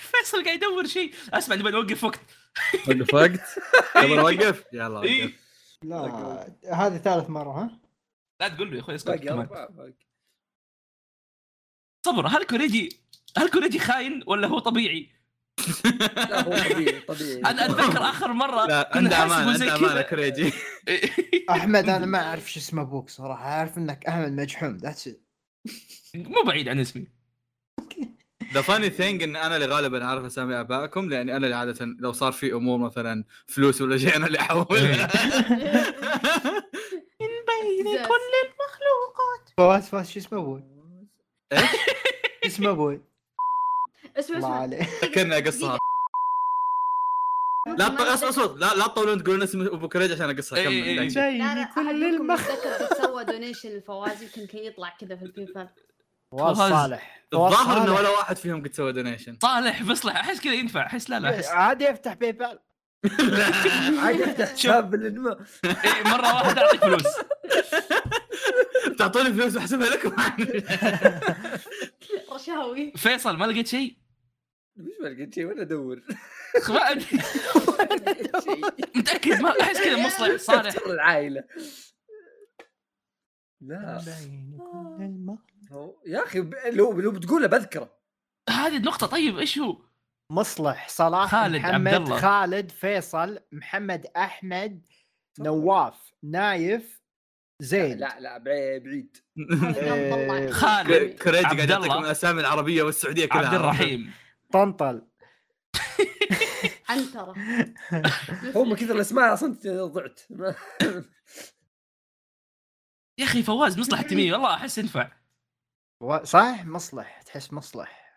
[SPEAKER 4] فيصل قاعد يدور شيء اسمع نبي نوقف وقت
[SPEAKER 1] وقف وقت *laughs* قبل اوقف يلا
[SPEAKER 4] إيه.
[SPEAKER 1] وقف
[SPEAKER 2] لا هذه ثالث مره ها؟
[SPEAKER 4] لا تقول له يا اخوي اسكت
[SPEAKER 3] باقي
[SPEAKER 4] كمان.
[SPEAKER 3] اربعه باقي
[SPEAKER 4] صبر هل كوريجي هل كوريجي خاين ولا هو طبيعي؟
[SPEAKER 3] لا هو طبيعي طبيعي
[SPEAKER 4] انا اتذكر اخر مره
[SPEAKER 1] لا
[SPEAKER 4] كنا
[SPEAKER 1] عنده
[SPEAKER 4] نحسبه
[SPEAKER 1] امانه
[SPEAKER 4] زي
[SPEAKER 1] عنده امانه كريجي
[SPEAKER 4] كذا
[SPEAKER 2] احمد انا ما اعرف شو اسم ابوك صراحه اعرف انك احمد مجحوم ذاتس
[SPEAKER 4] مو بعيد عن اسمي
[SPEAKER 1] ذا فاني ثينج ان انا اللي غالبا اعرف اسامي ابائكم لاني انا اللي عاده لو صار في امور مثلا فلوس ولا شيء انا اللي
[SPEAKER 2] إيه.
[SPEAKER 1] احول
[SPEAKER 5] بين
[SPEAKER 2] فواز فواز شو اسم ابوي؟ شو اسم ابوي؟
[SPEAKER 5] اسمع
[SPEAKER 2] الله
[SPEAKER 5] اسمع
[SPEAKER 2] عليه
[SPEAKER 1] *laughs* كنا قصها لا
[SPEAKER 5] ممكن ما
[SPEAKER 1] تط- اصبر اصبر لا لا تطولون تقولون اسم ابو كريج عشان اقصها
[SPEAKER 4] إيه، إيه،
[SPEAKER 1] كمل
[SPEAKER 4] إيه.
[SPEAKER 1] دقيقة.
[SPEAKER 5] لا لا كل المخ سوى دونيشن للفواز يمكن كي يطلع كذا في الفيفا
[SPEAKER 2] فواز
[SPEAKER 4] فواز.
[SPEAKER 2] صالح فواز
[SPEAKER 1] الظاهر انه
[SPEAKER 2] صالح.
[SPEAKER 1] ولا واحد فيهم قد سوى دونيشن
[SPEAKER 4] صالح فصلح احس كذا ينفع احس لا لا احس
[SPEAKER 2] إيه، عادي افتح باي بال
[SPEAKER 3] عاد افتح حساب الانماء
[SPEAKER 4] إيه، مره واحده اعطيك فلوس
[SPEAKER 1] تعطوني فلوس واحسبها لكم *laughs*
[SPEAKER 5] رشاوي
[SPEAKER 4] فيصل ما لقيت شيء
[SPEAKER 3] مش بلقيت شيء ولا *laughs* ادور
[SPEAKER 4] ما أدري. متاكد ما احس كذا مصلح
[SPEAKER 3] *laughs*
[SPEAKER 4] صالح
[SPEAKER 3] صالح العائله لا هو- يا اخي ب- لو لو بتقوله بذكره
[SPEAKER 4] هذه النقطه طيب ايش هو؟
[SPEAKER 2] مصلح صلاح
[SPEAKER 4] خالد،
[SPEAKER 2] محمد
[SPEAKER 4] عبد الله.
[SPEAKER 2] خالد فيصل محمد احمد نواف نايف زين
[SPEAKER 3] لا لا بعي- بعيد
[SPEAKER 5] هذا كان طلع.
[SPEAKER 4] خالد.
[SPEAKER 1] كريج
[SPEAKER 4] عبد
[SPEAKER 1] قاعد
[SPEAKER 4] الله.
[SPEAKER 1] يعطيكم الاسامي العربيه والسعوديه كلها
[SPEAKER 4] عبد الرحيم
[SPEAKER 2] طنطل
[SPEAKER 5] عنترة
[SPEAKER 3] هو من كثر الاسماء اصلا ضعت ما-
[SPEAKER 4] يا اخي فواز مصلح *laughs* التميمي والله احس ينفع
[SPEAKER 2] و- صح مصلح تحس مصلح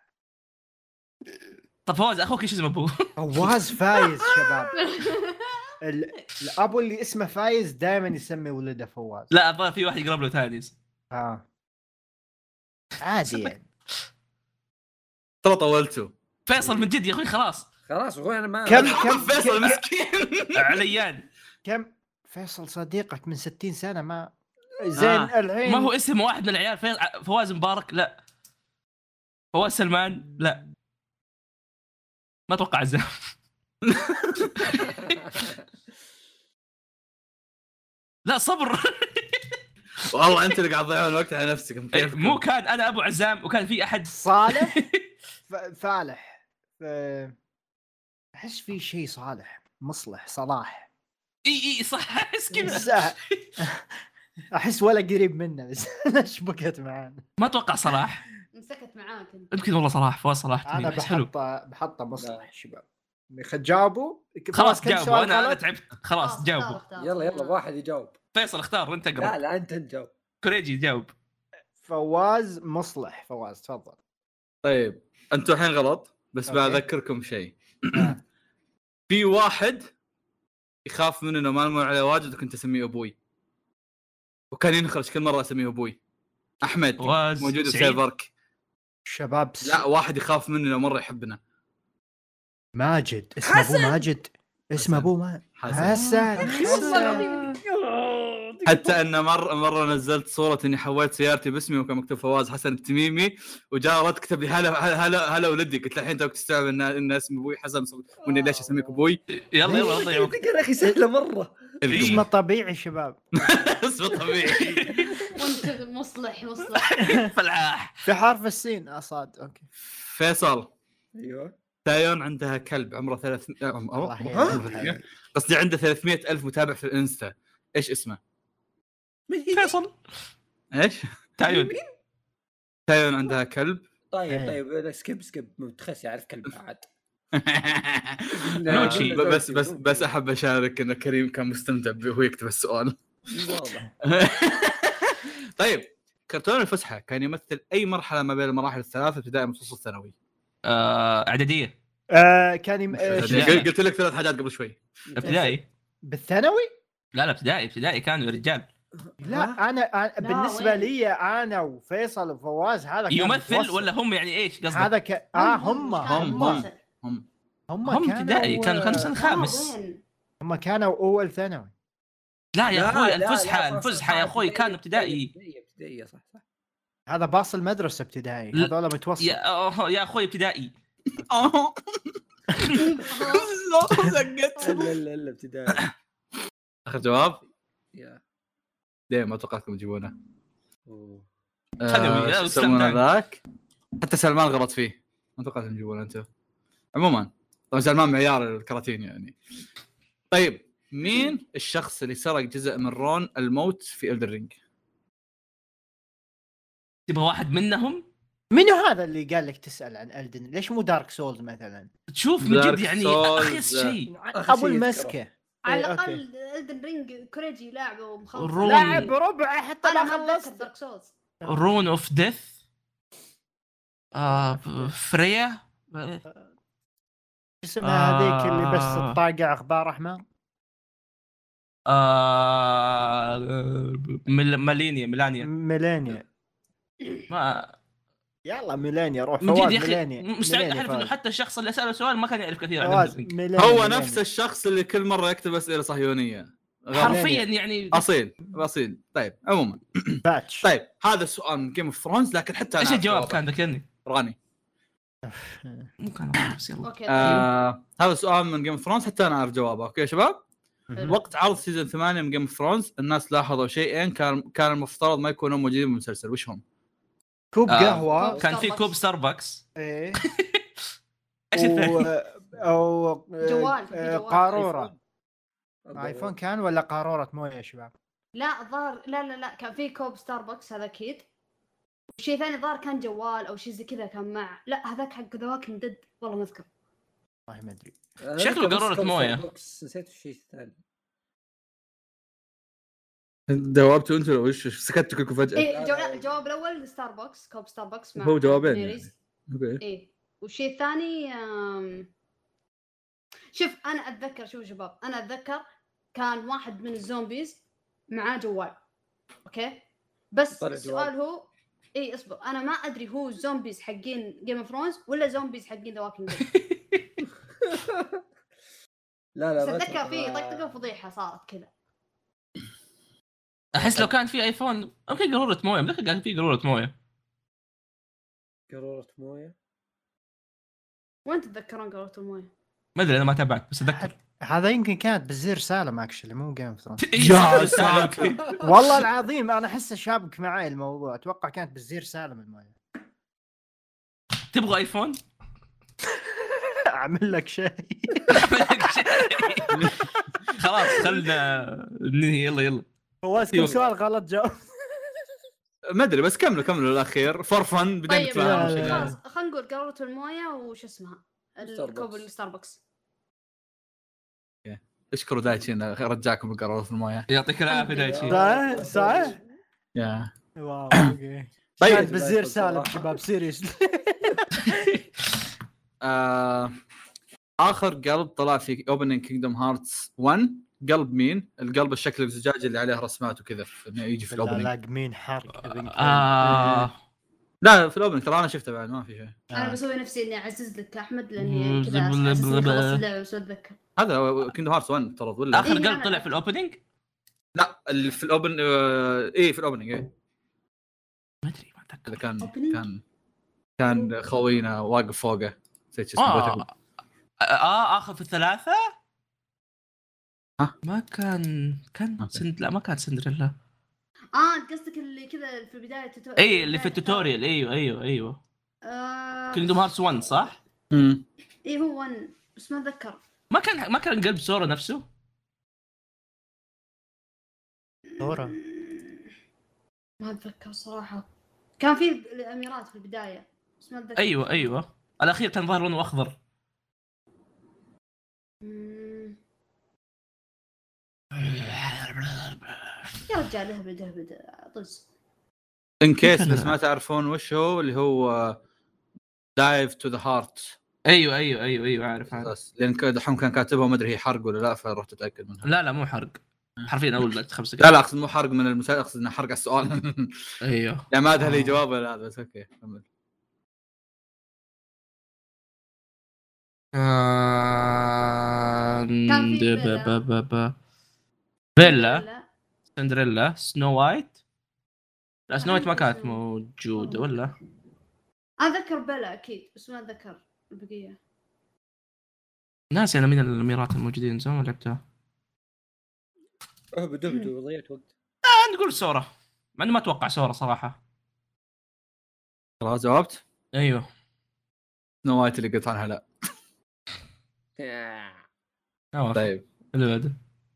[SPEAKER 4] طب فواز اخوك ايش اسمه ابوه؟
[SPEAKER 2] فواز فايز شباب
[SPEAKER 3] *laughs*
[SPEAKER 2] ال... الابو اللي اسمه فايز دائما يسمي ولده فواز
[SPEAKER 4] لا الظاهر في واحد يقرب له ثاني
[SPEAKER 2] آه. عادي يعني.
[SPEAKER 1] ترى طولتوا
[SPEAKER 4] فيصل من جد يا اخوي *laughs* خلاص
[SPEAKER 3] خلاص هو انا ما
[SPEAKER 2] كم
[SPEAKER 1] كم
[SPEAKER 2] كم
[SPEAKER 1] فيصل
[SPEAKER 2] كم-
[SPEAKER 1] مسكين *laughs*
[SPEAKER 4] عليان
[SPEAKER 2] كم فيصل صديقك من 60 سنه ما زين آه.
[SPEAKER 1] آه.
[SPEAKER 2] الحين
[SPEAKER 4] ما هو اسم واحد من العيال فيصل فواز مبارك لا فواز سلمان لا ما اتوقع عزام *laughs* لا صبر
[SPEAKER 1] والله انت اللي قاعد تضيعون الوقت على نفسكم كيفكم؟
[SPEAKER 4] إيه، مو كان انا ابو عزام وكان في احد
[SPEAKER 2] *laughs* صالح ف... فالح ف... احس في شيء صالح مصلح صلاح
[SPEAKER 4] اي اي صح *laughs* احس
[SPEAKER 2] بس
[SPEAKER 4] كذا
[SPEAKER 2] أ- احس ولا قريب منه بس *laughs* انا شبكت معانا
[SPEAKER 4] ما اتوقع صلاح
[SPEAKER 5] *laughs* مسكت معاك انت
[SPEAKER 4] يمكن والله صلاح فواز صلاح
[SPEAKER 2] انا
[SPEAKER 4] تميم. احس حلو
[SPEAKER 2] بحطه بحطه مصلح شباب يعني جابوا
[SPEAKER 4] خلاص جاوبوا انا انا تعبت
[SPEAKER 5] آه،
[SPEAKER 4] خلاص جاوبوا
[SPEAKER 3] يلا يلا واحد يجاوب
[SPEAKER 4] فيصل اختار وانت
[SPEAKER 3] لا
[SPEAKER 4] اقرب
[SPEAKER 3] لا انت انت جاوب
[SPEAKER 4] كوريجي جاوب
[SPEAKER 2] فواز مصلح فواز تفضل
[SPEAKER 1] طيب انتم الحين غلط بس
[SPEAKER 2] أوكي.
[SPEAKER 1] بذكركم شيء *clears throat*
[SPEAKER 2] آه.
[SPEAKER 1] في واحد يخاف منه انه ما نمر عليه واجد وكنت اسميه ابوي وكان ينخرج كل مره اسميه ابوي احمد
[SPEAKER 4] فواز
[SPEAKER 1] موجود
[SPEAKER 4] سعيد.
[SPEAKER 1] بسيرفرك
[SPEAKER 2] شباب س-
[SPEAKER 1] لا واحد يخاف منه مره يحبنا
[SPEAKER 2] ماجد اسم ابوه ماجد اسم
[SPEAKER 1] حسن.
[SPEAKER 2] ابوه ما
[SPEAKER 1] حسن
[SPEAKER 2] حسن حسن
[SPEAKER 1] حتى ان مره مره نزلت صوره اني حولت سيارتي باسمي وكان مكتوب فواز حسن التميمي وجاء رد كتب لي هلا هلا هلا, هلا ولدي قلت له الحين توك تستوعب ان ان اسم ابوي حسن واني ليش اسميك ابوي؟
[SPEAKER 4] يلا يلا
[SPEAKER 3] *laughs*
[SPEAKER 4] لا تضيعوا
[SPEAKER 3] الفكرة يا اخي سهله مره
[SPEAKER 2] اسمه طبيعي شباب
[SPEAKER 1] *laughs* اسمه
[SPEAKER 4] *laughs*
[SPEAKER 1] طبيعي
[SPEAKER 5] وانت مصلح مصلح
[SPEAKER 4] فلاح
[SPEAKER 2] في حرف السين آه، اصاد اوكي
[SPEAKER 1] فيصل
[SPEAKER 3] ايوه
[SPEAKER 1] تايون عندها كلب عمره 300
[SPEAKER 2] الله
[SPEAKER 1] عمره-
[SPEAKER 2] يعينك.
[SPEAKER 1] قصدي عنده 300 ألف متابع في الانستا ايش اسمه؟
[SPEAKER 4] فيصل
[SPEAKER 1] ايش؟ تعيون تعيون عندها
[SPEAKER 3] *laughs*
[SPEAKER 1] كلب
[SPEAKER 3] طيب طيب سكيب سكيب متخس يعرف كلب عاد
[SPEAKER 4] *laughs*
[SPEAKER 1] أنا بس بس بس احب اشارك ان كريم كان مستمتع وهو يكتب
[SPEAKER 3] *laughs*
[SPEAKER 1] السؤال
[SPEAKER 3] واضح
[SPEAKER 1] طيب كرتون الفسحه كان يمثل اي مرحله ما بين المراحل الثلاثه ابتداء من الفصل الثانوي
[SPEAKER 4] آه، اعداديه
[SPEAKER 2] آه كان يم... آه،
[SPEAKER 4] ابتدائي.
[SPEAKER 1] قل- قلت لك ثلاث حاجات قبل
[SPEAKER 3] *laughs*
[SPEAKER 1] شوي
[SPEAKER 4] ابتدائي
[SPEAKER 2] بالثانوي؟
[SPEAKER 4] لا لا ابتدائي ابتدائي كانوا يا رجال
[SPEAKER 2] لا انا, أنا بالنسبه
[SPEAKER 5] وين؟
[SPEAKER 2] لي انا وفيصل وفواز هذا كان
[SPEAKER 4] يمثل
[SPEAKER 2] متوسط.
[SPEAKER 4] ولا هم يعني ايش قصدك؟
[SPEAKER 2] هذا ك... اه هم
[SPEAKER 1] هم- هم. هم
[SPEAKER 4] هم ابتدائي كانوا كانوا سنه خامس
[SPEAKER 5] خامس
[SPEAKER 2] هم كانوا اول ثانوي
[SPEAKER 4] لا
[SPEAKER 3] لا،
[SPEAKER 4] يا اخوي
[SPEAKER 3] لا، لا،
[SPEAKER 4] الفسحه
[SPEAKER 3] صح،
[SPEAKER 4] الفسحه
[SPEAKER 3] صح،
[SPEAKER 4] يا اخوي كان ابتدائي
[SPEAKER 3] ابتدائي صح صح
[SPEAKER 2] هذا باص المدرسه ابتدائي
[SPEAKER 4] لا.
[SPEAKER 2] هذول متوسط
[SPEAKER 4] يا أوه، يا اخوي ابتدائي
[SPEAKER 3] لا لا لا ابتدائي
[SPEAKER 1] اخر جواب
[SPEAKER 3] يا
[SPEAKER 1] ليه ما توقعتكم تجيبونه
[SPEAKER 3] أوه.
[SPEAKER 4] ثانوي،
[SPEAKER 1] آه،
[SPEAKER 4] لا،
[SPEAKER 1] شو يسمونه
[SPEAKER 4] سلمان.
[SPEAKER 1] ذاك حتى سلمان غلط فيه ما توقعت انهم يجيبونه انتم عموما طبعا سلمان معيار الكراتين يعني طيب مين الشخص اللي سرق جزء من رون الموت في الدر رينج؟
[SPEAKER 4] تبغى واحد منهم
[SPEAKER 2] منو هذا اللي قال لك تسال عن الدن ليش مو دارك سولز مثلا
[SPEAKER 4] تشوف من
[SPEAKER 1] دارك
[SPEAKER 4] جد يعني
[SPEAKER 1] سولز.
[SPEAKER 4] اخيس شيء
[SPEAKER 3] آخر
[SPEAKER 2] ابو
[SPEAKER 3] شيء
[SPEAKER 2] المسكه
[SPEAKER 5] على
[SPEAKER 2] إيه، أوكي.
[SPEAKER 5] الاقل الدن رينج كوريجي لاعبه ومخلص
[SPEAKER 4] الروم.
[SPEAKER 2] لاعب ربعه حتى
[SPEAKER 5] انا
[SPEAKER 2] ما
[SPEAKER 5] ما اتذكر
[SPEAKER 2] خلصت
[SPEAKER 5] دارك سولز
[SPEAKER 4] رون اوف ديث آه ف- فريا
[SPEAKER 2] اسمها هذيك اللي بس
[SPEAKER 4] آه.
[SPEAKER 2] الطاقه اخبار احمر
[SPEAKER 4] آه مل- مالينيا ميلانيا
[SPEAKER 2] ميلانيا
[SPEAKER 4] ما
[SPEAKER 2] يلا ميلانيا روح
[SPEAKER 4] من جد
[SPEAKER 2] فواز
[SPEAKER 4] يا اخي
[SPEAKER 2] ميلانيا
[SPEAKER 4] مستعد
[SPEAKER 2] ميلانيا
[SPEAKER 4] احلف انه
[SPEAKER 2] فواز.
[SPEAKER 4] حتى الشخص اللي ساله سؤال ما كان يعرف كثير عن
[SPEAKER 2] فواز
[SPEAKER 4] الدر رينج.
[SPEAKER 2] ميلانيا
[SPEAKER 1] هو
[SPEAKER 2] ميلانيا.
[SPEAKER 1] نفس الشخص اللي كل مره يكتب اسئله صهيونيه غلط.
[SPEAKER 4] حرفيا يعني
[SPEAKER 1] اصيل اصيل طيب عموما
[SPEAKER 2] باتش
[SPEAKER 1] طيب هذا السؤال من جيم اوف ثرونز لكن حتى أنا
[SPEAKER 4] ايش
[SPEAKER 1] أعرف
[SPEAKER 4] الجواب
[SPEAKER 1] جوابه.
[SPEAKER 4] كان ذكرني؟
[SPEAKER 1] راني
[SPEAKER 4] مو كان والله، بس يلا
[SPEAKER 5] اوكي
[SPEAKER 1] آه هذا سؤال من جيم اوف ثرونز حتى انا اعرف جوابه اوكي يا شباب
[SPEAKER 5] حلو.
[SPEAKER 1] وقت عرض سيزون 8 من جيم اوف ثرونز الناس لاحظوا شيئين كان كان المفترض ما يكونوا موجودين بالمسلسل وش هم؟
[SPEAKER 2] كوب
[SPEAKER 4] آه.
[SPEAKER 2] قهوه
[SPEAKER 4] كان في كوب ستاربكس
[SPEAKER 2] ايه
[SPEAKER 4] ايش الثاني؟
[SPEAKER 2] *laughs* او
[SPEAKER 5] جوال، في جوال.
[SPEAKER 2] قاروره
[SPEAKER 3] أبو-
[SPEAKER 2] ايفون إيه، كان ولا قاروره مويه يا شباب
[SPEAKER 5] لا ظهر لا لا لا كان في كوب ستاربكس هذا اكيد وشيء ثاني ظهر كان جوال او شيء زي كذا كان مع لا هذاك حق ذا واكن ديد والله ما اذكر
[SPEAKER 2] والله ما ادري
[SPEAKER 3] أنا
[SPEAKER 4] شكله
[SPEAKER 3] أذكر بس
[SPEAKER 4] قارورة
[SPEAKER 3] كوب
[SPEAKER 4] موية.
[SPEAKER 3] ستاربكس، نسيت الشيء الثاني
[SPEAKER 1] جاوبتوا انتوا لو وش سكتوا كلكم فجاه
[SPEAKER 5] إيه جو... لا الجواب الاول ستاربكس كوب ستاربكس مع
[SPEAKER 1] هو جوابين
[SPEAKER 5] ميريز.
[SPEAKER 1] يعني. اوكي
[SPEAKER 5] ايه والشيء الثاني آم، شوف انا اتذكر شوف شباب انا اتذكر كان واحد من الزومبيز معاه جوال اوكي بس
[SPEAKER 3] طلع
[SPEAKER 5] السؤال هو اي اصبر انا ما ادري هو الزومبيز حقين جيم اوف ثرونز ولا زومبيز حقين ذا واكينج
[SPEAKER 3] *laughs* لا
[SPEAKER 5] بس
[SPEAKER 3] لا ما
[SPEAKER 5] اتذكر في
[SPEAKER 3] آه،
[SPEAKER 5] طقطقه وفضيحه صارت كذا
[SPEAKER 4] احس لو كان في ايفون اوكي قاروره مويه متذكر كان في قاروره مويه
[SPEAKER 3] قارورة مويه
[SPEAKER 5] وين تتذكرون قارورة المويه؟
[SPEAKER 4] ما ادري انا ما تابعت بس *laughs* اتذكر
[SPEAKER 2] هذا يمكن كانت بالزير سالم اكشلي مو جيم اوف
[SPEAKER 4] *laughs*
[SPEAKER 2] ثرونز
[SPEAKER 4] يا ساتر
[SPEAKER 2] والله العظيم انا احسه شابك معاي الموضوع اتوقع كانت بالزير سالم *laughs* المويه
[SPEAKER 4] تبغى ايفون؟
[SPEAKER 2] اعمل لك شيء
[SPEAKER 4] *laughs* خلاص خلنا ننهي يلا يلا
[SPEAKER 2] فواز كل
[SPEAKER 4] يلا.
[SPEAKER 2] سؤال غلط جاوب
[SPEAKER 1] ما ادري بس كملوا كملوا الاخير فور فن بعدين
[SPEAKER 5] طيب
[SPEAKER 1] نتفاهم
[SPEAKER 2] لا،
[SPEAKER 1] وش-
[SPEAKER 2] لا.
[SPEAKER 5] خلاص خلينا نقول قارورة المويه وش اسمها؟ الكوب
[SPEAKER 3] ستاربكس.
[SPEAKER 5] الستاربكس
[SPEAKER 1] اشكروا دايتشي انه رجعكم القرار في المويه
[SPEAKER 4] يعطيك العافيه دايتشي
[SPEAKER 2] صح صح
[SPEAKER 1] يا.
[SPEAKER 2] واو اوكي
[SPEAKER 1] طيب.
[SPEAKER 2] كانت بالزير سالم
[SPEAKER 3] صراحة.
[SPEAKER 2] شباب سيريس
[SPEAKER 1] آه اخر قلب طلع في اوبننج كينجدوم هارتس 1 قلب مين؟ القلب الشكل الزجاجي اللي عليه رسمات وكذا انه يجي في الاوبننج
[SPEAKER 2] لا مين حرق ابن
[SPEAKER 4] آه.
[SPEAKER 1] لا في الاوبننج ترى انا شفته بعد ما في شيء
[SPEAKER 5] انا
[SPEAKER 2] آه.
[SPEAKER 5] بسوي نفسي اني اعزز لك كاحمد
[SPEAKER 4] مم،
[SPEAKER 5] لاني كذا
[SPEAKER 4] زبل-
[SPEAKER 5] أحس إني
[SPEAKER 4] زبل-
[SPEAKER 5] خلصت اللعبه بس اتذكر
[SPEAKER 1] هذا كينجدوم هارتس 1 ترى ولا
[SPEAKER 4] اخر
[SPEAKER 5] إيه،
[SPEAKER 4] قلب
[SPEAKER 5] أنا-
[SPEAKER 4] طلع في الاوبننج؟
[SPEAKER 1] لا اللي في الاوبن آه، ايه في الاوبننج ايه
[SPEAKER 4] ما ادري ما
[SPEAKER 1] هذا
[SPEAKER 4] اتذكر
[SPEAKER 1] كان
[SPEAKER 5] Opening.
[SPEAKER 1] كان كان خوينا واقف فوقه نسيت شو اسمه
[SPEAKER 4] اه
[SPEAKER 1] بوتكم.
[SPEAKER 4] اه اخر في الثلاثه؟
[SPEAKER 1] ها؟
[SPEAKER 4] ما كان كان
[SPEAKER 1] أوكي.
[SPEAKER 4] سند... لا ما كان سندريلا
[SPEAKER 5] اه أنت قصدك اللي كذا في البدايه التوتوريال
[SPEAKER 4] اي إيه، اللي في التوتوريال ايوه ايوه ايوه كينجدوم هارتس 1 صح؟
[SPEAKER 5] اي آه، إيه، هو 1 بس ما اتذكر
[SPEAKER 4] ما كان ما كان قلب سورا نفسه؟
[SPEAKER 2] صورة.
[SPEAKER 5] مم. ما اتذكر صراحه كان في الاميرات في البدايه بس ما اتذكر
[SPEAKER 4] ايوه ايوه الاخير كان ظاهر لونه اخضر
[SPEAKER 5] مم. يا رجال اهبد اهبد طز
[SPEAKER 1] ان كيس بس ما تعرفون وش هو اللي هو دايف تو ذا هارت
[SPEAKER 4] ايوه ايوه ايوه ايوه عارف عارف
[SPEAKER 1] لان ك- دحوم كان كاتبها ما ادري هي حرق ولا لا فرحت اتاكد منها
[SPEAKER 4] لا لا مو حرق حرفيا اول خمس
[SPEAKER 1] لا
[SPEAKER 4] دقائق
[SPEAKER 1] لا اقصد مو حرق من المسلسل اقصد انه حرق على السؤال *laughs*
[SPEAKER 4] ايوه
[SPEAKER 1] يعني ما ادري هل هي جواب ولا هذا بس اوكي كمل
[SPEAKER 5] كان في
[SPEAKER 4] ب-
[SPEAKER 5] بيلا.
[SPEAKER 4] ب- ب- بيلا
[SPEAKER 5] لا
[SPEAKER 4] سندريلا سنو وايت لا سنو وايت ما كانت
[SPEAKER 5] سنو.
[SPEAKER 4] موجوده ولا
[SPEAKER 5] اتذكر بلا اكيد بس ما اتذكر البقيه
[SPEAKER 4] ناسي انا من الاميرات الموجودين زمان ما لعبتها
[SPEAKER 3] اهبد اهبد
[SPEAKER 5] *laughs*
[SPEAKER 3] وضيعت وقت
[SPEAKER 4] آه، نقول سورا مع انه ما اتوقع سورا صراحه
[SPEAKER 1] خلاص جاوبت
[SPEAKER 4] ايوه
[SPEAKER 1] سنو وايت اللي قلت عنها لا
[SPEAKER 3] آه.
[SPEAKER 4] أوه.
[SPEAKER 1] طيب
[SPEAKER 4] اللي بعده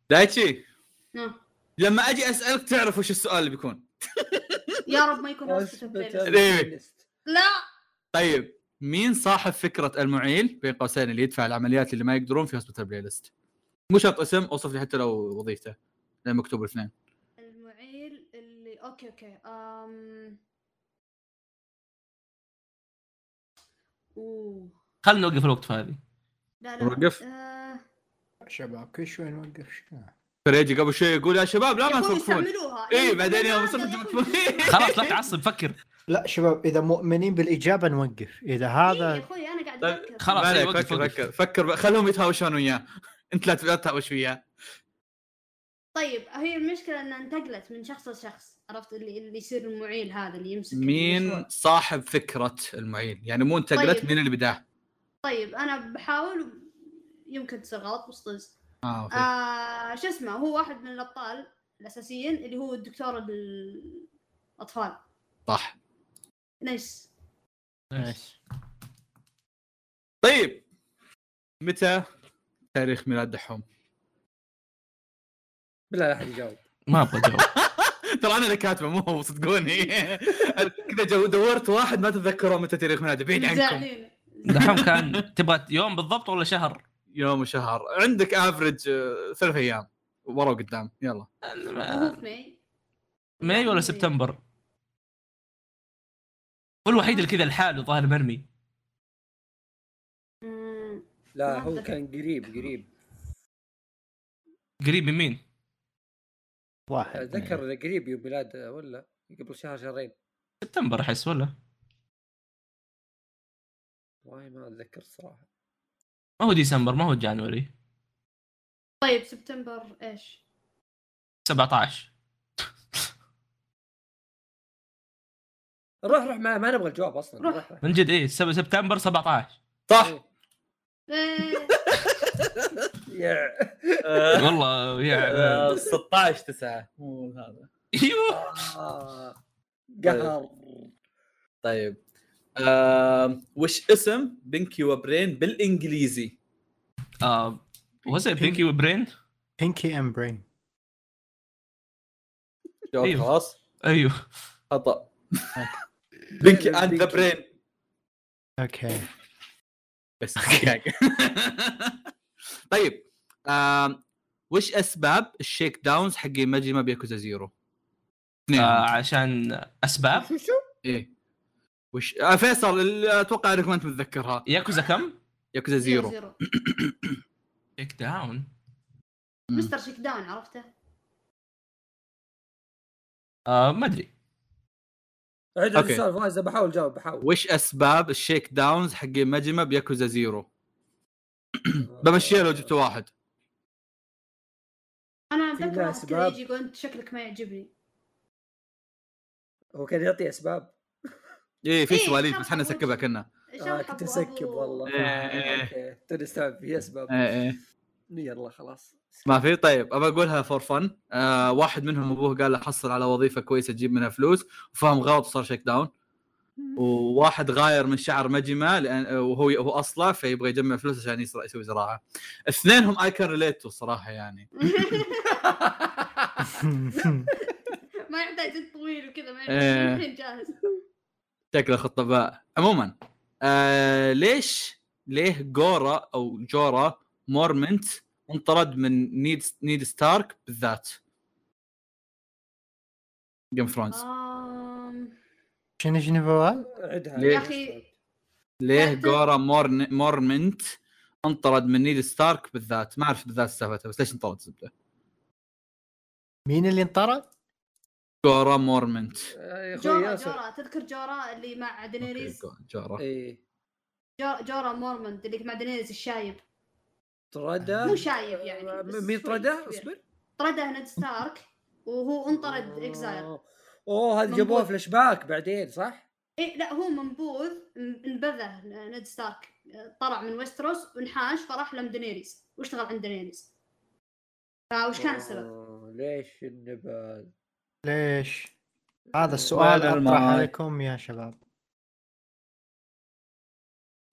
[SPEAKER 1] دايتشي
[SPEAKER 5] نعم.
[SPEAKER 1] لما اجي اسالك تعرف وش السؤال اللي بيكون
[SPEAKER 5] يا رب ما يكون هوستة
[SPEAKER 3] أثبت
[SPEAKER 5] بلاي ليست.
[SPEAKER 3] البلايليست.
[SPEAKER 5] لا
[SPEAKER 1] طيب مين صاحب فكره المعيل بين قوسين اللي يدفع العمليات اللي ما يقدرون في هوسبيتال بلاي ليست مو شرط اسم اوصف لي حتى لو وظيفته لان مكتوب الاثنين
[SPEAKER 5] المعيل اللي اوكي اوكي أم... اوه
[SPEAKER 4] خلنا نوقف الوقت هذه
[SPEAKER 5] لا لا
[SPEAKER 1] وقف.
[SPEAKER 5] آه...
[SPEAKER 2] شباب كل شوي نوقف شلون
[SPEAKER 1] فريجي قبل شوي يقول يا شباب لا ما
[SPEAKER 5] يبون
[SPEAKER 1] تفكرون
[SPEAKER 5] يستعملوها
[SPEAKER 1] اي إيه، بعدين يوم
[SPEAKER 5] يستعملوها،
[SPEAKER 1] صرت *laughs*
[SPEAKER 5] يبون يستعملوها.
[SPEAKER 4] خلاص لا تعصب فكر
[SPEAKER 2] لا شباب اذا مؤمنين بالاجابه نوقف اذا
[SPEAKER 5] إيه يا
[SPEAKER 2] هذا
[SPEAKER 5] اخوي انا قاعد
[SPEAKER 1] طيب،
[SPEAKER 5] افكر
[SPEAKER 4] خلاص.
[SPEAKER 1] ما
[SPEAKER 4] أي
[SPEAKER 1] عليك،
[SPEAKER 4] وقت
[SPEAKER 1] فكر
[SPEAKER 4] وقف.
[SPEAKER 1] فكر فكر بقى، خلهم يتهاوشون وياه انت لا لا تتهاوش وياه
[SPEAKER 5] طيب هي المشكله انها انتقلت من شخص لشخص عرفت اللي اللي يصير المعيل هذا اللي يمسك
[SPEAKER 1] مين
[SPEAKER 5] المشروع.
[SPEAKER 1] صاحب فكره المعيل يعني مو انتقلت
[SPEAKER 5] طيب.
[SPEAKER 1] من البدايه
[SPEAKER 5] طيب انا بحاول يمكن تصير غلط بس طز
[SPEAKER 1] اه اوكي آه.
[SPEAKER 5] آه شو اسمه هو واحد من الابطال الاساسيين اللي هو الدكتور الاطفال
[SPEAKER 1] صح
[SPEAKER 5] نيس
[SPEAKER 1] طيب متى تاريخ ميلاد دحوم؟
[SPEAKER 3] بالله لا احد يجاوب
[SPEAKER 4] ما ابغى اجاوب
[SPEAKER 1] ترى انا اللي كاتبه مو هو صدقوني أنا *laughs* كذا جو- دورت واحد ما تتذكروا متى تاريخ ميلاده بعيد عنكم *laughs*
[SPEAKER 5] زعلين
[SPEAKER 4] دحوم كان تبغى يوم بالضبط ولا شهر؟
[SPEAKER 1] يوم وشهر عندك افرج ثلاث ايام ورا وقدام يلا
[SPEAKER 5] هو في ماي
[SPEAKER 4] ماي ولا سبتمبر؟ هو الوحيد اللي كذا لحاله ظاهر مرمي
[SPEAKER 5] مم،
[SPEAKER 3] لا
[SPEAKER 5] ما
[SPEAKER 3] هو
[SPEAKER 5] أتذكر.
[SPEAKER 3] كان قريب قريب
[SPEAKER 4] قريب من مين؟
[SPEAKER 3] آه،
[SPEAKER 2] واحد
[SPEAKER 1] إيه.
[SPEAKER 3] اتذكر قريب يوم ميلاد آه، ولا قبل شهر شهرين
[SPEAKER 4] سبتمبر احس ولا؟
[SPEAKER 3] والله ما اتذكر الصراحه
[SPEAKER 4] ما هو ديسمبر ما هو جانوري
[SPEAKER 5] طيب سبتمبر ايش؟
[SPEAKER 4] 17
[SPEAKER 3] روح روح ما, ما نبغى الجواب اصلا
[SPEAKER 5] روح.
[SPEAKER 3] روح روح
[SPEAKER 4] من جد ايه سب- سبتمبر 17
[SPEAKER 1] صح
[SPEAKER 5] إيه،
[SPEAKER 3] يا
[SPEAKER 1] *laughs*
[SPEAKER 4] والله يا
[SPEAKER 1] 16 9 آه، مو هذا
[SPEAKER 4] ايوه
[SPEAKER 3] آه. قهر
[SPEAKER 1] إيه. طيب آه، وش اسم بنكي وبرين بالانجليزي؟
[SPEAKER 4] آه، وزي بينكي وبرين
[SPEAKER 2] بينكي ام برين
[SPEAKER 1] جواب
[SPEAKER 4] أيوه.
[SPEAKER 1] خلاص
[SPEAKER 4] ايوه
[SPEAKER 1] *laughs* خطا بنكي اند ذا
[SPEAKER 3] بنكي.
[SPEAKER 1] برين
[SPEAKER 2] اوكي
[SPEAKER 1] *laughs* بس طيب آم، وش اسباب الشيك داونز حق مجمع بياكوزا زيرو؟ اثنين
[SPEAKER 4] آه، عشان اسباب
[SPEAKER 1] ايه وش آه فيصل ال- اتوقع انك ما انت متذكرها
[SPEAKER 4] ياكوزا كم؟
[SPEAKER 1] ياكوزا زيرو
[SPEAKER 4] تيك داون
[SPEAKER 5] مستر شيك داون عرفته؟
[SPEAKER 4] آه ما ادري
[SPEAKER 3] عيد
[SPEAKER 1] أوكي.
[SPEAKER 3] السؤال فواز بحاول اجاوب بحاول
[SPEAKER 1] وش اسباب الشيك داونز حق مجمع بياكوزا زيرو؟ بمشيها لو جبت واحد
[SPEAKER 5] انا
[SPEAKER 3] في
[SPEAKER 5] اتذكر واحد
[SPEAKER 3] لها
[SPEAKER 5] كذا
[SPEAKER 3] أسباب.
[SPEAKER 5] يجي يقول انت شكلك ما يعجبني
[SPEAKER 3] هو كان يعطي اسباب
[SPEAKER 1] ايه في
[SPEAKER 5] إيه،
[SPEAKER 1] سواليف
[SPEAKER 5] شرح
[SPEAKER 1] بس احنا
[SPEAKER 5] وجه.
[SPEAKER 1] نسكبها كنا
[SPEAKER 3] آه
[SPEAKER 5] شرح
[SPEAKER 3] كنت
[SPEAKER 5] أبو-
[SPEAKER 3] مسكب
[SPEAKER 5] أبو-
[SPEAKER 3] والله
[SPEAKER 1] إيه.
[SPEAKER 3] اوكي توني استوعب في اسباب
[SPEAKER 1] ايه ايه
[SPEAKER 3] يلا خلاص
[SPEAKER 1] ما في طيب ابى اقولها فور فن آه واحد منهم ابوه قال له حصل على وظيفه كويسه تجيب منها فلوس وفهم غلط وصار شيك داون وواحد غاير من شعر مجمع لأن آه، وهو هو اصلع فيبغى يجمع فلوس عشان يصر- يسوي زراعه اثنينهم اي كان ريليت صراحه يعني
[SPEAKER 5] ما *laughs* ما يحتاج جد طويل وكذا ما
[SPEAKER 1] إيه.
[SPEAKER 5] يحتاج
[SPEAKER 3] آه.
[SPEAKER 5] الحين *laughs* جاهز
[SPEAKER 1] شكله خطه باء عموما آه ليش ليه جورا او جورا مورمنت انطرد من نيد نيد ستارك بالذات جيم فرونز
[SPEAKER 5] آم،
[SPEAKER 2] *laughs* شنو شنو فوال؟
[SPEAKER 3] عدها
[SPEAKER 1] ليه؟
[SPEAKER 5] يا اخي
[SPEAKER 1] ليه
[SPEAKER 5] أعتقد-
[SPEAKER 1] جورا مورن مورمنت انطرد من نيد ستارك بالذات ما اعرف بالذات سالفته بس ليش انطرد زبده
[SPEAKER 2] مين اللي انطرد؟
[SPEAKER 1] جورا مورمنت
[SPEAKER 3] آه، يا اخوي
[SPEAKER 5] جورا
[SPEAKER 3] ياسر
[SPEAKER 5] جورا تذكر جورا اللي مع دينيريز
[SPEAKER 1] أوكي، جورا
[SPEAKER 3] اي
[SPEAKER 5] جو- جورا مورموند اللي مع دينيريز الشايب
[SPEAKER 3] طرده
[SPEAKER 5] مو شايب يعني بس
[SPEAKER 3] آه، مين
[SPEAKER 5] شوي
[SPEAKER 3] طرده؟
[SPEAKER 5] كبير.
[SPEAKER 3] اصبر
[SPEAKER 5] طرده نيد ستارك وهو انطرد اكزاير
[SPEAKER 3] آه. اوه هذه جابوها
[SPEAKER 5] منبوذ.
[SPEAKER 3] فلاش باك بعدين صح؟
[SPEAKER 5] إيه لا هو منبوذ ن- انبذه نيد ستارك طلع من ويستروس وانحاش فراح لمدنيريز واشتغل عند دنيريز فوش كان السبب؟
[SPEAKER 3] آه، ليش النبال؟
[SPEAKER 2] ليش؟ هذا السؤال
[SPEAKER 1] لا، لا،
[SPEAKER 2] اطرح
[SPEAKER 1] ما-
[SPEAKER 2] عليكم يا شباب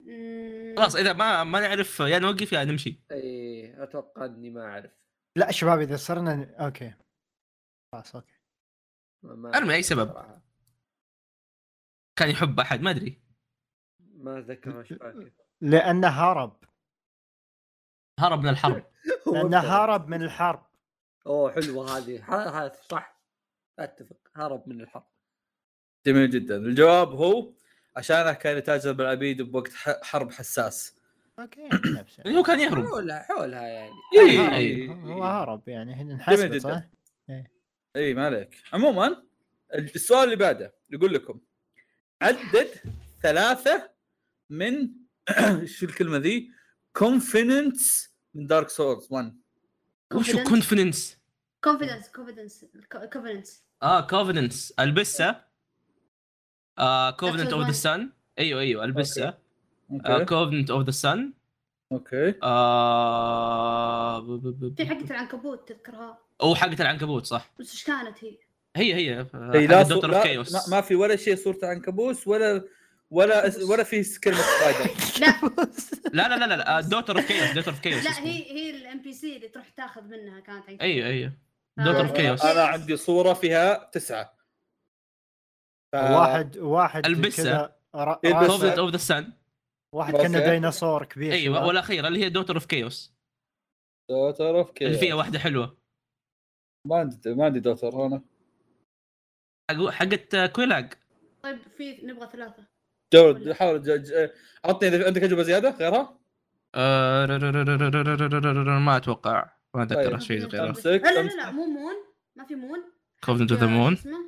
[SPEAKER 5] مم،
[SPEAKER 4] خلاص اذا ما ما نعرف يا نوقف يا نمشي
[SPEAKER 3] اي اتوقع اني إيه، ما اعرف
[SPEAKER 2] لا شباب اذا صرنا اوكي خلاص اوكي
[SPEAKER 3] ما- ما
[SPEAKER 4] أرمي أي
[SPEAKER 3] أعرف
[SPEAKER 4] سبب.
[SPEAKER 3] صراحة.
[SPEAKER 4] كان يحب احد ما ادري
[SPEAKER 3] ما اتذكر ايش *laughs* فاكر
[SPEAKER 2] لانه هرب
[SPEAKER 4] هرب من الحرب
[SPEAKER 2] لانه هرب من الحرب
[SPEAKER 3] اوه حلوه هذه ح- ح- صح اتفق هرب من الحرب
[SPEAKER 1] جميل جدا الجواب هو عشانه كان يتاجر بالعبيد بوقت ح- حرب حساس
[SPEAKER 2] اوكي نفسه.
[SPEAKER 4] يعني هو كان يهرب أيوه.
[SPEAKER 3] حولها حولها يعني
[SPEAKER 2] هرب.
[SPEAKER 1] اي
[SPEAKER 2] هو هرب يعني هنا نحسب
[SPEAKER 1] جدا.
[SPEAKER 2] صح؟
[SPEAKER 1] اي ما عليك عموما السؤال اللي بعده يقول لكم عدد ثلاثة من *clears throat* شو الكلمة ذي؟ كونفيدنس من دارك سورز 1
[SPEAKER 4] وش
[SPEAKER 5] confidence-
[SPEAKER 4] كونفدنس
[SPEAKER 5] كونفيدنس كونفيدنس كونفيدنس
[SPEAKER 4] اه كوفننس البسه آه كوفننت
[SPEAKER 5] That's
[SPEAKER 4] اوف
[SPEAKER 5] the
[SPEAKER 4] ذا
[SPEAKER 5] one.
[SPEAKER 4] سن ايوه ايوه البسه
[SPEAKER 1] اوكي
[SPEAKER 4] كوفننت اوف ذا سن
[SPEAKER 1] اوكي
[SPEAKER 4] آه،
[SPEAKER 5] في حقة العنكبوت تذكرها
[SPEAKER 4] او حقه العنكبوت صح
[SPEAKER 5] بس ايش كانت هي؟
[SPEAKER 4] هي هي
[SPEAKER 1] هي لا, صو...
[SPEAKER 4] دكتور اوف
[SPEAKER 1] لا ما-
[SPEAKER 4] كيوس
[SPEAKER 1] ما في ولا شيء صورة عنكبوس ولا ولا ولا في كلمة سبايدر
[SPEAKER 4] لا لا لا آه، لا دكتور اوف كيوس دكتور اوف كيوس
[SPEAKER 5] لا هي هي الام بي سي اللي تروح تاخذ منها كانت عنكبوت
[SPEAKER 4] ايوه ايوه
[SPEAKER 5] آه.
[SPEAKER 4] Daughter of Chaos.
[SPEAKER 1] انا عندي صورة فيها تسعة ف-
[SPEAKER 2] واحد واحد
[SPEAKER 4] البسه.
[SPEAKER 2] كذا را-
[SPEAKER 1] يلبس.
[SPEAKER 2] راسه-
[SPEAKER 4] كوفننت اوف ذا سن
[SPEAKER 2] واحد
[SPEAKER 1] أوكي.
[SPEAKER 2] كانه ديناصور كبير
[SPEAKER 4] ايوه
[SPEAKER 2] شباب.
[SPEAKER 4] والاخيره اللي هي دكتور اوف كيوس
[SPEAKER 1] دوتر اوف
[SPEAKER 4] اللي فيها
[SPEAKER 1] كيوس
[SPEAKER 4] واحده حلوه
[SPEAKER 1] ما عندي ما عندي دوتر انا
[SPEAKER 4] حق- حقت آه، كويلاج
[SPEAKER 5] طيب في نبغى ثلاثة
[SPEAKER 1] جود حاول ج- ج- عطني اذا عندك اجوبه زياده غيرها
[SPEAKER 4] آه، ما اتوقع ما اتذكر
[SPEAKER 1] طيب.
[SPEAKER 4] شيء غيره
[SPEAKER 5] لا لا لا,
[SPEAKER 1] أمسك.
[SPEAKER 5] لا مو مون ما في مون
[SPEAKER 4] كوفننت
[SPEAKER 5] يا-
[SPEAKER 4] اوف ذا مون
[SPEAKER 5] شو اسمه؟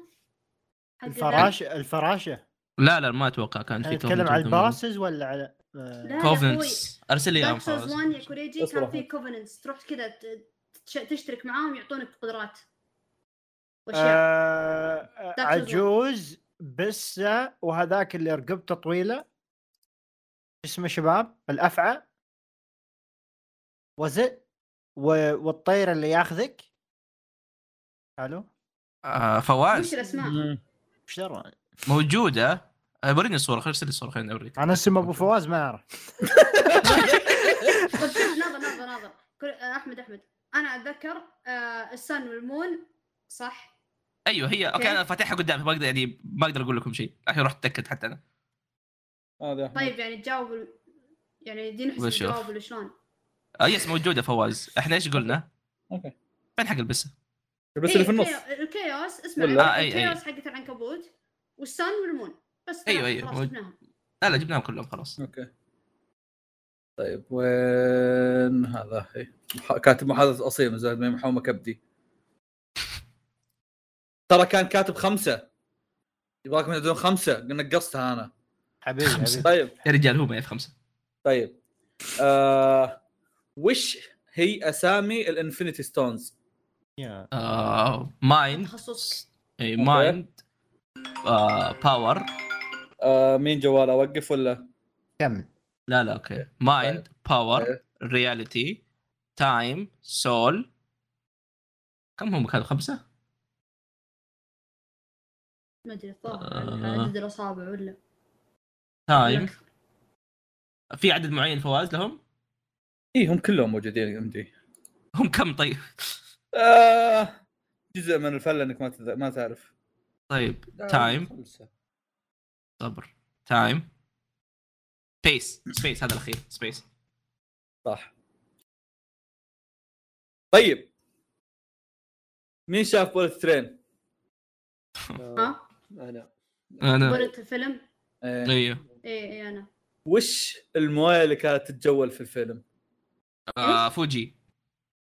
[SPEAKER 5] حق
[SPEAKER 2] الفراش الفراشه
[SPEAKER 4] لا لا ما اتوقع كان في
[SPEAKER 2] نتكلم على الباسز ولا على آه،
[SPEAKER 5] لا يا أخوي.
[SPEAKER 4] كوفننس ارسل لي اياهم
[SPEAKER 5] دارك سولز
[SPEAKER 4] فوز
[SPEAKER 5] 1 يا كوريجي
[SPEAKER 1] اصبر
[SPEAKER 5] كان
[SPEAKER 1] أحمد.
[SPEAKER 5] في كوفننس تروح كذا ت- تش- تشترك معاهم يعطونك قدرات واشياء
[SPEAKER 2] آه، آه،
[SPEAKER 5] Dark Souls
[SPEAKER 2] عجوز بسه وهذاك اللي رقبته طويله اسمه شباب الافعى وزد و... والطير اللي ياخذك الو
[SPEAKER 4] آه،
[SPEAKER 5] وش
[SPEAKER 4] فواز
[SPEAKER 5] الاسماء؟
[SPEAKER 2] ايش دروا أنا؟
[SPEAKER 4] موجوده آه، وريني الصوره خليني ارسل لي الصوره خليني اوريك
[SPEAKER 2] انا اسم ابو فواز ما اعرف
[SPEAKER 5] طب شوف نظر نظر نظر كوري- آه، احمد احمد انا اتذكر آه، السن والمون صح
[SPEAKER 4] ايوه هي اوكي
[SPEAKER 5] أوكي.
[SPEAKER 4] انا فاتحها قدامي ما اقدر يعني ما اقدر اقول لكم شيء الحين رحت اتاكد حتى انا
[SPEAKER 1] هذا أحمد.
[SPEAKER 5] طيب يعني تجاوب يعني دي نحسب
[SPEAKER 4] بشوف.
[SPEAKER 5] الجواب ولا شلون؟
[SPEAKER 4] آه، يس موجوده فواز احنا ايش قلنا؟
[SPEAKER 1] أوكي.
[SPEAKER 4] فين حق البسه؟
[SPEAKER 1] بس اللي في النص
[SPEAKER 5] إيه، الكيو- الكيوس اسمع
[SPEAKER 1] ولا-
[SPEAKER 4] آه، أي- أي.
[SPEAKER 5] الكيوس حقت العنكبوت والسن والمون بس
[SPEAKER 4] أيوة،
[SPEAKER 5] ثلاثة،
[SPEAKER 4] أيوة،
[SPEAKER 5] خلاص
[SPEAKER 4] مو-
[SPEAKER 5] جبناهم
[SPEAKER 4] لا لا جبناهم كلهم خلاص
[SPEAKER 1] اوكي طيب وين هذا هي مح- كاتب محادثه اصيل زاد ما هي محومه كبدي ترى كان كاتب خمسه يبغاكم تعدون خمسه نقصتها انا
[SPEAKER 2] *laughs* حبيبي
[SPEAKER 4] خمسة.
[SPEAKER 2] حبيبي
[SPEAKER 1] طيب
[SPEAKER 4] يا رجال هو ما يعرف خمسه
[SPEAKER 1] طيب آه... وش هي اسامي الانفينيتي ستونز؟
[SPEAKER 2] يا.
[SPEAKER 4] آه، مايند
[SPEAKER 5] تخصصك
[SPEAKER 4] اي
[SPEAKER 1] أوكي.
[SPEAKER 4] مايند آه، باور
[SPEAKER 1] آه... مين جواله اوقف ولا؟
[SPEAKER 2] كمل
[SPEAKER 4] لا لا اوكي مايند باور
[SPEAKER 1] أوكي.
[SPEAKER 4] رياليتي تايم سول كم هم كانوا خمسه؟
[SPEAKER 5] ما ادري
[SPEAKER 4] آه.
[SPEAKER 5] الظاهر عدد الاصابع ولا
[SPEAKER 4] تايم في عدد معين فواز لهم؟
[SPEAKER 1] إيه، اي هم كلهم موجودين عندي
[SPEAKER 4] هم كم طيب؟
[SPEAKER 1] آه... جزء من الفله انك ما تذ... ما تعرف
[SPEAKER 4] طيب تايم
[SPEAKER 3] خمسة.
[SPEAKER 4] صبر تايم سبيس سبيس هذا الاخير سبيس
[SPEAKER 1] صح طيب مين شاف بولت ترين؟
[SPEAKER 3] آه،
[SPEAKER 5] ها؟
[SPEAKER 3] انا
[SPEAKER 4] انا
[SPEAKER 5] بولت الفيلم؟
[SPEAKER 4] ايوه
[SPEAKER 5] اي اي انا
[SPEAKER 1] آه، وش المويه اللي كانت تتجول في الفيلم؟
[SPEAKER 4] آه فوجي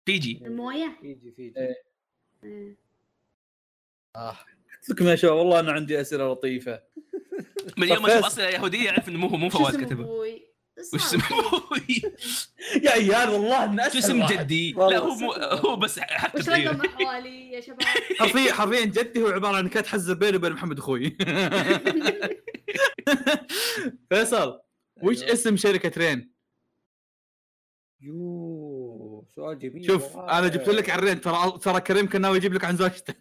[SPEAKER 4] فيجي
[SPEAKER 5] المويه؟
[SPEAKER 3] فيجي
[SPEAKER 1] إيه.
[SPEAKER 3] فيجي
[SPEAKER 5] إيه.
[SPEAKER 1] آه. قلت لكم يا شباب والله انا عندي اسئله لطيفه
[SPEAKER 4] من يوم ما اشوف اصلا يهوديه اعرف انه مو هو مو
[SPEAKER 5] شو
[SPEAKER 4] فواز
[SPEAKER 5] اسم
[SPEAKER 4] كتبه
[SPEAKER 5] أبوي؟ صار
[SPEAKER 4] وش اسم
[SPEAKER 5] *laughs* فيه.
[SPEAKER 4] أبوي؟
[SPEAKER 1] *laughs* يا عيال والله ان
[SPEAKER 4] شو اسم جدي؟ لا هو مو هو بس حتى
[SPEAKER 5] وش
[SPEAKER 4] تغير.
[SPEAKER 5] رقم
[SPEAKER 4] *laughs*
[SPEAKER 5] احوالي يا شباب؟
[SPEAKER 1] حرفيا حرفيا جدي هو عباره عن كات حزب بيني وبين محمد اخوي *laughs* فيصل وش
[SPEAKER 3] أيوة.
[SPEAKER 1] اسم شركه ترين؟
[SPEAKER 3] يوه سؤال جميل
[SPEAKER 1] شوف انا جبت لك عن رين ترى ترى كريم كان ناوي يجيب لك عن *laughs* زوجته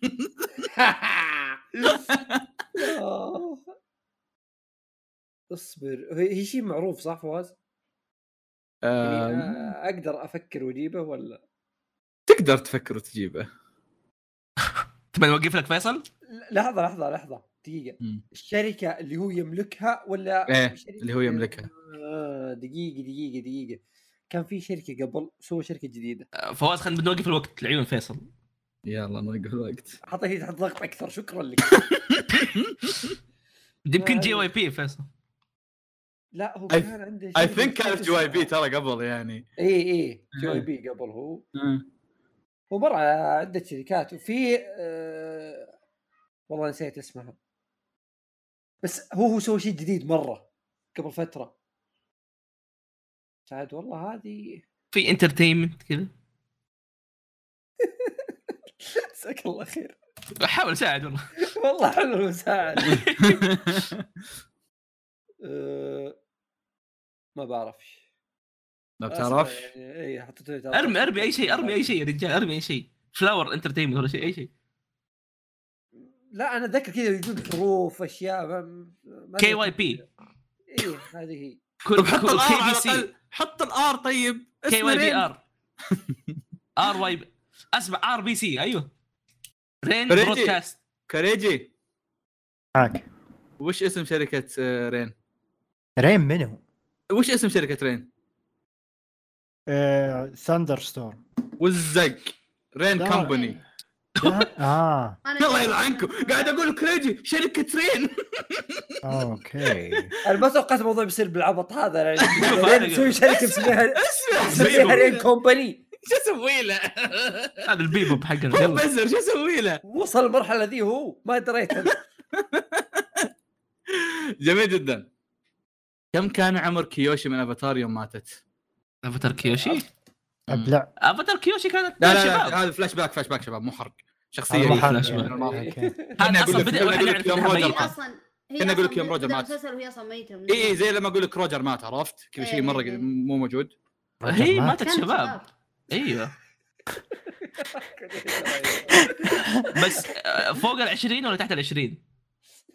[SPEAKER 3] آه. *laughs* اصبر هي هي شيء معروف صح فواز؟ يعني آه، اقدر افكر واجيبه ولا
[SPEAKER 1] تقدر تفكر وتجيبه
[SPEAKER 4] تبى نوقف لك فيصل؟
[SPEAKER 3] لحظه لحظه لحظه دقيقه
[SPEAKER 1] مم.
[SPEAKER 3] الشركه اللي هو يملكها ولا
[SPEAKER 1] إيه،
[SPEAKER 3] شركة-
[SPEAKER 1] اللي هو يملكها.
[SPEAKER 3] آه، دقيقه دقيقه دقيقه كان في شركه قبل سووا شركه جديده
[SPEAKER 4] آه، فواز خلينا بنوقف الوقت لعيون فيصل
[SPEAKER 1] يلا نوقف الوقت
[SPEAKER 3] حطيت تحت ضغط اكثر شكرا لك
[SPEAKER 4] يمكن جي واي بي فيصل
[SPEAKER 3] لا هو
[SPEAKER 1] I-
[SPEAKER 3] كان عنده
[SPEAKER 1] اي
[SPEAKER 3] شركة
[SPEAKER 1] ثينك كانت
[SPEAKER 3] بس-
[SPEAKER 1] جي واي بي ترى قبل يعني
[SPEAKER 3] اي
[SPEAKER 4] إيه.
[SPEAKER 3] اي جي واي
[SPEAKER 1] آه.
[SPEAKER 3] بي قبل هو هو مر على عده شركات وفي آه والله نسيت اسمها بس هو هو سوى شيء جديد مره قبل فتره سعد والله هذه *laughs*
[SPEAKER 4] في انترتينمنت كذا
[SPEAKER 3] جزاك الله خير
[SPEAKER 4] احاول اساعد والله
[SPEAKER 3] والله
[SPEAKER 4] *laughs*
[SPEAKER 3] حلو سعد آه ما بعرف
[SPEAKER 1] ما بتعرف
[SPEAKER 3] أسف يعني، اي حطيت لي
[SPEAKER 4] ارمي ارمي اي شيء ارمي اي شيء يا رجال ارمي اي شيء فلاور انترتينمنت ولا شيء اي شيء
[SPEAKER 3] لا انا اتذكر كذا يجون حروف اشياء ما- ما
[SPEAKER 4] كي واي بي
[SPEAKER 3] اي إيه، هذه هي
[SPEAKER 1] طب حط الار على الاقل حط الار طيب
[SPEAKER 4] كي
[SPEAKER 1] اسم
[SPEAKER 4] واي بي
[SPEAKER 1] رين.
[SPEAKER 4] ار *laughs* ار واي اسمع ار بي سي ايوه رين
[SPEAKER 1] ريجي.
[SPEAKER 4] برودكاست
[SPEAKER 1] كريجي
[SPEAKER 2] هاك
[SPEAKER 1] وش اسم شركه آه، رين؟
[SPEAKER 2] ريم منو؟
[SPEAKER 1] وش اسم شركه رين؟
[SPEAKER 2] آه، ثاندر *laughs* ستورم
[SPEAKER 1] والزق رين
[SPEAKER 2] لا.
[SPEAKER 1] كمباني
[SPEAKER 2] اه
[SPEAKER 5] إيه، أنا
[SPEAKER 1] يلا يلعنكم قاعد اقول كريجي شركه رين
[SPEAKER 2] آه، *laughs* اوكي
[SPEAKER 3] انا ما توقعت الموضوع بيصير بالعبط
[SPEAKER 1] *laughs*
[SPEAKER 3] هذا يعني
[SPEAKER 4] هذا-
[SPEAKER 3] تسوي شركه اسمها *laughs* اسمها رين كومباني
[SPEAKER 1] شو اسوي له؟
[SPEAKER 4] هذا البيبوب
[SPEAKER 1] *laughs*
[SPEAKER 4] حقنا
[SPEAKER 1] هو
[SPEAKER 4] يلا
[SPEAKER 1] بزر شو اسوي له؟
[SPEAKER 3] وصل المرحله ذي هو ما دريت أنا.
[SPEAKER 1] جميل جدا كم كان عمر كيوشي من افاتار يوم ماتت؟
[SPEAKER 4] افاتار كيوشي
[SPEAKER 2] ابلع
[SPEAKER 4] افاتار كيوشي كانت
[SPEAKER 1] آه. لا لا,
[SPEAKER 4] شباب.
[SPEAKER 1] لا هذا فلاش باك فلاش باك شباب مو حرق شخصيه
[SPEAKER 4] والله حرق.
[SPEAKER 1] فلاش باك.
[SPEAKER 4] هذا
[SPEAKER 1] أقول
[SPEAKER 4] اصلا
[SPEAKER 1] لك-
[SPEAKER 4] بدا
[SPEAKER 1] أنا
[SPEAKER 4] واحنا
[SPEAKER 1] أقول لك
[SPEAKER 4] نعرف
[SPEAKER 1] يوم
[SPEAKER 4] انها
[SPEAKER 1] روجر
[SPEAKER 5] هي
[SPEAKER 4] ميتة.
[SPEAKER 5] اصلا هي
[SPEAKER 1] كنا أقول لك
[SPEAKER 5] أصلاً
[SPEAKER 1] يوم روجر
[SPEAKER 5] بدأ
[SPEAKER 1] مات. إيه،
[SPEAKER 5] المسلسل وهي اصلا ميته من
[SPEAKER 1] اي اي زي لما اقول لك روجر مات عرفت؟ كل شيء مره
[SPEAKER 5] إيه.
[SPEAKER 1] مو موجود
[SPEAKER 4] هي
[SPEAKER 2] ما-
[SPEAKER 4] ماتت
[SPEAKER 5] كانت
[SPEAKER 4] شباب ايوه بس آه، فوق ال 20 ولا تحت ال 20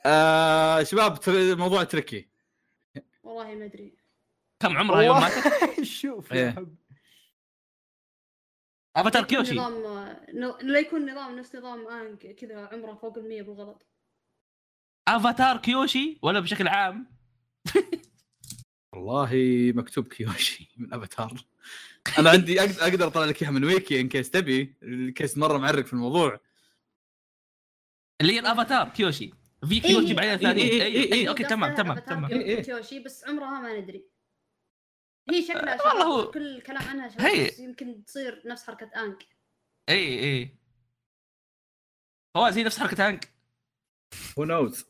[SPEAKER 1] آه شباب ترى الموضوع تركي
[SPEAKER 5] والله ما ادري
[SPEAKER 4] كم عمرها يوم ماتت؟
[SPEAKER 2] شوف
[SPEAKER 1] إيه.
[SPEAKER 2] يا حبيبي
[SPEAKER 4] افاتار
[SPEAKER 5] لا يكون
[SPEAKER 4] كيوشي
[SPEAKER 5] *laughs* نظام نو- لا يكون نظام نفس نظام انك كذا عمره فوق المية بالغلط
[SPEAKER 4] افاتار كيوشي ولا بشكل عام
[SPEAKER 1] والله مكتوب كيوشي من افاتار انا عندي أقدر- اقدر اطلع لك اياها من ويكي ان كيس تبي الكيس مره معرق في الموضوع
[SPEAKER 4] اللي هي الافاتار كيوشي في كيوشي بعدين ثانيين
[SPEAKER 1] إيه،
[SPEAKER 4] اي
[SPEAKER 1] إيه، إيه،
[SPEAKER 4] اي اوكي تمام
[SPEAKER 5] قصدها
[SPEAKER 4] تمام
[SPEAKER 5] أفاتار
[SPEAKER 4] تمام
[SPEAKER 5] كيو-
[SPEAKER 1] إيه، إيه.
[SPEAKER 5] كيوشي بس عمرها ما ندري هي شكلها
[SPEAKER 4] أه، والله هو-
[SPEAKER 5] شباب كل الكلام عنها
[SPEAKER 4] هي.
[SPEAKER 5] شباب بس يمكن تصير نفس حركة انك
[SPEAKER 4] اي اي إيه، فواز هي نفس حركه تانك
[SPEAKER 1] هو نوز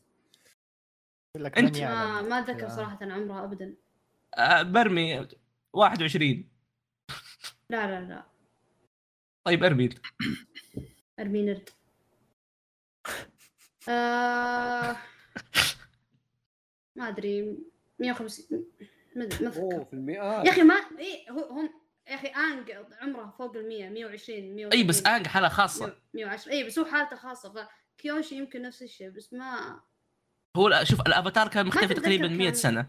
[SPEAKER 2] يقول لك
[SPEAKER 4] أنت-
[SPEAKER 2] من
[SPEAKER 5] آه، ما
[SPEAKER 2] يعلم؟
[SPEAKER 5] ما اتذكر
[SPEAKER 2] يا.
[SPEAKER 5] صراحة عمرها ابدا
[SPEAKER 4] آه، برمي 21
[SPEAKER 5] لا لا لا
[SPEAKER 4] طيب ارمي أنت.
[SPEAKER 5] ارمي
[SPEAKER 4] *laughs*
[SPEAKER 5] نرد آه، ما ادري 150 ما أدري، ما
[SPEAKER 3] اوه
[SPEAKER 5] أذكر.
[SPEAKER 3] في المئات
[SPEAKER 5] يا اخي ما اي هو هم يا اخي انج عمره فوق ال 100 120 120
[SPEAKER 4] اي طيب، بس انج حاله خاصه
[SPEAKER 5] 110 اي إيه، بس هو حالته خاصه فكيوشي يمكن نفس الشيء بس ما
[SPEAKER 4] هو لا، شوف الافاتار كان مختفي
[SPEAKER 5] تتذكر
[SPEAKER 4] تقريبا 100
[SPEAKER 5] كان.
[SPEAKER 4] سنه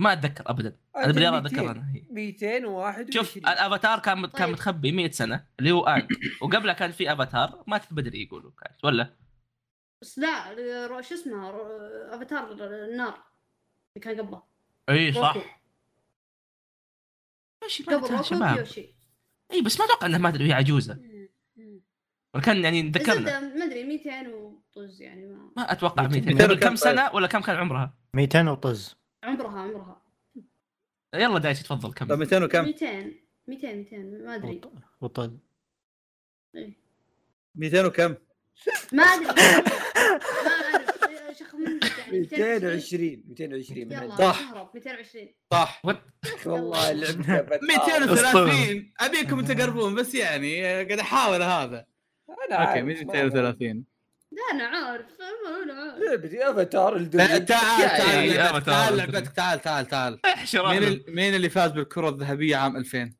[SPEAKER 4] ما اتذكر ابدا انا بالرياضه اتذكر انا هي.
[SPEAKER 3] 221
[SPEAKER 4] شوف الافاتار كان مت... كان
[SPEAKER 5] طيب.
[SPEAKER 4] متخبي 100 سنه اللي هو انج وقبلها كان في افاتار ماتت بدري يقولوا كانت ولا
[SPEAKER 5] بس لا رو- شو اسمها رو- افاتار النار اللي كان قبله
[SPEAKER 4] اي إيه، صح
[SPEAKER 5] روكو.
[SPEAKER 4] ماشي
[SPEAKER 5] قبل
[SPEAKER 4] ماتت
[SPEAKER 5] روكو
[SPEAKER 4] شباب
[SPEAKER 5] كيوشي
[SPEAKER 4] اي بس ما اتوقع انها ماتت وهي عجوزه
[SPEAKER 5] مم. مم.
[SPEAKER 4] وكان يعني
[SPEAKER 5] بس
[SPEAKER 4] تذكرنا
[SPEAKER 5] زبدة ما ادري 200 وطز يعني ما
[SPEAKER 4] ما اتوقع 200
[SPEAKER 2] 200
[SPEAKER 4] قبل
[SPEAKER 1] كان
[SPEAKER 4] كم
[SPEAKER 1] طيب.
[SPEAKER 4] سنه ولا كم كان عمرها
[SPEAKER 2] 200 وطز
[SPEAKER 5] عمرها عمرها
[SPEAKER 4] يلا دايش تفضل
[SPEAKER 1] طب
[SPEAKER 4] كم
[SPEAKER 1] 200 وكم؟
[SPEAKER 5] 200 200 200 ما ادري
[SPEAKER 2] وطز
[SPEAKER 1] 200 وكم؟
[SPEAKER 5] ما
[SPEAKER 3] *laughs*
[SPEAKER 5] ادري ما ادري شخمنت يعني
[SPEAKER 3] 220 220 من
[SPEAKER 5] يلا
[SPEAKER 3] عندي.
[SPEAKER 1] صح.
[SPEAKER 5] اهرب 220
[SPEAKER 1] صح
[SPEAKER 3] والله لعبتها
[SPEAKER 1] *laughs*
[SPEAKER 3] بتعب.
[SPEAKER 1] 230 ابيكم تقربون بس يعني قاعد احاول هذا
[SPEAKER 3] انا
[SPEAKER 1] اوكي
[SPEAKER 3] عارف.
[SPEAKER 1] مش
[SPEAKER 3] آه، ما-
[SPEAKER 1] 230
[SPEAKER 5] لا انا عارف انا عارف
[SPEAKER 3] لعبتي افاتار
[SPEAKER 1] لا،
[SPEAKER 3] الدنيا
[SPEAKER 1] تعال تعال
[SPEAKER 4] يا
[SPEAKER 1] لعبتك،
[SPEAKER 4] أفاتار.
[SPEAKER 1] تعال لعبتك تعال تعال تعال
[SPEAKER 4] احشر
[SPEAKER 1] مين
[SPEAKER 4] أهلاً.
[SPEAKER 1] ال- مين اللي فاز بالكره الذهبيه عام 2000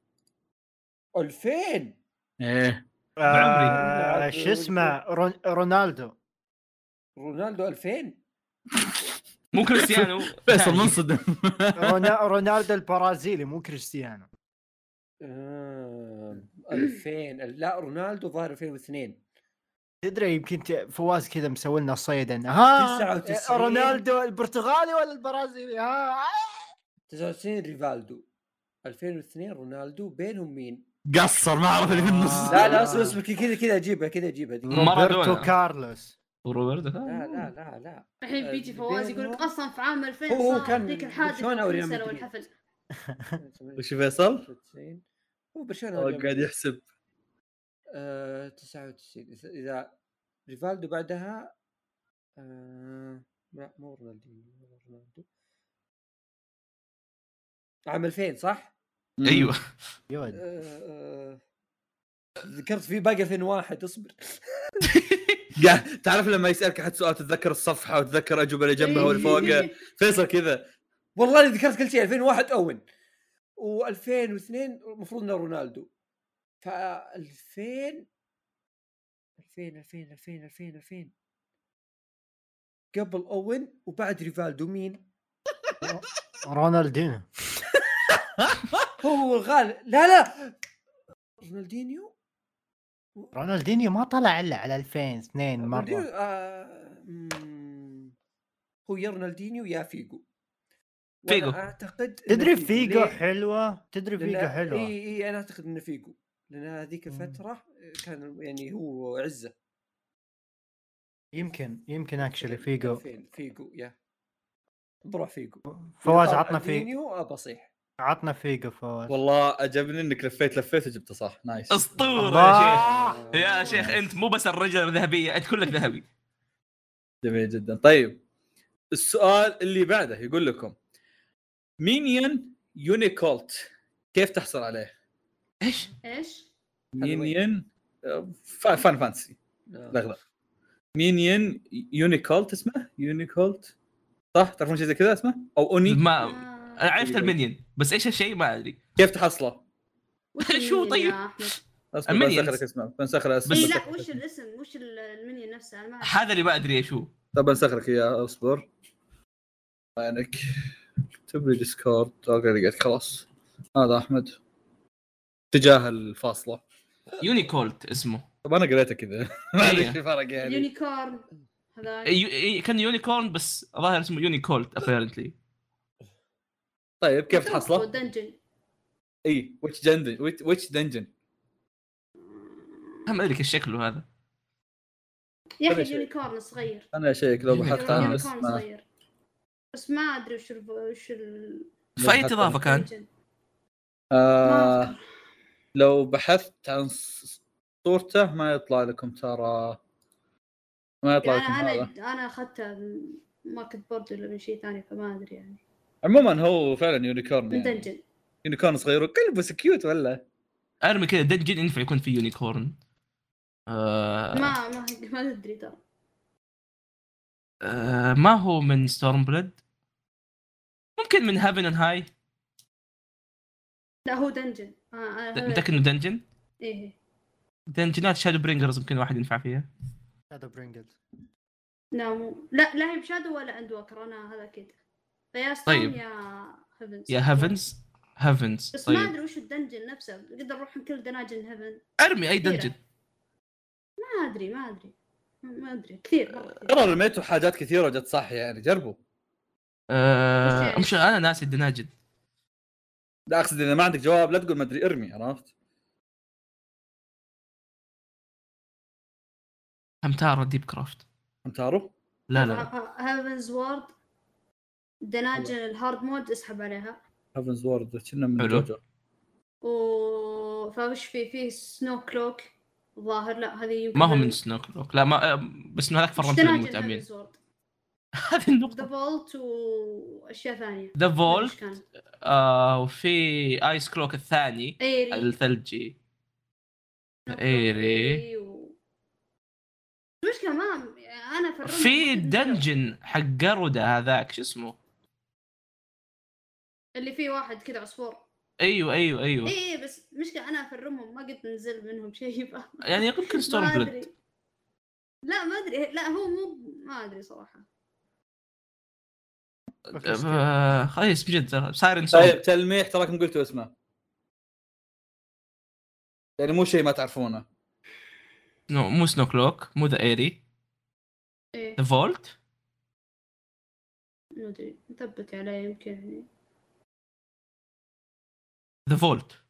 [SPEAKER 3] 2000
[SPEAKER 1] ايه
[SPEAKER 2] آه، شو اسمه رون-
[SPEAKER 3] *laughs*
[SPEAKER 2] رونالدو
[SPEAKER 3] رونالدو 2000
[SPEAKER 4] مو كريستيانو
[SPEAKER 1] *laughs* فيصل
[SPEAKER 4] ثاني.
[SPEAKER 1] منصدم
[SPEAKER 2] رونا- رونالدو البرازيلي مو كريستيانو
[SPEAKER 3] آم، 2000 آه، لا رونالدو ظهر 2002
[SPEAKER 2] تدري يمكن ت- فواز كذا مسوي لنا صيدا ها
[SPEAKER 3] 99.
[SPEAKER 2] رونالدو البرتغالي ولا البرازيلي ها
[SPEAKER 3] 99 ريفالدو 2002 رونالدو بينهم مين؟
[SPEAKER 1] قصر ما اعرف اللي في النص
[SPEAKER 3] لا لا اصبر اصبر كذا كذا اجيبها كذا اجيبها دقيقة.
[SPEAKER 4] مارادونا.
[SPEAKER 2] روبرتو كارلوس
[SPEAKER 4] وروبرتو
[SPEAKER 3] لا لا لا لا
[SPEAKER 5] الحين بيجي فواز يقول لك اصلا في عام 2000
[SPEAKER 3] هو- هو
[SPEAKER 5] صار
[SPEAKER 3] كان
[SPEAKER 5] ذيك الحادثه
[SPEAKER 3] برشلونة أو ريال
[SPEAKER 5] بالكنسة
[SPEAKER 3] مدريد؟
[SPEAKER 5] والحفل
[SPEAKER 1] *laughs* وش فيصل؟
[SPEAKER 3] 99. هو
[SPEAKER 1] *laughs*
[SPEAKER 3] برشلونه
[SPEAKER 1] هو
[SPEAKER 3] ولا
[SPEAKER 1] قاعد يحسب
[SPEAKER 3] آه، 99 إذا- اذا ريفالدو بعدها آه، لا مو رونالدينيو ولا رونالدو عام 2000 صح؟
[SPEAKER 4] ايوه
[SPEAKER 2] يا
[SPEAKER 3] آه،
[SPEAKER 2] ولد.
[SPEAKER 3] آه، ذكرت في باقي 2001 اصبر
[SPEAKER 1] قاعد- تعرف لما يسالك احد سؤال تتذكر الصفحه وتتذكر الاجوبه اللي جنبها واللي
[SPEAKER 5] إيه.
[SPEAKER 1] فوقها فيصل كذا
[SPEAKER 3] والله اللي ذكرت كل شيء 2001 اوين و2002 المفروض انه رونالدو ف 2000 2000 2000 2000 2000 2000 قبل اوين وبعد ريفالدو مين؟
[SPEAKER 2] رونالدينو
[SPEAKER 3] هو هو الغالب لا لا رونالدينيو
[SPEAKER 2] رونالدينيو ما طلع الا على 2002
[SPEAKER 3] رونالدينيو،
[SPEAKER 2] مره
[SPEAKER 3] آه، مم، هو يا رونالدينيو يا فيجو وأنا
[SPEAKER 4] فيجو.
[SPEAKER 3] اعتقد إن
[SPEAKER 2] تدري فيجو
[SPEAKER 3] ليه؟
[SPEAKER 2] حلوه تدري فيجو
[SPEAKER 3] لأن-
[SPEAKER 2] حلوه
[SPEAKER 3] اي اي انا اعتقد انه فيجو لان هذيك
[SPEAKER 2] مم.
[SPEAKER 3] الفتره كان يعني هو عزه
[SPEAKER 2] يمكن يمكن اكشلي فيجو
[SPEAKER 3] فين فيجو يا بروح فيجو
[SPEAKER 2] فواز
[SPEAKER 3] يطلع
[SPEAKER 2] عطنا في
[SPEAKER 3] رونالدينيو ابى اصيح
[SPEAKER 2] عطنا فيجو فواز
[SPEAKER 1] والله عجبني انك لفيت لفيت وجبته صح نايس
[SPEAKER 4] اسطوره يا شيخ
[SPEAKER 3] آه،
[SPEAKER 2] الله
[SPEAKER 4] آه. يا شيخ انت مو بس الرجل الذهبيه انت كلك ذهبي
[SPEAKER 1] جميل جدا طيب السؤال اللي بعده يقول لكم مينيون يونيكولت كيف تحصل عليه؟
[SPEAKER 4] ايش؟
[SPEAKER 5] ايش؟
[SPEAKER 1] مينيون آه، فان فانتسي
[SPEAKER 3] آه،
[SPEAKER 1] الاغلب مينيون يونيكولت اسمه يونيكولت صح تعرفون شيء زي كذا اسمه او اوني
[SPEAKER 4] ما
[SPEAKER 1] أه،
[SPEAKER 4] انا
[SPEAKER 5] آه.
[SPEAKER 4] عرفت المنيون بس ايش الشيء ما ادري
[SPEAKER 1] كيف تحصله؟
[SPEAKER 5] وش
[SPEAKER 4] شو
[SPEAKER 5] المنيون
[SPEAKER 4] طيب؟
[SPEAKER 5] يا أحمد؟
[SPEAKER 1] اصبر
[SPEAKER 4] المينيونز.
[SPEAKER 1] بنسخ لك اسمه بنسخ لك
[SPEAKER 4] بس-
[SPEAKER 5] إيه،
[SPEAKER 1] اسمه
[SPEAKER 5] لا وش الاسم وش ال- المنيون نفسه انا ما أعرف.
[SPEAKER 4] هذا اللي ما ادري ايش هو
[SPEAKER 1] طب بنسخ لك اياه اصبر وينك اكتب لي ديسكورد اوكي لقيت خلاص هذا احمد تجاه الفاصله
[SPEAKER 4] يونيكولت اسمه
[SPEAKER 1] طب انا قريته كذا *laughs* ما ادري ايش الفرق يعني
[SPEAKER 5] اليونيكورن هذا
[SPEAKER 4] يو- إي- كان يونيكورن بس ظاهر اسمه يونيكولت ابيرنتلي
[SPEAKER 1] طيب كيف تحصله؟
[SPEAKER 5] دنجن
[SPEAKER 1] اي ويتش دنجن ويتش دنجن
[SPEAKER 4] ما ادري كيف شكله هذا
[SPEAKER 5] يا اخي
[SPEAKER 1] كل شيء.
[SPEAKER 5] اليونيكورن صغير
[SPEAKER 1] انا اشيك لو بحط
[SPEAKER 4] يونيكورن
[SPEAKER 1] انا
[SPEAKER 5] اليونيكورن
[SPEAKER 1] اسمه
[SPEAKER 5] يعني صغير بس ما ادري وش ال- وش ال-
[SPEAKER 4] فاي اضافه كان؟
[SPEAKER 5] الدنجن. ما
[SPEAKER 1] آه
[SPEAKER 5] أذكر.
[SPEAKER 1] لو بحثت عن ص- صورته ما يطلع لكم ترى ما يطلع لكم
[SPEAKER 5] يعني
[SPEAKER 1] هذا
[SPEAKER 5] انا انا اخذته من ماركت بورد ولا من شيء ثاني فما ادري يعني
[SPEAKER 1] عموما هو فعلا يونيكورن
[SPEAKER 5] من
[SPEAKER 1] يعني.
[SPEAKER 5] دنجن
[SPEAKER 1] يونيكورن صغير وكلبه سكيوت ولا
[SPEAKER 4] ارمي كذا دنجن ينفع يكون فيه يونيكورن آه
[SPEAKER 5] ما ما *laughs* ما ادري ترى
[SPEAKER 4] آه ما هو من ستورم بلد ممكن من هافن اند هاي
[SPEAKER 5] لا هو دنجن آه انا
[SPEAKER 4] متاكد انه دنجن
[SPEAKER 5] ايه
[SPEAKER 4] دنجنات شادو برينجرز يمكن واحد ينفع فيها
[SPEAKER 2] هذا برينجلز
[SPEAKER 5] لا مو لا لا هي بشادو ولا اند وكر انا هذا كده فيا ستون
[SPEAKER 4] طيب.
[SPEAKER 5] يا هيفنز
[SPEAKER 4] يا هيفنز هيفنز
[SPEAKER 5] بس ما
[SPEAKER 4] طيب
[SPEAKER 5] ادري وش الدنجن نفسه نقدر نروح من كل دناجن هيفن
[SPEAKER 4] ارمي اي
[SPEAKER 5] كثيرة.
[SPEAKER 4] دنجن
[SPEAKER 5] ما ادري ما ادري ما ادري كثير مرة
[SPEAKER 4] آه.
[SPEAKER 5] كثير.
[SPEAKER 1] ترى رميتوا حاجات كثيره وجت صح يعني جربوا
[SPEAKER 5] بس
[SPEAKER 4] آه،
[SPEAKER 5] يعني-
[SPEAKER 4] مش انا ناسي الدناجن
[SPEAKER 1] لا اقصد اذا ما عندك جواب لا تقول ما ادري ارمي عرفت؟
[SPEAKER 4] همتارا ديب كرافت
[SPEAKER 1] انتارو؟
[SPEAKER 4] لا
[SPEAKER 5] آه،
[SPEAKER 4] لا لا
[SPEAKER 5] هيفنز وورد دناجن الهارد مود اسحب عليها
[SPEAKER 1] هافنز وورد كنا من
[SPEAKER 4] حلو.
[SPEAKER 1] جوجو
[SPEAKER 5] و فوش في فيه سنو كلوك ظاهر لا هذه يمكن
[SPEAKER 4] ما هو من سنوك لا ما آه، بس انه هذاك فرمت المتعبين *laughs* هذه
[SPEAKER 5] ذا
[SPEAKER 4] النقطة
[SPEAKER 5] فولت واشياء ثانيه
[SPEAKER 4] ذا
[SPEAKER 5] إيش
[SPEAKER 4] فولت
[SPEAKER 5] كان؟
[SPEAKER 4] آه، وفي ايس كلوك الثاني
[SPEAKER 5] ايري
[SPEAKER 4] الثلجي إيه،
[SPEAKER 5] سنو كلوك
[SPEAKER 4] إيري.
[SPEAKER 5] و- المشكله ما انا في الرمل ما
[SPEAKER 4] في
[SPEAKER 5] أدري
[SPEAKER 4] الدنجن حق قرودة هذاك شو اسمه
[SPEAKER 5] اللي فيه واحد كذا عصفور
[SPEAKER 4] ايوه ايوه ايوه
[SPEAKER 5] اي إي بس مشكلة انا في الرمهم ما قد نزل منهم شيء *laughs* ف-
[SPEAKER 4] يعني يمكن ستورم
[SPEAKER 5] ما
[SPEAKER 4] بلود
[SPEAKER 5] ادري لا ما ادري لا هو مو ما ادري صراحة
[SPEAKER 4] آه، خيس بجد
[SPEAKER 1] طيب
[SPEAKER 4] سايرن سونج
[SPEAKER 1] تلميح تراكم قلتوا اسمه يعني مو شيء ما تعرفونه
[SPEAKER 4] نو مو سنو كلوك مو ذا ايري
[SPEAKER 5] ايه
[SPEAKER 4] ذا فولت
[SPEAKER 5] ما ادري مثبت عليه يمكن يعني
[SPEAKER 4] ذا فولت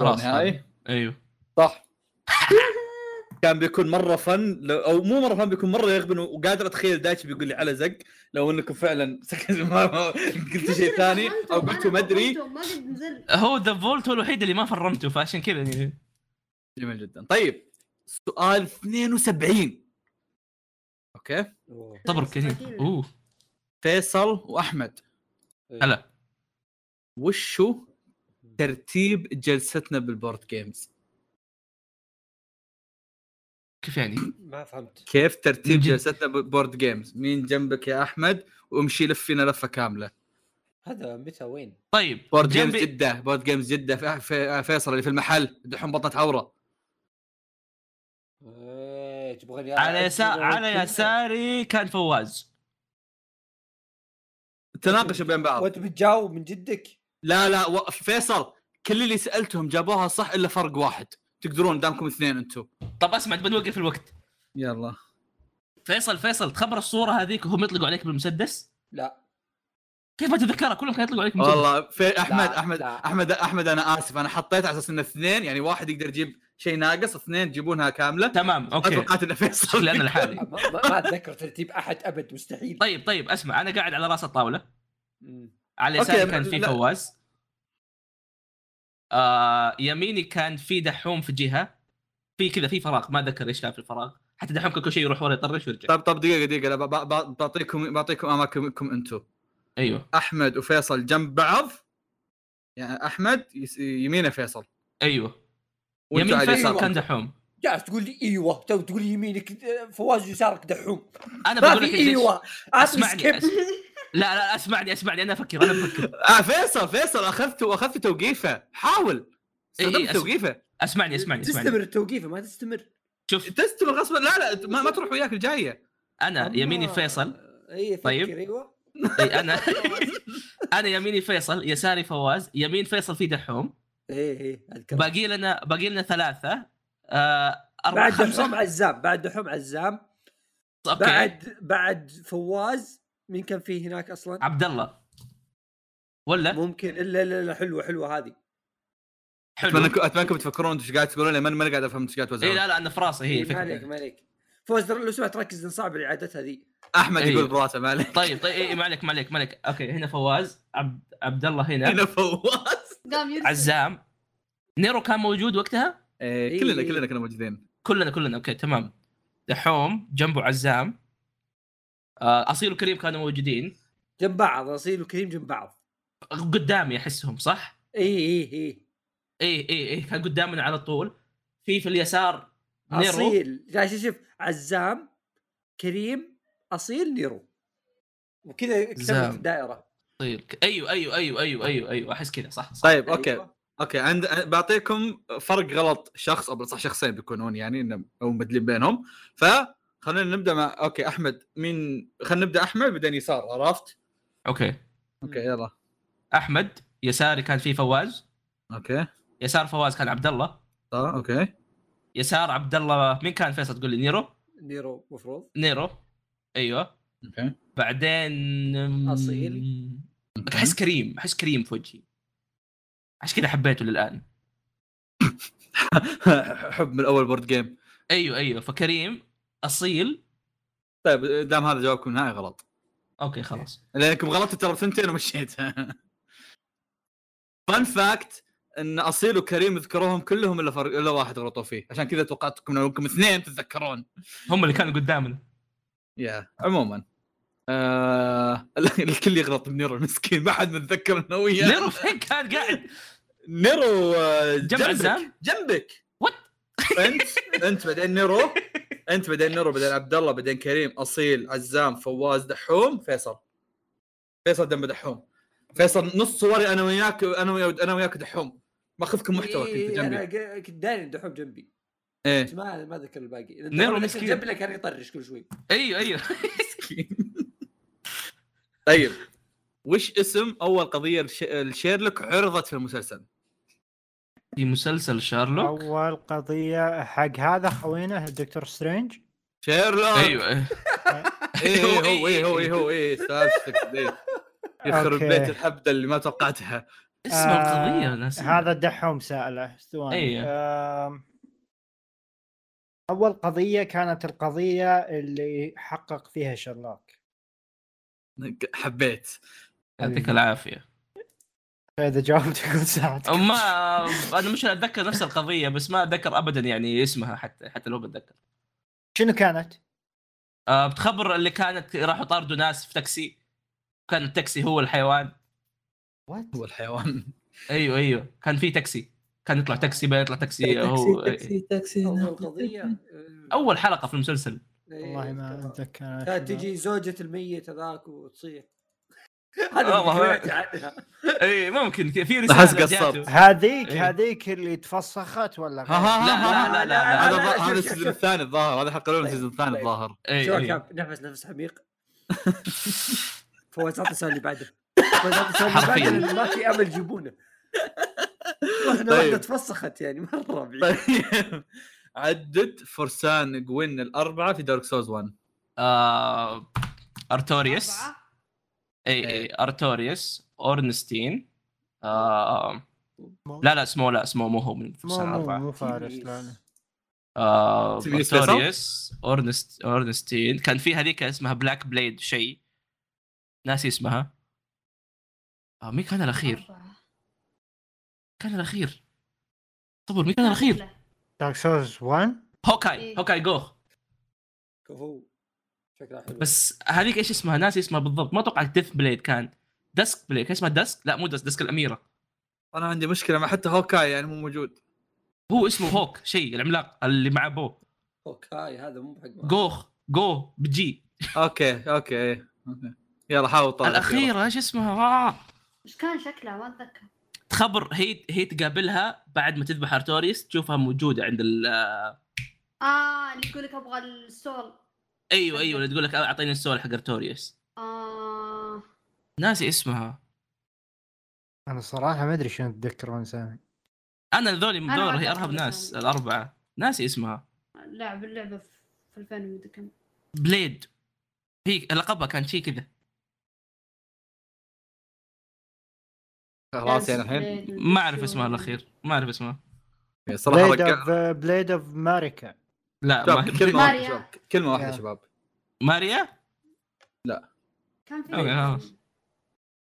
[SPEAKER 4] خلاص
[SPEAKER 1] نهائي
[SPEAKER 4] ايوه
[SPEAKER 1] صح كان بيكون مره فن لو او مو مره فن بيكون مره يغبن وقادر اتخيل دايتش بيقول لي على زق لو انكم *laughs* فعلا قلت شيء
[SPEAKER 5] المشكلة
[SPEAKER 1] ثاني
[SPEAKER 5] فهمتهم،
[SPEAKER 1] او
[SPEAKER 5] أنا
[SPEAKER 1] قلتوا ما ادري
[SPEAKER 5] فهمتهم، ما قد نزل
[SPEAKER 4] هو ذا فولت هو الوحيد اللي ما فرمته فعشان كذا يعني
[SPEAKER 1] جميل جدا طيب سؤال 72 اوكي
[SPEAKER 3] أوه.
[SPEAKER 4] صبر
[SPEAKER 5] بس
[SPEAKER 4] كثير
[SPEAKER 5] باقينا.
[SPEAKER 4] اوه
[SPEAKER 1] فيصل واحمد
[SPEAKER 3] إيه،
[SPEAKER 4] هلا
[SPEAKER 1] وشو ترتيب جلستنا بالبورد جيمز
[SPEAKER 4] كيف يعني؟
[SPEAKER 3] ما فهمت
[SPEAKER 1] كيف ترتيب
[SPEAKER 4] من جد.
[SPEAKER 1] جلستنا بالبورد جيمز مين جنبك يا احمد وامشي لف فينا لفه كامله
[SPEAKER 3] هذا متى وين؟
[SPEAKER 4] طيب
[SPEAKER 1] بورد جيمز
[SPEAKER 4] جنبي-
[SPEAKER 1] جده بورد جيمز جده في- في- فيصل اللي في المحل دحوم بطنه عوره
[SPEAKER 3] إيه، تبغى
[SPEAKER 4] على يسار على يساري كان فواز
[SPEAKER 1] تناقشوا بين بعض
[SPEAKER 3] وانت بتجاوب من جدك
[SPEAKER 1] لا لا و- فيصل كل اللي سالتهم جابوها صح الا فرق واحد تقدرون دامكم اثنين انتم
[SPEAKER 4] طب اسمع تبى نوقف الوقت
[SPEAKER 1] يلا
[SPEAKER 4] فيصل فيصل تخبر الصوره هذيك وهم يطلقوا عليك بالمسدس
[SPEAKER 3] لا
[SPEAKER 4] كيف ما تتذكرها كلهم كانوا يطلقوا عليك بالمسدس
[SPEAKER 1] والله في احمد
[SPEAKER 3] لا،
[SPEAKER 1] احمد
[SPEAKER 3] لا.
[SPEAKER 1] احمد احمد انا اسف انا حطيت على اساس ان اثنين يعني واحد يقدر يجيب شيء ناقص اثنين تجيبونها كامله
[SPEAKER 4] تمام اوكي
[SPEAKER 1] توقعت ان فيصل
[SPEAKER 4] شكلي انا لحالي
[SPEAKER 3] ما, ما, ما اتذكر ترتيب احد ابد مستحيل
[SPEAKER 4] طيب طيب اسمع انا قاعد على راس الطاوله
[SPEAKER 3] مم.
[SPEAKER 4] على
[SPEAKER 1] أوكي،
[SPEAKER 4] يساري كان في
[SPEAKER 1] لا.
[SPEAKER 4] فواز آه يميني كان في دحوم في جهه في كذا في فراغ ما ذكر ايش كان في الفراغ حتى دحوم كان كل شيء يروح ورا يطرش
[SPEAKER 3] طيب.
[SPEAKER 4] ويرجع
[SPEAKER 1] طب طب دقيقه دقيقه لا ب- ب- بعطيكم بعطيكم اماكنكم انتم
[SPEAKER 4] ايوه
[SPEAKER 1] احمد وفيصل جنب بعض يعني احمد يس- يمينه فيصل
[SPEAKER 4] ايوه
[SPEAKER 1] وأنت
[SPEAKER 4] يمين
[SPEAKER 1] على
[SPEAKER 4] فيصل
[SPEAKER 1] يساره.
[SPEAKER 4] كان دحوم
[SPEAKER 3] جالس تقول لي ايوه تو تقول لي يمينك آه، فواز يسارك دحوم
[SPEAKER 4] انا
[SPEAKER 3] ما
[SPEAKER 4] بقول لك
[SPEAKER 3] في
[SPEAKER 4] ليش-
[SPEAKER 3] ايوه عطني
[SPEAKER 4] اسمعني
[SPEAKER 3] سكيب
[SPEAKER 4] أس- لا لا اسمعني اسمعني انا افكر انا افكر
[SPEAKER 1] آه فيصل فيصل اخذت اخذت توقيفه حاول
[SPEAKER 4] إي، إي،
[SPEAKER 1] استخدمت
[SPEAKER 4] أس-
[SPEAKER 1] توقيفه
[SPEAKER 4] اسمعني إيه، اسمعني
[SPEAKER 3] تستمر
[SPEAKER 4] اسمعني
[SPEAKER 3] التوقيفه ما تستمر
[SPEAKER 4] شوف
[SPEAKER 1] تستمر غصبا لا لا ما, ما تروح وياك الجايه
[SPEAKER 4] انا يميني
[SPEAKER 3] أما-
[SPEAKER 4] فيصل
[SPEAKER 3] اي فكر
[SPEAKER 4] طيب.
[SPEAKER 3] ايوه
[SPEAKER 4] اي *laughs* انا انا يميني فيصل يساري فواز يمين فيصل في دحوم
[SPEAKER 3] اي اي اذكر
[SPEAKER 4] باقي لنا باقي لنا ثلاثه آه
[SPEAKER 3] بعد
[SPEAKER 4] اربعه
[SPEAKER 3] دحوم
[SPEAKER 4] خمسه
[SPEAKER 3] عزام بعد دحوم عزام
[SPEAKER 4] اوكي
[SPEAKER 3] بعد بعد فواز مين كان فيه هناك اصلا؟
[SPEAKER 4] عبد الله ولا
[SPEAKER 3] ممكن الا الا الا حلوه حلوه هذه
[SPEAKER 1] اتمنى
[SPEAKER 4] حلو
[SPEAKER 1] اتمنى انكم تفكرون انتم ايش قاعد تقولون لأن ما قاعد افهم انتم ايش قاعد
[SPEAKER 4] اي
[SPEAKER 1] توزعون
[SPEAKER 4] لا لا انا في راسي هي
[SPEAKER 3] إيه، ما عليك
[SPEAKER 4] الفكره
[SPEAKER 3] ما عليك فوز لو سمحت ركز لأن صعب الاعادات هذه
[SPEAKER 1] احمد
[SPEAKER 4] إي.
[SPEAKER 1] يقول براسه ما عليه
[SPEAKER 4] طيب طيب إيه، ما عليك ما عليك ما عليك اوكي هنا فواز عبد عبد الله هنا
[SPEAKER 1] هنا فواز
[SPEAKER 5] قام يرسل
[SPEAKER 4] عزام نيرو كان موجود
[SPEAKER 1] *laughs*
[SPEAKER 4] وقتها
[SPEAKER 1] إيه، كلنا كلنا كنا موجودين
[SPEAKER 4] كلنا كلنا اوكي تمام دحوم جنبه عزام آه، اصيل وكريم كانوا موجودين
[SPEAKER 3] جنب بعض اصيل وكريم جنب بعض إيه،
[SPEAKER 4] قدامي احسهم صح؟
[SPEAKER 3] اي اي اي
[SPEAKER 4] اي اي اي كان قدامنا على طول في في اليسار نيرو
[SPEAKER 3] اصيل جاي يعني شوف- شوف عزام كريم اصيل نيرو وكذا
[SPEAKER 4] زام.
[SPEAKER 3] كتبت الدائره
[SPEAKER 4] اصيل ايوه ايوه ايوه ايوه ايوه ايوه احس كذا صح صح
[SPEAKER 1] طيب اوكي
[SPEAKER 3] أيوة.
[SPEAKER 1] اوكي عند بعطيكم فرق غلط شخص او صح شخصين بيكونون يعني إنه- او مدلين بينهم ف خلينا نبدا مع اوكي احمد مين خلينا نبدا احمد بعدين يسار عرفت
[SPEAKER 4] اوكي
[SPEAKER 1] اوكي يلا
[SPEAKER 4] احمد يساري كان في فواز
[SPEAKER 1] اوكي
[SPEAKER 4] يسار فواز كان عبد الله
[SPEAKER 1] اه اوكي
[SPEAKER 4] يسار عبد الله مين كان فيصل تقول لي نيرو
[SPEAKER 3] نيرو مفروض
[SPEAKER 4] نيرو ايوه
[SPEAKER 1] اوكي
[SPEAKER 4] بعدين أم،
[SPEAKER 3] أصيل.
[SPEAKER 4] احس كريم احس كريم في وجهي عشان كذا حبيته للان
[SPEAKER 1] *laughs* حب من اول بورد جيم
[SPEAKER 4] ايوه ايوه فكريم اصيل
[SPEAKER 1] طيب دام هذا جوابكم النهائي غلط
[SPEAKER 4] اوكي خلاص
[SPEAKER 1] لانكم غلطتوا ترى بثنتين ومشيتها فان فاكت ان اصيل وكريم ذكروهم كلهم الا فرق الا واحد غلطوا فيه عشان كذا توقعتكم انكم اثنين تتذكرون
[SPEAKER 4] هم اللي كانوا قدامنا
[SPEAKER 1] يا عموما آه... *laughs* الكل يغلط بنيرو المسكين ما حد متذكر انه وياه
[SPEAKER 4] نيرو فين كان قاعد
[SPEAKER 1] نيرو آه،
[SPEAKER 4] جنب عزام؟
[SPEAKER 1] جنبك جنبك
[SPEAKER 4] What?
[SPEAKER 1] انت انت بعدين نيرو انت بعدين نيرو بعدين عبد الله بعدين كريم اصيل عزام فواز دحوم فيصل فيصل دم دحوم فيصل نص صوري انا وياك انا وياك انا وياك دحوم ماخذكم محتوى
[SPEAKER 3] إيه،
[SPEAKER 1] كنت
[SPEAKER 3] انا
[SPEAKER 1] جنبي
[SPEAKER 3] ق- كنت داري إن دحوم جنبي
[SPEAKER 1] ايه
[SPEAKER 3] بس ما ما ذكر الباقي لأن
[SPEAKER 4] نيرو
[SPEAKER 3] دحوم اللي
[SPEAKER 4] مسكين.
[SPEAKER 3] جنبي كان يطرش كل شوي
[SPEAKER 4] ايوه ايوه
[SPEAKER 1] طيب وش اسم اول قضيه لش- لشيرلوك عرضت في المسلسل؟
[SPEAKER 4] في مسلسل شارلوك
[SPEAKER 2] اول قضيه حق هذا خوينا دكتور سترينج
[SPEAKER 1] شيرلوك
[SPEAKER 4] ايوه
[SPEAKER 1] ايه هو ايه هو ايه هو *laughs* ايه سالفتك ذي. يخرب
[SPEAKER 2] أوكي.
[SPEAKER 1] بيت الحبده اللي ما توقعتها
[SPEAKER 4] اسمه القضيه ناس
[SPEAKER 2] هذا الدحوم ساله ثواني
[SPEAKER 4] أيه.
[SPEAKER 2] آم، اول قضيه كانت القضيه اللي حقق فيها شرلوك
[SPEAKER 1] حبيت
[SPEAKER 4] يعطيك العافيه
[SPEAKER 2] اذا جاوبت تقول ساعتك
[SPEAKER 4] ما انا مش اتذكر نفس القضيه بس ما اتذكر ابدا يعني اسمها حتى حتى لو بتذكر
[SPEAKER 2] شنو كانت؟
[SPEAKER 4] آه، بتخبر اللي كانت راحوا طاردوا ناس في تاكسي كان التاكسي هو الحيوان
[SPEAKER 1] هو الحيوان *laughs*
[SPEAKER 4] ايوه ايوه كان في تاكسي كان يطلع تاكسي بعدين يطلع تاكسي هو
[SPEAKER 1] تاكسي
[SPEAKER 3] اول قضيه آه،
[SPEAKER 4] اول حلقه في المسلسل
[SPEAKER 3] إيه،
[SPEAKER 2] والله ما
[SPEAKER 3] كان-
[SPEAKER 2] اتذكر
[SPEAKER 3] كانت
[SPEAKER 2] شنو.
[SPEAKER 3] تجي زوجة الميت
[SPEAKER 4] *laughs*
[SPEAKER 3] هذاك وتصيح هذا
[SPEAKER 4] والله.
[SPEAKER 3] اللي سمعت عنها.
[SPEAKER 4] اي ممكن في
[SPEAKER 1] أحس
[SPEAKER 4] رساله
[SPEAKER 1] قصرت.
[SPEAKER 4] جاته.
[SPEAKER 2] هذيك
[SPEAKER 4] إيه.
[SPEAKER 2] هذيك اللي تفسخت ولا
[SPEAKER 1] ها
[SPEAKER 2] غير؟
[SPEAKER 1] ها
[SPEAKER 4] لا، لا، لا، لا، لا.
[SPEAKER 1] هذا
[SPEAKER 3] لا، لا،
[SPEAKER 1] الظ- هذا
[SPEAKER 3] شوف، شوف،
[SPEAKER 1] السيزون
[SPEAKER 3] شوف.
[SPEAKER 1] الثاني الظاهر هذا حق الاول
[SPEAKER 3] طيب،
[SPEAKER 1] السيزون الثاني
[SPEAKER 3] طيب.
[SPEAKER 1] الظاهر *laughs*
[SPEAKER 4] اي
[SPEAKER 3] شو
[SPEAKER 4] اي
[SPEAKER 3] كان نفس نفس عميق فواز اعطي السؤال اللي بعده فواز اعطي السؤال اللي
[SPEAKER 4] حرفياً.
[SPEAKER 3] بعده لأن ما في امل يجيبونه واحده
[SPEAKER 1] طيب.
[SPEAKER 3] واحده تفسخت يعني مره بعيد
[SPEAKER 1] طيب عدد فرسان جوين الاربعه في دارك سوز 1
[SPEAKER 4] آه، ارتوريوس
[SPEAKER 5] أربعة.
[SPEAKER 4] اي اي ارتوريوس اورنستين آه،
[SPEAKER 2] مو-
[SPEAKER 4] لا لا اسمه لا اسمه مو هو من
[SPEAKER 2] مو
[SPEAKER 4] سنه
[SPEAKER 2] مو,
[SPEAKER 4] اربعه
[SPEAKER 2] مو فارس لا لا
[SPEAKER 4] آه،
[SPEAKER 1] تبي فيصل؟
[SPEAKER 4] فيكتوريوس اورنست اورنستين كان في هذيك اسمها بلاك بليد شيء ناسي اسمها آه، مين كان الاخير؟
[SPEAKER 5] أربعة.
[SPEAKER 4] كان الاخير صبر مين كان الاخير؟
[SPEAKER 5] لا.
[SPEAKER 2] دارك سورس 1
[SPEAKER 4] هوكاي
[SPEAKER 5] إيه.
[SPEAKER 4] هوكاي جوخ
[SPEAKER 3] هو شكلها حلو
[SPEAKER 4] بس هذيك ايش اسمها ناسي اسمها بالضبط ما اتوقع ديث بليد كان دسك بليد كان اسمها دسك لا مو دسك دسك الاميره
[SPEAKER 1] انا عندي مشكله مع حتى هوكاي يعني مو موجود
[SPEAKER 4] هو اسمه هوك شيء العملاق اللي مع بو
[SPEAKER 3] اوكي هذا مو حق معه.
[SPEAKER 4] جوخ جو بجي
[SPEAKER 1] اوكي اوكي أوكي. طيب، يلا حاول طالع
[SPEAKER 4] الاخيره ايش اسمها آه.
[SPEAKER 5] ايش كان شكلها ما اتذكر
[SPEAKER 4] تخبر هي هي تقابلها بعد ما تذبح ارتوريوس تشوفها موجوده عند ال
[SPEAKER 5] اه اللي يقول لك ابغى السول
[SPEAKER 4] ايوه ايوه اللي تقول لك اعطيني السؤال حق ارتوريوس
[SPEAKER 5] اه
[SPEAKER 4] ناسي اسمها
[SPEAKER 2] انا صراحه ما ادري شنو اتذكر وانا سامع
[SPEAKER 4] انا ذولي
[SPEAKER 5] ما
[SPEAKER 4] مدور هي
[SPEAKER 5] أتذكر
[SPEAKER 4] ارهب ناس
[SPEAKER 5] اسمها.
[SPEAKER 4] الاربعه ناسي اسمها
[SPEAKER 5] لعب اللعبه في في 2000 ومدري كم
[SPEAKER 4] بليد هي لقبها كان شيء كذا
[SPEAKER 1] خلاص يعني الحين
[SPEAKER 4] ما اعرف اسمها الاخير ما اعرف اسمها
[SPEAKER 1] صراحه
[SPEAKER 2] بليد
[SPEAKER 1] رجع
[SPEAKER 2] اوف بليد اوف ماريكا
[SPEAKER 4] لا
[SPEAKER 1] شباب،
[SPEAKER 4] ما...
[SPEAKER 1] كلمه واحده
[SPEAKER 5] ماريا.
[SPEAKER 1] شباب كلمه واحده
[SPEAKER 2] يا.
[SPEAKER 1] شباب
[SPEAKER 4] ماريا
[SPEAKER 5] كان في
[SPEAKER 4] أوكي، خلاص.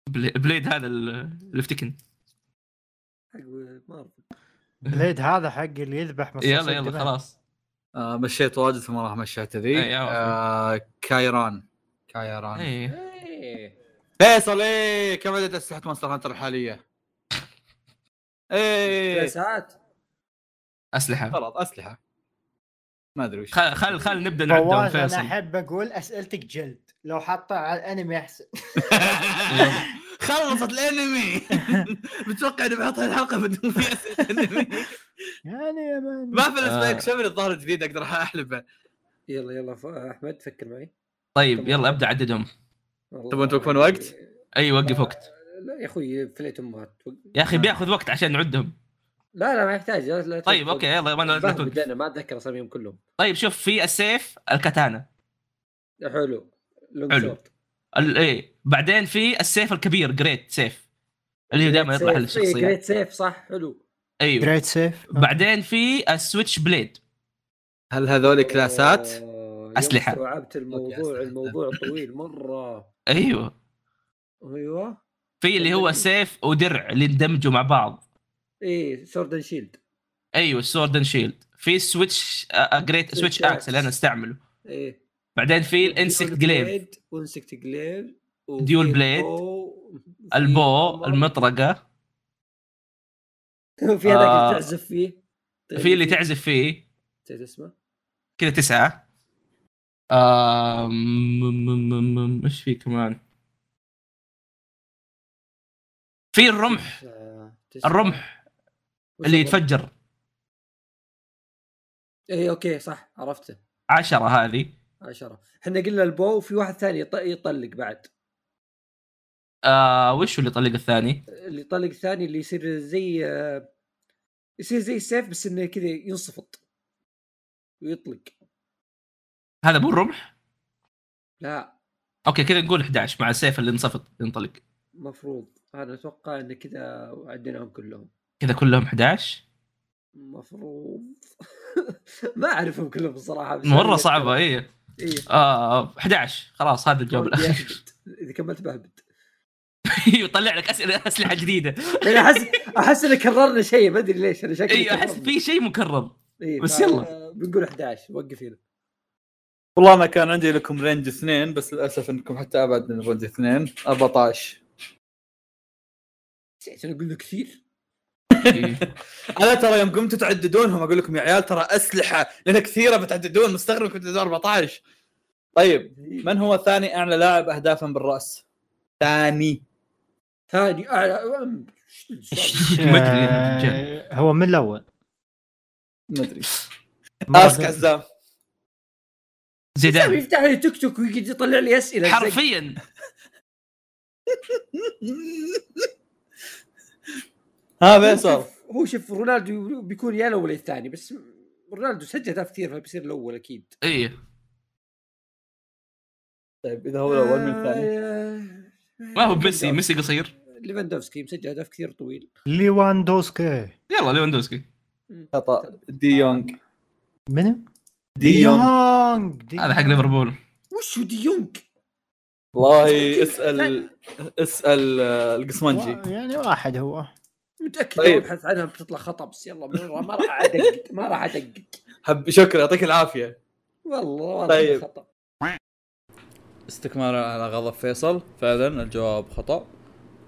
[SPEAKER 4] بلي- بليد هذا ال- اللي افتكن
[SPEAKER 3] حق مارفل
[SPEAKER 2] بليد هذا حق اللي يذبح
[SPEAKER 4] *laughs*
[SPEAKER 2] مصاص
[SPEAKER 4] يلا يلا
[SPEAKER 2] الدماء.
[SPEAKER 4] خلاص
[SPEAKER 1] آه مشيت واجد ثم راح مشيت ذي
[SPEAKER 4] أي، عفوا.
[SPEAKER 1] آه كايران كايران
[SPEAKER 4] ايه
[SPEAKER 1] فيصل ايه كم عدد اسلحه مونستر هانتر الحاليه؟ ايه
[SPEAKER 3] ساعات
[SPEAKER 4] اسلحه
[SPEAKER 1] غلط اسلحه ما ادري وش
[SPEAKER 4] خل خل خل نبدا نعدهم
[SPEAKER 2] فواز انا
[SPEAKER 4] فيصل
[SPEAKER 2] احب اقول اسئلتك جلد لو حطها على الانمي احسن
[SPEAKER 1] *laughs* خلصت *laughs* الانمي متوقع اني بحط الحلقه بدون في اسئله انمي
[SPEAKER 2] *laughs*
[SPEAKER 1] *laughs*
[SPEAKER 2] يعني يا مان
[SPEAKER 1] ما في الاسبوع
[SPEAKER 4] آه.
[SPEAKER 1] يكشف لي الظاهر الجديد اقدر احلبه
[SPEAKER 3] يلا يلا ف- احمد فكر معي
[SPEAKER 4] طيب يلا ابدا عددهم
[SPEAKER 3] والله. يعني
[SPEAKER 1] تبون توقفون وقت؟
[SPEAKER 4] اي وقف وقت
[SPEAKER 3] لا يا اخوي فليت امهات
[SPEAKER 4] يا اخي بياخذ وقت عشان نعدهم
[SPEAKER 3] لا لا ما يحتاج لا- لا
[SPEAKER 4] طيب اوكي يلا ما لا
[SPEAKER 3] بهبد
[SPEAKER 4] توقف.
[SPEAKER 3] انا ما اتذكر اساميهم كلهم
[SPEAKER 4] طيب شوف في السيف الكتانا
[SPEAKER 3] حلو لونج
[SPEAKER 4] حلو.
[SPEAKER 3] سورد.
[SPEAKER 4] ال- ايه بعدين في السيف الكبير جريت سيف اللي هو دائما يطلع على
[SPEAKER 3] سيف. إيه،
[SPEAKER 4] الشخصيات
[SPEAKER 3] جريت سيف صح حلو
[SPEAKER 4] ايوه
[SPEAKER 2] جريت سيف
[SPEAKER 4] بعدين في السويتش بليد
[SPEAKER 1] هل هذول كلاسات؟
[SPEAKER 3] آه، يوم
[SPEAKER 4] أسلحة.
[SPEAKER 3] استوعبت
[SPEAKER 1] أوكي،
[SPEAKER 3] الموضوع
[SPEAKER 1] أسلحة.
[SPEAKER 4] *laughs*
[SPEAKER 3] الموضوع طويل مره
[SPEAKER 4] ايوه
[SPEAKER 3] ايوه
[SPEAKER 4] في اللي هو سيف ودرع اللي اندمجوا مع بعض
[SPEAKER 3] ايه سورد شيلد
[SPEAKER 4] ايوه السورد اند شيلد في سويتش جريت سويتش اكس اللي انا استعمله
[SPEAKER 3] ايه
[SPEAKER 4] بعدين في الانسكت جليف
[SPEAKER 3] وانسكت جليف
[SPEAKER 4] ديول بليد، البو المطرقه
[SPEAKER 3] في هذاك
[SPEAKER 4] آه.
[SPEAKER 3] اللي تعزف فيه
[SPEAKER 4] في اللي تعزف فيه
[SPEAKER 3] تعزف اسمه
[SPEAKER 4] كذا تسعة آم، م- م- م- م- ايش في كمان؟ في الرمح
[SPEAKER 3] تسعة- تسعة.
[SPEAKER 4] الرمح اللي
[SPEAKER 3] آه، وش الرمح؟
[SPEAKER 4] يتفجر
[SPEAKER 3] اي اوكي إيه، صح عرفته
[SPEAKER 4] عشرة هذه
[SPEAKER 3] عشرة احنا قلنا البو وفي واحد ثاني يط- يطلق بعد
[SPEAKER 4] آه وش اللي طلق الثاني؟
[SPEAKER 3] اللي يطلق ثاني اللي يصير زي آه، يصير زي السيف بس انه كذا ينصفط ويطلق
[SPEAKER 4] هذا مو الرمح؟
[SPEAKER 3] لا
[SPEAKER 4] اوكي كذا نقول 11 مع السيف اللي انصفط ينطلق
[SPEAKER 3] مفروض انا اتوقع ان كذا عديناهم كلهم
[SPEAKER 4] كذا كلهم 11
[SPEAKER 3] مفروض *laughs* ما اعرفهم كلهم بصراحه بس
[SPEAKER 4] مرة
[SPEAKER 3] أنا
[SPEAKER 4] صعبة اي
[SPEAKER 3] إيه.
[SPEAKER 4] آه 11 خلاص هذا الجواب
[SPEAKER 3] ودي
[SPEAKER 4] الاخير
[SPEAKER 3] أهبد. اذا كملت بهبد
[SPEAKER 4] *laughs* يطلع لك اسئله اسلحه جديده
[SPEAKER 3] انا احس احس ان كررنا شيء ما ادري ليش انا شكلي
[SPEAKER 4] ايوه احس في شيء مكرر
[SPEAKER 3] إيه
[SPEAKER 4] بس
[SPEAKER 3] فا-
[SPEAKER 4] يلا.
[SPEAKER 3] بنقول 11 وقف هنا
[SPEAKER 1] والله انا كان عندي لكم رينج اثنين بس للاسف انكم حتى ابعد من رينج اثنين 14
[SPEAKER 3] عشان اقول لك كثير
[SPEAKER 1] انا ترى يوم قمتوا تعددونهم اقول لكم يا عيال ترى اسلحه لان كثيره بتعددون مستغرب كنت تعددون 14 طيب من هو ثاني اعلى لاعب اهدافا بالراس؟ ثاني
[SPEAKER 3] ثاني اعلى أم، إيش السؤال؟
[SPEAKER 4] ما ادري ليه الرجال.
[SPEAKER 2] آه، هو من الاول
[SPEAKER 1] ما ادري
[SPEAKER 4] آه،
[SPEAKER 2] مرة
[SPEAKER 1] اسك
[SPEAKER 2] قبل.
[SPEAKER 1] عزام
[SPEAKER 4] زيدان
[SPEAKER 3] يفتح لي تيك توك ويقعد يطلع لي اسئله زق.
[SPEAKER 4] حرفيا
[SPEAKER 1] ها فيصل
[SPEAKER 3] هو شوف رونالدو بيكون يا الاول يا الثاني بس رونالدو سجل اهداف كثير فبيصير الاول اكيد
[SPEAKER 4] اي
[SPEAKER 1] طيب اذا هو الاول من الثاني
[SPEAKER 3] آه،
[SPEAKER 4] ما هو ميسي ميسي قصير
[SPEAKER 3] ليفاندوفسكي مسجل اهداف كثير طويل
[SPEAKER 2] ليواندوسكي
[SPEAKER 4] يلا ليفاندوسكي
[SPEAKER 3] آه،
[SPEAKER 1] خطا دي يونغ
[SPEAKER 2] من
[SPEAKER 1] دي يونغ
[SPEAKER 2] يونغ دي
[SPEAKER 4] هذا حق ليفربول
[SPEAKER 3] وش هو دي يونغ؟
[SPEAKER 1] والله اسال اسال آه، القسمنجي
[SPEAKER 2] وا- يعني واحد هو
[SPEAKER 3] متاكد
[SPEAKER 1] طيب.
[SPEAKER 3] طيب. ابحث عنها بتطلع خطا بس يلا ما ما راح ادقق ما راح ادقق
[SPEAKER 1] حب شكرا يعطيك العافيه
[SPEAKER 3] والله والله
[SPEAKER 1] طيب.
[SPEAKER 3] خطا
[SPEAKER 1] استكمالا على غضب فيصل فعلا الجواب خطا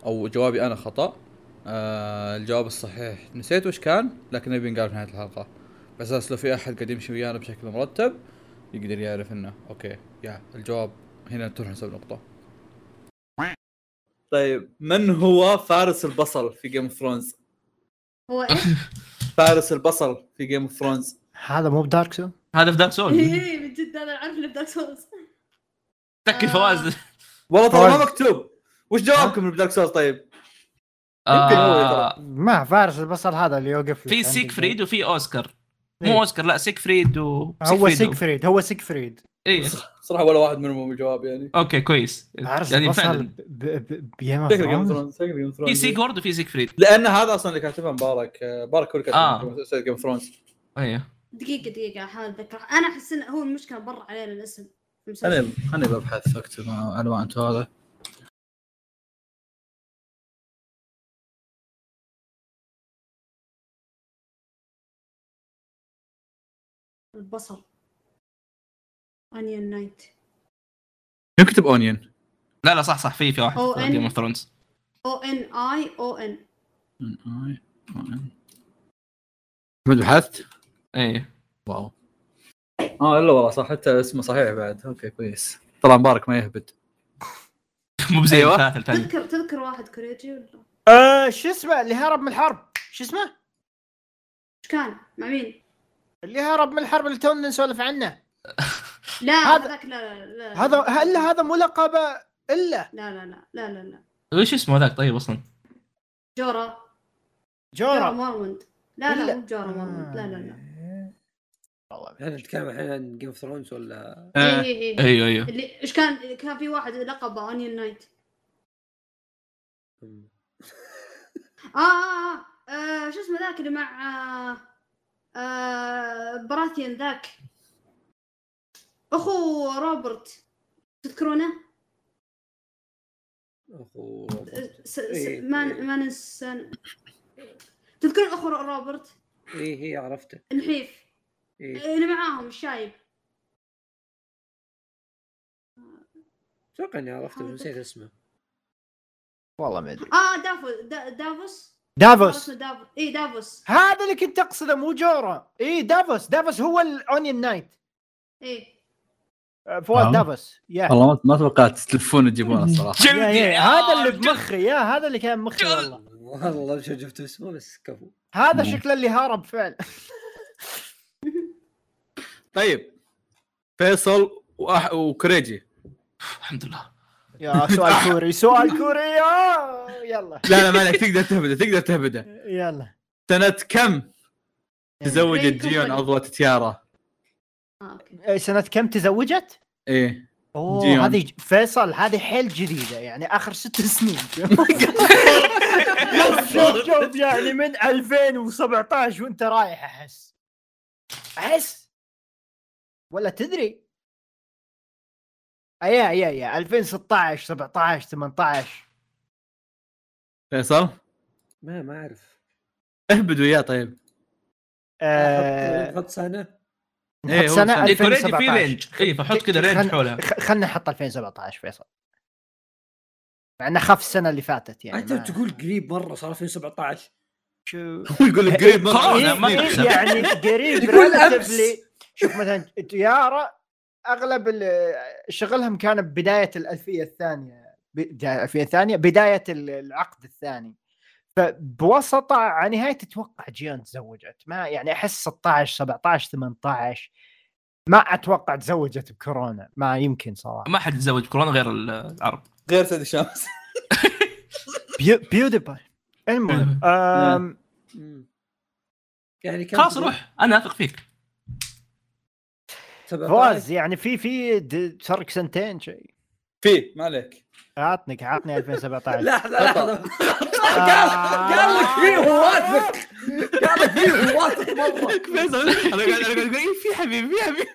[SPEAKER 1] او جوابي انا خطا آه الجواب الصحيح نسيت وش كان لكن نبي نقال في نهايه الحلقه بس أساس لو في احد قاعد يمشي ويانا بشكل مرتب يقدر يعرف انه اوكي يا الجواب هنا تنحسب نقطه طيب من هو فارس البصل في جيم اوف ثرونز؟ *laughs*
[SPEAKER 5] هو ايش؟
[SPEAKER 1] فارس البصل في جيم اوف ثرونز
[SPEAKER 2] هذا مو بدارك سول
[SPEAKER 4] هذا في دارك سول
[SPEAKER 5] اي إيه؟ *laughs* من جد انا اعرف انه بدارك سولز
[SPEAKER 4] تكي فواز
[SPEAKER 1] والله ترى ما
[SPEAKER 2] فارس.
[SPEAKER 1] مكتوب وش جوابكم من بدارك سول طيب؟
[SPEAKER 4] آه،
[SPEAKER 2] ما فارس البصل هذا اللي يوقف لك
[SPEAKER 4] في
[SPEAKER 2] عند
[SPEAKER 4] سيكفريد
[SPEAKER 2] البيت.
[SPEAKER 4] وفي اوسكار
[SPEAKER 2] إيه.
[SPEAKER 4] مو اوسكار لا سيكفريد و
[SPEAKER 2] هو سيكفريد هو سيكفريد
[SPEAKER 4] اي
[SPEAKER 1] صراحه ولا واحد منهم هو الجواب يعني
[SPEAKER 4] اوكي كويس
[SPEAKER 2] فارس
[SPEAKER 4] يعني
[SPEAKER 2] البصل
[SPEAKER 4] فعلا
[SPEAKER 2] ب- ب- ب- بجيم اوف
[SPEAKER 1] شكله جيم اوف
[SPEAKER 2] ثرونز
[SPEAKER 1] ثرونز شكله جيم اوف
[SPEAKER 4] في
[SPEAKER 1] ثرونز
[SPEAKER 4] سيجورد وفي سيكفريد
[SPEAKER 1] لان هذا اصلا اللي كاتبها مبارك مبارك هو اللي
[SPEAKER 4] آه.
[SPEAKER 1] كاتب جيم اوف ثرونز
[SPEAKER 4] ايوه
[SPEAKER 5] دقيقة دقيقة احاول اتذكر انا احس انه هو المشكلة مر علينا الاسم
[SPEAKER 1] انا انا ببحث اكتب عنوان هذا
[SPEAKER 5] البصل انيون نايت
[SPEAKER 1] يكتب اونين
[SPEAKER 4] لا لا صح صح في في واحد
[SPEAKER 5] أو إن.
[SPEAKER 4] جيم اوف ثرونز
[SPEAKER 5] او ان اي او ان
[SPEAKER 1] Mm, ما بحثت؟
[SPEAKER 4] اي
[SPEAKER 1] واو اه الا والله صح حتى اسمه صحيح بعد اوكي كويس طلع مبارك ما يهبد
[SPEAKER 4] *laughs* مو بزي
[SPEAKER 1] أيوة.
[SPEAKER 4] الثلاثة الثانية
[SPEAKER 5] تذكر تذكر واحد كوريجي ولا ايش
[SPEAKER 2] آه، شو اسمه اللي هرب من الحرب شو اسمه
[SPEAKER 5] كان مع مين؟
[SPEAKER 2] اللي هرب من الحرب اللي تونا نسولف عنه
[SPEAKER 5] لا
[SPEAKER 2] هذا-
[SPEAKER 5] هذاك لا لا لا
[SPEAKER 2] هذا الا هذا مو لقبه الا
[SPEAKER 5] لا لا لا لا لا لا
[SPEAKER 4] وش اسمه هذاك طيب اصلا؟
[SPEAKER 5] جورا جورا
[SPEAKER 2] جورا
[SPEAKER 5] مورموند لا لا
[SPEAKER 2] إلا-
[SPEAKER 5] مو جورا مورموند لا لا لا
[SPEAKER 3] احنا نتكلم الحين عن جيم اوف ثرونز ولا
[SPEAKER 5] اي
[SPEAKER 1] آه،
[SPEAKER 5] اي اي
[SPEAKER 4] ايوه ايوه
[SPEAKER 5] إيه، اللي ايش كان كان في واحد لقبه اونيون نايت آه, آه, آه, آه شو اسمه ذاك اللي مع آه آه براثيان ذاك أخو روبرت تذكرونه؟
[SPEAKER 3] اخو
[SPEAKER 5] س-
[SPEAKER 3] إيه.
[SPEAKER 5] س- ما ما ننسى تذكرون أخو روبرت
[SPEAKER 3] اي هي إيه، عرفته إيه،
[SPEAKER 5] الحيف
[SPEAKER 3] اي
[SPEAKER 5] اللي معاهم الشايب
[SPEAKER 3] اتوقع اني عرفته بس نسيت اسمه
[SPEAKER 2] والله ما ادري
[SPEAKER 5] آه دافو دا دافوس
[SPEAKER 2] دافوس
[SPEAKER 5] اسمه دافوس إي دافوس
[SPEAKER 2] هذا اللي كنت اقصده مو جورا اي دافوس دافوس هو الاونيون نايت
[SPEAKER 5] إي
[SPEAKER 2] آه، فواز
[SPEAKER 1] آه.
[SPEAKER 2] دافوس يا
[SPEAKER 1] والله ما- ما توقعت تلفون تجيبونه صراحه
[SPEAKER 2] يا- يا، إيه، هذا
[SPEAKER 4] آه،
[SPEAKER 2] اللي بمخي يا هذا اللي كان مخي والله
[SPEAKER 3] والله مش شفت اسمه بس كفو
[SPEAKER 2] هذا
[SPEAKER 1] مم.
[SPEAKER 2] شكله اللي هارب فعلا
[SPEAKER 1] طيب فيصل وأح... وكريجي
[SPEAKER 4] الحمد لله
[SPEAKER 2] *laughs* يا سؤال كوري سؤال كوري يا يلا
[SPEAKER 1] لا لا ما عليك تقدر تهبده تقدر تهبده
[SPEAKER 2] يلا
[SPEAKER 1] سنه كم تزوجت
[SPEAKER 5] Green
[SPEAKER 1] جيون
[SPEAKER 5] Company.
[SPEAKER 1] عضوة تيارا
[SPEAKER 5] آه أوكي
[SPEAKER 2] إيه، سنة كم تزوجت؟
[SPEAKER 1] ايه جيون.
[SPEAKER 2] اوه هذه ج- فيصل هذه حيل جديدة يعني اخر ست سنين Oh شوف شوف يعني من 2017 وانت رايح احس احس ولا تدري أيه، ايا يا يا 2016 17 18
[SPEAKER 1] فيصل
[SPEAKER 3] ما ما اعرف
[SPEAKER 1] اهبد وياه *laughs* طيب
[SPEAKER 2] آه،
[SPEAKER 3] أحط- احط سنه
[SPEAKER 1] إيه، هو
[SPEAKER 2] نحط سنة
[SPEAKER 1] سنة.
[SPEAKER 4] إيه، كوريجي في
[SPEAKER 2] 2017
[SPEAKER 4] رينج اي فحط كذا رينج
[SPEAKER 2] خل-
[SPEAKER 4] حولها
[SPEAKER 2] خ- خلنا نحط 2017 فيصل مع انه خاف السنة اللي فاتت يعني
[SPEAKER 3] انت
[SPEAKER 2] ما-
[SPEAKER 3] تقول قريب مره صار 2017
[SPEAKER 2] شو
[SPEAKER 1] هو يقول لك قريب
[SPEAKER 4] خلاص،
[SPEAKER 1] مرة
[SPEAKER 4] ما
[SPEAKER 1] إيه،
[SPEAKER 4] يحسب.
[SPEAKER 1] إيه.
[SPEAKER 2] يعني قريب
[SPEAKER 3] يقول أمس.
[SPEAKER 2] relatively. شوف مثلا تيارا اغلب ال- شغلهم كان بدايه الالفيه الثانيه بدايه الالفيه الثانيه بدايه ال- العقد الثاني فبوسط على نهايه تتوقع جيون تزوجت ما يعني احس 16 17 18 ما اتوقع تزوجت بكورونا ما يمكن صراحه
[SPEAKER 4] ما حد يتزوج كورونا غير العرب
[SPEAKER 1] غير سيد الشمس
[SPEAKER 2] بيوتيفل المهم أم،
[SPEAKER 3] مم. يعني كم
[SPEAKER 4] خلاص روح انا اثق فيك
[SPEAKER 3] 17
[SPEAKER 2] فواز يعني في في د- صارك سنتين شيء
[SPEAKER 1] في ما عليك
[SPEAKER 2] عطني عطني 2017
[SPEAKER 3] لحظه لحظه قال قال لك فيه واثق قال لك فيه واثق
[SPEAKER 4] *laughs*
[SPEAKER 3] مره
[SPEAKER 1] فيصل انا قاعد انا قاعد اقول إيه، في حبيبي في حبيبي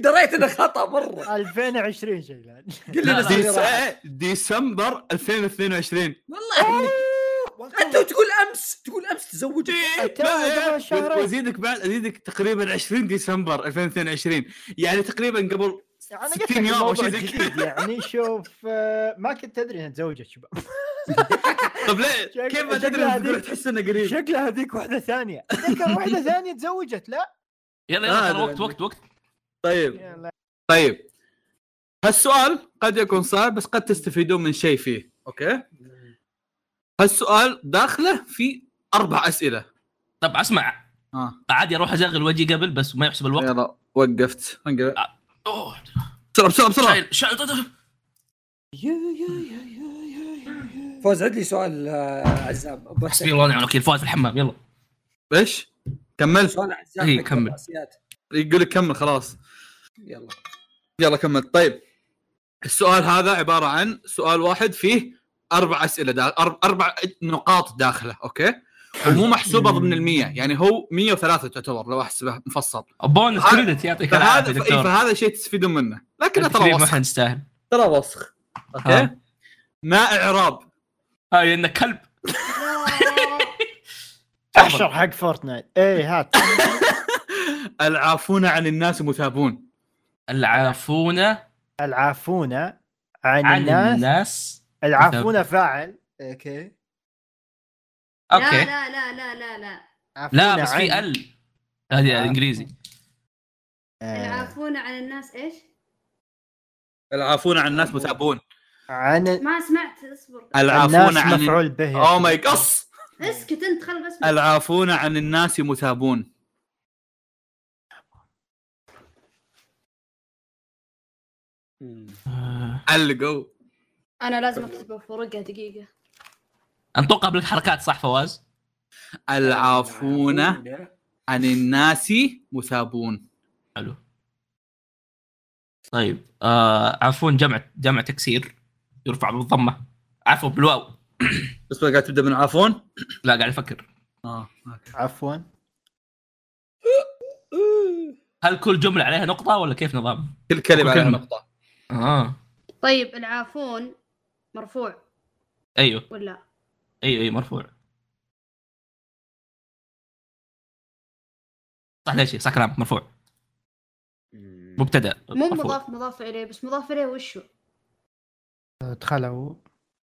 [SPEAKER 3] دريت انه خطا مره
[SPEAKER 2] 2020 شيلان
[SPEAKER 3] قل لنا
[SPEAKER 4] لا، لا.
[SPEAKER 3] السنة راحت.
[SPEAKER 1] ديس- ديسمبر 2022
[SPEAKER 3] والله
[SPEAKER 4] آه.
[SPEAKER 3] إنك- انت تقول امس تقول امس تزوجت
[SPEAKER 4] إيه.
[SPEAKER 2] ترى قبل شهرين.
[SPEAKER 1] وازيدك بعد ازيدك تقريبا 20 ديسمبر 2022 يعني تقريبا قبل
[SPEAKER 2] انا
[SPEAKER 1] 60 يوم أو شيء زي كذا.
[SPEAKER 2] جديد يعني شوف آه، ما كنت ادري انها تزوجت
[SPEAKER 1] *laughs*
[SPEAKER 2] شباب
[SPEAKER 1] طب *laughs* ليه كيف ما تدري إنك تقول تحس انه قريب
[SPEAKER 2] شكلها هذيك واحده ثانيه اتذكر *laughs* واحده ثانيه تزوجت لا
[SPEAKER 4] يلا
[SPEAKER 1] آه، لا،
[SPEAKER 4] يلا ترى وقت
[SPEAKER 1] لا.
[SPEAKER 4] وقت وقت
[SPEAKER 1] طيب طيب هالسؤال قد يكون صعب بس قد تستفيدون من شيء فيه اوكي هالسؤال داخله في اربع اسئله
[SPEAKER 4] طب اسمع
[SPEAKER 1] اه
[SPEAKER 4] عادي اروح ازغل وجهي قبل بس ما يحسب الوقت
[SPEAKER 1] يلا وقفت انقل.
[SPEAKER 4] أوه،
[SPEAKER 1] بسرعه بسرعه بسرعه
[SPEAKER 4] شايل- شايل-
[SPEAKER 3] فوز عد لي سؤال آه، عزام بس
[SPEAKER 4] حسبي الله ونعم الوكيل فاز في الحمام يلا
[SPEAKER 1] ايش؟ كمل
[SPEAKER 3] سؤال عزام
[SPEAKER 4] إيه،
[SPEAKER 3] حق
[SPEAKER 4] كمل.
[SPEAKER 3] الرأسيات.
[SPEAKER 1] يقول لك كمل خلاص
[SPEAKER 3] يلا
[SPEAKER 1] يلا كمل طيب السؤال هذا عباره عن سؤال واحد فيه اربع اسئله دا... أرب- اربع نقاط داخله اوكي ومو محسوبه ضمن المية يعني هو 103 تعتبر لو احسبه مفصل
[SPEAKER 4] بونس
[SPEAKER 1] هذا-
[SPEAKER 4] كريدت يعطيك
[SPEAKER 1] فهذا
[SPEAKER 4] العافيه
[SPEAKER 1] ف... إيه،
[SPEAKER 4] إيه، دكتور
[SPEAKER 1] فهذا شيء تستفيدون منه لكنه
[SPEAKER 4] أنت
[SPEAKER 1] ترى
[SPEAKER 4] كريم، ما
[SPEAKER 1] وسخ
[SPEAKER 4] احنا نستاهل
[SPEAKER 1] ترى وسخ اوكي
[SPEAKER 4] ها.
[SPEAKER 1] ما اعراب
[SPEAKER 4] هاي انك كلب
[SPEAKER 2] احشر حق فورتنايت اي إيه، هات
[SPEAKER 1] العافون عن الناس مثابون
[SPEAKER 4] العافون عن
[SPEAKER 2] العافون عن الناس
[SPEAKER 4] الناس
[SPEAKER 2] العافون فاعل اوكي
[SPEAKER 5] لا
[SPEAKER 4] اوكي
[SPEAKER 5] لا لا لا لا لا
[SPEAKER 4] لا
[SPEAKER 2] عافون
[SPEAKER 4] بس
[SPEAKER 2] عن-
[SPEAKER 4] في ال هذه
[SPEAKER 2] آه.
[SPEAKER 4] انجليزي
[SPEAKER 2] آه،
[SPEAKER 5] العافون عن الناس ايش؟
[SPEAKER 1] العافون عن الناس مثابون
[SPEAKER 2] عن
[SPEAKER 5] ما سمعت اصبر
[SPEAKER 1] العافون
[SPEAKER 2] الناس
[SPEAKER 1] عن
[SPEAKER 2] مفعول به
[SPEAKER 1] او ماي قص
[SPEAKER 5] اسكت انت خل بس
[SPEAKER 1] Oh العافون عن الناس مثابون
[SPEAKER 3] مم.
[SPEAKER 1] علقوا
[SPEAKER 5] انا لازم اكتبه في ورقه دقيقه
[SPEAKER 4] انطق قبل الحركات صح فواز؟
[SPEAKER 1] العافون عن الناس مثابون
[SPEAKER 4] حلو طيب آه عفون جمع جمع تكسير يرفع بالضمه عفو بالواو
[SPEAKER 1] بس قاعد تبدا من عافون
[SPEAKER 4] لا قاعد افكر
[SPEAKER 1] اه اوكي
[SPEAKER 2] عفوا
[SPEAKER 4] هل كل جمله عليها نقطه ولا كيف نظام؟
[SPEAKER 1] كل كلمه على
[SPEAKER 4] كلمة.
[SPEAKER 1] نقطه
[SPEAKER 4] اه
[SPEAKER 5] طيب العافون مرفوع
[SPEAKER 4] ايوه
[SPEAKER 5] ولا
[SPEAKER 4] ايوه ايوه مرفوع صح ليش صح كلامك مرفوع مبتدا
[SPEAKER 5] مو
[SPEAKER 4] مرفوع.
[SPEAKER 5] مضاف مضاف اليه بس مضاف اليه وش هو؟
[SPEAKER 2] دخلوا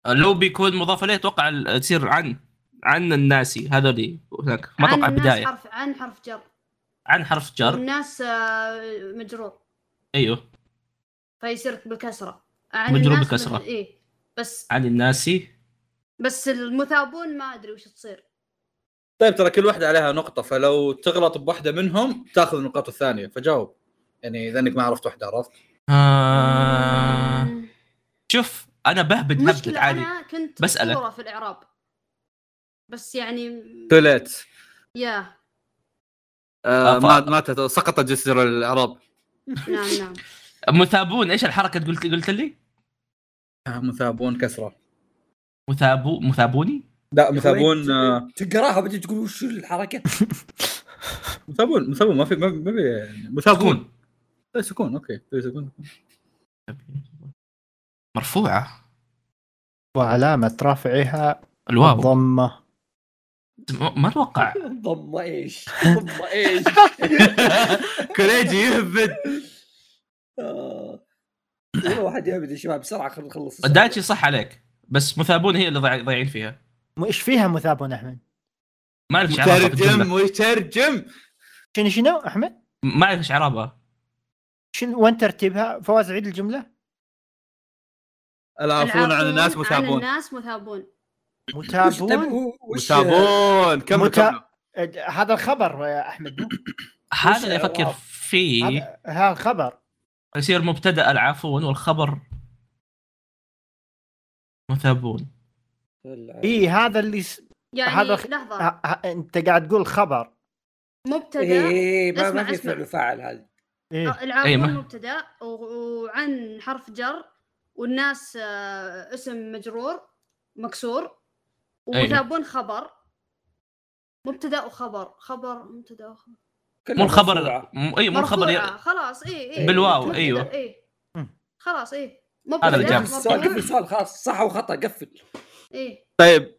[SPEAKER 4] آه، لو بيكون مضاف اليه اتوقع ال- تصير عن عن الناسي هذولي هناك ما اتوقع
[SPEAKER 5] عن الناس
[SPEAKER 4] بدايه
[SPEAKER 5] حرف عن حرف جر
[SPEAKER 4] عن حرف جر
[SPEAKER 5] الناس آه، مجرور
[SPEAKER 4] ايوه
[SPEAKER 5] فيصير بالكسره عن
[SPEAKER 4] مجرور
[SPEAKER 5] الناس
[SPEAKER 4] بالكسرة.
[SPEAKER 5] مجر- ايه بس
[SPEAKER 4] عن الناسي
[SPEAKER 5] بس المثابون ما ادري وش تصير
[SPEAKER 1] طيب ترى كل واحده عليها نقطه فلو تغلط بواحده منهم تاخذ النقاط الثانيه فجاوب يعني اذا انك ما عرفت واحده عرفت
[SPEAKER 4] آه...
[SPEAKER 5] مم.
[SPEAKER 4] شوف انا بهبد هبد
[SPEAKER 5] المشكلة
[SPEAKER 4] عادي
[SPEAKER 5] انا كنت
[SPEAKER 4] بسألك.
[SPEAKER 5] مشهورة في الاعراب بس يعني
[SPEAKER 1] توليت
[SPEAKER 5] يا
[SPEAKER 1] آه
[SPEAKER 4] أف-
[SPEAKER 1] مات- ماتت سقط جسر الاعراب
[SPEAKER 5] نعم
[SPEAKER 1] *laughs*
[SPEAKER 5] نعم
[SPEAKER 4] مثابون ايش الحركه قلت قلت لي؟
[SPEAKER 1] آه، مثابون كسره
[SPEAKER 4] مثابو مثابوني؟
[SPEAKER 1] لا مثابون آه،
[SPEAKER 3] تقراها بعدين تقول وش الحركه؟
[SPEAKER 1] مثابون مثابون ما في ما في- ما في يعني، مثابون
[SPEAKER 4] سكون
[SPEAKER 1] إيه، سكون اوكي إيه، سكون
[SPEAKER 4] مرفوعه
[SPEAKER 2] وعلامة رفعها
[SPEAKER 4] الواو
[SPEAKER 2] ضمة
[SPEAKER 4] ما- ما اتوقع
[SPEAKER 3] *laughs* ضم ايش؟ ضم
[SPEAKER 4] *laughs*
[SPEAKER 3] ايش؟
[SPEAKER 1] كوليجي يهبد
[SPEAKER 3] آه. والله واحد يهبد يا شباب بسرعه خلينا نخلص السؤال.
[SPEAKER 4] دايتشي صح عليك بس مثابون هي اللي ضايع- ضايعين فيها
[SPEAKER 2] م- ايش فيها مثابون احمد؟
[SPEAKER 4] ما اعرف ايش عربها بالجملة.
[SPEAKER 1] مترجم مترجم
[SPEAKER 2] شنو شنو احمد؟
[SPEAKER 4] ما اعرف ايش عربها
[SPEAKER 2] شنو وين ترتيبها؟ فواز عيد الجملة
[SPEAKER 1] *coughs* العافون عن الناس
[SPEAKER 5] العافون عن
[SPEAKER 1] مثابون
[SPEAKER 5] الناس مثابون
[SPEAKER 3] وش تبي-
[SPEAKER 2] مثابون
[SPEAKER 3] هو- وش-
[SPEAKER 1] مثابون كمل
[SPEAKER 2] متا-
[SPEAKER 1] كمل
[SPEAKER 2] أد- هذا الخبر يا احمد مو؟
[SPEAKER 4] هذا اللي افكر
[SPEAKER 3] الألعاب؟
[SPEAKER 1] إيه.
[SPEAKER 4] فيه
[SPEAKER 2] هذا هذا الخبر
[SPEAKER 4] يصير مبتدا العافون والخبر مثابون
[SPEAKER 1] إيه.
[SPEAKER 2] اي إيه، هذا اللي س...
[SPEAKER 5] يعني
[SPEAKER 2] هذا
[SPEAKER 5] هذا
[SPEAKER 2] خ-
[SPEAKER 5] لحظة
[SPEAKER 2] ه... ه... انت قاعد تقول خبر
[SPEAKER 3] إيه،
[SPEAKER 5] مبتدا
[SPEAKER 3] إيه، ما
[SPEAKER 5] اسمع،
[SPEAKER 3] ما في
[SPEAKER 5] اسمع.
[SPEAKER 3] فعل وفاعل هذه
[SPEAKER 2] ايه
[SPEAKER 5] آه،
[SPEAKER 4] إيه،
[SPEAKER 5] العافون
[SPEAKER 4] ما-
[SPEAKER 5] مبتدا و- وعن حرف جر والناس آه، اسم مجرور مكسور ومثابون خبر مبتدا وخبر خبر مبتدا وخبر
[SPEAKER 3] كلها
[SPEAKER 4] مو الخبر
[SPEAKER 3] مرفوعة.
[SPEAKER 4] م- اي مو الخبر
[SPEAKER 5] مرفوعة،
[SPEAKER 4] ي-
[SPEAKER 5] خلاص اي اي
[SPEAKER 4] بالواو،
[SPEAKER 5] مبتدأ،
[SPEAKER 4] أيوة.
[SPEAKER 5] اي
[SPEAKER 2] مم.
[SPEAKER 5] خلاص إيه. اي
[SPEAKER 4] هذا اللي
[SPEAKER 5] مبتدا
[SPEAKER 4] جاب.
[SPEAKER 3] قفل السؤال قفل
[SPEAKER 5] مرفوع
[SPEAKER 3] السؤال خلاص صح وخطا قفل
[SPEAKER 5] اي
[SPEAKER 1] طيب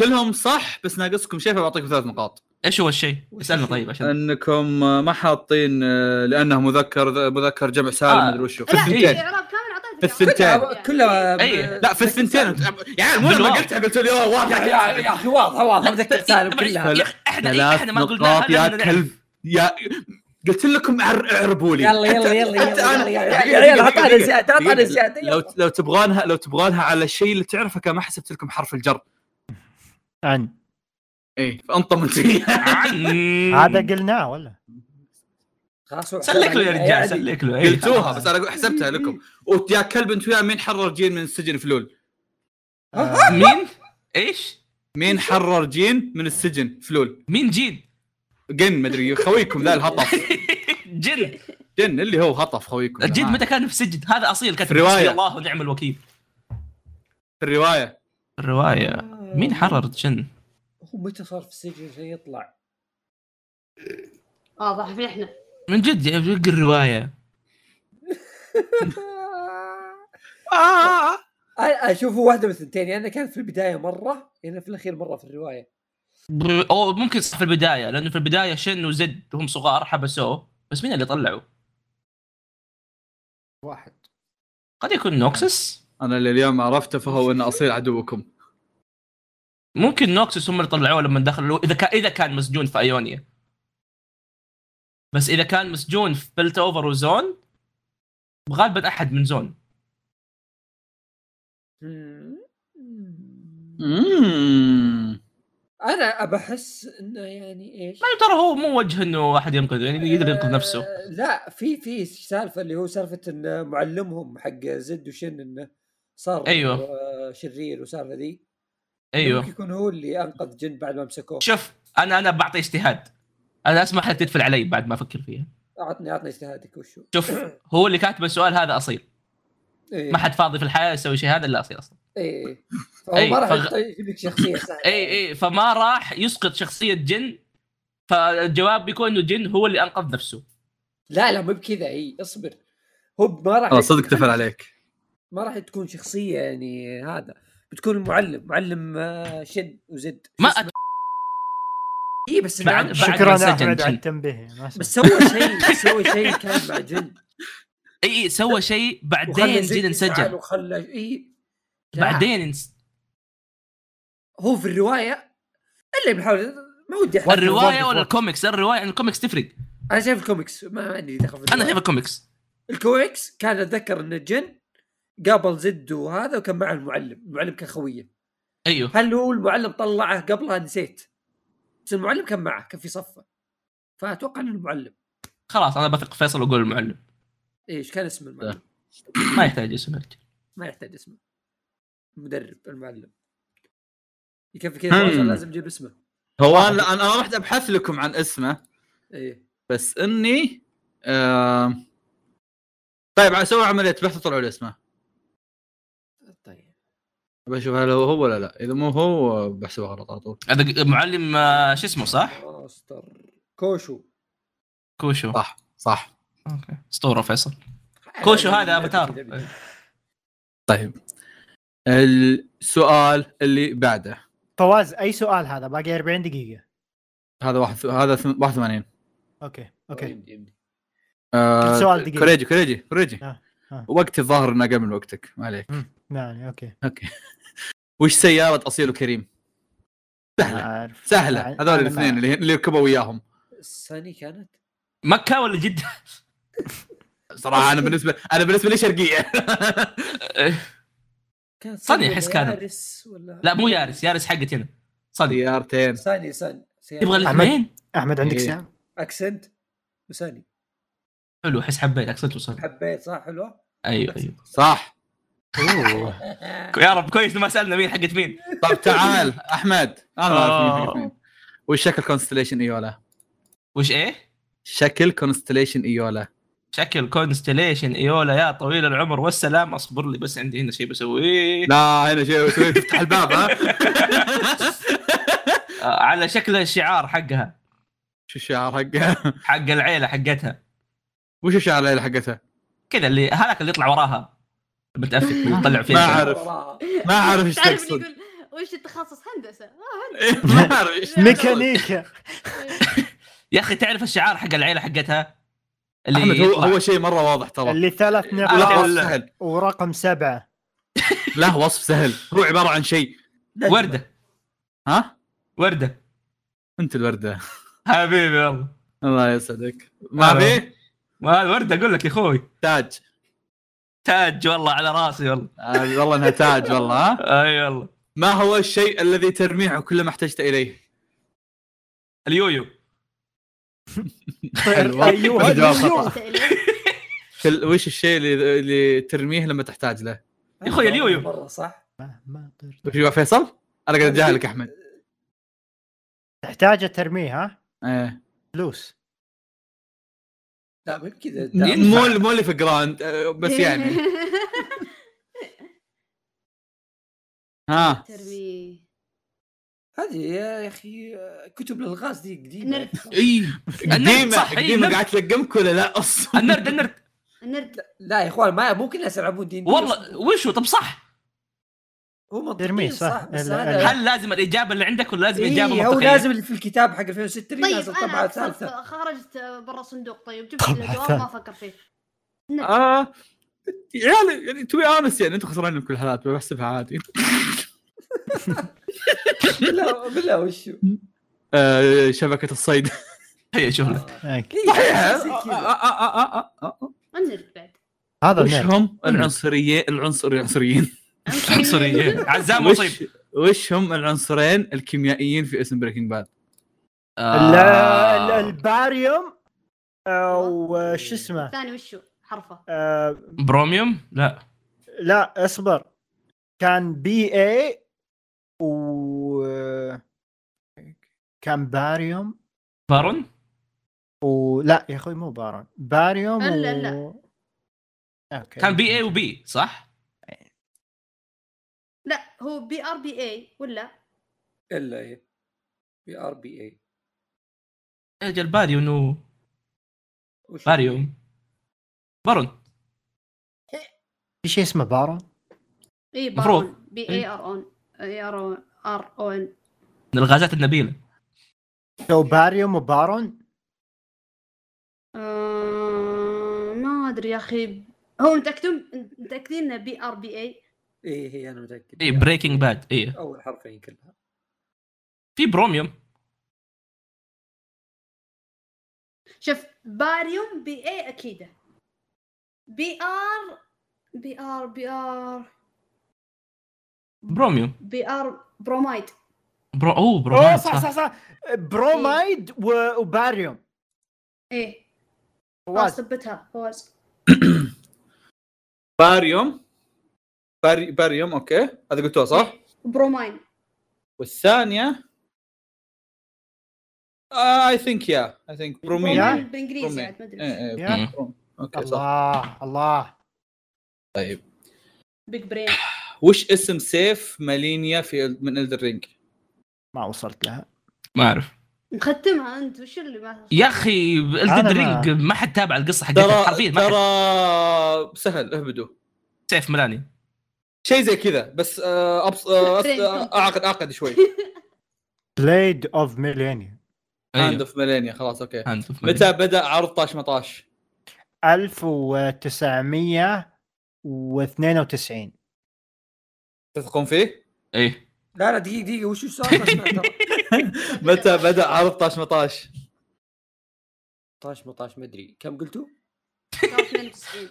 [SPEAKER 1] كلهم صح بس ناقصكم شيء فبعطيكم ثلاث نقاط
[SPEAKER 4] ايش هو الشيء؟
[SPEAKER 3] وش
[SPEAKER 4] اسالنا
[SPEAKER 3] الشيء؟
[SPEAKER 4] طيب عشان
[SPEAKER 1] انكم ما حاطين آه، لانه مذكر مذكر جمع سالم
[SPEAKER 4] آه.
[SPEAKER 1] مدري وشو في
[SPEAKER 5] لا
[SPEAKER 1] الثنتين
[SPEAKER 5] اعراب كامل يعني اعطيتك
[SPEAKER 1] في الثنتين.
[SPEAKER 3] كلها كلها
[SPEAKER 4] إيه.
[SPEAKER 1] لا في الثنتين يعني مو لما
[SPEAKER 4] بالواو.
[SPEAKER 1] قلتها قلت لي "أوه،
[SPEAKER 3] يا
[SPEAKER 1] واضح
[SPEAKER 3] أخي- يا يا اخي واضحه واضحه مذكر سالم
[SPEAKER 4] طبعاً،
[SPEAKER 3] كلها
[SPEAKER 4] طيب، يا أخي، احنا
[SPEAKER 1] ثلاث
[SPEAKER 4] احنا ما قلنا
[SPEAKER 1] نقاط يا
[SPEAKER 4] هذا *laughs*
[SPEAKER 1] كلب يا قلت لكم عر- اعربوا لي
[SPEAKER 3] يلا يلا يلا
[SPEAKER 1] حتى
[SPEAKER 3] يلا
[SPEAKER 1] أنا-
[SPEAKER 3] يلا
[SPEAKER 1] دقيقة،
[SPEAKER 3] يلا
[SPEAKER 1] دقيقة،
[SPEAKER 3] اعطانا
[SPEAKER 1] دقيقة.
[SPEAKER 3] زياده اعطانا
[SPEAKER 1] دقيقة.
[SPEAKER 3] زياده
[SPEAKER 1] لو
[SPEAKER 3] يلا.
[SPEAKER 1] لو تبغانها لو تبغانها على الشيء اللي تعرفه كان ما حسبت لكم حرف الجر
[SPEAKER 2] عن
[SPEAKER 1] اي فانطم انت فيها. إيه.
[SPEAKER 2] هذا قلناه ولا؟
[SPEAKER 3] خلاص
[SPEAKER 4] سلك له يا رجال
[SPEAKER 3] يعني-
[SPEAKER 4] سلك له إيه.
[SPEAKER 1] قلتوها بس انا أقول حسبتها
[SPEAKER 3] *laughs*
[SPEAKER 1] لكم ويا كلب انت ويا مين حرر جين من السجن فلول
[SPEAKER 2] آه،
[SPEAKER 4] *laughs* مين؟ ايش؟
[SPEAKER 1] مين حرر جين من السجن فلول
[SPEAKER 4] مين جين؟
[SPEAKER 1] جن مدري خويكم ذا الهطف
[SPEAKER 4] جن
[SPEAKER 1] جن اللي هو هطف خويكم
[SPEAKER 4] الجن
[SPEAKER 1] آه.
[SPEAKER 4] متى كان في سجن هذا اصيل كتب
[SPEAKER 1] في الرواية.
[SPEAKER 4] حسبي الله ونعم الوكيل
[SPEAKER 1] في الروايه
[SPEAKER 4] الروايه مين حرر جن؟
[SPEAKER 3] آه. هو متى صار في السجن عشان يطلع؟ *laughs*
[SPEAKER 5] واضح في احنا
[SPEAKER 4] من جد يا وق الروايه
[SPEAKER 1] آه.
[SPEAKER 3] أنا اشوفه واحده من الثنتين يعني كان في البدايه مره يعني في الاخير مره في الروايه
[SPEAKER 4] بر- او ممكن صح في البدايه لانه في البدايه شن وزد وهم صغار حبسوه بس مين اللي طلعوا؟
[SPEAKER 2] واحد
[SPEAKER 4] قد يكون نوكسس
[SPEAKER 1] انا اللي اليوم عرفته فهو ان اصيل عدوكم
[SPEAKER 4] ممكن نوكسس هم اللي طلعوه لما دخلوا اذا كان اذا كان مسجون في ايونيا بس اذا كان مسجون في بلت اوفر وزون غالبا احد من زون
[SPEAKER 3] انا بحس انه يعني ايش؟
[SPEAKER 4] يعني ترى هو مو وجه انه احد ينقذه يعني يقدر ينقذ نفسه
[SPEAKER 3] آه، لا في في سالفه اللي هو سالفه ان معلمهم حق زد وشن انه صار
[SPEAKER 4] أيوه.
[SPEAKER 3] آه، شرير وصار ذي ممكن
[SPEAKER 4] ايوه
[SPEAKER 3] يكون هو اللي انقذ جن بعد ما مسكوه
[SPEAKER 4] شوف انا انا بعطي اجتهاد انا اسمح لك تدفل علي بعد ما افكر فيها
[SPEAKER 3] اعطني اعطني اجتهادك وشو
[SPEAKER 4] شوف هو اللي كاتب السؤال هذا اصيل
[SPEAKER 3] إيه.
[SPEAKER 4] ما حد فاضي في الحياه يسوي شيء هذا الا اصيل اصلا
[SPEAKER 3] اي إي. فهو
[SPEAKER 4] إي،
[SPEAKER 3] ما راح
[SPEAKER 4] فغ-
[SPEAKER 3] يجيب لك
[SPEAKER 4] *coughs*
[SPEAKER 3] شخصيه سهله
[SPEAKER 4] اي اي إيه، فما راح يسقط شخصيه جن فالجواب بيكون انه جن هو اللي انقذ نفسه
[SPEAKER 3] لا لا مو بكذا اي اصبر هو ما راح
[SPEAKER 1] والله آه، صدق تفل عليك
[SPEAKER 3] ما راح تكون شخصيه يعني هذا بتكون معلم معلم آه، شد وزد
[SPEAKER 4] ما
[SPEAKER 3] شو اسمه؟ اي بس
[SPEAKER 4] بعد-
[SPEAKER 3] بعد
[SPEAKER 4] بعد-
[SPEAKER 2] شكرا
[SPEAKER 4] ما انسجن
[SPEAKER 2] احمد
[SPEAKER 4] جن.
[SPEAKER 2] على التنبيه ما
[SPEAKER 3] بس سوى
[SPEAKER 4] *laughs*
[SPEAKER 3] شيء سوى شيء كان مع جن
[SPEAKER 4] اي اي إيه، سوى شيء
[SPEAKER 3] وخلى
[SPEAKER 4] بعدين
[SPEAKER 3] زد
[SPEAKER 4] جن
[SPEAKER 3] يزعل
[SPEAKER 4] انسجن
[SPEAKER 3] وخلى اي لا.
[SPEAKER 4] بعدين انس...
[SPEAKER 3] هو في الروايه اللي بحاول ما ودي أحرق.
[SPEAKER 4] الروايه ولا الكوميكس الروايه الكوميكس تفرق
[SPEAKER 3] انا شايف الكوميكس ما عندي دخل في
[SPEAKER 4] انا
[SPEAKER 3] الرواية.
[SPEAKER 4] شايف الكوميكس
[SPEAKER 3] الكوميكس كان اتذكر ان الجن قابل زد وهذا وكان معه المعلم المعلم كان خويه
[SPEAKER 4] ايوه
[SPEAKER 3] هل هو المعلم طلعه قبلها نسيت بس المعلم كان معه كان في صفه فاتوقع انه المعلم
[SPEAKER 4] خلاص انا بثق في فيصل واقول المعلم
[SPEAKER 3] ايش كان اسم المعلم
[SPEAKER 4] ما يحتاج اسم الرجل
[SPEAKER 3] ما يحتاج اسمه المدرب المعلم يكفي كذا
[SPEAKER 1] هم.
[SPEAKER 3] فيصل لازم اجيب اسمه
[SPEAKER 1] هو أنا- انا انا رحت ابحث لكم عن اسمه
[SPEAKER 3] ايه
[SPEAKER 1] بس اني آم، طيب اسوي عمليه بحث طلعوا لي اسمه
[SPEAKER 3] طيب
[SPEAKER 1] بشوف هل هو هو ولا لا اذا مو هو بحسبه غلط على طول
[SPEAKER 4] هذا معلم آه، شو اسمه صح؟
[SPEAKER 3] ماستر كوشو
[SPEAKER 4] كوشو
[SPEAKER 1] صح صح
[SPEAKER 4] اوكي اسطوره فيصل كوشو هذا افاتار
[SPEAKER 1] طيب السؤال اللي بعده
[SPEAKER 2] فواز اي سؤال هذا باقي 40 دقيقه
[SPEAKER 1] هذا واحد هذا ثم- 81
[SPEAKER 2] اوكي
[SPEAKER 1] طيب.
[SPEAKER 2] اوكي
[SPEAKER 1] آه،
[SPEAKER 2] كل سؤال دقيقة.
[SPEAKER 1] كوريجي كوريجي كوريجي
[SPEAKER 2] آه، آه.
[SPEAKER 1] وقتي الظاهر انه قبل وقتك ما عليك
[SPEAKER 2] يعني اوكي
[SPEAKER 1] اوكي وش سيارة اصيل وكريم؟
[SPEAKER 2] ما
[SPEAKER 1] سهلة
[SPEAKER 2] اعرف
[SPEAKER 1] سهلة
[SPEAKER 2] أنا-
[SPEAKER 1] هذول
[SPEAKER 2] آه، أنا
[SPEAKER 1] الاثنين
[SPEAKER 2] ما-
[SPEAKER 1] اللي اللي ركبوا وياهم
[SPEAKER 3] السني كانت
[SPEAKER 4] مكه ولا جده؟
[SPEAKER 1] صراحة انا بالنسبة انا بالنسبة لي
[SPEAKER 2] *laughs*
[SPEAKER 1] شرقية
[SPEAKER 3] كانت
[SPEAKER 4] صني
[SPEAKER 3] صني
[SPEAKER 4] أحس
[SPEAKER 3] ولا
[SPEAKER 4] كانت.
[SPEAKER 3] يارس ولا
[SPEAKER 4] لا مو يارس يارس حقت هنا صدق
[SPEAKER 1] سيارتين
[SPEAKER 3] ساني ساني سيارة.
[SPEAKER 4] تبغى
[SPEAKER 2] أحمد.
[SPEAKER 4] الاثنين؟
[SPEAKER 2] احمد عندك
[SPEAKER 1] إيه.
[SPEAKER 2] ساعه
[SPEAKER 3] اكسنت وساني
[SPEAKER 4] حلو احس حبيت اكسنت وصل
[SPEAKER 3] حبيت صح حلوه؟
[SPEAKER 4] ايوه ايوه
[SPEAKER 1] صح
[SPEAKER 4] يا رب كويس إنه ما سالنا مين حقت مين
[SPEAKER 1] طب تعال احمد انا ما اعرف مين
[SPEAKER 4] آه.
[SPEAKER 1] حق مين. وش شكل كونستليشن ايولا؟
[SPEAKER 4] وش ايه؟
[SPEAKER 1] شكل كونستليشن ايولا
[SPEAKER 4] شكل كونستليشن ايولا يا طويل العمر والسلام اصبر لي بس عندي هنا شيء بسويه
[SPEAKER 1] لا هنا شيء شوي تفتح الباب ها
[SPEAKER 4] *laughs* آه، على شكل الشعار حقها
[SPEAKER 1] شو الشعار حقها؟
[SPEAKER 4] حق العيله حقتها
[SPEAKER 1] وش الشعار اللي حقتها؟
[SPEAKER 4] كذا اللي هذاك اللي يطلع وراها متافك
[SPEAKER 1] *laughs*
[SPEAKER 4] اللي يطلع فيه
[SPEAKER 1] ما
[SPEAKER 4] شعر.
[SPEAKER 1] أعرف.
[SPEAKER 3] وراها.
[SPEAKER 1] ما اعرف ايش
[SPEAKER 5] تعرف اللي
[SPEAKER 1] تقصد
[SPEAKER 5] يقول وش التخصص هندسه؟ آه،
[SPEAKER 4] *laughs*
[SPEAKER 1] ما اعرف ايش تقصد. *laughs*
[SPEAKER 2] ميكانيكا
[SPEAKER 4] يا اخي تعرف الشعار حق العيله حقتها
[SPEAKER 1] احمد هو
[SPEAKER 4] يطلع-
[SPEAKER 1] هو شيء مره واضح ترى
[SPEAKER 2] اللي ثلاث
[SPEAKER 1] لا
[SPEAKER 2] نقاط
[SPEAKER 1] وصف سهل
[SPEAKER 2] ورقم سبعه
[SPEAKER 1] لا وصف سهل هو عباره عن شيء
[SPEAKER 3] نجمة.
[SPEAKER 4] ورده
[SPEAKER 1] ها
[SPEAKER 4] ورده
[SPEAKER 1] انت الورده
[SPEAKER 4] حبيبي والله
[SPEAKER 1] الله يسعدك ما في
[SPEAKER 4] ما هذا ورده اقول لك يا اخوي
[SPEAKER 1] تاج
[SPEAKER 4] تاج والله على راسي والله
[SPEAKER 1] آه، والله انها تاج والله ها
[SPEAKER 4] اي والله
[SPEAKER 1] ما هو الشيء الذي ترميه كلما احتجت اليه؟
[SPEAKER 4] اليويو
[SPEAKER 1] حلوة.
[SPEAKER 2] *laughs* أيوه.
[SPEAKER 1] الجواب
[SPEAKER 5] هذا
[SPEAKER 1] خطأ.
[SPEAKER 5] *laughs* التأليف.
[SPEAKER 1] كل- وش الشيء اللي اللي ترميه لما تحتاج له؟
[SPEAKER 4] يا أخوي اليويو.
[SPEAKER 3] مره صح
[SPEAKER 2] ما- ما أطير.
[SPEAKER 1] وش هو فيصل؟ انا قاعد
[SPEAKER 2] أه،
[SPEAKER 1] اجاهلك احمد
[SPEAKER 2] تحتاج ترميه ها
[SPEAKER 1] ايه
[SPEAKER 2] فلوس
[SPEAKER 3] لا مو كذا
[SPEAKER 1] مو مو اللي في جراند آه، بس
[SPEAKER 5] *laughs*
[SPEAKER 2] إيه.
[SPEAKER 1] يعني ها
[SPEAKER 5] ترمي
[SPEAKER 3] هذه يا اخي كتب الالغاز دي قديمه
[SPEAKER 5] نرد
[SPEAKER 1] اي
[SPEAKER 4] النرد
[SPEAKER 1] قديمه
[SPEAKER 4] صح، إي،
[SPEAKER 1] قديمه
[SPEAKER 4] النرد.
[SPEAKER 1] قاعد تلقمك ولا لا اصلا
[SPEAKER 4] النرد النرد
[SPEAKER 5] نرد
[SPEAKER 3] لا يا اخوان ما مو كل الناس يلعبون دي إن دي، بس
[SPEAKER 4] والله وشو طب صح
[SPEAKER 3] هو منطقي
[SPEAKER 2] ترميه، صح.
[SPEAKER 3] بس
[SPEAKER 2] ال-
[SPEAKER 3] هذا
[SPEAKER 4] هل لازم الاجابه اللي عندك ولا لازم
[SPEAKER 3] إيه،
[SPEAKER 4] اجابه
[SPEAKER 3] هو
[SPEAKER 4] منطقيه؟
[SPEAKER 3] لازم اللي في الكتاب حق 2006 اللي
[SPEAKER 5] طيب
[SPEAKER 3] نازل طبعه
[SPEAKER 5] انا
[SPEAKER 3] ثالثه
[SPEAKER 5] خ- خرجت برا الصندوق طيب جبت
[SPEAKER 2] طبعاً
[SPEAKER 5] الجواب
[SPEAKER 2] ثالثة.
[SPEAKER 5] ما فكر فيه
[SPEAKER 1] *laughs* آه يعني يعني تو انس يعني انتم خسرانين بكل الحالات بحسبها عادي
[SPEAKER 3] بالله بالله وشو
[SPEAKER 1] آه شبكه *laughs* الصيد
[SPEAKER 4] هي شوف لك.
[SPEAKER 2] أوكي.
[SPEAKER 3] إيه، زي
[SPEAKER 1] آه،
[SPEAKER 3] كذا.
[SPEAKER 1] آه، آه، آه، آه، آه، آه.
[SPEAKER 5] النرد بعد
[SPEAKER 1] *laughs*
[SPEAKER 2] هذا
[SPEAKER 1] وش
[SPEAKER 2] النيل.
[SPEAKER 1] هم العنصريين العنصر العنصريين
[SPEAKER 4] عنصريين إيه. عزام
[SPEAKER 1] وش,
[SPEAKER 4] مصيب
[SPEAKER 1] وش هم العنصرين الكيميائيين في اسم بريكنج باد
[SPEAKER 2] ال- ال-
[SPEAKER 4] آه.
[SPEAKER 2] الباريوم وش اسمه
[SPEAKER 5] الثاني وشو حرفه
[SPEAKER 2] آه،
[SPEAKER 4] بروميوم لا
[SPEAKER 2] لا اصبر كان بي اي و كان باريوم
[SPEAKER 4] بارون؟
[SPEAKER 2] ولا يا اخوي مو بارون باريوم
[SPEAKER 5] لا، لا،
[SPEAKER 2] و...
[SPEAKER 5] لا.
[SPEAKER 2] اوكي
[SPEAKER 4] كان بي اي وبي صح؟
[SPEAKER 5] لا هو بي ار بي اي ولا
[SPEAKER 3] الا هي إيه؟ بي ار بي إيه. اي
[SPEAKER 4] يا رجال إيه، باريو انه باريوم بارون
[SPEAKER 2] في شيء اسمه بارون
[SPEAKER 5] اي
[SPEAKER 4] مفروض.
[SPEAKER 5] بارون بي اي ار اون اي ار ار اون
[SPEAKER 4] من الغازات النبيله
[SPEAKER 2] سو باريوم وبارون
[SPEAKER 5] آه، ما ادري يا اخي هو متاكدون متاكدين انه بي ار بي اي
[SPEAKER 3] اي إيه، هي انا متاكد
[SPEAKER 4] اي بريكنج باد اي
[SPEAKER 3] اول حرفين كلها
[SPEAKER 4] إيه. في بروميوم
[SPEAKER 5] شوف باريوم بي اي اكيده بي ار بي ار بي ار
[SPEAKER 4] بروميوم
[SPEAKER 5] بي ار برومايد
[SPEAKER 4] برو اوه
[SPEAKER 2] اوه
[SPEAKER 4] بروميوم
[SPEAKER 2] صح صح صح برومايد و- وباريوم
[SPEAKER 5] ايه خلاص
[SPEAKER 2] فواز
[SPEAKER 5] ثبتها فواز
[SPEAKER 1] باريوم باري باريوم اوكي هذا قلتوها صح؟
[SPEAKER 5] بروماين
[SPEAKER 1] والثانيه اي ثينك يا اي ثينك برومين
[SPEAKER 2] يا.
[SPEAKER 1] ايه
[SPEAKER 5] بروماين بالانجليزي
[SPEAKER 1] برومين.
[SPEAKER 5] عاد ما ادري
[SPEAKER 1] ايه
[SPEAKER 2] يا.
[SPEAKER 1] بروم. اوكي صح
[SPEAKER 2] الله الله
[SPEAKER 1] طيب
[SPEAKER 5] بيج برين
[SPEAKER 1] وش اسم سيف مالينيا في ال- من الدر *laughs* رينج؟
[SPEAKER 2] ما وصلت لها
[SPEAKER 4] ما اعرف
[SPEAKER 5] مختمها انت وش اللي
[SPEAKER 4] *laughs*
[SPEAKER 5] ما
[SPEAKER 4] يا اخي
[SPEAKER 2] أنا
[SPEAKER 4] الدد
[SPEAKER 2] ما-
[SPEAKER 4] رينج ما حد تابع القصه حقتها
[SPEAKER 1] ترى
[SPEAKER 4] حرفيا ما حد
[SPEAKER 1] ترى سهل اهبدوا
[SPEAKER 4] سيف ملاني
[SPEAKER 1] شيء زي كذا بس آه، أبس... آه، أس- آه، اعقد اعقد شوي
[SPEAKER 2] بليد اوف ميلينيوم
[SPEAKER 1] هاند
[SPEAKER 4] أيوه.
[SPEAKER 1] اوف ميلينيا خلاص اوكي
[SPEAKER 4] هاند اوف ملاني.
[SPEAKER 1] متى بدا عرض طاش مطاش؟
[SPEAKER 2] 1992
[SPEAKER 1] تثقون فيه؟
[SPEAKER 4] ايه
[SPEAKER 3] لا لا دقيقه دقيقه وش السؤال ما سمعت ترى.
[SPEAKER 1] متى
[SPEAKER 5] *laughs*
[SPEAKER 1] بدا عرض طاش مطاش؟
[SPEAKER 3] 18 18 ما ادري كم قلتوا؟
[SPEAKER 5] 92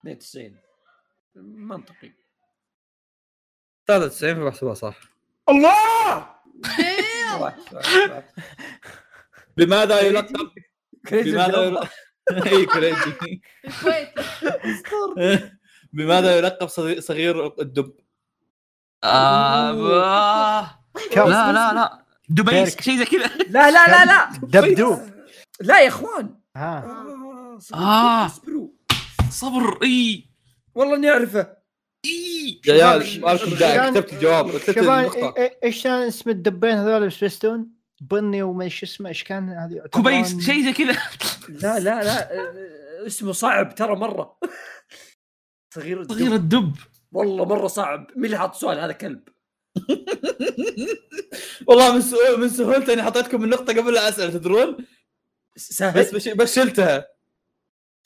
[SPEAKER 3] 92 منطقي
[SPEAKER 1] 93 بحسبها صح
[SPEAKER 2] الله
[SPEAKER 3] واحد، واحد، واحد.
[SPEAKER 1] بماذا يلقب؟
[SPEAKER 3] كريزي
[SPEAKER 1] بماذا
[SPEAKER 3] الجواب. *laughs*
[SPEAKER 1] يلقب؟ *laughs* اي كريجي
[SPEAKER 5] الكويتي
[SPEAKER 1] *laughs* بماذا يلقب صغير- صغير الدب؟
[SPEAKER 4] آه آه. لا لا لا دبي
[SPEAKER 2] بيرك.
[SPEAKER 4] شيء زي كذا
[SPEAKER 3] لا لا لا لا
[SPEAKER 2] دبدوب
[SPEAKER 3] لا يا اخوان
[SPEAKER 2] ها
[SPEAKER 4] آه.
[SPEAKER 3] اصبروا
[SPEAKER 4] صبر اي
[SPEAKER 3] والله اني اعرفه
[SPEAKER 4] اي
[SPEAKER 1] يا عيال مالكم داعي
[SPEAKER 2] شبان-
[SPEAKER 1] كتبت الجواب كتبت
[SPEAKER 2] شبان
[SPEAKER 1] النقطة
[SPEAKER 2] إي- إي- ايش إيه، كان اسم الدبين هذول بسبستون؟ بني وما شو اسمه ايش كان هذه يعتبرون-
[SPEAKER 4] كوبيس شيء زي كذا
[SPEAKER 3] لا لا لا آه، اسمه صعب ترى مره صغير الدب.
[SPEAKER 4] صغير الدب
[SPEAKER 3] والله مره صعب مين اللي حاط السؤال هذا كلب
[SPEAKER 1] والله من سهو- من سهولته اني حطيتكم النقطة قبل لا اسال تدرون
[SPEAKER 3] س- سهل
[SPEAKER 1] بس بش- بس شلتها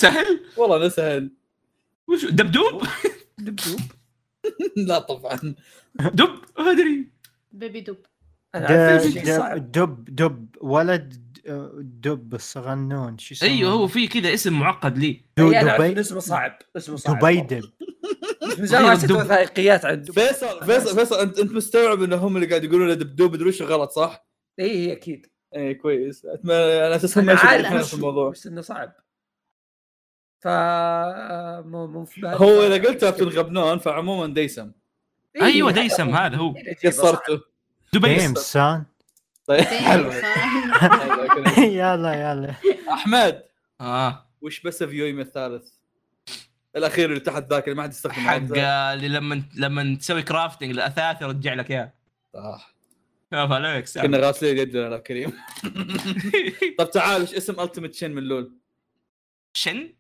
[SPEAKER 4] سهل
[SPEAKER 1] والله انا سهل *laughs*
[SPEAKER 4] وش دبدوب
[SPEAKER 3] دبدوب
[SPEAKER 1] لا طبعا
[SPEAKER 4] دب ما ادري
[SPEAKER 5] بيبي دوب
[SPEAKER 3] انا
[SPEAKER 2] د-
[SPEAKER 3] عارف شيء
[SPEAKER 2] د-
[SPEAKER 3] صعب
[SPEAKER 2] دب دب ولد آه، دب الصغنون شو اسمه؟
[SPEAKER 4] ايوه هو في كذا اسم معقد لي
[SPEAKER 2] دو-
[SPEAKER 3] أي، انا يعني عارف إن
[SPEAKER 2] دبي
[SPEAKER 3] اسمه صعب اسمه صعب
[SPEAKER 2] دبي دب
[SPEAKER 3] بس من زمان ما شفت
[SPEAKER 4] دب.
[SPEAKER 3] وثائقيات عن الدب
[SPEAKER 1] فيصل فيصل فيصل انت انت مستوعب ان هم اللي قاعد يقولون دبدوب مدري وش غلط صح؟
[SPEAKER 3] اي هي اكيد
[SPEAKER 1] اي كويس اتمنى على اساس هم
[SPEAKER 3] انا إيه، عارف
[SPEAKER 1] يشوفون في
[SPEAKER 3] وش- *laughs*
[SPEAKER 1] الموضوع
[SPEAKER 3] بس انه صعب ف مو مو في بالي.
[SPEAKER 1] هو اذا قلتها بتنغبنون فعموما ديسم
[SPEAKER 3] إيه،
[SPEAKER 2] أيوة،
[SPEAKER 4] ايوه
[SPEAKER 3] هذا
[SPEAKER 4] ديسم
[SPEAKER 3] هو.
[SPEAKER 4] هذا هو
[SPEAKER 3] إيه، عجيبة، صعب.
[SPEAKER 1] قصرته
[SPEAKER 4] دبي
[SPEAKER 2] جيمس سان
[SPEAKER 1] طيب حلو
[SPEAKER 5] *laughs*
[SPEAKER 1] حلو، أوكي.
[SPEAKER 2] *laughs* يلا يلا
[SPEAKER 1] احمد
[SPEAKER 4] اه
[SPEAKER 1] وش بس فيويم الثالث؟ الاخير اللي تحت ذاك اللي ما حد يستخدمه
[SPEAKER 4] حق آه، اللي لما لما تسوي كرافتنج لاثاث يرجع لك آه، اياه
[SPEAKER 1] صح
[SPEAKER 4] يا فليكس
[SPEAKER 1] كنا غاسلين يدنا يا كريم طب تعال وش اسم التيمت شين من لول؟
[SPEAKER 4] شن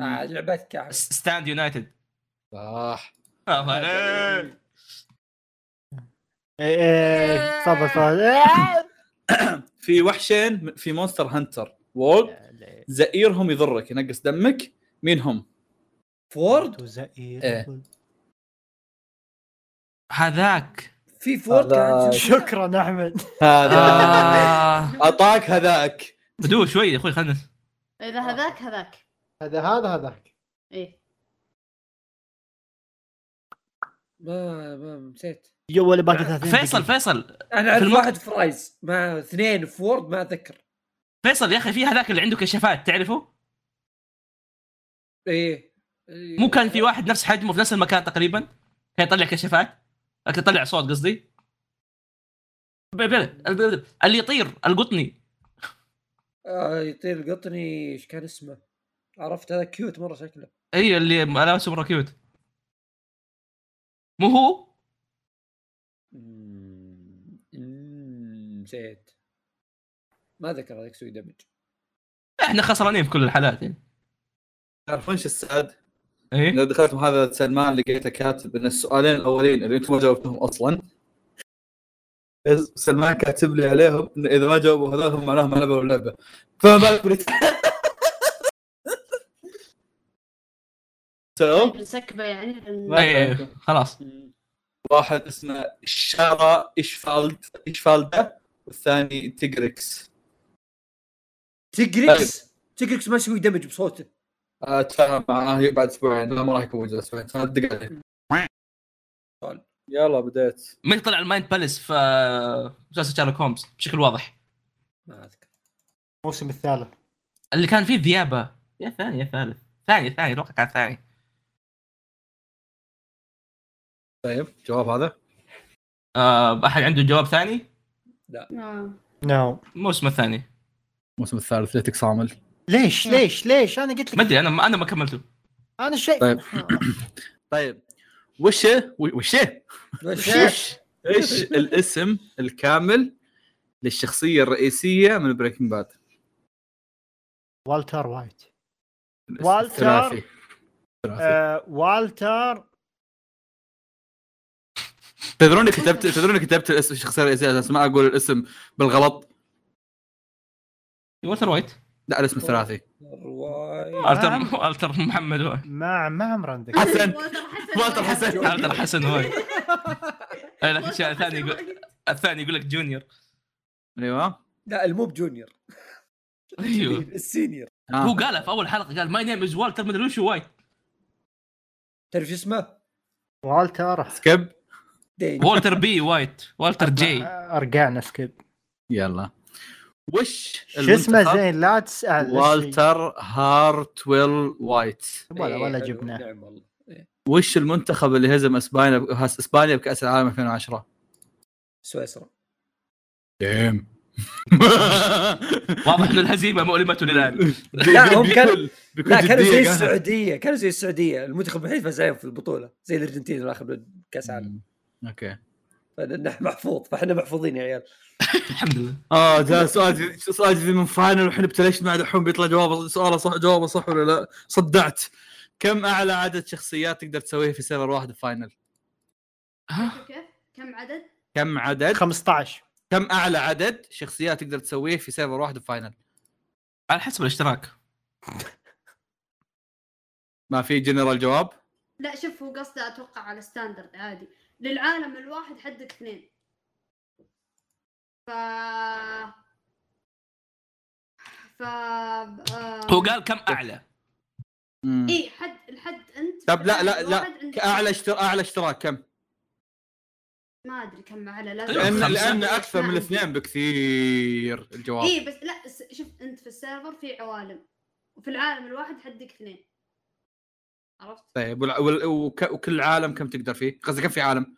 [SPEAKER 3] آه، لعبتك يا أحمد.
[SPEAKER 4] ستاند يونايتد
[SPEAKER 1] صح
[SPEAKER 4] يا فليكس
[SPEAKER 2] إيه، إيه، تفضل تفضل آه.
[SPEAKER 1] في وحشين م- في مونستر هانتر وولد
[SPEAKER 2] إيه.
[SPEAKER 1] زئيرهم يضرك ينقص دمك مين هم؟
[SPEAKER 3] فورد
[SPEAKER 2] وزئير.
[SPEAKER 1] إيه.
[SPEAKER 4] هذاك
[SPEAKER 3] في فورد كان
[SPEAKER 1] هذا-
[SPEAKER 2] شكرا احمد
[SPEAKER 1] هذا
[SPEAKER 4] *laughs* آه.
[SPEAKER 1] اعطاك هذاك
[SPEAKER 4] بدو شوي يا اخوي خلنا
[SPEAKER 5] اذا هذاك هذاك
[SPEAKER 2] هذا هذا هذاك
[SPEAKER 5] ايه
[SPEAKER 3] ما ما نسيت
[SPEAKER 2] يو ولا باقي 30
[SPEAKER 4] فيصل فيصل
[SPEAKER 3] انا اعرف
[SPEAKER 4] في المط-
[SPEAKER 3] واحد فرايز ما اثنين فورد ما اتذكر
[SPEAKER 4] فيصل يا اخي في هذاك اللي عنده كشافات تعرفه؟
[SPEAKER 3] ايه إيه.
[SPEAKER 4] مو كان في واحد نفس حجمه في نفس المكان تقريبا كان يطلع كشافات لكن يطلع صوت قصدي بلا- بلا- بلا- اللي يطير القطني
[SPEAKER 3] آه يطير القطني ايش كان اسمه؟ عرفت هذا كيوت مره شكله
[SPEAKER 4] اي اللي ملابسه مره كيوت مو هو
[SPEAKER 3] مم، مم، نسيت ما ذكر هذاك سوي دمج
[SPEAKER 4] احنا خسرانين في كل الحالات يعني
[SPEAKER 1] تعرفون ايش السعد؟
[SPEAKER 4] اي
[SPEAKER 1] لو دخلت محاضره سلمان لقيته كاتب ان السؤالين الاولين اللي انتم ما جاوبتهم اصلا سلمان كاتب لي عليهم ان اذا ما جاوبوا هذول معناها ما لعبوا اللعبه فما بالك *laughs* بالت- سلام
[SPEAKER 5] نسكبه يعني لأن-
[SPEAKER 4] إي، إي، خلاص
[SPEAKER 1] واحد اسمه شارا اشفالد اشفالدا والثاني تجريكس
[SPEAKER 3] تجريكس
[SPEAKER 1] طيب.
[SPEAKER 3] تجريكس ما يسوي دمج بصوته
[SPEAKER 1] اتفاهم معاه آه، بعد اسبوعين لا ما راح يكون موجود اسبوعين صدق عليه
[SPEAKER 3] سؤال.
[SPEAKER 1] طيب. يلا بديت
[SPEAKER 4] متى طلع المايند باليس في مسلسل شارلوك هومز بشكل واضح
[SPEAKER 3] ما
[SPEAKER 1] *laughs*
[SPEAKER 3] اذكر
[SPEAKER 2] الموسم الثالث
[SPEAKER 4] اللي كان فيه ذيابه يا ثاني يا ثالث ثاني ثاني اتوقع كان ثاني
[SPEAKER 1] طيب جواب هذا
[SPEAKER 4] آه، احد عنده جواب ثاني؟
[SPEAKER 5] آه.
[SPEAKER 2] نو no.
[SPEAKER 4] الموسم الثاني
[SPEAKER 1] الموسم الثالث ليتك صامل
[SPEAKER 2] ليش ليش ليش انا قلت
[SPEAKER 4] ما
[SPEAKER 2] لك
[SPEAKER 4] ادري انا ما انا ما كملته
[SPEAKER 2] انا شيء
[SPEAKER 1] طيب. طيب وش وش
[SPEAKER 3] وش-
[SPEAKER 2] وش؟
[SPEAKER 1] ايش *laughs* الاسم الكامل للشخصيه الرئيسيه من بريكنج باد
[SPEAKER 2] والتر وايت والتر.
[SPEAKER 1] الثلاثي الثلاثي.
[SPEAKER 2] آه والتر
[SPEAKER 1] تدرون كتبت تدرون كتبت الاسم الشخصيه الرئيسيه اساس ما اقول الاسم بالغلط
[SPEAKER 4] والتر وايت
[SPEAKER 1] لا الاسم الثلاثي
[SPEAKER 3] رواي-
[SPEAKER 5] آه.
[SPEAKER 4] التر التر محمد وايت
[SPEAKER 2] ما ما عمر عندك
[SPEAKER 1] حسن.
[SPEAKER 5] والتر
[SPEAKER 1] والتر
[SPEAKER 5] حسن
[SPEAKER 1] حسن.
[SPEAKER 4] التر حسن وايت أي، لكن
[SPEAKER 5] والتر
[SPEAKER 4] *laughs* شيء
[SPEAKER 5] حسن
[SPEAKER 4] ثاني يقول
[SPEAKER 5] وايد.
[SPEAKER 4] الثاني يقول لك جونيور
[SPEAKER 1] ايوه
[SPEAKER 3] لا المو بجونيور
[SPEAKER 1] أيوه.
[SPEAKER 4] ايوه
[SPEAKER 3] السينيور
[SPEAKER 1] آه.
[SPEAKER 4] هو قالها في اول حلقه قال ماي نيم از والتر مدري وش وايت
[SPEAKER 3] تعرف شو اسمه؟
[SPEAKER 2] والتر
[SPEAKER 1] سكيب
[SPEAKER 3] دين
[SPEAKER 4] والتر بي وايت والتر جي
[SPEAKER 2] رجعنا سكيب
[SPEAKER 1] يلا وش
[SPEAKER 2] شو اسمه
[SPEAKER 1] المنتخب؟
[SPEAKER 2] زين لا تسال
[SPEAKER 1] والتر هارتويل وايت
[SPEAKER 2] ولا ولا
[SPEAKER 3] إيه، حلو،
[SPEAKER 2] جبناه
[SPEAKER 3] نعم والله
[SPEAKER 1] وش المنتخب اللي هزم اسبانيا هز اسبانيا بكاس العالم 2010
[SPEAKER 3] سويسرا
[SPEAKER 1] ديم *laughs*
[SPEAKER 4] واضح ان الهزيمه مؤلمه للان
[SPEAKER 1] *laughs*
[SPEAKER 3] لا، هم كانوا-
[SPEAKER 1] بكل
[SPEAKER 3] لا كانوا
[SPEAKER 1] جدية
[SPEAKER 3] زي
[SPEAKER 1] قالها.
[SPEAKER 3] السعوديه كانوا زي السعوديه المنتخب الوحيد فاز عليهم في البطوله زي الارجنتين اللي اخذ كاس عالم
[SPEAKER 1] اوكي
[SPEAKER 3] فنحن محفوظ فاحنا محفوظين يا عيال
[SPEAKER 4] الحمد لله
[SPEAKER 1] اه ده سؤال جديد- سؤال جديد من فاينل وحنا بتلشنا دحوم بيطلع جوابه سؤاله صح جوابه صح ولا لا صدعت كم اعلى عدد شخصيات تقدر تسويها في سيرفر واحد في فاينل
[SPEAKER 4] ها؟
[SPEAKER 5] كيف؟ كم عدد؟
[SPEAKER 1] كم عدد
[SPEAKER 2] 15
[SPEAKER 1] كم اعلى عدد شخصيات تقدر تسويه في سيرفر واحد في فاينل
[SPEAKER 4] على حسب الاشتراك
[SPEAKER 1] ما في جنرال جواب
[SPEAKER 5] لا شوف هو قصده اتوقع على ستاندرد عادي للعالم الواحد حدك اثنين ف ف آه،
[SPEAKER 4] هو قال كم اعلى
[SPEAKER 3] إيه،
[SPEAKER 5] اي حد الحد انت
[SPEAKER 1] طب لا- لا- لا،
[SPEAKER 5] الواحد عندك-
[SPEAKER 1] اعلى اشتر... اعلى اشتراك كم؟
[SPEAKER 5] ما ادري كم اعلى
[SPEAKER 1] لان
[SPEAKER 4] طيب، أيوة، خمسة.
[SPEAKER 1] لان اكثر من
[SPEAKER 5] الاثنين
[SPEAKER 1] الاثنين بكثير الجواب
[SPEAKER 5] اي إيه، بس لا س- شوف انت في السيرفر في عوالم وفي العالم الواحد حدك اثنين عرفت؟
[SPEAKER 1] طيب والع- وال- وك- وكل عالم كم تقدر فيه؟ قصدي كم في عالم؟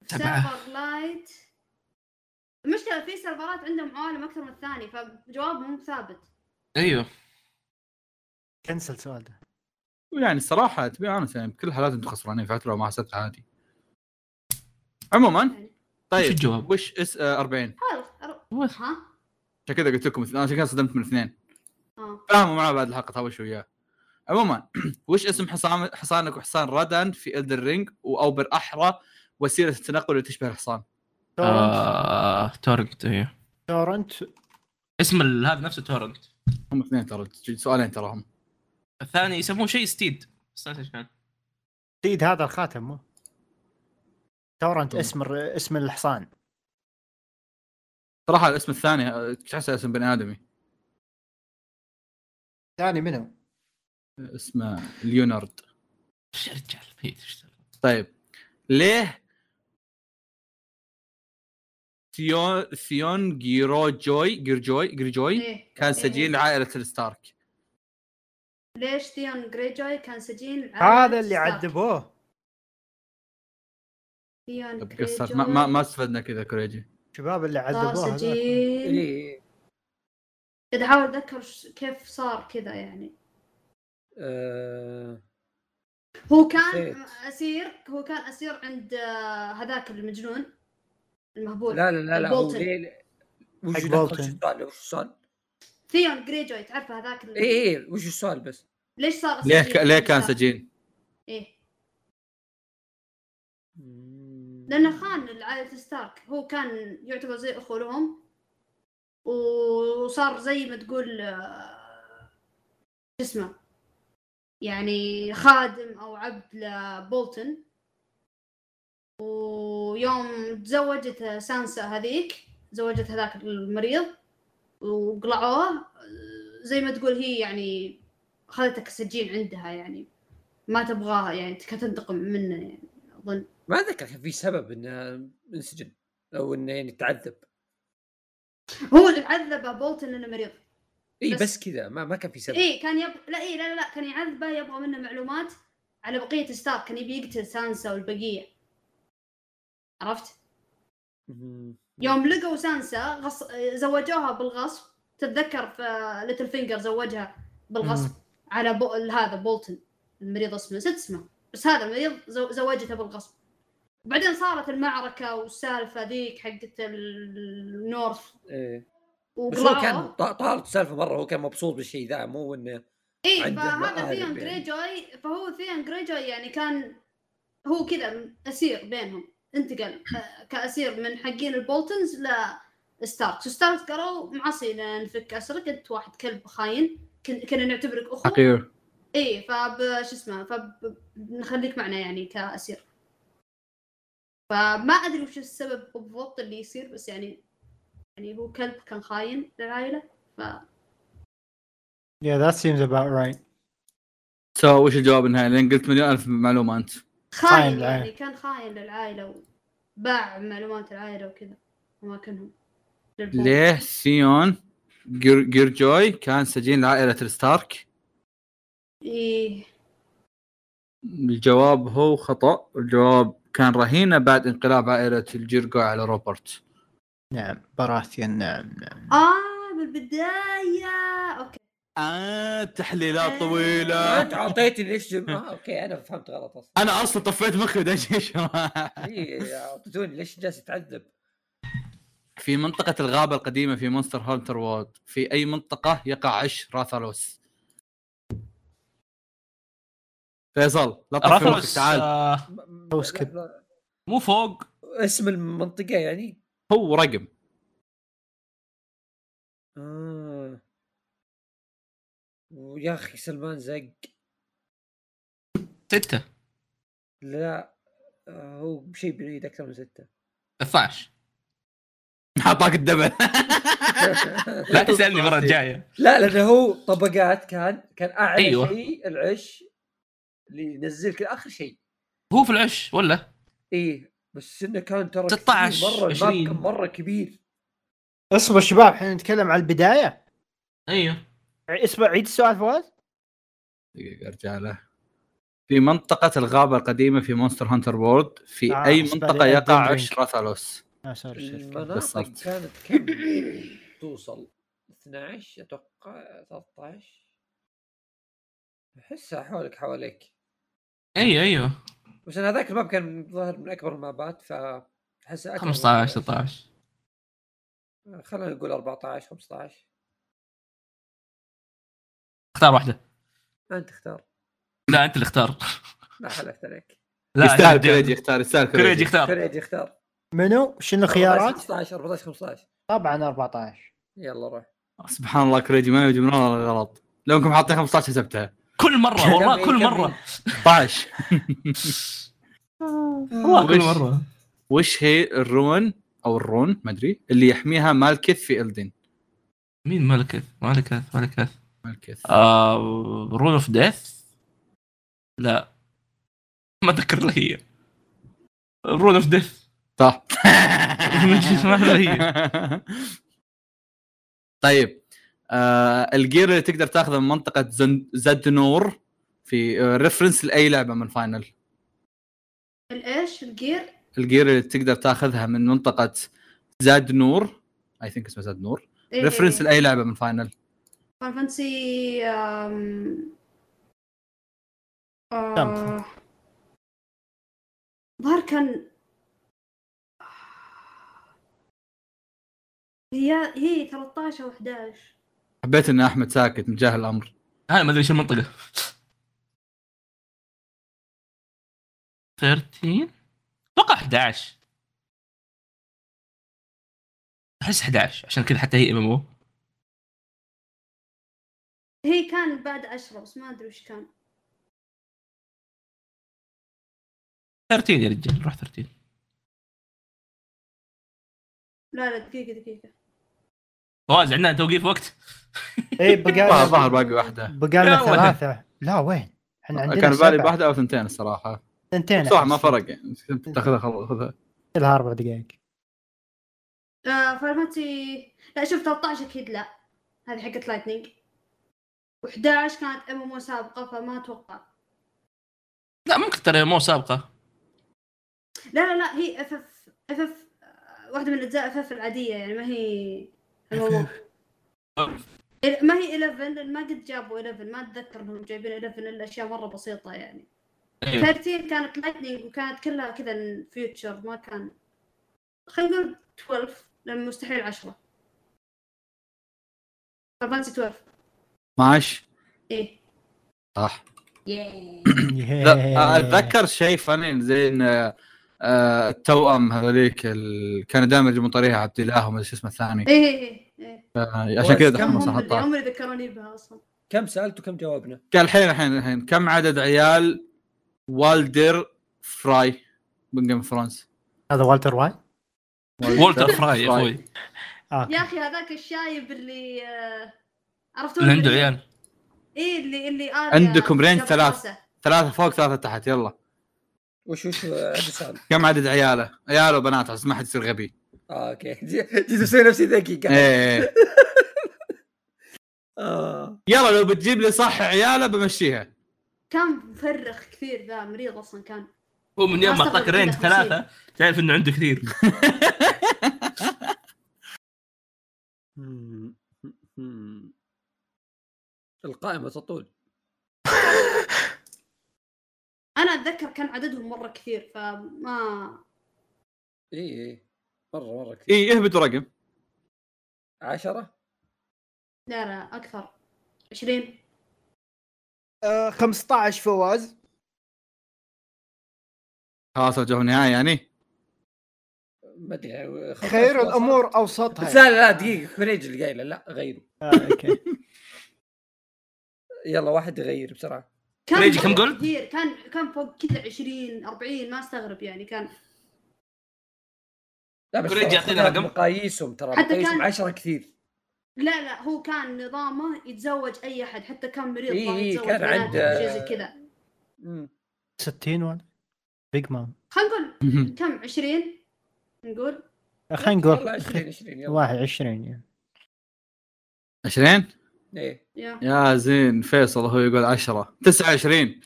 [SPEAKER 5] في
[SPEAKER 4] تبعه.
[SPEAKER 5] سيرفر لايت المشكلة في سيرفرات عندهم عوالم أكثر من الثاني فجوابهم مو ثابت
[SPEAKER 4] ايوه
[SPEAKER 2] كنسل السؤال ده
[SPEAKER 1] يعني الصراحه تبي انا يعني بكل الحالات انتم خسرانين فتره وما حسيت عادي. عموما
[SPEAKER 5] يعني
[SPEAKER 4] وش
[SPEAKER 1] طيب
[SPEAKER 4] الجواب؟
[SPEAKER 1] وش اس آه، 40
[SPEAKER 5] حلو أر-
[SPEAKER 4] وش؟
[SPEAKER 5] ها؟
[SPEAKER 1] عشان كذا قلت لكم اثنين، انا عشان كذا صدمت من اثنين
[SPEAKER 5] اه
[SPEAKER 1] فاهموا معاه بعد الحلقه تهاوش وياه. عموما *clears throat* وش اسم حصان حصانك وحصان ردن في الدر رينج او بالاحرى وسيله التنقل اللي تشبه الحصان؟
[SPEAKER 2] تورنت
[SPEAKER 4] آه، تورنت ايوه
[SPEAKER 2] تورنت
[SPEAKER 4] اسم ال- هذا نفسه تورنت
[SPEAKER 1] هم اثنين ترى سؤالين تراهم
[SPEAKER 4] الثاني يسموه شيء ستيد بس ناسي إيش كان.
[SPEAKER 2] تيد هذا الخاتم مو تورنت اسم الر- اسم الحصان
[SPEAKER 1] صراحه الاسم الثاني آه، تحسه اسم بني ادمي
[SPEAKER 2] ثاني منو؟
[SPEAKER 1] اسمه ليونارد
[SPEAKER 4] ايش يا رجال هي تشتغل.
[SPEAKER 1] طيب ليه ثيون ثيون جيرو جوي جيرجوي جيرجوي
[SPEAKER 5] ايه
[SPEAKER 1] كان سجين
[SPEAKER 5] إيه.
[SPEAKER 1] لعائله الستارك
[SPEAKER 5] ليش ديون جريجوي كان سجين على
[SPEAKER 2] هذا اللي
[SPEAKER 5] ستارك؟
[SPEAKER 2] عذبوه
[SPEAKER 5] ديون
[SPEAKER 1] طب
[SPEAKER 5] جريجوي
[SPEAKER 1] قصرت ما, ما, ما استفدنا كذا كوريجي
[SPEAKER 2] شباب اللي
[SPEAKER 5] صار
[SPEAKER 2] عذبوه هذا
[SPEAKER 5] سجين
[SPEAKER 1] إيه.
[SPEAKER 3] اي
[SPEAKER 5] قاعد احاول اتذكر ش- كيف صار كذا يعني
[SPEAKER 3] آه
[SPEAKER 5] هو كان
[SPEAKER 3] نسيت.
[SPEAKER 5] اسير هو كان اسير عند آه، هذاك المجنون المهبول
[SPEAKER 3] لا لا لا لا هو
[SPEAKER 5] Bolton.
[SPEAKER 3] ليه- ليه- وش
[SPEAKER 2] حق
[SPEAKER 3] دخل-
[SPEAKER 2] Bolton.
[SPEAKER 3] وش السؤال وش السؤال؟
[SPEAKER 5] ثيون جريجوي تعرفه هذاك ال-
[SPEAKER 3] اي اي إيه، وش السؤال بس؟
[SPEAKER 5] ليش صار
[SPEAKER 1] إيه، ليه
[SPEAKER 5] سجين؟
[SPEAKER 1] ليه كان
[SPEAKER 5] صار-
[SPEAKER 1] سجين؟
[SPEAKER 5] ايه لانه خان عائله ستارك هو كان يعتبر زي اخو لهم وصار زي ما تقول آه، شو اسمه يعني خادم او عبد لبولتن ويوم تزوجت سانسا هذيك تزوجت هذاك المريض وقلعوه آه، زي ما تقول هي يعني خذتك السجين عندها يعني ما تبغاها يعني كانت تنتقم منه يعني اظن
[SPEAKER 3] ما اتذكر كان في سبب انه انسجن او انه يعني تعذب
[SPEAKER 5] هو اللي عذبه بولتن انه مريض بس-
[SPEAKER 3] اي إيه،
[SPEAKER 5] إيه.
[SPEAKER 3] بس, كذا ما, ما كان في سبب
[SPEAKER 5] اي كان يب... لا اي لا لا, لا كان يعذبه يبغى منه معلومات على بقيه ستارك كان يبي يقتل سانسا والبقيه عرفت
[SPEAKER 3] مم.
[SPEAKER 5] يوم لقوا سانسا غص... زوجوها بالغصب تتذكر في ليتل فينجر زوجها بالغصب على بو... هذا بولتن المريض اسمه نسيت اسمه بس هذا المريض زو... زوجته بالغصب بعدين صارت المعركه والسالفه ذيك حقت النورث
[SPEAKER 3] إيه. بس
[SPEAKER 5] وقلعوه
[SPEAKER 3] هو كان طا- طارت السالفه مره هو كان مبسوط بالشيء ذا مو انه
[SPEAKER 5] اي
[SPEAKER 3] عنده
[SPEAKER 5] إيه، فهذا
[SPEAKER 3] مآرب
[SPEAKER 5] ثيون
[SPEAKER 3] يعني.
[SPEAKER 5] جريجوي فهو ثيون جريجوي يعني كان هو كذا اسير بينهم انتقل آه، كاسير من حقين البولتنز ل ستاركس ستاركس قالوا معصي نفك اسرك انت واحد كلب خاين كن- كنا نعتبرك اخو
[SPEAKER 1] حقير
[SPEAKER 5] اي فب شو اسمه فبنخليك معنا يعني كاسير فما ادري وش السبب بالضبط اللي يصير بس يعني يعني هو كلب كان خاين للعائله ف
[SPEAKER 2] Yeah that seems about right
[SPEAKER 1] سو وش الجواب النهائي؟ لان قلت مليون الف معلومه انت
[SPEAKER 5] خاين
[SPEAKER 2] للعائلة.
[SPEAKER 5] يعني كان خاين للعائلة وباع معلومات العائلة وكذا أماكنهم للبوم.
[SPEAKER 1] ليه سيون جير- جيرجوي كان سجين لعائله الستارك؟
[SPEAKER 5] إيه
[SPEAKER 1] الجواب هو خطا الجواب كان رهينه بعد انقلاب عائله الجيرجوي على روبرت
[SPEAKER 2] نعم براثيان نعم نعم
[SPEAKER 5] آه بالبداية أوكي
[SPEAKER 1] آه تحليلات
[SPEAKER 3] ما
[SPEAKER 1] طويله
[SPEAKER 3] انت اعطيتني ليش جم... آه اوكي انا فهمت غلط اصلا
[SPEAKER 1] انا اصلا طفيت مخي ودش
[SPEAKER 3] اي اعطيتوني ليش جالس يتعذب
[SPEAKER 1] في منطقة الغابة القديمة في مونستر هانتر وورد في أي منطقة يقع عش راثالوس؟ فيصل لا تطفي مخك
[SPEAKER 4] راثلوس
[SPEAKER 1] تعال
[SPEAKER 4] آه،
[SPEAKER 3] م-
[SPEAKER 2] أو
[SPEAKER 3] لا-
[SPEAKER 2] skip.
[SPEAKER 3] لا.
[SPEAKER 4] مو فوق
[SPEAKER 3] اسم المنطقه يعني
[SPEAKER 1] هو رقم *laughs*
[SPEAKER 3] آه. ويا اخي سلمان زق
[SPEAKER 4] ستة
[SPEAKER 3] لا آه، هو بشيء بعيد اكثر من سته
[SPEAKER 4] 12
[SPEAKER 1] حطاك الدبل
[SPEAKER 4] لا تسالني المره الجايه
[SPEAKER 3] *laughs* لا لانه هو طبقات كان كان اعلى
[SPEAKER 4] أيوة.
[SPEAKER 3] أيوة. شيء العش اللي ينزلك اخر شيء
[SPEAKER 4] هو في العش ولا
[SPEAKER 3] ايه بس انه كان ترى
[SPEAKER 4] 16
[SPEAKER 3] كبير مره
[SPEAKER 4] 20.
[SPEAKER 3] الماب كان مره كبير
[SPEAKER 2] اصبر شباب احنا نتكلم على البدايه
[SPEAKER 4] ايوه
[SPEAKER 2] اصبر عيد السؤال فواز
[SPEAKER 1] دقيقة ارجع له في منطقة الغابة القديمة في مونستر هانتر وورد في
[SPEAKER 2] آه،
[SPEAKER 1] أي
[SPEAKER 2] بالنسبة
[SPEAKER 1] منطقة
[SPEAKER 2] لي
[SPEAKER 1] يقع
[SPEAKER 2] Elden Ring.
[SPEAKER 1] عش راثالوس؟
[SPEAKER 2] اه سوري
[SPEAKER 3] المناطق
[SPEAKER 1] بالضبط.
[SPEAKER 3] كانت كم توصل 12 اتوقع 13 احسها حولك حواليك
[SPEAKER 4] ايوه ايوه
[SPEAKER 3] بس انا هذاك الماب كان ظاهر من اكبر المابات ف احسها اكبر
[SPEAKER 4] 15
[SPEAKER 3] ماب.
[SPEAKER 4] 16
[SPEAKER 3] خلينا نقول 14 15
[SPEAKER 4] اختار واحده
[SPEAKER 3] انت اختار
[SPEAKER 4] لا انت اللي اختار
[SPEAKER 3] ما حلفت عليك
[SPEAKER 4] لا
[SPEAKER 1] يستاهل
[SPEAKER 4] أنت اللي-
[SPEAKER 1] كريجي يختار يستاهل
[SPEAKER 4] كريجي
[SPEAKER 1] كريجي
[SPEAKER 4] اختار
[SPEAKER 3] فريد يختار
[SPEAKER 2] منو شنو خيارات
[SPEAKER 3] 15 14 15
[SPEAKER 2] طبعا 14
[SPEAKER 3] يلا روح
[SPEAKER 1] سبحان الله كريجي ما يجي من ولا غلط لو انكم حاطين 15 كسبتها
[SPEAKER 4] كل مره والله
[SPEAKER 3] كمل،
[SPEAKER 4] كل
[SPEAKER 3] كمل.
[SPEAKER 4] مره
[SPEAKER 1] 16
[SPEAKER 4] والله كل
[SPEAKER 1] وش-
[SPEAKER 4] مره
[SPEAKER 1] وش هي الرون او الرون ما ادري اللي يحميها مالكث في الدن
[SPEAKER 4] مين ملكث ملكث ملكث
[SPEAKER 1] مالكث
[SPEAKER 4] آه رون اوف ديث لا ما اتذكر اللي هي رون اوف ديث *laughs*
[SPEAKER 1] صح
[SPEAKER 4] ما أدري هي.
[SPEAKER 1] طيب آه الجير اللي تقدر تاخذه من منطقه زن- زد نور في آه، ريفرنس لاي لعبه من فاينل
[SPEAKER 5] الايش الجير
[SPEAKER 1] الجير اللي تقدر تاخذها من منطقه زاد نور اي ثينك اسمها زاد نور
[SPEAKER 5] إيه.
[SPEAKER 1] ريفرنس لاي لعبه من فاينل
[SPEAKER 5] فان فانسي آم، آه،
[SPEAKER 2] Something.
[SPEAKER 5] ظهر كان هي هي 13 او 11
[SPEAKER 1] حبيت ان احمد ساكت مجاه الامر
[SPEAKER 4] انا ما ادري ايش المنطقه 13 اتوقع 11 احس 11 عشان كذا حتى هي ام ام او
[SPEAKER 5] هي كان بعد 10 بس ما ادري وش كان
[SPEAKER 4] 13 يا رجال روح 13
[SPEAKER 5] لا لا دقيقه دقيقه
[SPEAKER 4] فواز عندنا توقيف وقت
[SPEAKER 2] اي إيه، بقى
[SPEAKER 1] ظهر ظهر باقي واحده
[SPEAKER 2] بقى لنا
[SPEAKER 4] لا، وين؟
[SPEAKER 2] ثلاثة لا وين؟ احنا عندنا
[SPEAKER 1] كان بالي
[SPEAKER 2] سبعة.
[SPEAKER 1] واحده او ثنتين الصراحه
[SPEAKER 2] ثنتين
[SPEAKER 1] بصراحه ما
[SPEAKER 2] أحس.
[SPEAKER 1] فرق يعني تاخذها خل- خذها
[SPEAKER 2] لها اربع دقائق
[SPEAKER 1] *coughs*
[SPEAKER 5] آه فانتسي لا شوف 13 اكيد لا هذه حقت لايتنينج و11 كانت ام ام سابقه فما اتوقع
[SPEAKER 4] لا ممكن ترى مو سابقه
[SPEAKER 5] لا لا لا هي اف اف اف اف واحده آه، من اجزاء اف اف العاديه يعني ما هي الموضوع. ما هي 11 لان ما قد جابوا 11 ما اتذكر انهم جايبين 11 الا اشياء مره بسيطه يعني
[SPEAKER 4] أيوه.
[SPEAKER 5] 13 كانت لايتنينج وكانت كلها كذا فيوتشر ما كان خلينا نقول 12 لان مستحيل 10 فانسي 12
[SPEAKER 1] 12
[SPEAKER 5] ايه
[SPEAKER 1] صح
[SPEAKER 5] ياي
[SPEAKER 2] إيه.
[SPEAKER 1] لا اتذكر شيء فني زي ان آه، آه، التوأم هذوليك ال- كانوا دائما يجيبون طريقه عبد الله وما أدري شو اسمه الثاني
[SPEAKER 5] ايه ايه ايه
[SPEAKER 1] آه، عشان كذا
[SPEAKER 3] كم
[SPEAKER 1] دحين
[SPEAKER 5] هم
[SPEAKER 1] مصر
[SPEAKER 5] اللي
[SPEAKER 1] حطها
[SPEAKER 5] هم اللي ذكروني بها اصلا
[SPEAKER 3] كم سالت وكم جاوبنا؟
[SPEAKER 1] قال الحين الحين الحين كم عدد عيال والدر فراي من جيم فرونس
[SPEAKER 2] هذا والتر وايت آه.
[SPEAKER 4] والتر فراي يا
[SPEAKER 6] طيب.
[SPEAKER 4] اخوي
[SPEAKER 5] يا اخي هذاك الشايب اللي آه، عرفتوا
[SPEAKER 4] اللي عنده عيال
[SPEAKER 5] ايه اللي اللي آريا
[SPEAKER 1] عندكم رينج
[SPEAKER 5] جابت
[SPEAKER 1] ثلاث.
[SPEAKER 5] راسه.
[SPEAKER 1] ثلاثه فوق ثلاثه تحت يلا
[SPEAKER 3] وش وش عندي سؤال
[SPEAKER 1] كم عدد عياله عياله وبنات عشان ما حد يصير غبي
[SPEAKER 3] اه اوكي *laughs* جيت اسوي نفسي ذكي قاعد
[SPEAKER 1] إيه.
[SPEAKER 3] آه.
[SPEAKER 1] يلا لو بتجيب لي صح عياله بمشيها
[SPEAKER 5] كان مفرخ كثير ذا مريض اصلا كان
[SPEAKER 4] هو من يوم ما
[SPEAKER 5] ما
[SPEAKER 4] اعطاك
[SPEAKER 5] استغرب
[SPEAKER 4] رينج
[SPEAKER 5] كذا خمسين.
[SPEAKER 4] ثلاثه تعرف انه عنده كثير
[SPEAKER 3] مم. مم. القائمة تطول
[SPEAKER 5] انا اتذكر كان عددهم مره كثير فما
[SPEAKER 3] اي اي مرة مرة كثير
[SPEAKER 1] اي اهبطوا رقم
[SPEAKER 3] عشرة
[SPEAKER 5] لا لا اكثر 20
[SPEAKER 1] آه،
[SPEAKER 6] 15 فواز
[SPEAKER 1] خلاص وجهوا النهايه يعني *laughs*
[SPEAKER 3] ما ادري
[SPEAKER 6] خير الامور اوسطها
[SPEAKER 3] بس لا لا لا، دقيقة كوريج اللي قايله لا غيره يلا واحد يغير بسرعة
[SPEAKER 5] كان
[SPEAKER 4] ريجي كم
[SPEAKER 5] مرة
[SPEAKER 4] قلت؟
[SPEAKER 5] كثير كان كان فوق كذا 20 40 ما استغرب يعني كان
[SPEAKER 3] لا بس
[SPEAKER 4] كوريج
[SPEAKER 3] ترى
[SPEAKER 4] يعطينا
[SPEAKER 3] خذها
[SPEAKER 4] رقم؟
[SPEAKER 3] بمقاييسهم ترى
[SPEAKER 5] حتى
[SPEAKER 3] مقاييسهم
[SPEAKER 5] كان-
[SPEAKER 3] عشرة كثير
[SPEAKER 5] لا لا هو كان نظامه يتزوج اي احد حتى كان مريض
[SPEAKER 3] إيه،
[SPEAKER 5] ما
[SPEAKER 3] إيه،
[SPEAKER 5] يتزوج
[SPEAKER 3] كان
[SPEAKER 5] بنات أو
[SPEAKER 3] عنده-
[SPEAKER 5] شيء زي كذا
[SPEAKER 3] مم.
[SPEAKER 2] 60 ولا بيج مام
[SPEAKER 5] خلينا نقول كم 20 نقول
[SPEAKER 2] آه، خلينا نقول
[SPEAKER 3] يلا 20 20 يلا
[SPEAKER 2] 21 يعني
[SPEAKER 1] 20
[SPEAKER 3] ايه
[SPEAKER 5] يا
[SPEAKER 1] يا زين فيصل هو يقول 10 29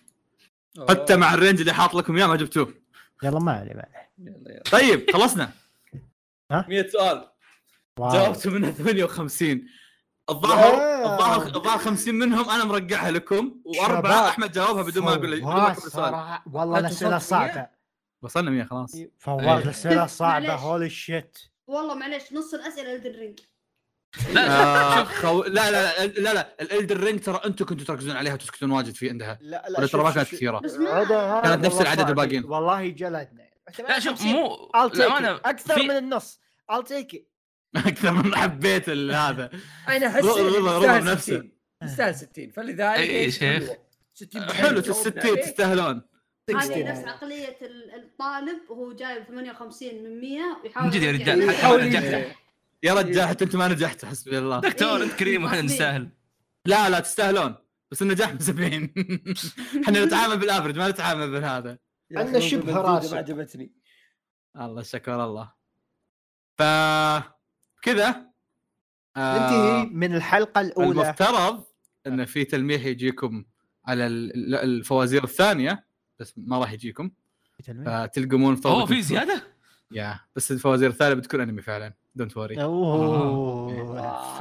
[SPEAKER 3] أوه.
[SPEAKER 1] حتى مع الرينج اللي حاط لكم اياه ما جبتوه
[SPEAKER 2] يلا ما عليه ما عليه
[SPEAKER 3] يلا يلا
[SPEAKER 1] طيب خلصنا
[SPEAKER 2] ها؟
[SPEAKER 1] 100 سؤال
[SPEAKER 2] واو.
[SPEAKER 1] جاوبتوا منها 58 الظاهر
[SPEAKER 6] واو.
[SPEAKER 1] الظاهر الظاهر 50 منهم انا مرقعها لكم واربعه
[SPEAKER 2] شباب.
[SPEAKER 1] احمد جاوبها بدون ما اقول بدون ما
[SPEAKER 2] فواز
[SPEAKER 1] اقول سؤال
[SPEAKER 2] صراحة- إيه. والله
[SPEAKER 3] أنتوا
[SPEAKER 2] الاسئله
[SPEAKER 3] صوت وياه؟
[SPEAKER 2] صعبه
[SPEAKER 1] وصلنا 100 خلاص
[SPEAKER 2] فواز
[SPEAKER 6] *laughs*
[SPEAKER 2] الاسئله
[SPEAKER 5] معليش.
[SPEAKER 2] صعبه هولي شيت
[SPEAKER 5] والله معليش نص الاسئله الدن رينج
[SPEAKER 4] لا
[SPEAKER 2] *laughs*
[SPEAKER 1] آه، خو... لا لا لا لا الالدر رينج ترى انتم كنتوا تركزون عليها وتسكتون واجد في عندها
[SPEAKER 6] لا
[SPEAKER 1] ولا
[SPEAKER 6] لا
[SPEAKER 1] ترى ما
[SPEAKER 6] شوف-
[SPEAKER 1] كانت
[SPEAKER 6] شوف-
[SPEAKER 1] كثيره
[SPEAKER 5] بس ما
[SPEAKER 6] هذا
[SPEAKER 1] كانت نفس
[SPEAKER 6] والله
[SPEAKER 1] العدد
[SPEAKER 6] صعب.
[SPEAKER 1] الباقيين.
[SPEAKER 6] والله جلدنا
[SPEAKER 4] لا شوف
[SPEAKER 6] 58.
[SPEAKER 4] مو
[SPEAKER 6] I'll take
[SPEAKER 4] للأمانة،
[SPEAKER 6] it. اكثر
[SPEAKER 4] في-
[SPEAKER 6] من النص I'll take it.
[SPEAKER 1] *laughs* اكثر من حبيت ال- هذا
[SPEAKER 3] انا احس
[SPEAKER 1] رضا-
[SPEAKER 3] إنه
[SPEAKER 1] رضا- رضا
[SPEAKER 3] يستاهل
[SPEAKER 1] بنفسه. إيه،
[SPEAKER 3] 60. يستاهل 60 فلذلك
[SPEAKER 4] إي
[SPEAKER 3] إيش
[SPEAKER 4] شيخ.
[SPEAKER 3] حلوة. 60
[SPEAKER 5] *laughs*
[SPEAKER 1] حلو في 60 تستاهلون
[SPEAKER 5] هذه
[SPEAKER 6] 60.
[SPEAKER 5] نفس عقلية ال- الطالب وهو جايب 58 من 100 ويحاول
[SPEAKER 4] من جد يا
[SPEAKER 5] يرجع ينجح.
[SPEAKER 4] رجال حتى ما نجحت
[SPEAKER 1] يا رجال حتى انت ما نجحت حسبي الله
[SPEAKER 4] دكتور انت كريم واحنا
[SPEAKER 5] إيه.
[SPEAKER 4] نستاهل
[SPEAKER 1] لا لا تستاهلون بس النجاح من *laughs* 70 احنا نتعامل بالافرج ما نتعامل بالهذا
[SPEAKER 6] عندنا شبه راسه.
[SPEAKER 3] ما عجبتني
[SPEAKER 1] الله شكر الله ف كذا آه،
[SPEAKER 2] ننتهي من الحلقه الاولى
[SPEAKER 1] المفترض ان في تلميح يجيكم على ال- الفوازير الثانيه بس ما راح يجيكم آه، فتلقمون
[SPEAKER 4] اوه
[SPEAKER 1] فوق
[SPEAKER 6] *laughs*
[SPEAKER 4] في زياده؟
[SPEAKER 1] يا بس الفوازير الثانيه بتكون انمي فعلا دونت وري
[SPEAKER 2] اوه
[SPEAKER 1] آه،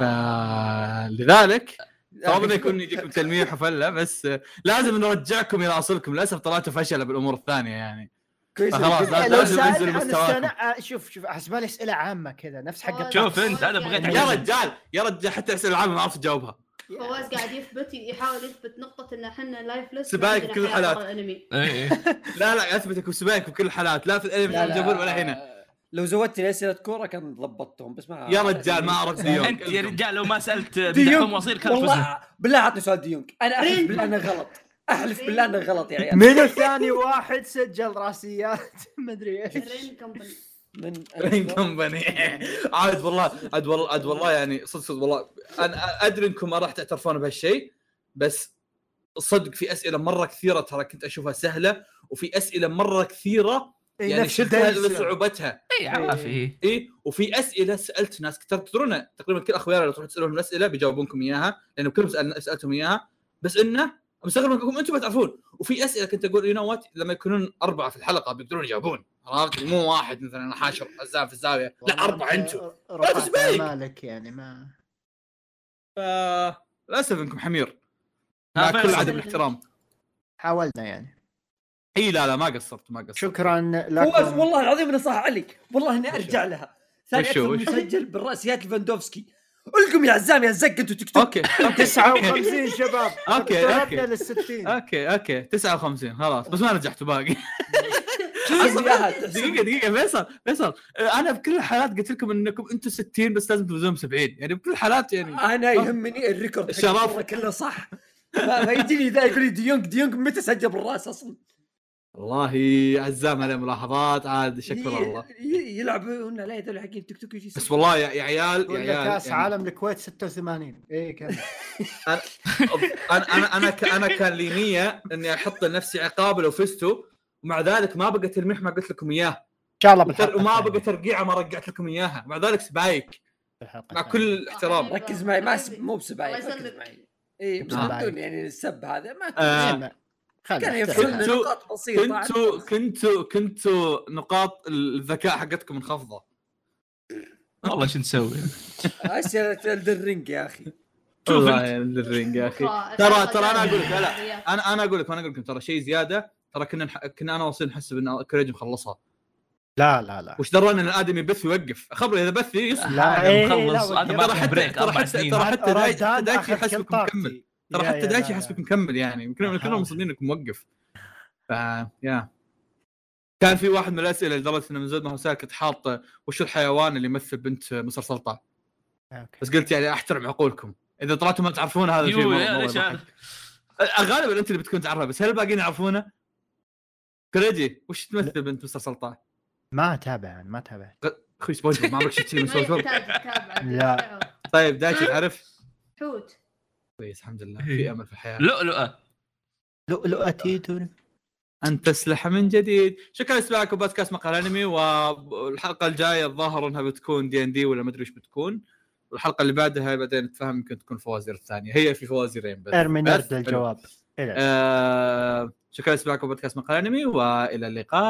[SPEAKER 1] فلذلك طبعا انه يكون طيب، يجيكم تلميح وفله بس لازم نرجعكم الى اصلكم للاسف طلعتوا فشله بالامور الثانيه يعني
[SPEAKER 3] كويس
[SPEAKER 1] فخلاص،
[SPEAKER 3] إنك-
[SPEAKER 1] لا-
[SPEAKER 2] لو
[SPEAKER 1] آه، لازم
[SPEAKER 2] سألت
[SPEAKER 1] ينزل
[SPEAKER 2] عن
[SPEAKER 1] مستواكم.
[SPEAKER 2] السنة- آه، شوف شوف احسبها لي اسئله عامه كذا نفس حق
[SPEAKER 5] والله.
[SPEAKER 4] شوف انت انا بغيت
[SPEAKER 5] يعني-
[SPEAKER 1] يا
[SPEAKER 4] أعجزك.
[SPEAKER 1] رجال يا رجال حتى الاسئله العامه ما عرفت اجاوبها
[SPEAKER 5] فواز قاعد يثبت يحاول يثبت نقطة ان احنا لايفلس
[SPEAKER 1] سبايك كل الحالات. *laughs*
[SPEAKER 5] الانمي
[SPEAKER 6] أيوه،
[SPEAKER 4] إيه، إيه.
[SPEAKER 1] لا لا اثبتك وسباك بكل الحالات لا في الانمي لا
[SPEAKER 3] لا، لا.
[SPEAKER 1] الجمهور ولا
[SPEAKER 3] *laughs*
[SPEAKER 1] هنا
[SPEAKER 3] لو زودتني اسئله كوره كان ضبطتهم بس ما
[SPEAKER 1] يا رجال ما اعرف ديونج *laughs*
[SPEAKER 4] انت يا رجال لو ما سالت
[SPEAKER 3] ديونج
[SPEAKER 4] بدحوم واصير كان فزنا
[SPEAKER 3] والله بالله عطني سؤال ديونج انا احلف
[SPEAKER 5] رين.
[SPEAKER 3] بالله انه غلط احلف بالله انه غلط يا عيال
[SPEAKER 2] من الثاني واحد سجل راسيات *laughs* ما ادري
[SPEAKER 6] يعني
[SPEAKER 2] ايش
[SPEAKER 5] رين كمباني
[SPEAKER 4] *laughs*
[SPEAKER 3] من
[SPEAKER 1] رين كومباني *laughs* عاد والله عاد والله عاد والله يعني صدق صدق والله انا ادري انكم ما راح تعترفون بهالشيء بس صدق في اسئله مره كثيره ترى كنت اشوفها سهله وفي اسئله مره كثيره
[SPEAKER 2] إي،
[SPEAKER 1] يعني
[SPEAKER 2] إيه، نفس
[SPEAKER 1] شلتها
[SPEAKER 2] الدرس.
[SPEAKER 1] لصعوبتها
[SPEAKER 4] اي
[SPEAKER 2] إيه.
[SPEAKER 4] عافي
[SPEAKER 1] اي إيه؟ وفي اسئله سالت ناس كثير تدرون تقريبا كل اخوياي لو تروح تسالهم الاسئله بيجاوبونكم اياها لانه كلهم سأل- سالتهم اياها بس انه مستغرب انكم انتم ما تعرفون وفي اسئله كنت اقول يو نو وات لما يكونون اربعه في الحلقه بيقدرون يجاوبون عرفت مو واحد مثلا أنا حاشر حزام في الزاويه لا اربعه انتم
[SPEAKER 2] رفعت
[SPEAKER 1] تسبيك.
[SPEAKER 2] مالك يعني ما
[SPEAKER 1] ف للاسف انكم حمير
[SPEAKER 4] ها،
[SPEAKER 1] مع كل
[SPEAKER 4] فيصل.
[SPEAKER 1] عدم الاحترام
[SPEAKER 2] حاولنا يعني
[SPEAKER 1] اي لا لا ما قصرت ما قصرت
[SPEAKER 2] شكرا
[SPEAKER 3] فواز
[SPEAKER 2] لكم
[SPEAKER 3] والله العظيم انه صح عليك والله اني ارجع لها ثاني
[SPEAKER 1] وشو-
[SPEAKER 3] اكثر
[SPEAKER 1] وشو؟
[SPEAKER 3] مسجل بالراسيات الفندوفسكي القم يا عزام يا زق انتوا تيك توك
[SPEAKER 1] اوكي اوكي *laughs*
[SPEAKER 2] 59 شباب
[SPEAKER 1] أوكي،
[SPEAKER 2] اقتربنا
[SPEAKER 1] أوكي.
[SPEAKER 2] لل 60
[SPEAKER 1] اوكي اوكي 59 خلاص بس ما رجعتوا باقي
[SPEAKER 3] تحسب إياها، تحسب.
[SPEAKER 1] دقيقه دقيقه فيصل فيصل آه، انا بكل الحالات قلت لكم انكم انتم 60 بس لازم تفوزون 70 يعني بكل الحالات يعني
[SPEAKER 3] انا يهمني الريكورد حق
[SPEAKER 1] شرف.
[SPEAKER 3] المرة كله صح ما ما يجيني ذا يقول لي ديونج ديونج متى سجل بالراس اصلا
[SPEAKER 1] والله عزام عليه ملاحظات عاد شكر
[SPEAKER 3] ي-
[SPEAKER 1] الله
[SPEAKER 3] ي- يلعبون عليه هذول حقين تيك توك يجي
[SPEAKER 1] بس والله يا يا عيال يا
[SPEAKER 2] ولا
[SPEAKER 1] عيال
[SPEAKER 2] كاس
[SPEAKER 1] يعني
[SPEAKER 2] عالم الكويت إيه، 86 اي كمل
[SPEAKER 1] انا انا انا ك- انا كان لي نيه اني احط لنفسي عقاب لو فزتوا ومع ذلك ما بقى تلميح ما قلت لكم اياه
[SPEAKER 2] ان شاء الله
[SPEAKER 1] وتر-
[SPEAKER 2] بالحلقه
[SPEAKER 1] وما بقى
[SPEAKER 2] الثانية.
[SPEAKER 1] ترقيعه ما رجعت لكم اياها مع ذلك سبايك
[SPEAKER 2] بالحلقة
[SPEAKER 1] مع
[SPEAKER 2] الثانية.
[SPEAKER 1] كل الاحترام
[SPEAKER 3] *laughs* ركز معي ما أسب- مو بسبعي
[SPEAKER 5] الله
[SPEAKER 3] ركز
[SPEAKER 5] يسلمك.
[SPEAKER 3] معي اي بس
[SPEAKER 1] نعم.
[SPEAKER 3] بدون يعني السب هذا ما
[SPEAKER 1] آه،
[SPEAKER 3] كان-
[SPEAKER 2] خلي
[SPEAKER 3] كان
[SPEAKER 2] احترام.
[SPEAKER 3] يفصلنا
[SPEAKER 1] كنتوا-
[SPEAKER 3] نقاط بسيطه
[SPEAKER 1] كنتوا كنتوا كنتوا نقاط الذكاء حقتكم منخفضه
[SPEAKER 4] والله شو نسوي
[SPEAKER 3] اسئله الدرينج يا اخي
[SPEAKER 4] شوف
[SPEAKER 1] والله
[SPEAKER 4] أنت.
[SPEAKER 1] يا للرينج يا اخي ترى
[SPEAKER 5] ترى
[SPEAKER 1] ترى انا اقول لك لا انا انا اقول لك انا اقول لكم ترى شيء زياده ترى كنا نح... كنا انا واصيل نحسب ان كريج مخلصها
[SPEAKER 2] لا لا لا
[SPEAKER 1] وش درانا ان الادمي بث يوقف خبره اذا بث يصبر
[SPEAKER 2] *laughs* لا
[SPEAKER 4] هذا
[SPEAKER 2] إيه،
[SPEAKER 4] مخلص
[SPEAKER 2] لا،
[SPEAKER 4] هذا
[SPEAKER 2] وكيف-
[SPEAKER 1] ترى
[SPEAKER 4] ما
[SPEAKER 1] حتى-
[SPEAKER 4] بريك
[SPEAKER 1] ترى
[SPEAKER 4] اربع
[SPEAKER 1] حتى-
[SPEAKER 4] سنين
[SPEAKER 1] ترى
[SPEAKER 4] راح-
[SPEAKER 1] حتى دايتشي-
[SPEAKER 2] رمضان
[SPEAKER 1] دايتشي
[SPEAKER 2] أخذ كل
[SPEAKER 1] يحسبكم
[SPEAKER 2] طاقتي.
[SPEAKER 1] مكمل. ترى
[SPEAKER 2] يا-
[SPEAKER 1] حتى
[SPEAKER 2] يا-
[SPEAKER 1] دايتشي
[SPEAKER 2] لا،
[SPEAKER 1] يحسبك
[SPEAKER 2] لا.
[SPEAKER 1] مكمل يعني كنا
[SPEAKER 2] أحاول.
[SPEAKER 1] كنا مصدقين انكم موقف ف يا كان في واحد من الاسئله لدرجه انه من زود ما هو ساكت حاط وش الحيوان اللي يمثل بنت مصر سلطان
[SPEAKER 2] أوكي.
[SPEAKER 1] بس قلت يعني احترم عقولكم اذا طلعتوا ما تعرفون هذا الشيء
[SPEAKER 4] يو
[SPEAKER 1] مرة-
[SPEAKER 4] يا
[SPEAKER 1] مرة
[SPEAKER 4] ليش
[SPEAKER 1] يضحك.
[SPEAKER 4] هذا؟
[SPEAKER 1] غالبا انت اللي بتكون تعرفها بس هل الباقيين يعرفونه؟ كريجي وش تمثل بنت مستر سلطان؟
[SPEAKER 2] ما اتابع أنا، ما اتابع
[SPEAKER 1] اخوي سبونج بوب، ما عمرك شفت شيء
[SPEAKER 5] *laughs*
[SPEAKER 1] من
[SPEAKER 5] ما
[SPEAKER 1] سبونج بوب؟
[SPEAKER 5] يحتاج تتابع
[SPEAKER 2] لا.
[SPEAKER 1] طيب دايتشي تعرف؟
[SPEAKER 5] حوت
[SPEAKER 1] كويس الحمد لله في امل في الحياه
[SPEAKER 4] لؤلؤه
[SPEAKER 2] لؤلؤة تيتو
[SPEAKER 1] ان تسلح من جديد شكرا لاتباعكم بودكاست مقال انمي والحلقه الجايه الظاهر انها بتكون دي ان دي ولا ما ادري ايش بتكون والحلقه اللي بعدها بعدين نتفاهم يمكن تكون فوازير الثانيه هي في فوازيرين بس
[SPEAKER 2] ارمي
[SPEAKER 1] بس
[SPEAKER 2] نرد الجواب إلى-
[SPEAKER 1] آه شكرا لاتباعكم بودكاست مقال انمي والى اللقاء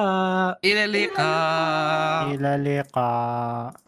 [SPEAKER 1] آه.
[SPEAKER 4] الى اللقاء
[SPEAKER 2] الى اللقاء